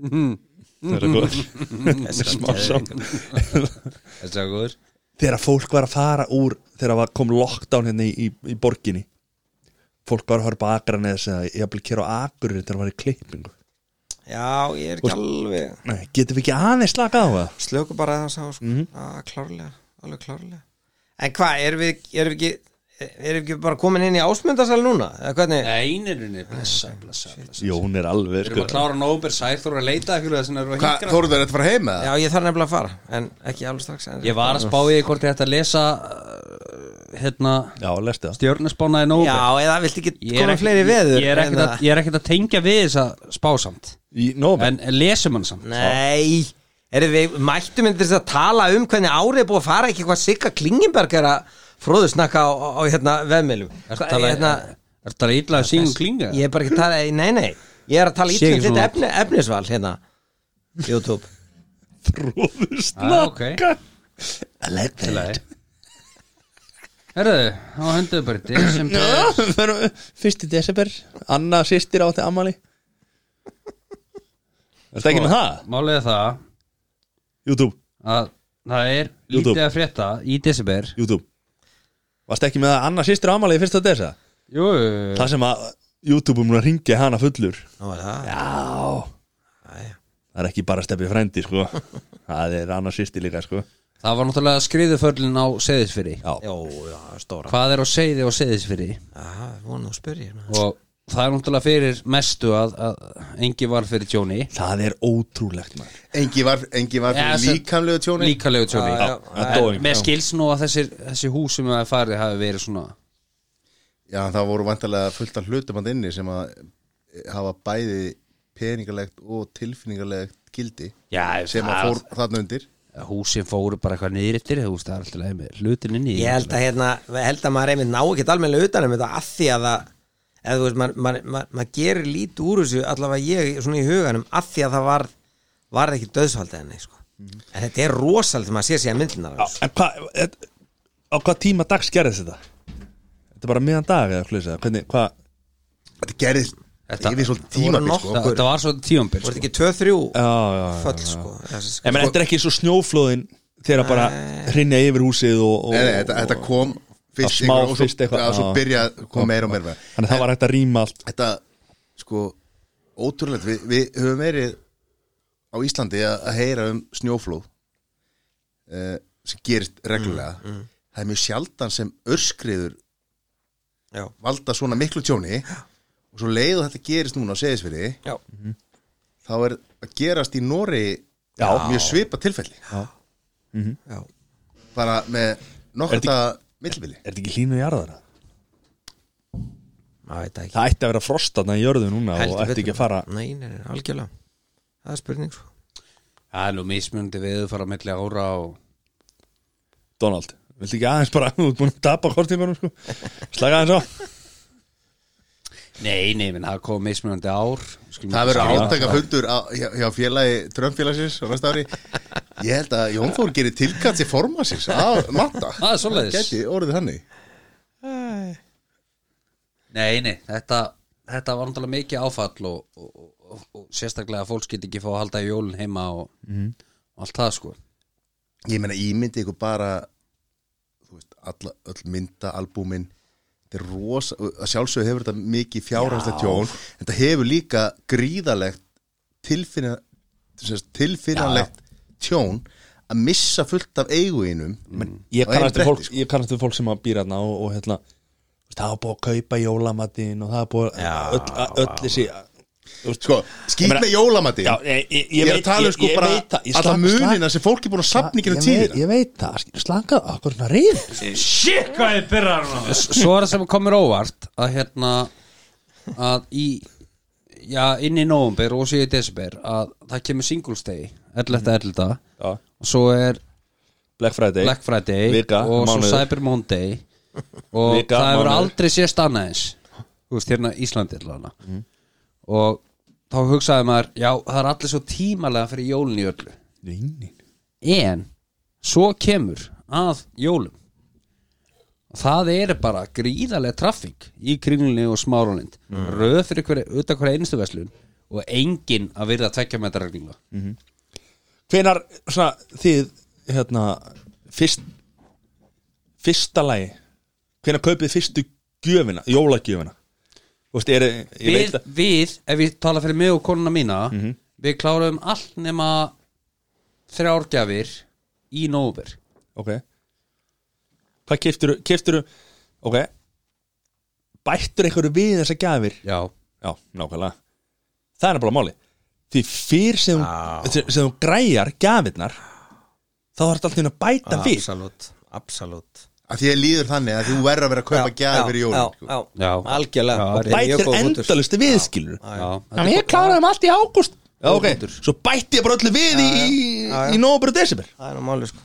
Það er góð Mm-hmm. Smá saman
Þessi er góður
Þegar fólk var að fara úr Þegar var- kom lockdown hérna í, í, í borginni Fólk var að fara bakra neða eða jafnvel kér á Akureyri þegar það var í klippingu
Já, ég er
Og-
ekki alveg
Nei, getum við ekki aðeins slakað á það?
Slöku bara að það sá sko.
Mhm.
mm Klárlega, alveg klárlega En hvað, erum við, erum við ekki erum við ekki bara komin inn í ásmyndasal núna? Eða hvernig?
Nei, nei, nei, nei, blessa, blessa, blessa
Jó, hún er alveg sko.
Við erum að klára nóber sær, þú eru að leita ykkur þess að eru að
Hvað,
hinkra
Þórður, þetta var heim með það?
Já, ég þarf nefnilega að fara En ekki alveg strax en-
Ég var að spá í hvort ég ætti að lesa uh, hérna
Já, lestu það
stjórnarspánaði nóber
Já, eða viltu ekki
Ég er
koma
ekkert-
fleiri veður Hérna,
Ég er ekkert að, ég er ekkert að tengja við þessa spásamt
Í nóber
En en lesum hann samt
Nei, erum við mættum yndir þess að tala um hvernig árið er búið að fara ekki hvað Sigga Klingenberg er að fróðu snakka á, á, á hérna vefmilum
Ertu að tala- ertu að tala illa að Sigmund Klinga?
hérna- Ég er bara ekki að tala, nei nei Ég er að tala illa
Sigurður
um þetta
Snakk.
efni, efnisval hérna YouTube
Róður
Ah, ok.
slakka I like that
Herðu, þá hendur bara í desember
Förum- Fyrsti desember Anna sýstir átti ammali Er þetta ekki með það?
Málið er það
Sko- YouTube,
að það er
YouTube.
lítið að frétta í desember
YouTube Varst ekki með að Anna sýstir ammali í fyrsta desa?
Jú,
Það sem að YouTube er múin að ringja hana fullur
Nú er það
Já Það er ekki bara stefið frændi sko Það er Anna sýstir líka sko
það var náttúrulega skriðuförlin á seðisfyrir
Já,
Jó, já, stóra
Hvað er á seiði á seðisfyrir
Já, vonu að spyrja hérna.
og það er náttúrulega fyrir mestu að, að engi var fyrir tjóni
það er ótrúlegt maður
Engi var, engi var
Já,
fyrir
sem-
líkamlegu tjóni
líkalegu tjóni
Já, já,
það
En
dói,
Mér
já.
skils nú að þessi, þessi hús sem það farið hafi verið svona
Já, það voru vantarlega fullt af hlutum að inni sem að eh, hafa bæði peningalegt og tilfinningalegt gildi
Já,
sem að fór þarna undir
Húsin fóru bara eitthvað niður eftir þú veist, það er alltaf leið með hlutin inn í
Ég held að hérna, ég held að maður einmitt ná ekkert almennilega utan um þetta að því að það eða þú veist, maður mað, mað, mað gerir lítið úr þessu allavega ég svona í huganum að því að það var, var ekki döðsvaldið henni sko. en þetta er rosalega þegar maður sér sér myndinar
Mhm. Já, en hvað et- á hvað tíma dags gerðist þetta? Þetta er bara miðan dag eða hlusa hvernig, hvað,
Þetta gerðist
Þetta-
yfir svolítið
voru
tímabil
nokkur-
sko.
Það, það var svo tíumbil
voru
sko.
þetta ekki 2-3
já, já, já,
föll sko, þessi,
Ég
sko.
menn, þetta er ekki svo snjóflóðin þegar bara hrinja yfir húsið og, og
Nei, nei, þetta, þetta kom fyrst
smá
einhver og svo-
fyrst eitthvað,
Já, svo
já.
byrja að koma meira og meira
Þannig að það var hægt að rýma allt
Þetta, sko, ótrúlega við, við höfum verið á Íslandi að, að heyra um snjóflóð uh, sem gerist
Mm,
reglulega Það er mjög sjaldan sem örskriður
Já.
Mhm.
valda svona miklu tjóni og svo leið og þetta gerist núna á seðisfyrir
Já.
þá er að gerast í Nóri
Já.
mjög svipa tilfelli
Já. Mhm.
Já.
bara með
Er
nokkta
þetta-
millibili
Er þetta ekki hlínu jarðara?
Það
ætti að vera frost þarna í jörðu núna og
Heldur
ætti ekki
betur.
að fara
Nei, nei, nei, algjörlega Það er spurning sko
Það er nú mismunandi við fara milli ára og
Donald, viltu ekki aðeins bara Þú ert búin að tapa kortímanum sko Slaka aðeins á
Nei, nei, menn það kom mismunandi ár
það verður átakafundur á- hjá, hjá félagi Trömmfélagsins á næsta ári ég held að Jón Þór gerir tilkall til forma síns að matta
Það er svoleiðis.
geti orðið þannig
Nei, nei, þetta, þetta var náttúrulega mikið áfall og, og, og, og, og sérstaklega að fólk skildi ekki fá að halda jólun heima og
Mhm.
allt það sko
ég meina ímyndi ykkur bara þú veist, alla, öll myndaalbúmin þetta er rosa að sjálfsögðu hefur þetta mikið fjárhanslegt
Já.
tjón en þetta hefur líka gríðalegt tilfinna, sem sagt, tilfinnanlegt tjón að missa fullt af eiguinum mm.
Ég kannast við fólk, ég kannast við fólk sem að býra þarna og, og hérna þú veist, Það var búið að kaupa jólamatinn og það var búið að öll, öll þessi
Sko, skýt með jólamatinn.
Já, ég, ég, ég,
Ég er að
veit-
tala um sko
ég
bara
veit það, ég
alla
slaka-
munina
slaka-
sem fólk er búin að safna í gegnum
Ég veit-
tíðina.
Ég veit það, slangað, okkur svona reyð
Shit, hvað þið byrjar hann
S- Svo er það sem komur óvart að hérna að í já, inn í nóvumber og síðan í desember að það kemur singulstegi 11. 11.
Já.
og svo er
Black Friday,
Black Friday
Vika,
og
mánuður.
svo Cyber Monday og
Vika,
það hefur
mánuður.
aldrei sést annað eins þú veist hérna Íslandi allavega
Mhm.
og þá hugsaði maður já það er allir svo tímalega fyrir jólin í öllu
Nei.
en svo kemur að jólum og það eru bara gríðarlega traffík í kringlunni og smáralind
Mhm.
röð fyrir hverja, utan hverja einustu verslun og enginn að virða tvekja með þetta reglingla
Mhm. Hvenar svona, þið hérna, fyrst, fyrsta lagi hvenar kaupið þið fyrstu gjöfina jólagjöfina Þú veist, er, ég veit
við,
það Mhm.
við, ef ég tala fyrir mig og konuna mína við kláruðum allt nema þrjárgjafir í nóver
ok hvað keftur, keftur ok bættur einhverju við þessar gjafir
já,
já, nákvæmlega það er bara máli því fyrr sem, þú- sem, sem þú græjar gjafirnar þá þarf þetta alltaf að bæta
Ah,
við
Absolutt, absolutt
að því að líður þannig að þú verður að vera að kaupa gjafir fyrir jólin sko.
já, já, já, algjörlega
og bætir endalust viðskilur
Þetta er
ég kláraðum allt í ágúst Já, ok, svo bætti ég bara öllu við í, í, í nóvabur og desember
Það er nú máli sko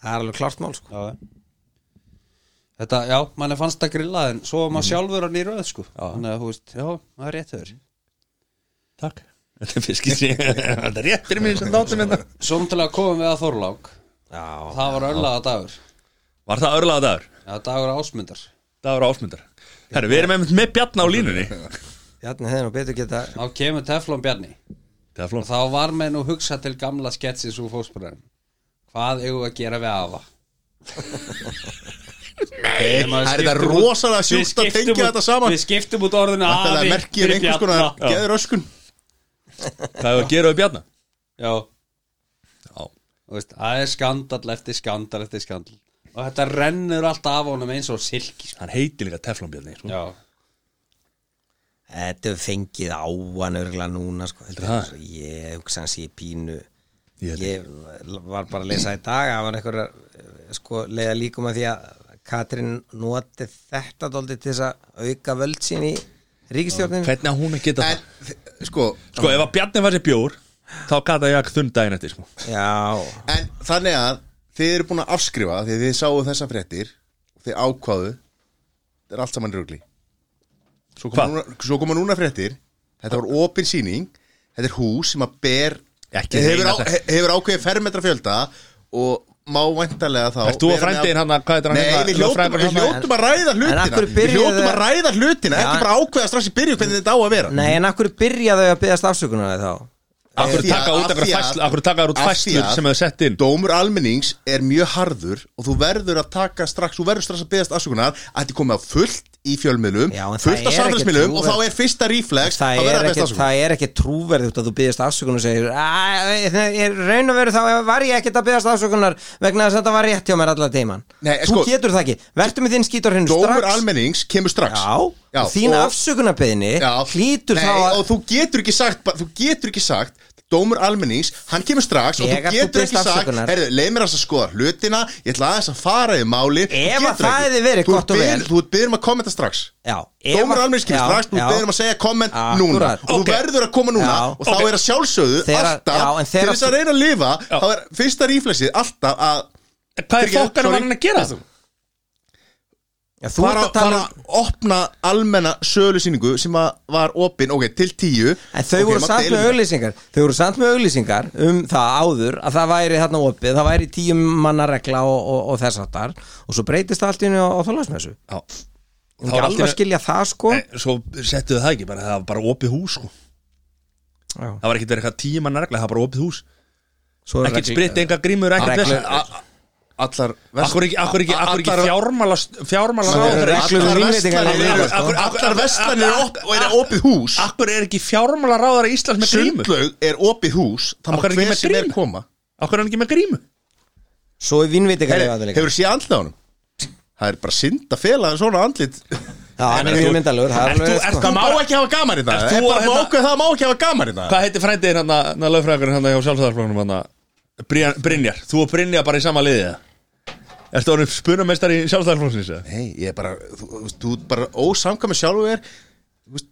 Það er alveg klart mál sko
já. þetta, já, manni fannst það grilla en svo var
Mhm.
maður sjálfur hann í röð sko þannig að, þú veist, já, það er rétt höfður
Takk Þetta er fiskis Þetta er rétt fyrir mig sem hérna. þáttum þetta
Svo náttúrulega komum við að Þorlák
já,
það var örlaða dagur
Var það örlaða dagur?
Já, dagur ásmundar
Dagur ásmundar Herru, við erum einmitt með Bjarna á línunni
Bjarni hefði nú betur geta
Þá kemur Teflon Bjarni
Teflon.
Og þá var mér nú hugsa til gamla sketsins úr fósbræðin Hvað eigum við að gera við afa?
Nei,
Nema við
það er þetta
skiptum út-
rosalega
við
sjúkt að
skiptum
tengja
út-
þetta saman
Við skiptum út orðinu
Væntanlega
afi
merkir
fyrir
um einhvers konar
Bjarna. Já.
geðröskun.
Hvað er að gera við Bjarna?
Já Þú veist, Það er skandal eftir skandal eftir skandal Og þetta rennur allt af honum eins og silki sko.
Hann heitir líka Teflon Bjarni sko.
Já
Þetta er fengið áan örgulega núna sko heldur
Það?
ég. Ég hugsa hans ég pínu
Ég
Ég,
held
var bara að lesa í dag Það var einhver sko leiða líkum að því að Katrin noti þetta dóldi til þess að auka völd sín í ríkistjórnin
Hvernig á hún að geta það?
sko,
Sko, ef að Bjarni var sér bjór Þá gata ég að þunn daginn eftir sko.
Já
En þannig að þið eru búin að afskrifa því að þið sáu þessa fréttir og þið ákváðu þetta er allt saman rugli svo koma,
Hvað?
núna, svo koma núna fréttir þetta var opin sýning þetta er hús sem að ber
Ekki
hefur,
meina
á,
þetta.
he- hefur ákveðið fermetra fjölda og má vantarlega þá
Ert þú og
vera með-
frændin hann að- hvað heitir hann
Nei,
hérna?
við hljótum,
Frændin
við
hann að-
hljótum að ræða
En af
hlutina
hverju
Við
byrjuðu
hljótum að
þau-
ræða hlutina
Já,
Ekki bara ákveða strax í byrju hvernig þetta á að vera
Nei en akkur byrjaðu að byggast afsökunar þá
Akkur
Af því að-
taka út
af
einhverja
því að-
fæslu Akkur taka út
af því
fæslur
að
sem hefur sett inn
Dómur almennings er mjög harður og þú verður að taka strax, þú verður strax að beðast afsökunar að þetta er komið á fullt í fjölmiðlum fullt af samfélagsmiðlum og þá er fyrsta reflex
það,
að
er
vera besta
ekki, það er ekki trúverðugt að þú byggðist afsökunar og segir "Æ, það er raun og veru þá var ég ekkert að byggðast afsökunar vegna þess að þetta var rétt hjá mér alla tíman
Nei,
þú
sko-
getur það ekki, verður með þinn skítur hinn
Dómur
strax
almennings kemur strax
já,
Já,
og þín
og-
afsökunarbeðni hlýtur
Nei,
þá að
og þú getur ekki sagt bara- þú getur ekki sagt dómur almennings, hann kemur strax og þú
Þegar þú
getur
biðst
ekki sagt,
afsökunar.
heyrðu, leið mér aðeins að skoða hlutina ég ætla aðeins að fara í máli þú
Ef að
getur
það
ekki.
hefði
Þú
verið gott og
ert
vel.
beðin- þú ert beðin um að kommenta strax
já, ef
dómur
að-
almennings kemur
já,
strax, þú
já.
ert beðin um að segja komment
Akkurat.
núna og
Ok.
þú verður að koma núna
Já.
og þá
Ok.
er að sjálfsögðu
Þegar-
alltaf,
já, en þegar-
til þess að reyna að lifa þá er fyrsta ríflexið alltaf að
Hvað er fokkanum var hann að gera?
Já,
þú ert að tala
um-
að opna almenna sölusýningu sem að var opin, ok, til tíu
En þau voru samt með auglýsingar Þau voru samt með auglýsingar um það áður að það væri þarna opið, það væri tíum manna regla og, og, og þess aftar og svo breytist það allt í henni á, á þólasmessu
Já
Það er alveg að skilja það sko
Nei, Svo settu það ekki, bara, það var bara opið hús sko. Það
Já.
var ekkert verið eitthvað tíma nærglega, það var bara opið hús
Svo er
Ekkert
reglu-
eh.
spritt, enga grímur, ekkert
Reglu-
vesen. A- a-
Allar
Akkur ekki, akkur ekki, akkur ekki fjármála fjármála
Það eru reglur um vínveitingar líka, sko.
Allar
verslanir eru op- og eru opið hús
Akkur er ekki fjármála ráðara Íslands með grímu
Sundlaug er opið hús
Akkur
Það má
er ekki
hver
með
sem er
grímu?
koma
Akkur er hann ekki með grímu
Svo er vinnvitingar
Hefur hefurðu séð andlið á honum? Það er bara synd að fela en svona andlit
Já, hann er sko.
Nei,
mjög
þú-
myndalur
Ert þú- ert þú- má ekki hafa gaman í það
Ert þú
Það er bara
hérna-
mákuð það má ekki hafa gaman í það
Hvað heitir hérna, frændiðin hann að lögfræðingarinn hann hjá sjálfstæðarflóknum hann að Brynjar, þú og Brynjar bara í sama liðið eða? Ertu orðin spunamestar í sjálfstæðarflóknins eða?
Nei, ég er bara Þú þú veist, þú ert bara ósamkvæmi sjálfu er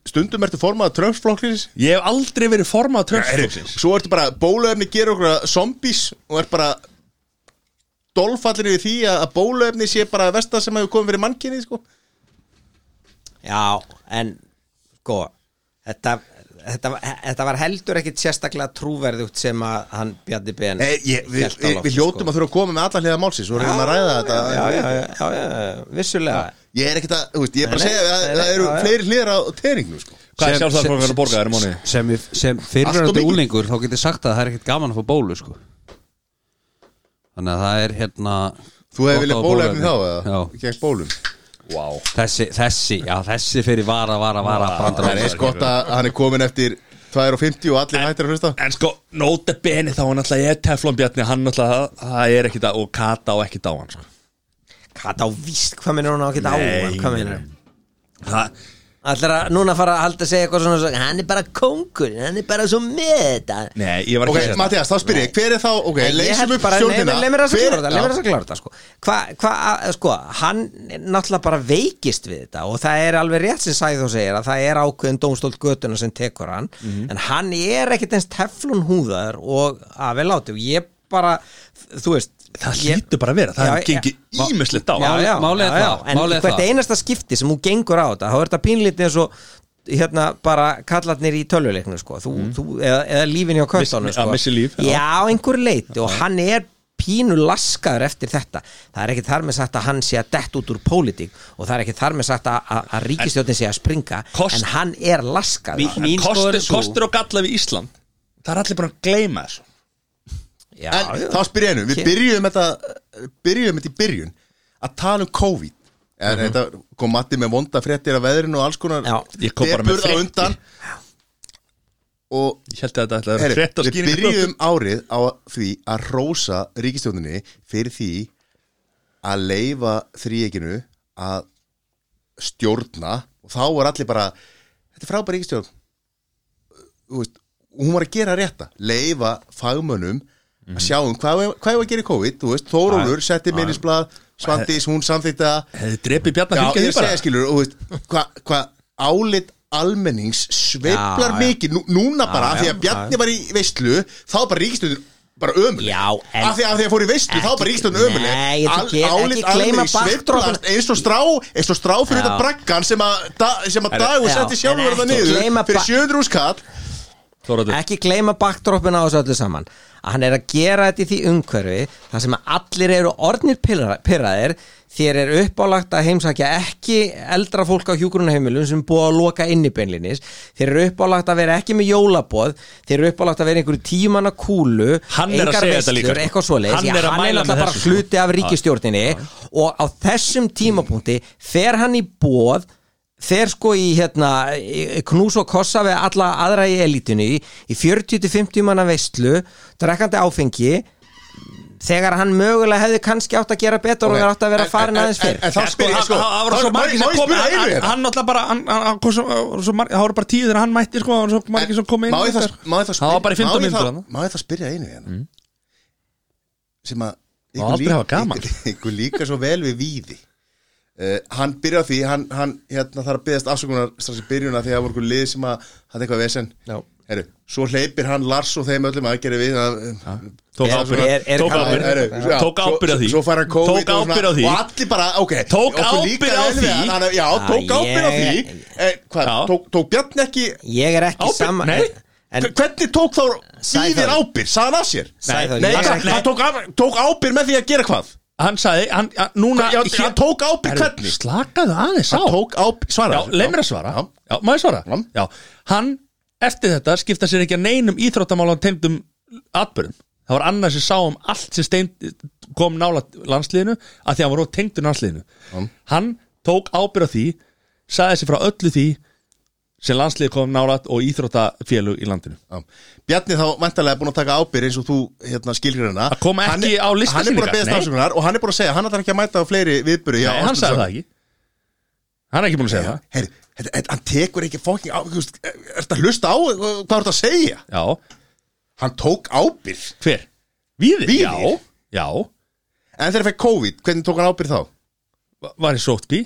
Stundum ertu formað tröfsflokklins
Ég hef aldrei verið formað tröfsflokksins
Svo ertu bara bóluefni gera okkur að zombies Og er bara Dolfallinu við því að að bóluefni sé bara Vesta sem hefur komið fyrir mannkinni sko.
Já, en sko þetta, þetta, þetta var heldur ekkit sérstaklega trúverðugt sem að hann Bjarni Ben
Nei, Eh, ég, við,
hélt á
við,
lofti, sko.
við hljótum að þurfa að koma með alla hliða málsins og reyna að ræða þetta
já, já, já, já, já, vissulega
Ég er ekkert að, þú veist, ég er bara að
Nei, nei,
segja að
nei, nei,
það eru
já, já.
fleiri hliðar á teiringnum sko.
Hvað er sjálfstæðarflóknir að borga þér í mánuði?
sem, sem
Allt of
fyrirverandi
mikið.
úlingur þá getur sagt að það er ekkert gaman að fá bólu sko. þannig að það er hérna
Þú hefði
gott að
viljað
fá
bóluefni þá
Já.
eða? Gekk bólum
Wow.
þessi, þessi, já þessi fyrir vara, vara, vara
Ah, Það
brandara.
er eins gott að hann er komin eftir 2.50 og allir hættir að hlusta
En sko, nota bene þá hann alltaf ég teflon Bjarni, hann alltaf það- það er ekkit að, og Kata á ekkit á hann sko.
Kata á víst, hvað minnur hún á ekkit á hann? Hvað minnur hann?
Það,
Ætlar að núna fara að halda að segja eitthvað svona, svona Hann er bara kóngur, hann er bara svo með þetta
nei, ég var
Ok,
ekki að segja
Mattias, þá spyr ég, hver er þá, ok,
Nei, ég
leysum
held
upp
bara-
stjórnina
Nei, leið mér að
Hver-
segja þetta, leið mér að
Já.
segja þetta sko. Hvað, hva, að- sko, hann náttúrulega bara veikist við þetta og það er alveg rétt sem Sæðó segir að það er ákveðin dómstólt götuna sem tekur hann
Mhm.
en hann er ekkit eins teflun húðar og að við láti og ég bara, þú veist
Það
ég-
hlýtur bara að vera, það
Já,
hefur gengið
já.
ímislegt á
já, já, já,
málið er
já,
það,
en
málið er
hvert
það.
einasta skipti sem hún gengur á þetta þá er þetta pínlítið eins og hérna bara kallarnir í tölvuleiknu sko. þú, þú, eða, eða lífin hjá köttunum
Missi-
sko.
Mhm. að missi líf, já.
já. einhver leit og hann er pínu laskaður eftir þetta það er ekki þar með sagt að hann sé að dett út úr pólitík og það er ekki þar með sagt að, að, að ríkistjóttin sé að springa
Kost-
en hann er laskaður
Mín- mín
En kostur,
skoðun er sú-
kostur og galla við Ísland Það er allir búin að gleyma þessu
já,
En
já.
þá spyr ég hennu, við
Hér.
byrjuðum þetta byrjuðum þetta í byrjun að tala um COVID en þetta kom Matti með vonda fréttir af veðrinu og alls konar
Mhm. Já,
ég kom bara með
depurð á
fréttir.
undan og
Ég held að þetta ætlaði að vera
Heri,
frétt á
við
skýringu
byrjum árið á því að rósa ríkistjóninni fyrir því að leifa þríeginu að stjórna og þá var allir bara þetta er frábær ríkistjórn Þú veist, hún var að gera rétta leifa fagmönnum að sjá um hvað hvað ég var að gera í COVID þú veist, Þórólur setti minnisblad Svandís, hún samþýtti það
Hefði drepið Bjarni
Já,
að
ég
fylgja því
er að segja
bara
skilur og veist, hvað hva álit almennings sveiflar
Já, já.
mikið nú, núna bara af því
já,
að Bjarni var í veistlu þá var bara ríkistöndin bara ömuleg
Já, en-
af því að því að fór í veistlu þá var bara
Ekki-
ríkistöndin ömuleg
Nei, ég ekki- ekki gleyma backdropinu.
sveiflast eins og strá eins og strá fyrir
Já.
þetta braggan sem að da- sem að
Herri,
dagur
já,
setti
en
sjálfur það
ekki
niður
gleyma
fyrir
ba-
700 úrskall
Þóraður.
ekki gleyma backdropin á þessu öllu saman að hann er að gera þetta í því umhverfi þar sem að allir eru orðnir pirra- pirraðir þér er uppálagt að heimsækja ekki eldra fólk á hjúgrunheimilum sem er búið að loka inn í beinlinis þér eru uppálagt að vera ekki með jólaboð þér eru uppálagt að vera í einhverju tímanna kúlu
Hann er að
engar
segja þetta líka, sko.
eitthvað svoleiðis
Hann
Já,
er að
hann er
mæla með
náttúrulega bara
þessu, sko.
hluti af ríkistjórninni og á þessum tímapunkti fer hann í bóð þeir sko í hérna í- knús og kossa við alla aðra í elitinu í, í 40-50 manna veistlu drekkandi áfengi þegar hann mögulega hefði kannski átt að gera betur og þeir átt að vera farin aðeins fyrr
En þá spyr ég sko Það voru svo margir sem komið Hann hann náttúrulega bara hann- hann- hann kom svo- Það voru svo margir- það voru bara tíu þegar hann mætti sko Það voru svo margir sem komið
Má ég
inn
það
sko.
má ég það
Það var bara í 15
spyrja- má ég
mínútur
það-
þarna.
Má ég það spyrja einu hérna Sem að
Má aldrei
lík-
hafa gaman.
ykkur- Ykkur líka svo vel við víði uh, Hann byrja á því Hann, hann hérna, þarf að byggðast afsökunar strax í byrjuna því að það voru ykkur lið sem að hafði eitthvað vesen Heru, Svo hleypir hann Lars og þeim öllum aðgerði við að,
Tók
Er-
ábyrgð.
er- er-
Tók ábyrgð.
Heru, já,
Tók
svo-
ábyrgð á því.
Svo fær hann
Tók
COVID og svona-
ábyrgð á því.
Og allir bara, ok
Tók
okkur líkar
ábyrgð á
vel við
því.
hann, Já,
Ah,
tók ábyrgð á því
ég-
Eh, Hvað,
Já.
tók, tók Bjarni ekki
Ég er ekki
Ábyrgð?
saman
Nei.
en,
Hvernig tók þá
Sæþór.
síðir ábyrg? Saðan af sér?
Sæþór,
nei,
ég er
hann,
ekki-
hann tók, af- tók ábyrg með því að gera hvað?
Hann sagði hann, hann, núna,
Já, hann tók ábyrg
Herru,
hvernig?
Slakaðu aðeins á
Hann tók ábyrg, svara
Já, leið mér að svara Já, má ég svara Já, hann eftir þetta skipta sér ekki að neinum íþróttamálan tegndum atbyrðum Það var annað sem sá um allt sem stein, kom nála landsliðinu að því hann var tengdur landsliðinu Hann tók ábyrð á því sagði sér frá öllu því sem landsliði kom nála og íþróttafélug í landinu
Bjarni þá vantarlega búin að taka ábyrg eins og þú hérna, skilgir hérna Að
koma ekki á lista
Hann er búin að
sýningar,
beðast
nei.
afsökunar og hann er búin að segja Hann ætlar ekki að mæta á fleiri viðbyrði
Nei, hann sagði það ekki Hann er ekki búin að segja það
Heyri, þetta- þetta- hann tekur ekki fóking ábyrg Er þetta hlusta á eh, hvað er þetta að segja?
Já
Hann tók ábyrg
Hver? Víðir?
Víðir?
Já, já
En þegar fekk COVID, hvernig tók hann ábyrg þá?
Va- var í sótkví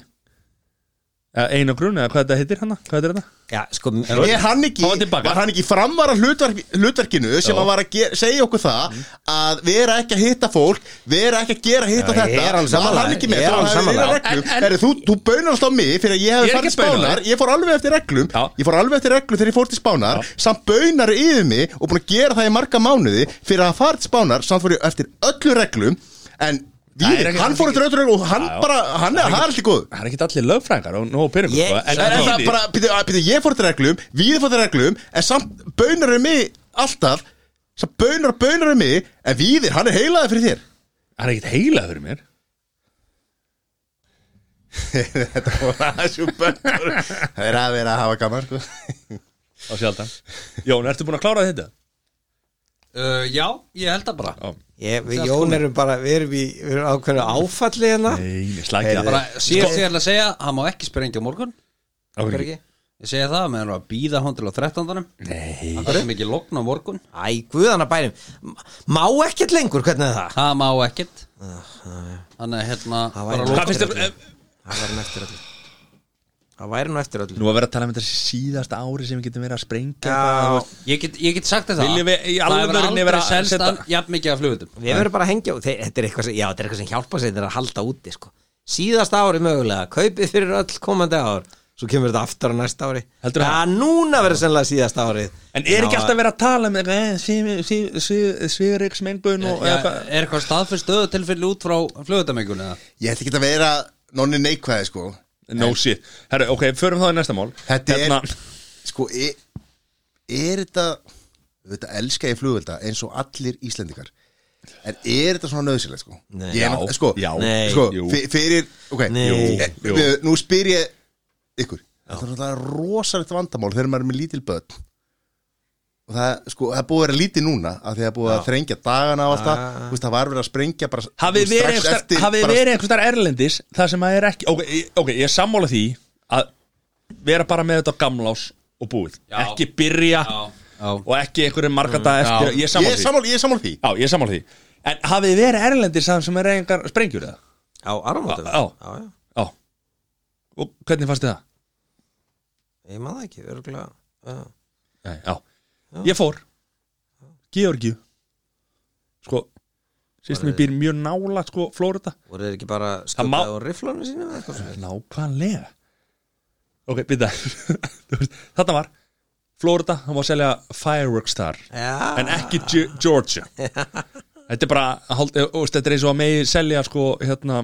Eða einagrun eða hvað þetta heitir hana hvað heitir þetta
já, sko,
Er hann ekki,
Hann var tilbaka.
var hann ekki framvara hlutverk, hlutverkinu sem
Jó.
að var að ger, segja okkur það
Mhm.
að vera ekki að hitta fólk vera ekki að gera hitta
Já, ég
þetta
er alveg sammála.
var hann ekki með
Ég er
það
alveg
var hann
sammála.
reglum Herri, þú, þú bönast á mig fyrir að ég
Ég
hef
er
farið
ekki að bauna
spánar
þér.
ég fór alveg eftir reglum ég fór alveg eftir reglum þegar ég fór til spánar samt bönar yfir mig og búin að gera það í marga mánuði fyrir að hafa farið til spánar samt fór ég eftir öllu reglum en
Nei, er
Víðir,
ekki-
hann fór eftir öllu reglum og hann
Já, já.
bara, hann er,
Hann er
það er allir góð
það er ekki allir lögfræðingar og nóg peningum
Ég-
sko,
En er það bara, býttu, að- býttu, ég fór til reglum Við fór til reglum En samt baunar er mig alltaf Samt baunar og baunar er mig En viðir, hann er heilaði fyrir þér
hann er ekkit heilað fyrir mér
Þetta var aðeins úr bönnar Það er að vera að hafa gaman sko.
á sjaldan Jón, ertu búin að klára þetta?
uh, Já, ég held það bara
ég, við Jón erum bara við erum, í, við erum ákveðinu áfalli hérna
Nei,
Ég
slækja
bara,
Sko-
síðast ég ætla að segja, hann má ekki sprengja á morgun
Af hverju
ekki?
Ég segja það, meðan hann var að býða hann til á 13.
Nei
Hann kom ekki lokn á morgun
æ, guðana bænum má ekkert lengur, hvernig er það?
Það má ekkert Þannig að hérna
væri
bara
nú-
hvað
lokn
finnst
hérna.
þér
það væri nú eftir öllu það væri nú eftir öllu
nú að vera að tala um þetta síðasta ári sem við getum verið að sprengja
Já,
eitthvað,
Ég get, ég get sagt þér það
Viljum við í
Það hefur
alvörunni vera
aldrei
að
selst
setja-
hann jafn mikið af flugutum
Við verðum bara að hengja út Þe- Þetta er eitthvað sem, já, þetta er eitthvað sem hjálpa sér þeirra að halda úti sko. Síðasta ári mögulega, kaupið fyrir öll komandi ár Svo kemur þetta aftur á næsta ári
Heldurðu
Já, núna verður sennilega síðasta ári
en er ekki alltaf verið að tala um eitthvað sviðriks mengbun og eða
Er
hvað?
er eitthvað staðfyrst döðu tilfelli út frá flugutamengunni eða?
Ég ætti ekki að vera nonni neikvæði sko.
no shit herru, ok, förum þá í næsta mál
Þetta
Hérna-
er Sko, er, er þetta Þetta elska ég flugvelda eins og allir Íslendingar En er þetta svona nöðsynlega sko?
Nei.
Ég er
Já,
nátt- sko,
já,
Nei.
sko
jú.
fyr- Fyrir, ok
Nei. Jú,
Eh,
jú.
við- Nú spyr ég ykkur Þetta er náttúrulega rosalegt vandamál þegar maður er með lítil börn og það, sko, það er búið að vera lítið núna að því að er búið að þrengja dagana á allt það Þú veist, það var verið að sprengja bara
Ah. hafið
strax
verið einhvers
eftir-
staðar- hafið
bara-
verið einhvers þar erlendis það sem að er ekki ok, ég- ok, ég er sammála því að vera bara með þetta á gamlás og búið
Já.
ekki byrja
Já.
og ekki einhverjum margata eftir
Já.
ég er sammála
Mm. Ég er
því
sammála, ég er sammála því
já, ég er sammála því en hafið verið erlendis það sem er einhver sprengjur það
Á áramótum
Já.
já, já,
já og hvernig fannst þið það?
ég maður það ekki, örgulega já.
Nei, já. ég fór Georgiu sko sýstum við býr mjög nála sko Florida
Voru þeir ekki bara
Það má-
skjöpaði á rifflunum sínum eða eitthvað svona?
Nákvæmlega Ok, býta Þetta var Florida, hann var að selja fireworks þar
Já.
En ekki Ge- Georgia Þetta er bara hald- eh, úst, Þetta er eins og að megi selja sko hérna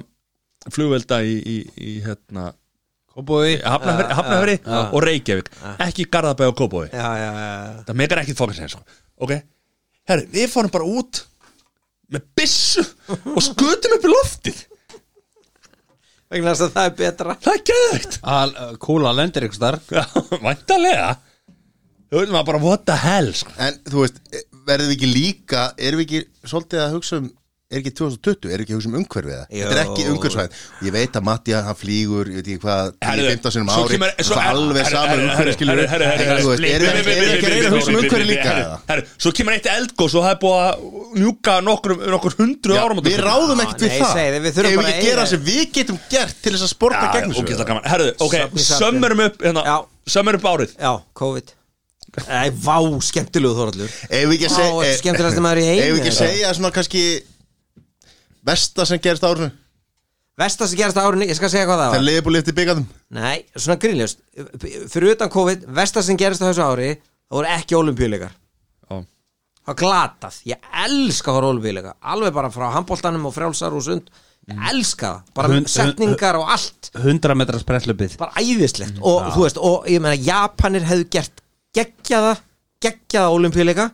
flugvelda í, í, í hérna Kóbói Hafnafri, Hafnafri og Reykjavík Ekki Garðabæ og Kóbói
Já, já, já,
Það megar ekkert fókast sko. Ok, herri, við fórum bara út með byssu og skutum upp í loftið
vegna þess að það er betra
Það er geðvægt
Al, Kúla lendir ykkur starf
Væntalega Þú veitum að bara what the hell sko.
En þú veist, e, verðum við ekki líka Erum við ekki svolítið að hugsa um Er ekki 2020, erum við ekki að hugsa um umhverfið það Þetta er ekki umhverfisvæðin Ég veit að Matti, hann flýgur, ég veit ekki hvað 15 sinum ári, það er alveg saman umhverfið skilur við. En þú veist, Erum við erum við ekki að reyna að hugsa um umhverfið líka eða?
Svo kemur eitt eldgós og það er búið að njúka nokkur, nokkur hundru árum
Við ráðum ekkert við það
Nei,
Ef við ekki gera sem við getum gert til þess að sporta gegn
Ok, það gaman Herðu, ok, sömmurum upp hérna, Sömmurum upp árið
Já, COVID Æ, vá, skemmtilegu Þorallur
Ef við ekki að
Vá,
segja
skemmtilegasti maður í heimi
Ef við ekki að
eða?
segja svona kannski Vesta sem gerist árunu
Vesta sem gerist árunni, ég skal segja hvað það
Þegar
var
liðbúl eftir byggandum
Nei, svona grínljóst Fyrir utan COVID, vesta sem gerist á þessu ári Það voru ekki olimpíuleikar
Ó.
Það var glatað, ég elska að horfa olimpíuleika Alveg bara frá handbóltanum og frjálsar og sund Ég elska það, bara
Hund-
setningar og allt
100 metras presslöpið
Bara
Mm.
æðislegt og þú veist, og ég meina Japanir hefðu gert geggjaða geggjaða olimpíuleika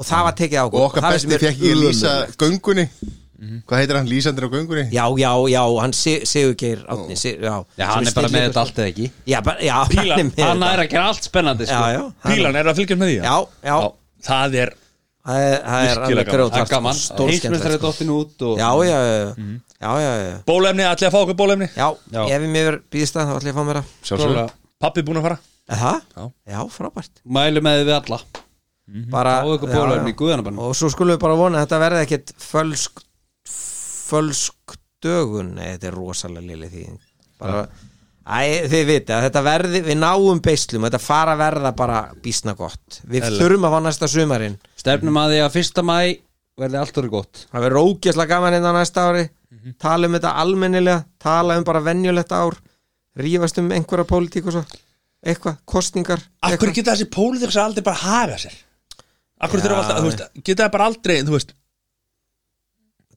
og það var tekið á
Og okkar
Það
besti
finnst mér
fekk ekki að lýsa
ömurlegt.
göngunni Hvað heitir hann? Lýsandir á göngunni?
Já, já, já, hann Se- Sigurgeir Átni, Sig- já
Já, hann er bara með þetta allt eða ekki
Já, bara, já,
Pílan,
hann er með
hann
þetta.
er að gera allt spennandi sko.
Já, já, hann-
Pílan er að fylgjast með því
Já, já,
Það er
það er, það er
Virkilega
alveg
gaman.
grjótart
Það er gaman. Heimsmeistari
sko.
dottin út og-
Já, já, já,
Mhm.
já, já, já.
Bólefni, allir að fá okkur bólefni
Já, ef ég mér býðist það, þá ætla ég að fá mér það
Sjálfsögðu. Pappi búin að fara
Eða?
Já.
Já, frábært
Mælu með við alla
bara,
Fá Mhm. ykkur
já, já.
bóluefni í guðanabann
Og svo skulum við bara vona að þetta verði ekkit fölsk fölsk dögun Nei, þetta er rosalega lili því bara, Æ, þið viti að þetta verði við náum beislum, þetta fara að verða bara bísna gott, við
Eðlilegt.
þurfum að fá næsta sumarinn
Stefnum að því að fyrsta mæ verði allt orðið gott
það verður ógæslega gaman inn á næsta ári
Mhm.
tala um þetta almennilega tala um bara venjulegt ár rífast um einhverja pólitík og svo eitthvað, kostningar
Af
eitthvað.
hverju geta þessi pólitíks aldrei bara hafa sér? Af hverju
Já,
þurfa alltaf, þú veist, geta það bara aldrei, þú veist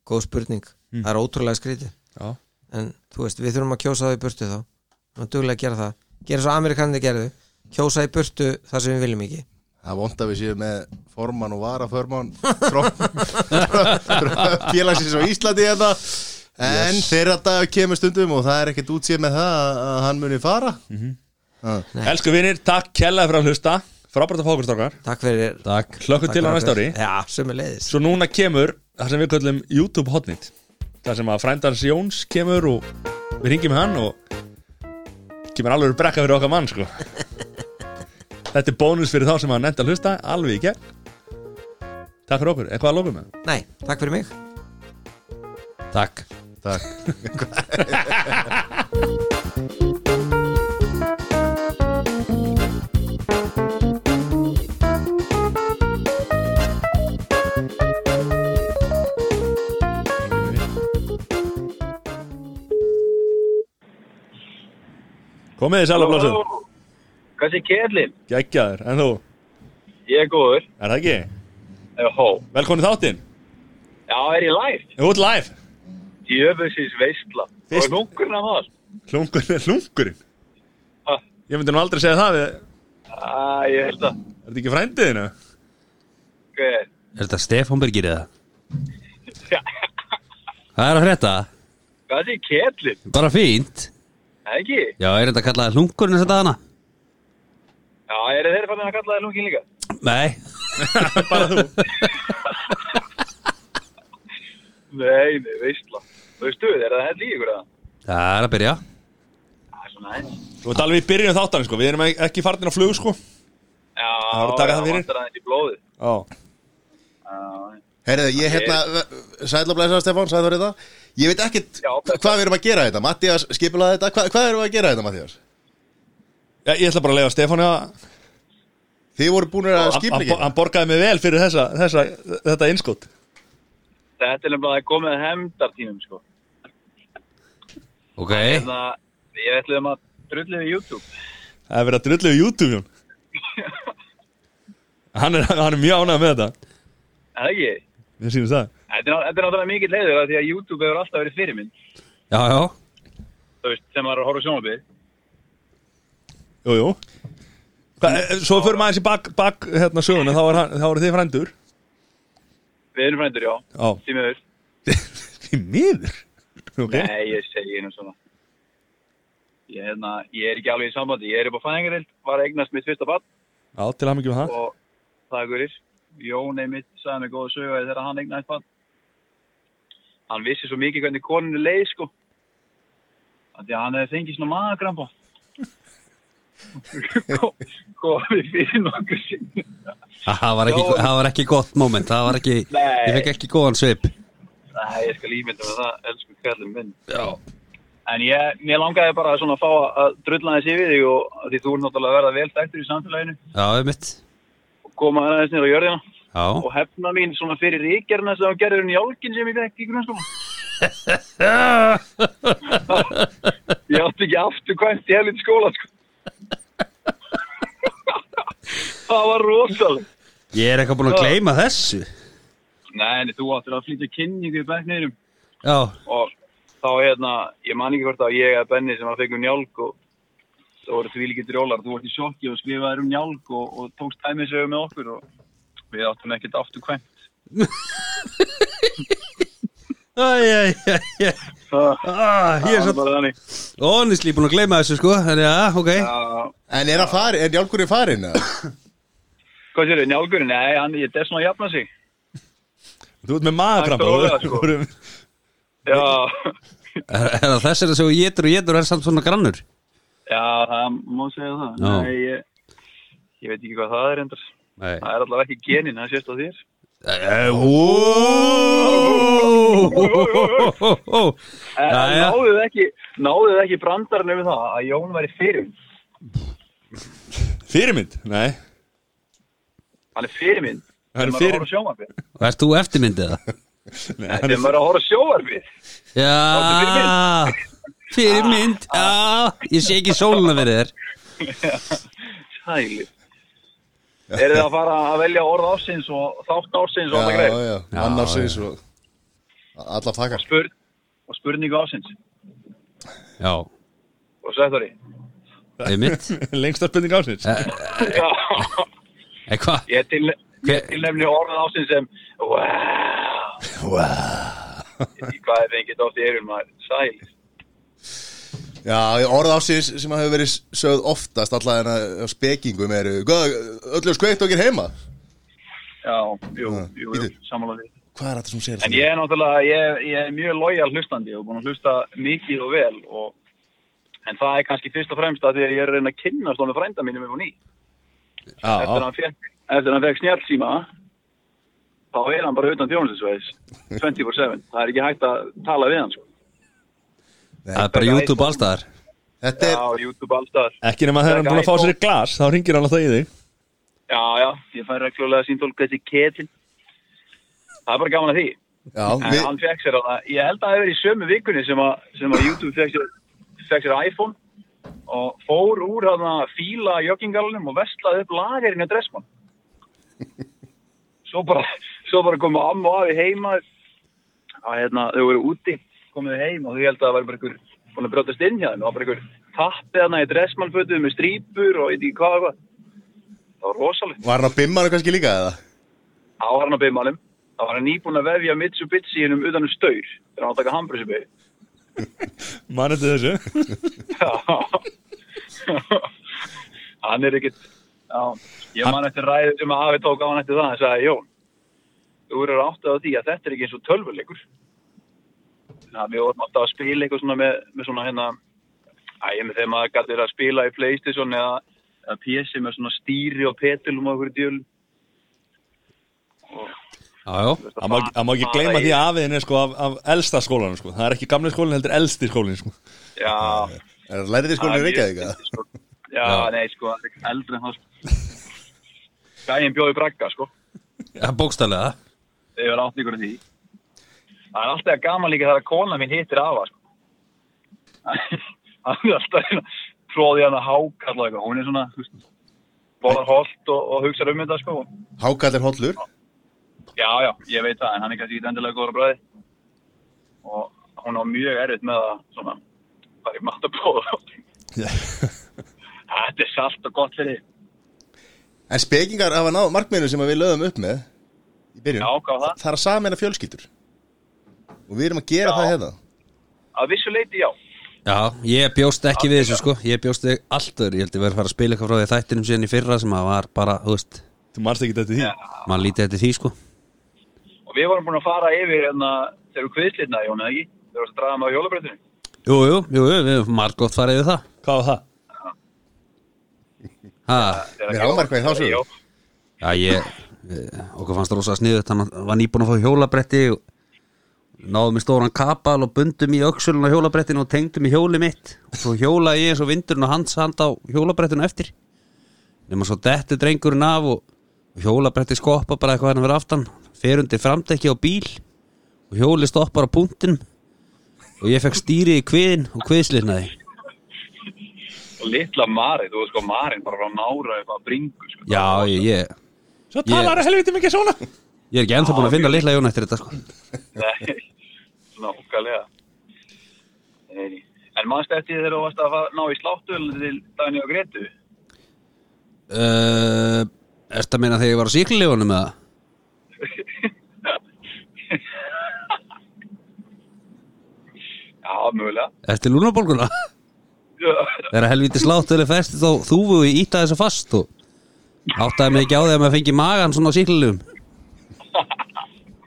góð spurning, það er ótrúlega skrítið
Mm. Já.
en þú veist, við þurfum að kjósa það í burtu þá og duglega að gera það, gera svo amerikanandi gerðu kjósa í burtu það sem við viljum ekki
Það vond að við séum með formann og varaförmann Félagsins á Íslandi hérna En þeirra dag kemur stundum og það er ekkert útsýð með það að- að hann muni fara
Elsku vinir, takk kjallaði fyrir að hlusta Frábært að fá okkur strákar
Takk fyrir
Takk
Hlökkum til á næsta ári
Já, sömu leiðis
Svo núna kemur það sem við köllum YouTube hotnit Það sem að frændans Jóns kemur og við ringjum hann og kemur alveg brekka fyrir okkar mann sko Þetta er bónus fyrir þá sem að nefnt að hlusta alveg í gegn Takk fyrir okkur, eitthvað að lókum með?
Nei, takk fyrir mig
Takk
Komið þið sæla blásið
Hvað sé Kerlin?
Gekkjaður, en þú,
Ég er góður.
er það ekki?
Jó.
Velkomin í þáttinn,
Já, er ég live?
þú ert live
Djöfusins veistla. Og
Veist-
hlungurinn af allt.
Hlungur, hlungurinn
Ha?
Ég myndi nú aldrei segja það við, Er
Æ, ég held að, Eh,
þetta ekki frændiðinu?
hver,
Er þetta Stefán Birgir eða? Það er að frétta
hvað sé Kerlin?
Bara fínt
Ekki?
Já, er þetta kallaði hlungurinn þess að dagana?
Já, eru þeir fannin að kalla þér hlungin líka?
Nei
Bara þú
Nei, nei, veistla. Veistu, er það held í ykkur eða?
Það er að byrja
Það er svona eins.
Þú ert alveg í byrjun þáttan sko, við erum ek- ekki farnir á flug sko
Já,
Það var að taka það fyrir.
vantar aðeins í blóðið.
Já
Já,
Herriði, ég hérna, sæðla blæsa Stefán, sæðla þetta Ég veit ekkert hva- hvað við erum að gera þetta Mattias skipulaði þetta, hva, hvað erum við að gera hérna, þetta Mattias?
Já, ég ætla bara að leiða Stefáni að
Þið voru búin að
Hann-
skipla
hann- Hann borgaði mig vel fyrir þessa, þessa, þetta innskot
Þetta er nefnilega komið að hefndartímum, sko.
Ok
Þannig að ég ætlaði um að drullið við YouTube.
Það er verið að drullu í YouTube Jón Hann er, hann er mjög ánægð með þetta
Er það ekki?
Mér sýnum það
Þetta er ná- þetta er náttúrulega mikill leiður af því að YouTube hefur alltaf verið fyrir minn,
Já, já
þú veist, sem maður er að horfa sjónabíð.
Jú, jú Hva, e, Svo förum aðeins í bak, bak hérna söguna Þá er, hann- þá er þið frændur
Við erum frændur, já.
Já.
Því miður.
Því miður Ok
Nei, ég segi nú svona. ég, hérna, ég er ekki alveg í sambandi, ég er upp á fæðingarhild, var að eignast mitt fyrsta barn
Já, til að mikið um það
og það er gurir. Jón einmitt sagði mig góða sögæði þegar hann eignaðist barn. Hann vissi svo mikið hvernig koninu leið sko. Af Því að hann hefði fengið svona magagrampa. Komið fyrir nokkur sinn.
Það var ekki, það var ekki gott moment Það var ekki,
Nei.
ég fekk ekki góðan svip
Nei, ég skal ímynda með það, elsku kallum minn. Já. En ég, mér langaði bara svona að fá að drulla þessi við þig og af því þú er náttúrulega að verða vel dæktur í samfélaginu
Já, einmitt
og koma aðeins nýra á jörðina
Já,
og hefna mín svona fyrir ríkjarna sem hún gerður hún jálkin sem ég fekk í grunnskóla. ég átti ekki aftur kvæmt í helin skóla, sko. það var rosalega.
ég er eitthvað búin að gleyma þessu
Nei, en þú áttir að flytja kynningu í bekkniðinum
Já,
og þá hérna, ég man ekki hvort að ég eða Benni sem að fengum njálg og það voru því líki drjólar, þú vart í sjokki og skrifaði um njálg og, og tókst tæmisögu með okkur og við áttum ekkert aftur kvæmt.
Æj, æj, æj, æj Ah, ég er
Það var bara þannig.
svo Honestly, búin að gleyma þessu sko Þannig að, ok
En er hann farin, er Njálkurinn farin?
Hvað sér þau, njálgurinn? Nei, hann, ég er svona að jafna sig.
Þú ert með magakrampa
Hægt og rólega, sko.
Þú ert-
Já,
Er, er það þess að segja getur og getur er samt svona grannur
já, það má segja það.
Já.
Nei, ég, ég veit ekki hvað það er endar.
Nei.
Það er allavega ekki genin, það sést á þér.
Eh, Óóóóóóóóóóóóóóóóó
En náðuð þið ekki, náðuð þið ekki brandarinn yfir það að Jón væri fyrir.
Fyrirmynd? Nei
Hann er fyrir minn.
Hann er
Þegar maður er að horfa á sjónvarpið.
Og ert þú eftirmyndið það?
Nei,
Þegar maður er að horfa á sjóarfið.
Já Fyrirmynd, já Ég sé ekki sóluna verið þér
Sæli. Eru þið að fara að velja orð ársins og þátt ársins og
Já,
alltaf greið?
já, mann ársins og alla takkar
Spur, og spurningu ársins.
Já,
Og sættori.
einmitt
Lengsta spurning ásins
Já,
Eitthvað
ég til, ég tilnefni orð ársins sem, wow. Í hvað er fengið dótt í erum maður? Sæli.
Já, orð ársins sem hafa verið sögð oftast alla hérna á spekingum eru Hvað, öllu skveitt og ekki heima?
Já, jú, jú, jú,
bíddu.
sammála því.
Hvað er þetta sem segir
En ég er náttúrulega, ég, ég er mjög lojal hlustandi og búin að hlusta mikið og vel og, en það er kannski fyrst og fremst að því að ég er að reyna að kynna stóna frænda mínum upp á ný. Eftir að hann fekk, eftir að hann fekk snjálfsíma, þá er hann bara utan þjónustisveis, 24-7. Það er ekki hægt að tala við hann, sko.
Það er bara YouTube allstaðar
Þetta
er... Já, YouTube allstaðar.
Ekki nema þegar hann er búin að fá sér í glas Þá ringir hann alltaf í þig
Já, já, ég fær reglulega síndólk þessi ketin. Það er bara gaman að því.
Já,
en
við,
hann fekk sér að, ég held að það hefur verið í sömu vikunni sem að, sem að YouTube fekk sér, fekk sér iPhone og fór úr hann að fíla joggingalunum og vestlaði upp lagerinn á Dressmann. Svo bara, svo bara komu amma og afi heima að hérna, þau voru úti, komuðu heim og þau held að það var bara einhver búin að brjótast inn hjá þeim, það var bara einhver tappið hann í Dressmannfötuð með strýpur og veit ekki hvað og hvað. Það var rosalega.
var hann á bimmanum kannski líka eða?
á hann á beimalum þá var hann nýbúin að vefja Mitsubishi innum utan um staur þegar hann var að taka hambrusubi
Mann eftir þessu
hann er ekkit já, ég man eftir ræðu sem að afi tók á hann eftir það hann sagði Jón þú eru áttið á því að þetta er ekki eins og tölvuleikur þannig að við vorum alltaf að spila eitthvað svona með, með svona hérna ægjum með þeim að gæti verið að spila í Playstation eða, eða PC með svona stýri og E petulum og okkur djölum
Jájó
Það má það má ekki gleyma því að afiðin er sko af, af elsta skólanum sko Það er ekki gamle skólin heldur elsti skólin sko
já,
Er hann lærið skólinn í Reykjavík eða?
Já, nei, sko, það er ekki eldri en það sko. Gæin bjóði bragga, sko
Já, bókstælega
Ég var átt ykkur af því Það er alltaf gaman líka þegar kona mín hittir afa, sko Það er alltaf tróði hann að háka alltaf eitthvað Hún er svona, þú veist Borðar holt og, og hugsa um þetta, sko
Hákall er hollur
Já, já, ég veit það, en hann er kannski ekki endilega góður á bræði Og hún á mjög erfitt með að, svona Bara í matabóð Þetta er salt og gott fyrir þig.
En spekingar hafa náð markmiðinu sem að við lögum upp með í byrjun
Já, hvað var það?
Það er að sameina fjölskyldur Og við erum að gera það hérna
Að vissu leiti já
Já, ég bjóst ekki við þessu sko Ég bjóst við allt öðru, ég held ég verið að fara að spila eitthvað frá því þættinum síðan í fyrra sem að var bara, þú veist
Þú marst ekki þetta því?
Man lítið þetta því sko
Og við vorum búin að fara yfir hérna þegar við kviðslitna, Jón, eða ekki? Þegar við draðum á hjólabrettinu.
Jú, jú, jú, jú, við höfum margótt farið við það
Hvað var það?
Ha,
Mér ámarkaði þá sögur
já, ég, eh, okkur fannst rosa sniðut Hann var nýbúin að fá hjólabretti og Náðum í stóran kapal og bundum í öxulun á hjólabrettinu og tengdum í hjóli mitt og svo hjólaði ég eins og vindurinn og hans hand á hjólabrettinu eftir nema svo dettu drengurinn af og og hjólabretti skoppa bara eitthvað hérna fyrir aftan fer undir framdekki á bíl og hjóli stoppar á punktin og ég fekk stýrið í kviðin og kviðslirnaði
Og litla Mari, þú veist sko, Marin bara frá nára eitthvað bringu, sko.
Já, ég, ég,
Svo talar helviti mikið svona
ég er ekki ennþá búin að finna litla Jón eftir þetta sko.
Nei, nákvæmlega. Nei. En mannst eftir þegar þú varst að fara- ná í sláttuvelinu til Dani og Gretu?
uh, Ertu að meina þegar ég var á síklilegunum eða?
Já, mögulega.
Ertu lúnabólguna? Þegar helviti sláttuðli festi þá þúfu ég íta þessu fast og áttaði mig ekki á því að maður fengi magan svona á síklilegum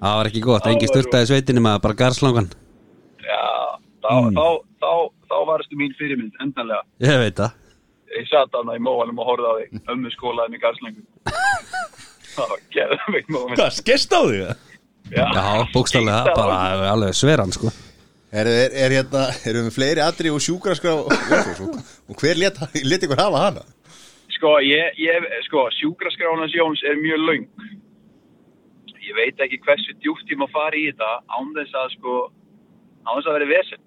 Það var ekki gott, engi styrtaði sveitinu maður bara garslangan
Já, þá,
Mm.
þá, þá, þá varstu mín fyrirmynd, endanlega.
Ég veit það
Ég satt aðna í móanum og horfði á þig, ömmu skólaði mig garslöngu. Það var gerðum ekki móment.
Hvað, skist á því?
Já,
Já, bókstallega, bara alveg sveran sko
Er, er, er hérna, erum við fleiri atri og sjúkraskrá og, og, og hver let, let ykkur hafa hana?
Sko, ég, ég, sko, sjúkraskránas Jóns er mjög laung. Ég veit ekki hversu djúpt ég má fara í þetta án þess að, sko, án þess að vera vesinn.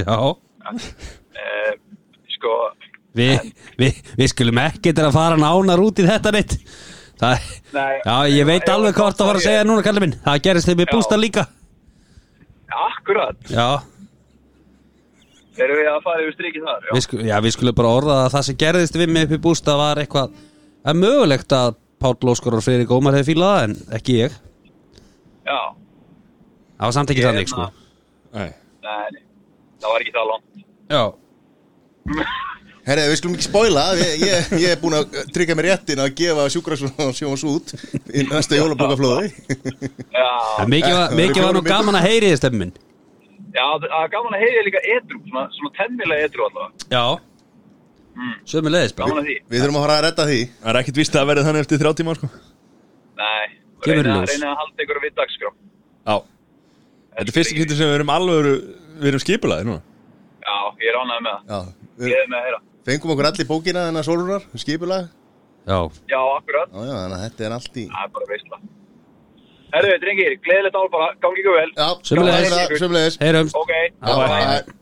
Já,
Uh, sko,
við vi, vi skulum ekki til að fara nánar út í þetta neitt Það,
Nei.
já, ég veit alveg hvað það var að segja núna, kallar minn Það gerist þeim í bústa líka
akkurat,
Já,
erum við að fara yfir strikið þar, já.
við, sku, já, við skulum bara orða að það sem gerðist við mig upp í bústa var eitthvað Það er mögulegt að Páll Óskar og Friðrik Ómar hefði fílað það en ekki ég
Já,
Það var samt ekki
Ég
þannig sko
hérna- nei, nei, það var ekki það langt.
Já
Herra, við skulum ekki spoila, ég, ég, ég er búin að tryggja mér réttin að gefa sjúkraskrá sjóns út í næsta jólabókaflóði
Já,
En mikið var, mikið var nú gaman að heyri þið stemmin
já, það er gaman að heyra líka edru, svona, svona tennilega edru allavega.
Já Sömi leiðis bara
Gaman að því.
Við þurfum að fara að redda því
Það er ekkit vist að verði þannig eftir þrjá tíma sko.
Nei,
Kemur í
reyna,
ljós.
reyna að halda ykkur við dagskrá.
Já Þetta er fyrsta kynnti sem við erum alveg Við erum skipulaði núna
Já, ég er ánægð með það.
Já,
Ég er með að heyra.
Fengum okkur allir bókina þennan sólurar, skipulega
Já,
Já, akkurat,
já, þannig að þetta er allt í
það er bara veistla. Herðu, drengir, gleðilegt ál bara, gangi ykkur vel.
Já, sömuleiðis.
Gangi ykkur.
Sömuleiðis.
Heyrumst.
Ok,
Já, bæ.